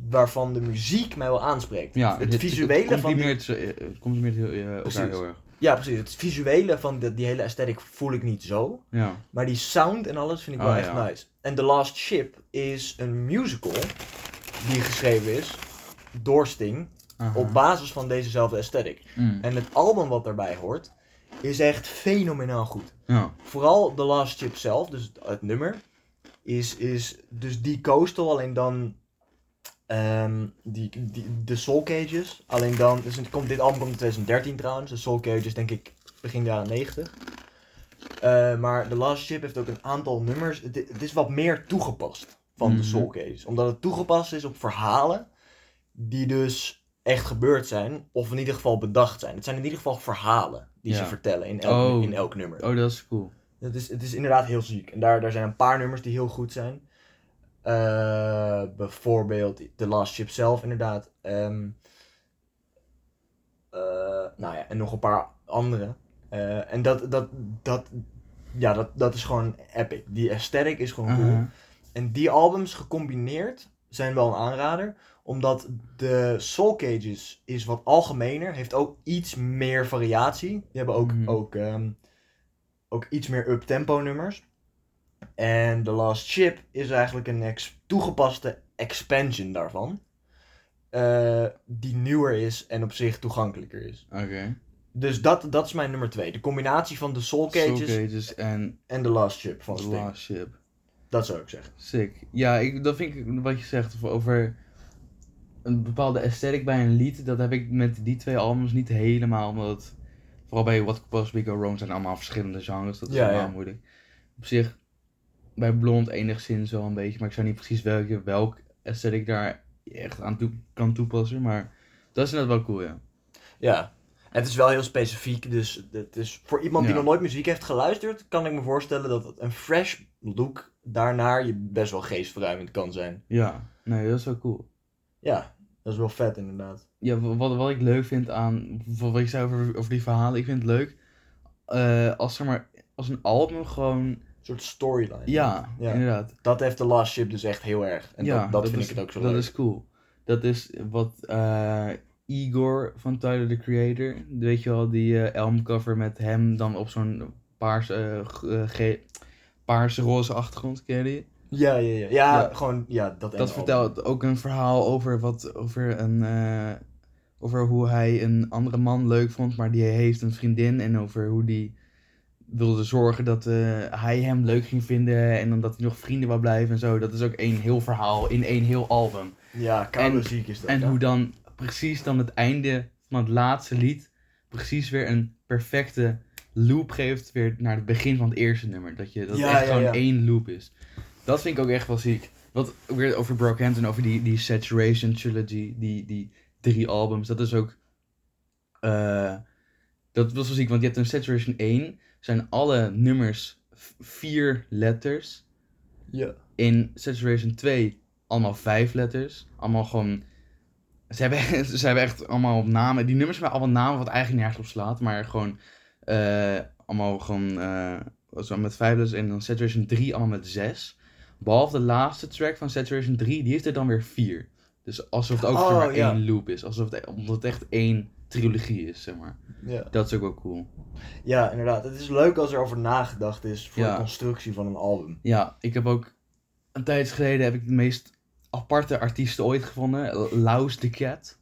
waarvan de muziek mij wel aanspreekt. Ja, het visuele van die, comprimeert ze- eh, Het comprimeert heel, eh, elkaar Precies. heel erg. Ja, precies. Het visuele van de- die hele aesthetic voel ik niet zo. Ja. Maar die sound en alles vind ik Oh, wel echt ja. nice. En The Last Ship is een musical die geschreven is door Sting Aha. op basis van dezezelfde aesthetic. Mm. En het album wat daarbij hoort is echt fenomenaal goed. Ja. Vooral The Last Ship zelf, dus het, het nummer, is, is dus die coastal, alleen dan ehm, die, die, de Soul Cages. Alleen dan, dus het komt, dit album komt in 2013 trouwens, de Soul Cages denk ik begin jaren 90. Eh, maar The Last Ship heeft ook een aantal nummers. Het, het is wat meer toegepast van de Mhm. Soul Cages. Omdat het toegepast is op verhalen die dus echt gebeurd zijn. Of in ieder geval bedacht zijn. Het zijn in ieder geval verhalen die ze Ja. vertellen in elk, Oh. in elk nummer. Oh, dat is cool. Het is, het is inderdaad heel ziek. En daar, daar zijn een paar nummers die heel goed zijn. Eh, bijvoorbeeld The Last Ship zelf, inderdaad. Ehm, eh, nou ja, en nog een paar andere. Eh, en dat, dat, dat, ja, dat, dat is gewoon epic. Die aesthetic is gewoon Mhm. cool. En die albums gecombineerd zijn wel een aanrader. Omdat de Soul Cages is wat algemener. Heeft ook iets meer variatie. Die hebben ook, Mhm. ook, ehm, ook iets meer up-tempo nummers. En The Last Ship is eigenlijk een ex- toegepaste expansion daarvan. Eh, die nieuwer is en op zich toegankelijker is. Oké. Dus dat, dat is mijn nummer twee. De combinatie van de Soul Cages Soul Cages en en The Last Ship van The Sting. Last Ship. Dat zou ik zeggen. Sick. Ja, ik, dat vind ik wat je zegt over- over een bepaalde aesthetic bij een lied. Dat heb ik met die twee albums niet helemaal. Omdat, vooral bij What Could Possibly Go Wrong zijn allemaal verschillende genres. Dat is Ja, helemaal ja. moeilijk. Op zich, bij Blond enigszins wel een beetje. Maar ik zou niet precies welke, welk aesthetic daar echt aan toe, kan toepassen. Maar dat is net wel cool, ja. Ja. Het is wel heel specifiek, dus het is voor iemand die Ja. nog nooit muziek heeft geluisterd, kan ik me voorstellen dat het een fresh look daarnaar je best wel geestverruimend kan zijn. Ja, nee, dat is wel cool. Ja, dat is wel vet inderdaad. Ja, wa- wat, wat ik leuk vind aan. Wat wat ik zei over, over die verhalen. Ik vind het leuk. eh, als, zeg maar, als een album gewoon. Een soort storyline. Ja, Ja. inderdaad. Dat heeft The Last Ship dus echt heel erg. En ja, dat, dat, vind is, ik het ook zo Dat leuk. is cool. Dat is wat eh, Igor van Tyler the Creator. Weet je wel, die eh, Elm cover met hem dan op zo'n paars, eh, g- eh, ge- paars-roze achtergrond. Ken je die? Ja, ja, ja, ja. Ja. gewoon, ja, dat en Dat al. vertelt ook een verhaal over, wat, over, een, eh, over hoe hij een andere man leuk vond, maar die heeft een vriendin. En over hoe die wilde zorgen dat eh, hij hem leuk ging vinden en dan dat hij nog vrienden wou blijven en zo. Dat is ook één heel verhaal in één heel album. Ja, koude En- muziek is dat. En ja. hoe dan precies dan het einde van het laatste lied precies weer een perfecte loop geeft weer naar het begin van het eerste nummer. Dat je dat Ja, echt ja, gewoon ja. één loop is. Dat vind ik ook echt wel ziek. Wat ook weer over Brockhampton, over die, die Saturation Trilogy, die, die drie albums. Dat is ook... eh, dat was wel ziek, want je hebt een Saturation 1. Zijn alle nummers v- vier letters. Ja. In Saturation 2 allemaal vijf letters. Allemaal gewoon... Ze hebben, ze hebben echt allemaal namen. Die nummers hebben allemaal namen wat eigenlijk nergens op slaat. Maar gewoon... eh, allemaal gewoon... eh, zo met vijf letters. En dan Saturation 3 allemaal met zes. Behalve de laatste track van Saturation 3. Die heeft er dan weer vier. Dus alsof het ook Oh, zeg maar ja. één loop is. Alsof het, omdat het echt één trilogie is, zeg maar. ja. Dat is ook wel cool. ja, inderdaad. Het is leuk als er over nagedacht is voor Ja. de constructie van een album. Ja, ik heb ook... Een tijd geleden heb ik de meest aparte artiesten ooit gevonden. Laus the Cat.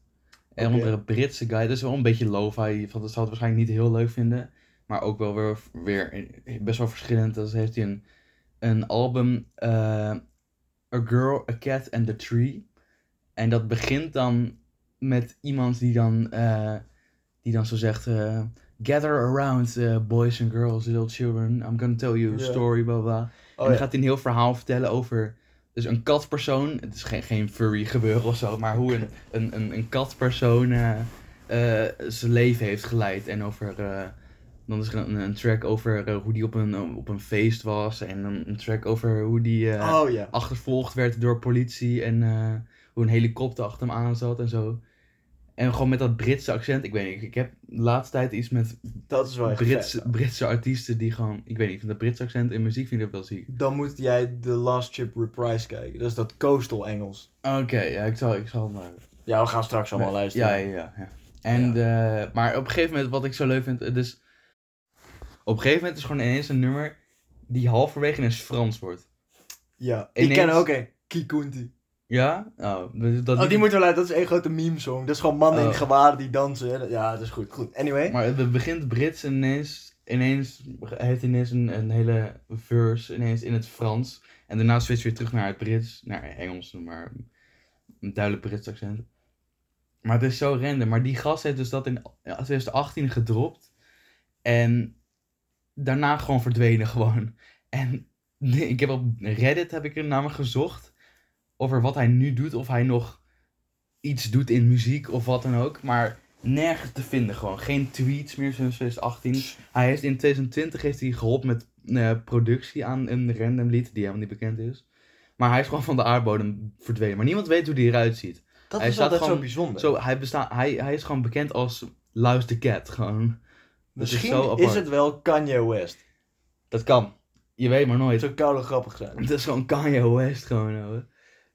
Een Oké. andere Britse guy. Dat is wel een beetje lo-fi. want Dat zou het waarschijnlijk niet heel leuk vinden. Maar ook wel weer, weer best wel verschillend. Dat heeft hij een, een album... eh, a Girl, A Cat and the Tree. En dat begint dan met iemand die dan, eh, die dan zo zegt... eh, Gather around, eh, boys and girls, little children. I'm gonna tell you a Ja. story, blah blah. Oh, en dan ja. gaat hij een heel verhaal vertellen over. Dus een katpersoon. Het is geen, geen furry gebeuren of zo. Maar hoe een, een, een, een katpersoon eh, eh, zijn leven heeft geleid. En over. eh, dan is er een, een track over eh, hoe die op een, op een feest was. En een, een track over hoe die eh, oh ja. achtervolgd werd door politie. En eh, hoe een helikopter achter hem aan zat en zo. En gewoon met dat Britse accent. Ik weet niet. Ik heb de laatste tijd iets met Dat is wel Oh, echt vet. Britse, Britse artiesten die gewoon. Ik weet niet. Ik vind dat Britse accent in muziek vind ik dat wel ziek. Dan moet jij The Last Chip Reprise kijken. Dat is dat coastal Engels. Oké, ja, ik zal, ik zal maar. Ja, we gaan straks allemaal Nee, luisteren. Ja, ja, ja. ja. En, eh, maar op een gegeven moment, wat ik zo leuk vind, eh, dus. Op een gegeven moment is gewoon ineens een nummer die halverwege ineens Frans wordt. Ja. Ineens- Ik ken ook een. Kikunti. Ja? Oh, dus dat Oh, die moeten we luisteren. Dat is één grote meme song. Dat is gewoon mannen in Oh. gewaden die dansen. hè. Ja, dat is goed. Goed. Anyway. Maar het begint Brits en ineens, ineens heeft hij ineens een, een hele verse ineens in het Frans. En daarna switcht weer terug naar het Brits, naar Engels, maar een duidelijk Brits accent. Maar het is zo random. Maar die gast heeft dus dat in 2018 gedropt. En daarna gewoon verdwenen gewoon. En ik heb op Reddit heb ik er namelijk gezocht over wat hij nu doet. Of hij nog iets doet in muziek of wat dan ook. Maar nergens te vinden gewoon. Geen tweets meer sinds 2018. Hij heeft in 2020 heeft hij geholpen met eh, productie aan een random lied die helemaal niet bekend is. Maar hij is gewoon van de aardbodem verdwenen. Maar niemand weet hoe hij eruit ziet. Dat Hij is staat altijd gewoon- zo bijzonder. Zo, hij, bestaat, hij, hij is gewoon bekend als Luis de Cat. Gewoon. Dat Misschien is zo is, apart. het wel Kanye West. Dat kan. Je weet maar nooit. Het zou koude grappig zijn. Het is gewoon Kanye West gewoon. ouwe.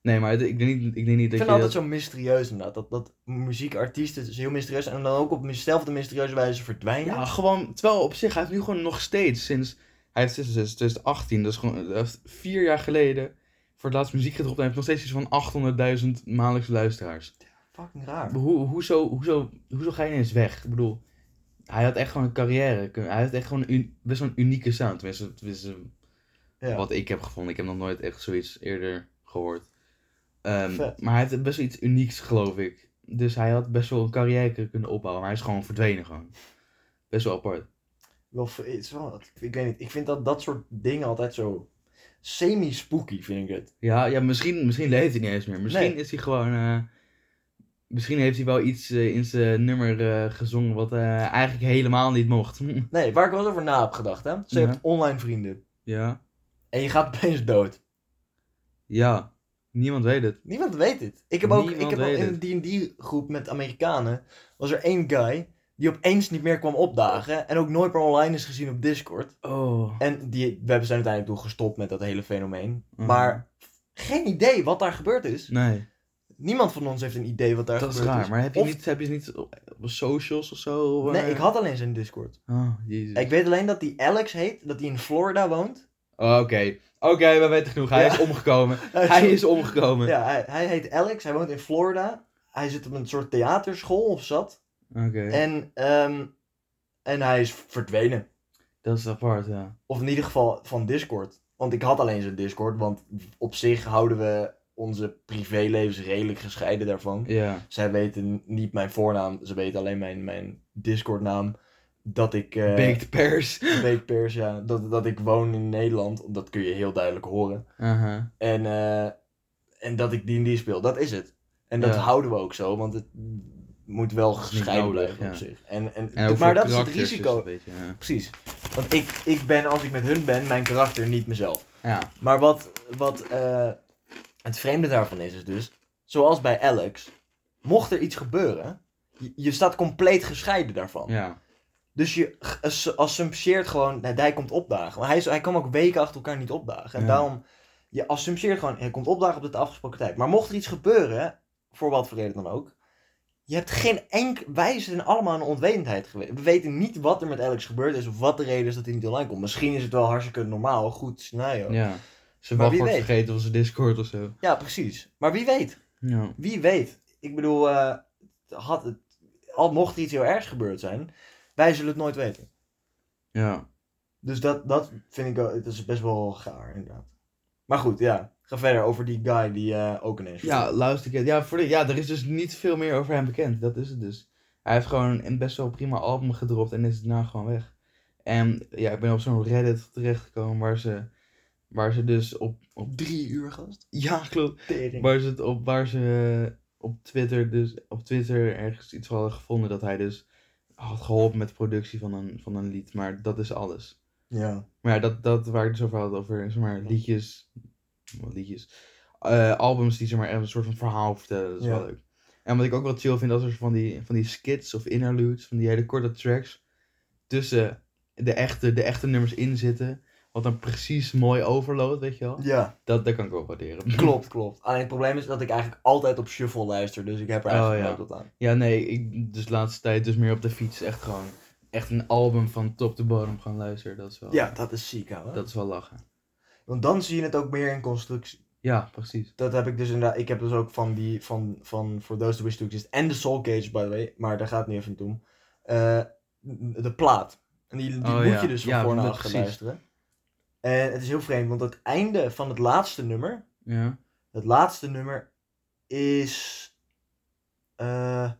Nee, maar het- ik denk niet, ik denk niet dat Ik vind je... altijd zo mysterieus inderdaad. Dat, dat muziekartiesten is heel mysterieus en dan ook op dezelfde mysterieuze wijze verdwijnen. Ja, gewoon. Terwijl op zich, hij heeft nu gewoon nog steeds sinds. Hij heeft sinds sinds 2018, dus gewoon hij heeft vier jaar geleden. Voor het laatst muziek gedropt. en Hij heeft nog steeds iets van 800.000 maandelijkse luisteraars. Fucking raar. Hoe, hoezo, hoezo, hoezo ga je ineens weg? Ik bedoel, hij had echt gewoon een carrière. kunnen- Hij heeft echt gewoon een, un- best wel een unieke sound. Tenminste, tenminste Ja. wat ik heb gevonden. Ik heb nog nooit echt zoiets eerder gehoord. Ehm, Vet. maar hij heeft best wel iets unieks, geloof ik. Dus hij had best wel een carrière kunnen opbouwen. Maar hij is gewoon verdwenen gewoon. Best wel apart. Wel, het is wel, ik weet niet, ik vind dat dat soort dingen altijd zo semi-spooky, vind ik het. Ja, ja misschien, misschien leeft hij niet eens meer. Misschien Nee. is hij gewoon. eh, misschien heeft hij wel iets eh, in zijn nummer eh, gezongen wat eh, eigenlijk helemaal niet mocht. Nee, waar ik wel eens over na heb gedacht, hè. Ze Ja. hebt online vrienden ja, en je gaat opeens dood. ja. Niemand weet het. Niemand weet dit. Ik heb ook, ik Niemand heb ook weet in een D&D groep met Amerikanen, was er één guy die opeens niet meer kwam opdagen en ook nooit meer online is gezien op Discord. Oh. En die, we hebben zijn uiteindelijk toen gestopt met dat hele fenomeen. Mhm. Maar geen idee wat daar gebeurd is. Nee, Niemand van ons heeft een idee wat daar dat is gebeurd raar. Maar heb je, Of- niet, heb je niet op op socials of zo? of, Nee, eh? ik had alleen zijn Discord. Oh, jezus. Ik weet alleen dat die Alex heet, dat hij in Florida woont. Oh, Oké, oké, we weten genoeg. Hij Ja. is omgekomen. Hij is omgekomen. Ja, hij, hij heet Alex, hij woont in Florida. Hij zit op een soort theaterschool of zat. Oké, En, ehm, en hij is verdwenen. dat is apart, ja. Of in ieder geval van Discord. Want ik had alleen zijn Discord, want op zich houden we onze privélevens redelijk gescheiden daarvan. Ja, Zij weten niet mijn voornaam, ze weten alleen mijn, mijn Discord-naam. Dat ik. eh, baked pears. Baked Pears, ja. Dat, dat ik woon in Nederland, dat kun je heel duidelijk horen. Aha. En, eh, en dat ik die en die speel, dat is het. En dat Ja. houden we ook zo, want het moet wel gescheiden nodig, blijven op ja. zich. En, en, En ook maar voor dat is het karakters risico. een beetje, eh, ja. Precies. Want ik, ik ben, als ik met hun ben, mijn karakter niet mezelf. ja. Maar wat, wat eh, het vreemde daarvan is, is dus, zoals bij Alex, mocht er iets gebeuren, je, je staat compleet gescheiden daarvan. Ja, Dus je g- ass- assumpteert gewoon, nou, hij komt opdagen. Maar hij, is, hij kan ook weken achter elkaar niet opdagen. En Ja. daarom, je assumpteert gewoon, hij komt opdagen op de afgesproken tijd. Maar mocht er iets gebeuren, voor wat voor reden dan ook, je hebt geen enkel, wij zijn allemaal in onwetendheid geweest. We weten niet wat er met Alex gebeurd is, of wat de reden is dat hij niet online komt. Misschien is het wel hartstikke normaal, een goed scenario. Ja, ja. Zijn Maar wie wachtwoord weet. vergeten of zijn Discord of zo. precies. Maar wie weet, Ja. wie weet. Ik bedoel, eh, had het, al mocht er iets heel ergs gebeurd zijn, wij zullen het nooit weten. Ja. Dus dat, dat vind ik wel, het is best wel gaar inderdaad. Maar goed, ja. Ga verder over die guy die eh, ook ineens... Ja, luister ik. Ja, voor de, ja, er is dus niet veel meer over hem bekend. Dat is het dus. Hij heeft gewoon een best wel prima album gedropt en is daarna gewoon weg. En ja, ik ben op zo'n Reddit terechtgekomen waar ze, waar ze dus op, op... Drie uur gast. Ja, klopt. Tering. Waar ze, het op, waar ze eh, op Twitter dus op Twitter ergens iets hadden gevonden dat hij dus had geholpen met de productie van een, van een lied. Maar dat is alles. Ja. Maar ja, dat, dat waar ik het dus over had, over zeg maar, liedjes. Wat liedjes. eh, albums die zeg maar even een soort van verhaal vertellen. Dat is Ja. wel leuk. En wat ik ook wel chill vind, dat is van die, van die skits of interludes, van die hele korte tracks. Tussen de echte, de echte nummers in zitten. Wat dan precies mooi overloopt, weet je wel. Ja, Dat, dat kan ik ook waarderen. klopt, klopt. Alleen het probleem is dat ik eigenlijk altijd op shuffle luister, dus ik heb er eigenlijk Oh, ja. nooit wat aan. Ja, nee, ik dus de laatste tijd dus meer op de fiets echt gewoon echt een album van top tot bottom gaan luisteren. Dat is wel, Ja, dat is ziek, ouwe. dat is wel lachen. Want dan zie je het ook meer in constructie. Ja, precies. Dat heb ik dus inderdaad... Ik heb dus ook van die... Van, van For Those Who Wish To Exist en de Soul Cage, by the way. Maar daar gaat het niet even om. Eh, de plaat. En die, die Oh, moet ja. je dus van Ja, voor naar dat- achter precies. luisteren. En het is heel vreemd, want het einde van het laatste nummer... Ja. Het laatste nummer is. eh,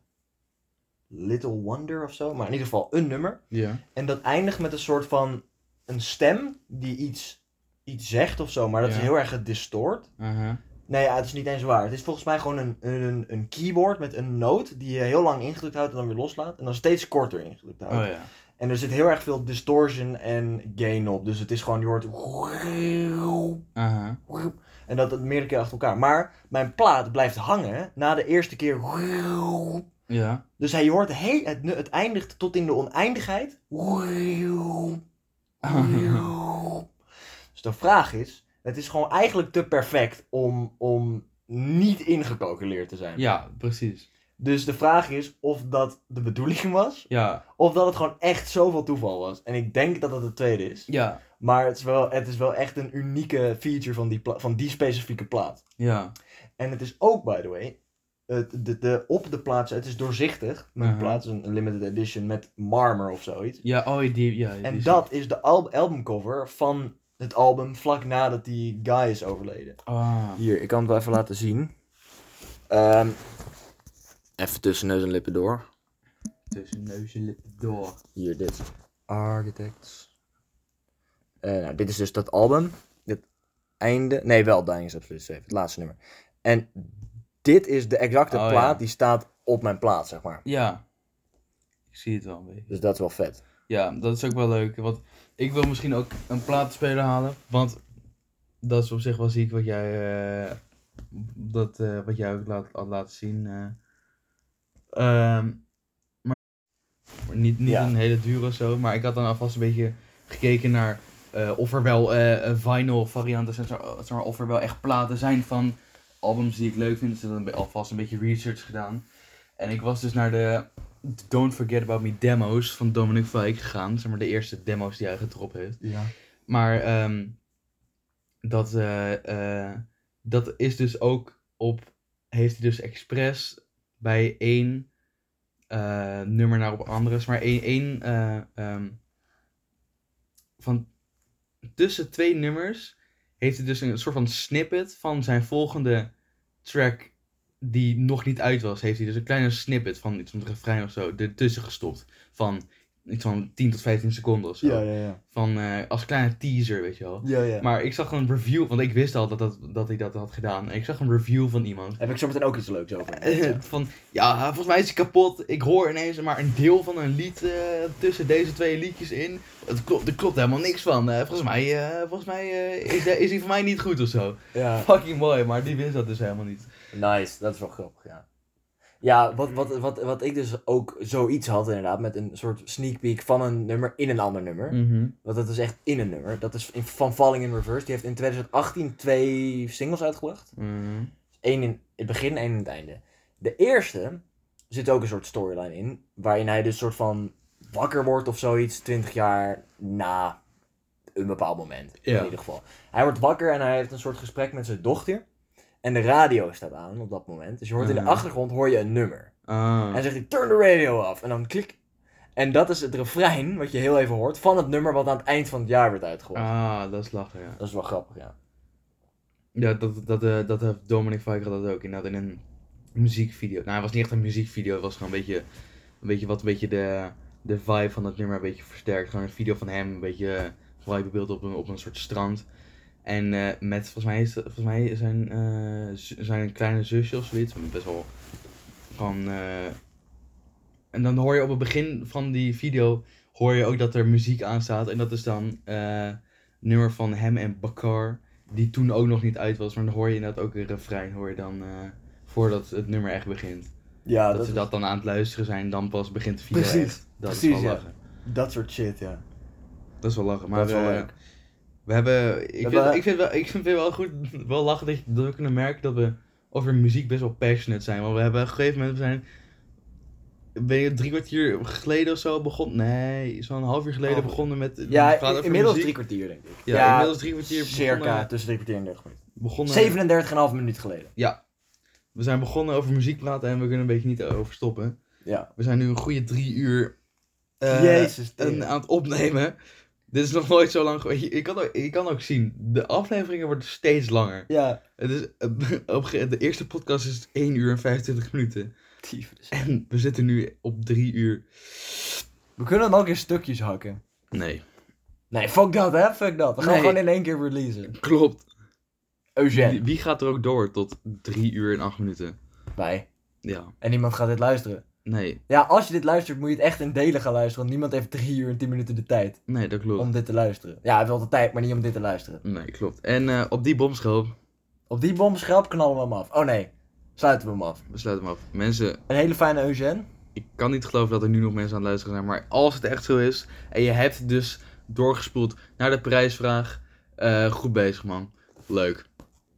Little Wonder of zo. Maar in ieder geval een nummer. Ja. En dat eindigt met een soort van. Een stem die iets, iets zegt of zo. Maar dat Ja. is heel erg gedistort. Aha. Nee, ja, het is niet eens waar. Het is volgens mij gewoon een, een, een keyboard met een noot die je heel lang ingedrukt houdt en dan weer loslaat. En dan steeds korter ingedrukt houdt. Oh ja. En er zit heel erg veel distortion en gain op. Dus het is gewoon, je hoort... Aha. En dat het meerdere keer achter elkaar. Maar mijn plaat blijft hangen na de eerste keer... Ja. Dus hij hoort heel, het, nu- het eindigt tot in de oneindigheid. Oh, Dus de vraag is, het is gewoon eigenlijk te perfect om, om niet ingecalculeerd te zijn. ja, precies. Dus de vraag is of dat de bedoeling was, Ja, of dat het gewoon echt zoveel toeval was. En ik denk dat dat het tweede is. ja, Maar het is wel, het is wel echt een unieke feature van die, pla- van die specifieke plaat. ja. En het is ook, by the way, het, de, de, op de plaats, het is doorzichtig. Met Mhm. de plaat, het is een limited edition met marmer of zoiets. Ja, oh, die, ja. die En is- dat is de al- albumcover van het album vlak nadat die guy is overleden. Ah. Hier, ik kan het wel even laten zien. Ehm, even tussen neus en lippen door. Tussen neus en lippen door. Hier, dit. Architects. Eh, nou, dit is dus dat album. Het einde. Nee, wel Dying is Absolute Safe. Het laatste nummer. En dit is de exacte Oh, plaat ja. die staat op mijn plaat, zeg maar. Ja. Ik zie het wel een beetje. Dus dat is wel vet. Ja, dat is ook wel leuk. Want ik wil misschien ook een platenspeler halen. Want dat is op zich wel ziek wat jij, eh, dat, eh, wat jij ook laat, had laten zien. eh. Ehm, maar maar niet, niet Ja. een hele duur of zo. Maar ik had dan alvast een beetje gekeken naar eh, of er wel eh, eh, vinyl varianten zijn. zeg maar, zeg maar, Of er wel echt platen zijn van albums die ik leuk vind. Dus ik heb dan alvast een beetje research gedaan. En ik was dus naar de Don't Forget About Me demo's van Dominic Fike gegaan. Zeg maar de eerste demo's die hij gedropt heeft. Ja. Maar ehm, dat, eh, eh, dat is dus ook op. Heeft hij dus expres bij één eh, nummer naar op andere. is Maar één. één eh, ehm, van tussen twee nummers heeft hij dus een soort van snippet van zijn volgende track. Die nog niet uit was, heeft hij dus een kleine snippet van iets van het refrein of zo ertussen gestopt. Van iets van 10 tot 15 seconden of zo. Ja, ja, ja. Van, eh, als kleine teaser, weet je wel. ja, ja. Maar ik zag een review, want ik wist al dat, dat, dat hij dat had gedaan. En ik zag een review van iemand. Heb ik zo meteen ook iets leuks over. van, ja, volgens mij is hij kapot. Ik hoor ineens maar een deel van een lied eh, tussen deze twee liedjes in. Het klopt, er klopt helemaal niks van. Eh, volgens mij, eh, volgens mij eh, is, hij- is hij voor mij niet goed of zo. Ja. Fucking mooi, maar die wist dat dus helemaal niet. Nice, dat is wel grappig, ja. Ja, wat, wat, wat, wat ik dus ook zoiets had inderdaad, met een soort sneak peek van een nummer in een ander nummer. Mm. Want dat is echt in een nummer. Dat is in, van Falling in Reverse. Die heeft in 2018 twee singles uitgebracht. Mhm. Eén in het begin, één in het einde. De eerste zit ook een soort storyline in, waarin hij dus soort van wakker wordt of zoiets, 20 jaar na een bepaald moment. Ja. In ieder geval. Hij wordt wakker en hij heeft een soort gesprek met zijn dochter. En de radio staat aan op dat moment. Dus je hoort in Mhm. de achtergrond hoor je een nummer. En Ah. dan zegt hij, turn the radio af. En dan klik. En dat is het refrein, wat je heel even hoort, van het nummer wat aan het eind van het jaar werd uitgehoord. Ah, dat is lachen, ja. Dat is wel grappig, ja. Ja, dat, dat, eh, dat heeft Dominic Fike dat ook inderdaad in een muziekvideo. Nou, het was niet echt een muziekvideo, het was gewoon een beetje, een beetje wat een beetje de, de vibe van het nummer een beetje versterkt. Gewoon een video van hem, een beetje eh, vibebeeld op een, op een soort strand. En eh, met, volgens mij, is, volgens mij zijn, eh, z- zijn kleine zusje of zoiets, best wel gewoon... eh, en dan hoor je op het begin van die video, hoor je ook dat er muziek aan staat. En dat is dan eh nummer van hem en Bakar die toen ook nog niet uit was, maar dan hoor je inderdaad ook een refrein, hoor je dan eh, voordat het nummer echt begint. Ja, dat, dat, ze dat dan aan het luisteren zijn, dan pas begint de video Precies, echt. Dat precies, is wel ja. lachen. dat soort shit, ja. Dat is wel lachen, maar Dat is wel eh, leuk. we hebben, ik, hebben- Vind, ik, vind wel, ik vind het wel goed, wel lachen dat, je, dat we kunnen merken dat we over muziek best wel passionate zijn, want we hebben op een gegeven moment, we zijn, ben je drie kwartier geleden of zo begon, nee, zo'n half uur geleden Half uur. begonnen met, Ja, het gaat over inmiddels muziek. drie kwartier, denk ik. ja, ja, inmiddels drie kwartier Circa begonnen, tussen drie kwartier en dertig minuten. begonnen 37,5 minuut geleden. We zijn begonnen over muziek praten en we kunnen een beetje niet over stoppen. Ja. We zijn nu een goede drie uur eh, Jezus, een- aan het opnemen. Dit is nog nooit zo lang geweest. Je, je kan ook, je kan ook zien, de afleveringen worden steeds langer. Ja. Het is, eh, op een gege- de eerste podcast is 1 uur en 25 minuten. En we zitten nu op drie uur. We kunnen hem ook in stukjes hakken. Nee. Nee, fuck dat, hè? Fuck dat. We gaan Nee. gewoon in één keer releasen. Klopt. Wie, Eugène. wie gaat er ook door tot 3 uur en 8 minuten? Wij. Ja. En niemand gaat dit luisteren. Nee, Ja, als je dit luistert, moet je het echt in delen gaan luisteren. Want niemand heeft 3 uur en 10 minuten de tijd nee, dat klopt. om dit te luisteren. Ja, hij heeft wel de tijd, maar niet om dit te luisteren. Nee, klopt. En eh, op die bomschoop, Op die bomscherp knallen we hem af. Oh nee, sluiten we hem af. we sluiten hem af. Mensen, Een hele fijne Eugène. ik kan niet geloven dat er nu nog mensen aan het luisteren zijn. Maar als het echt zo is, en je hebt dus doorgespoeld naar de prijsvraag, eh, goed bezig man. Leuk.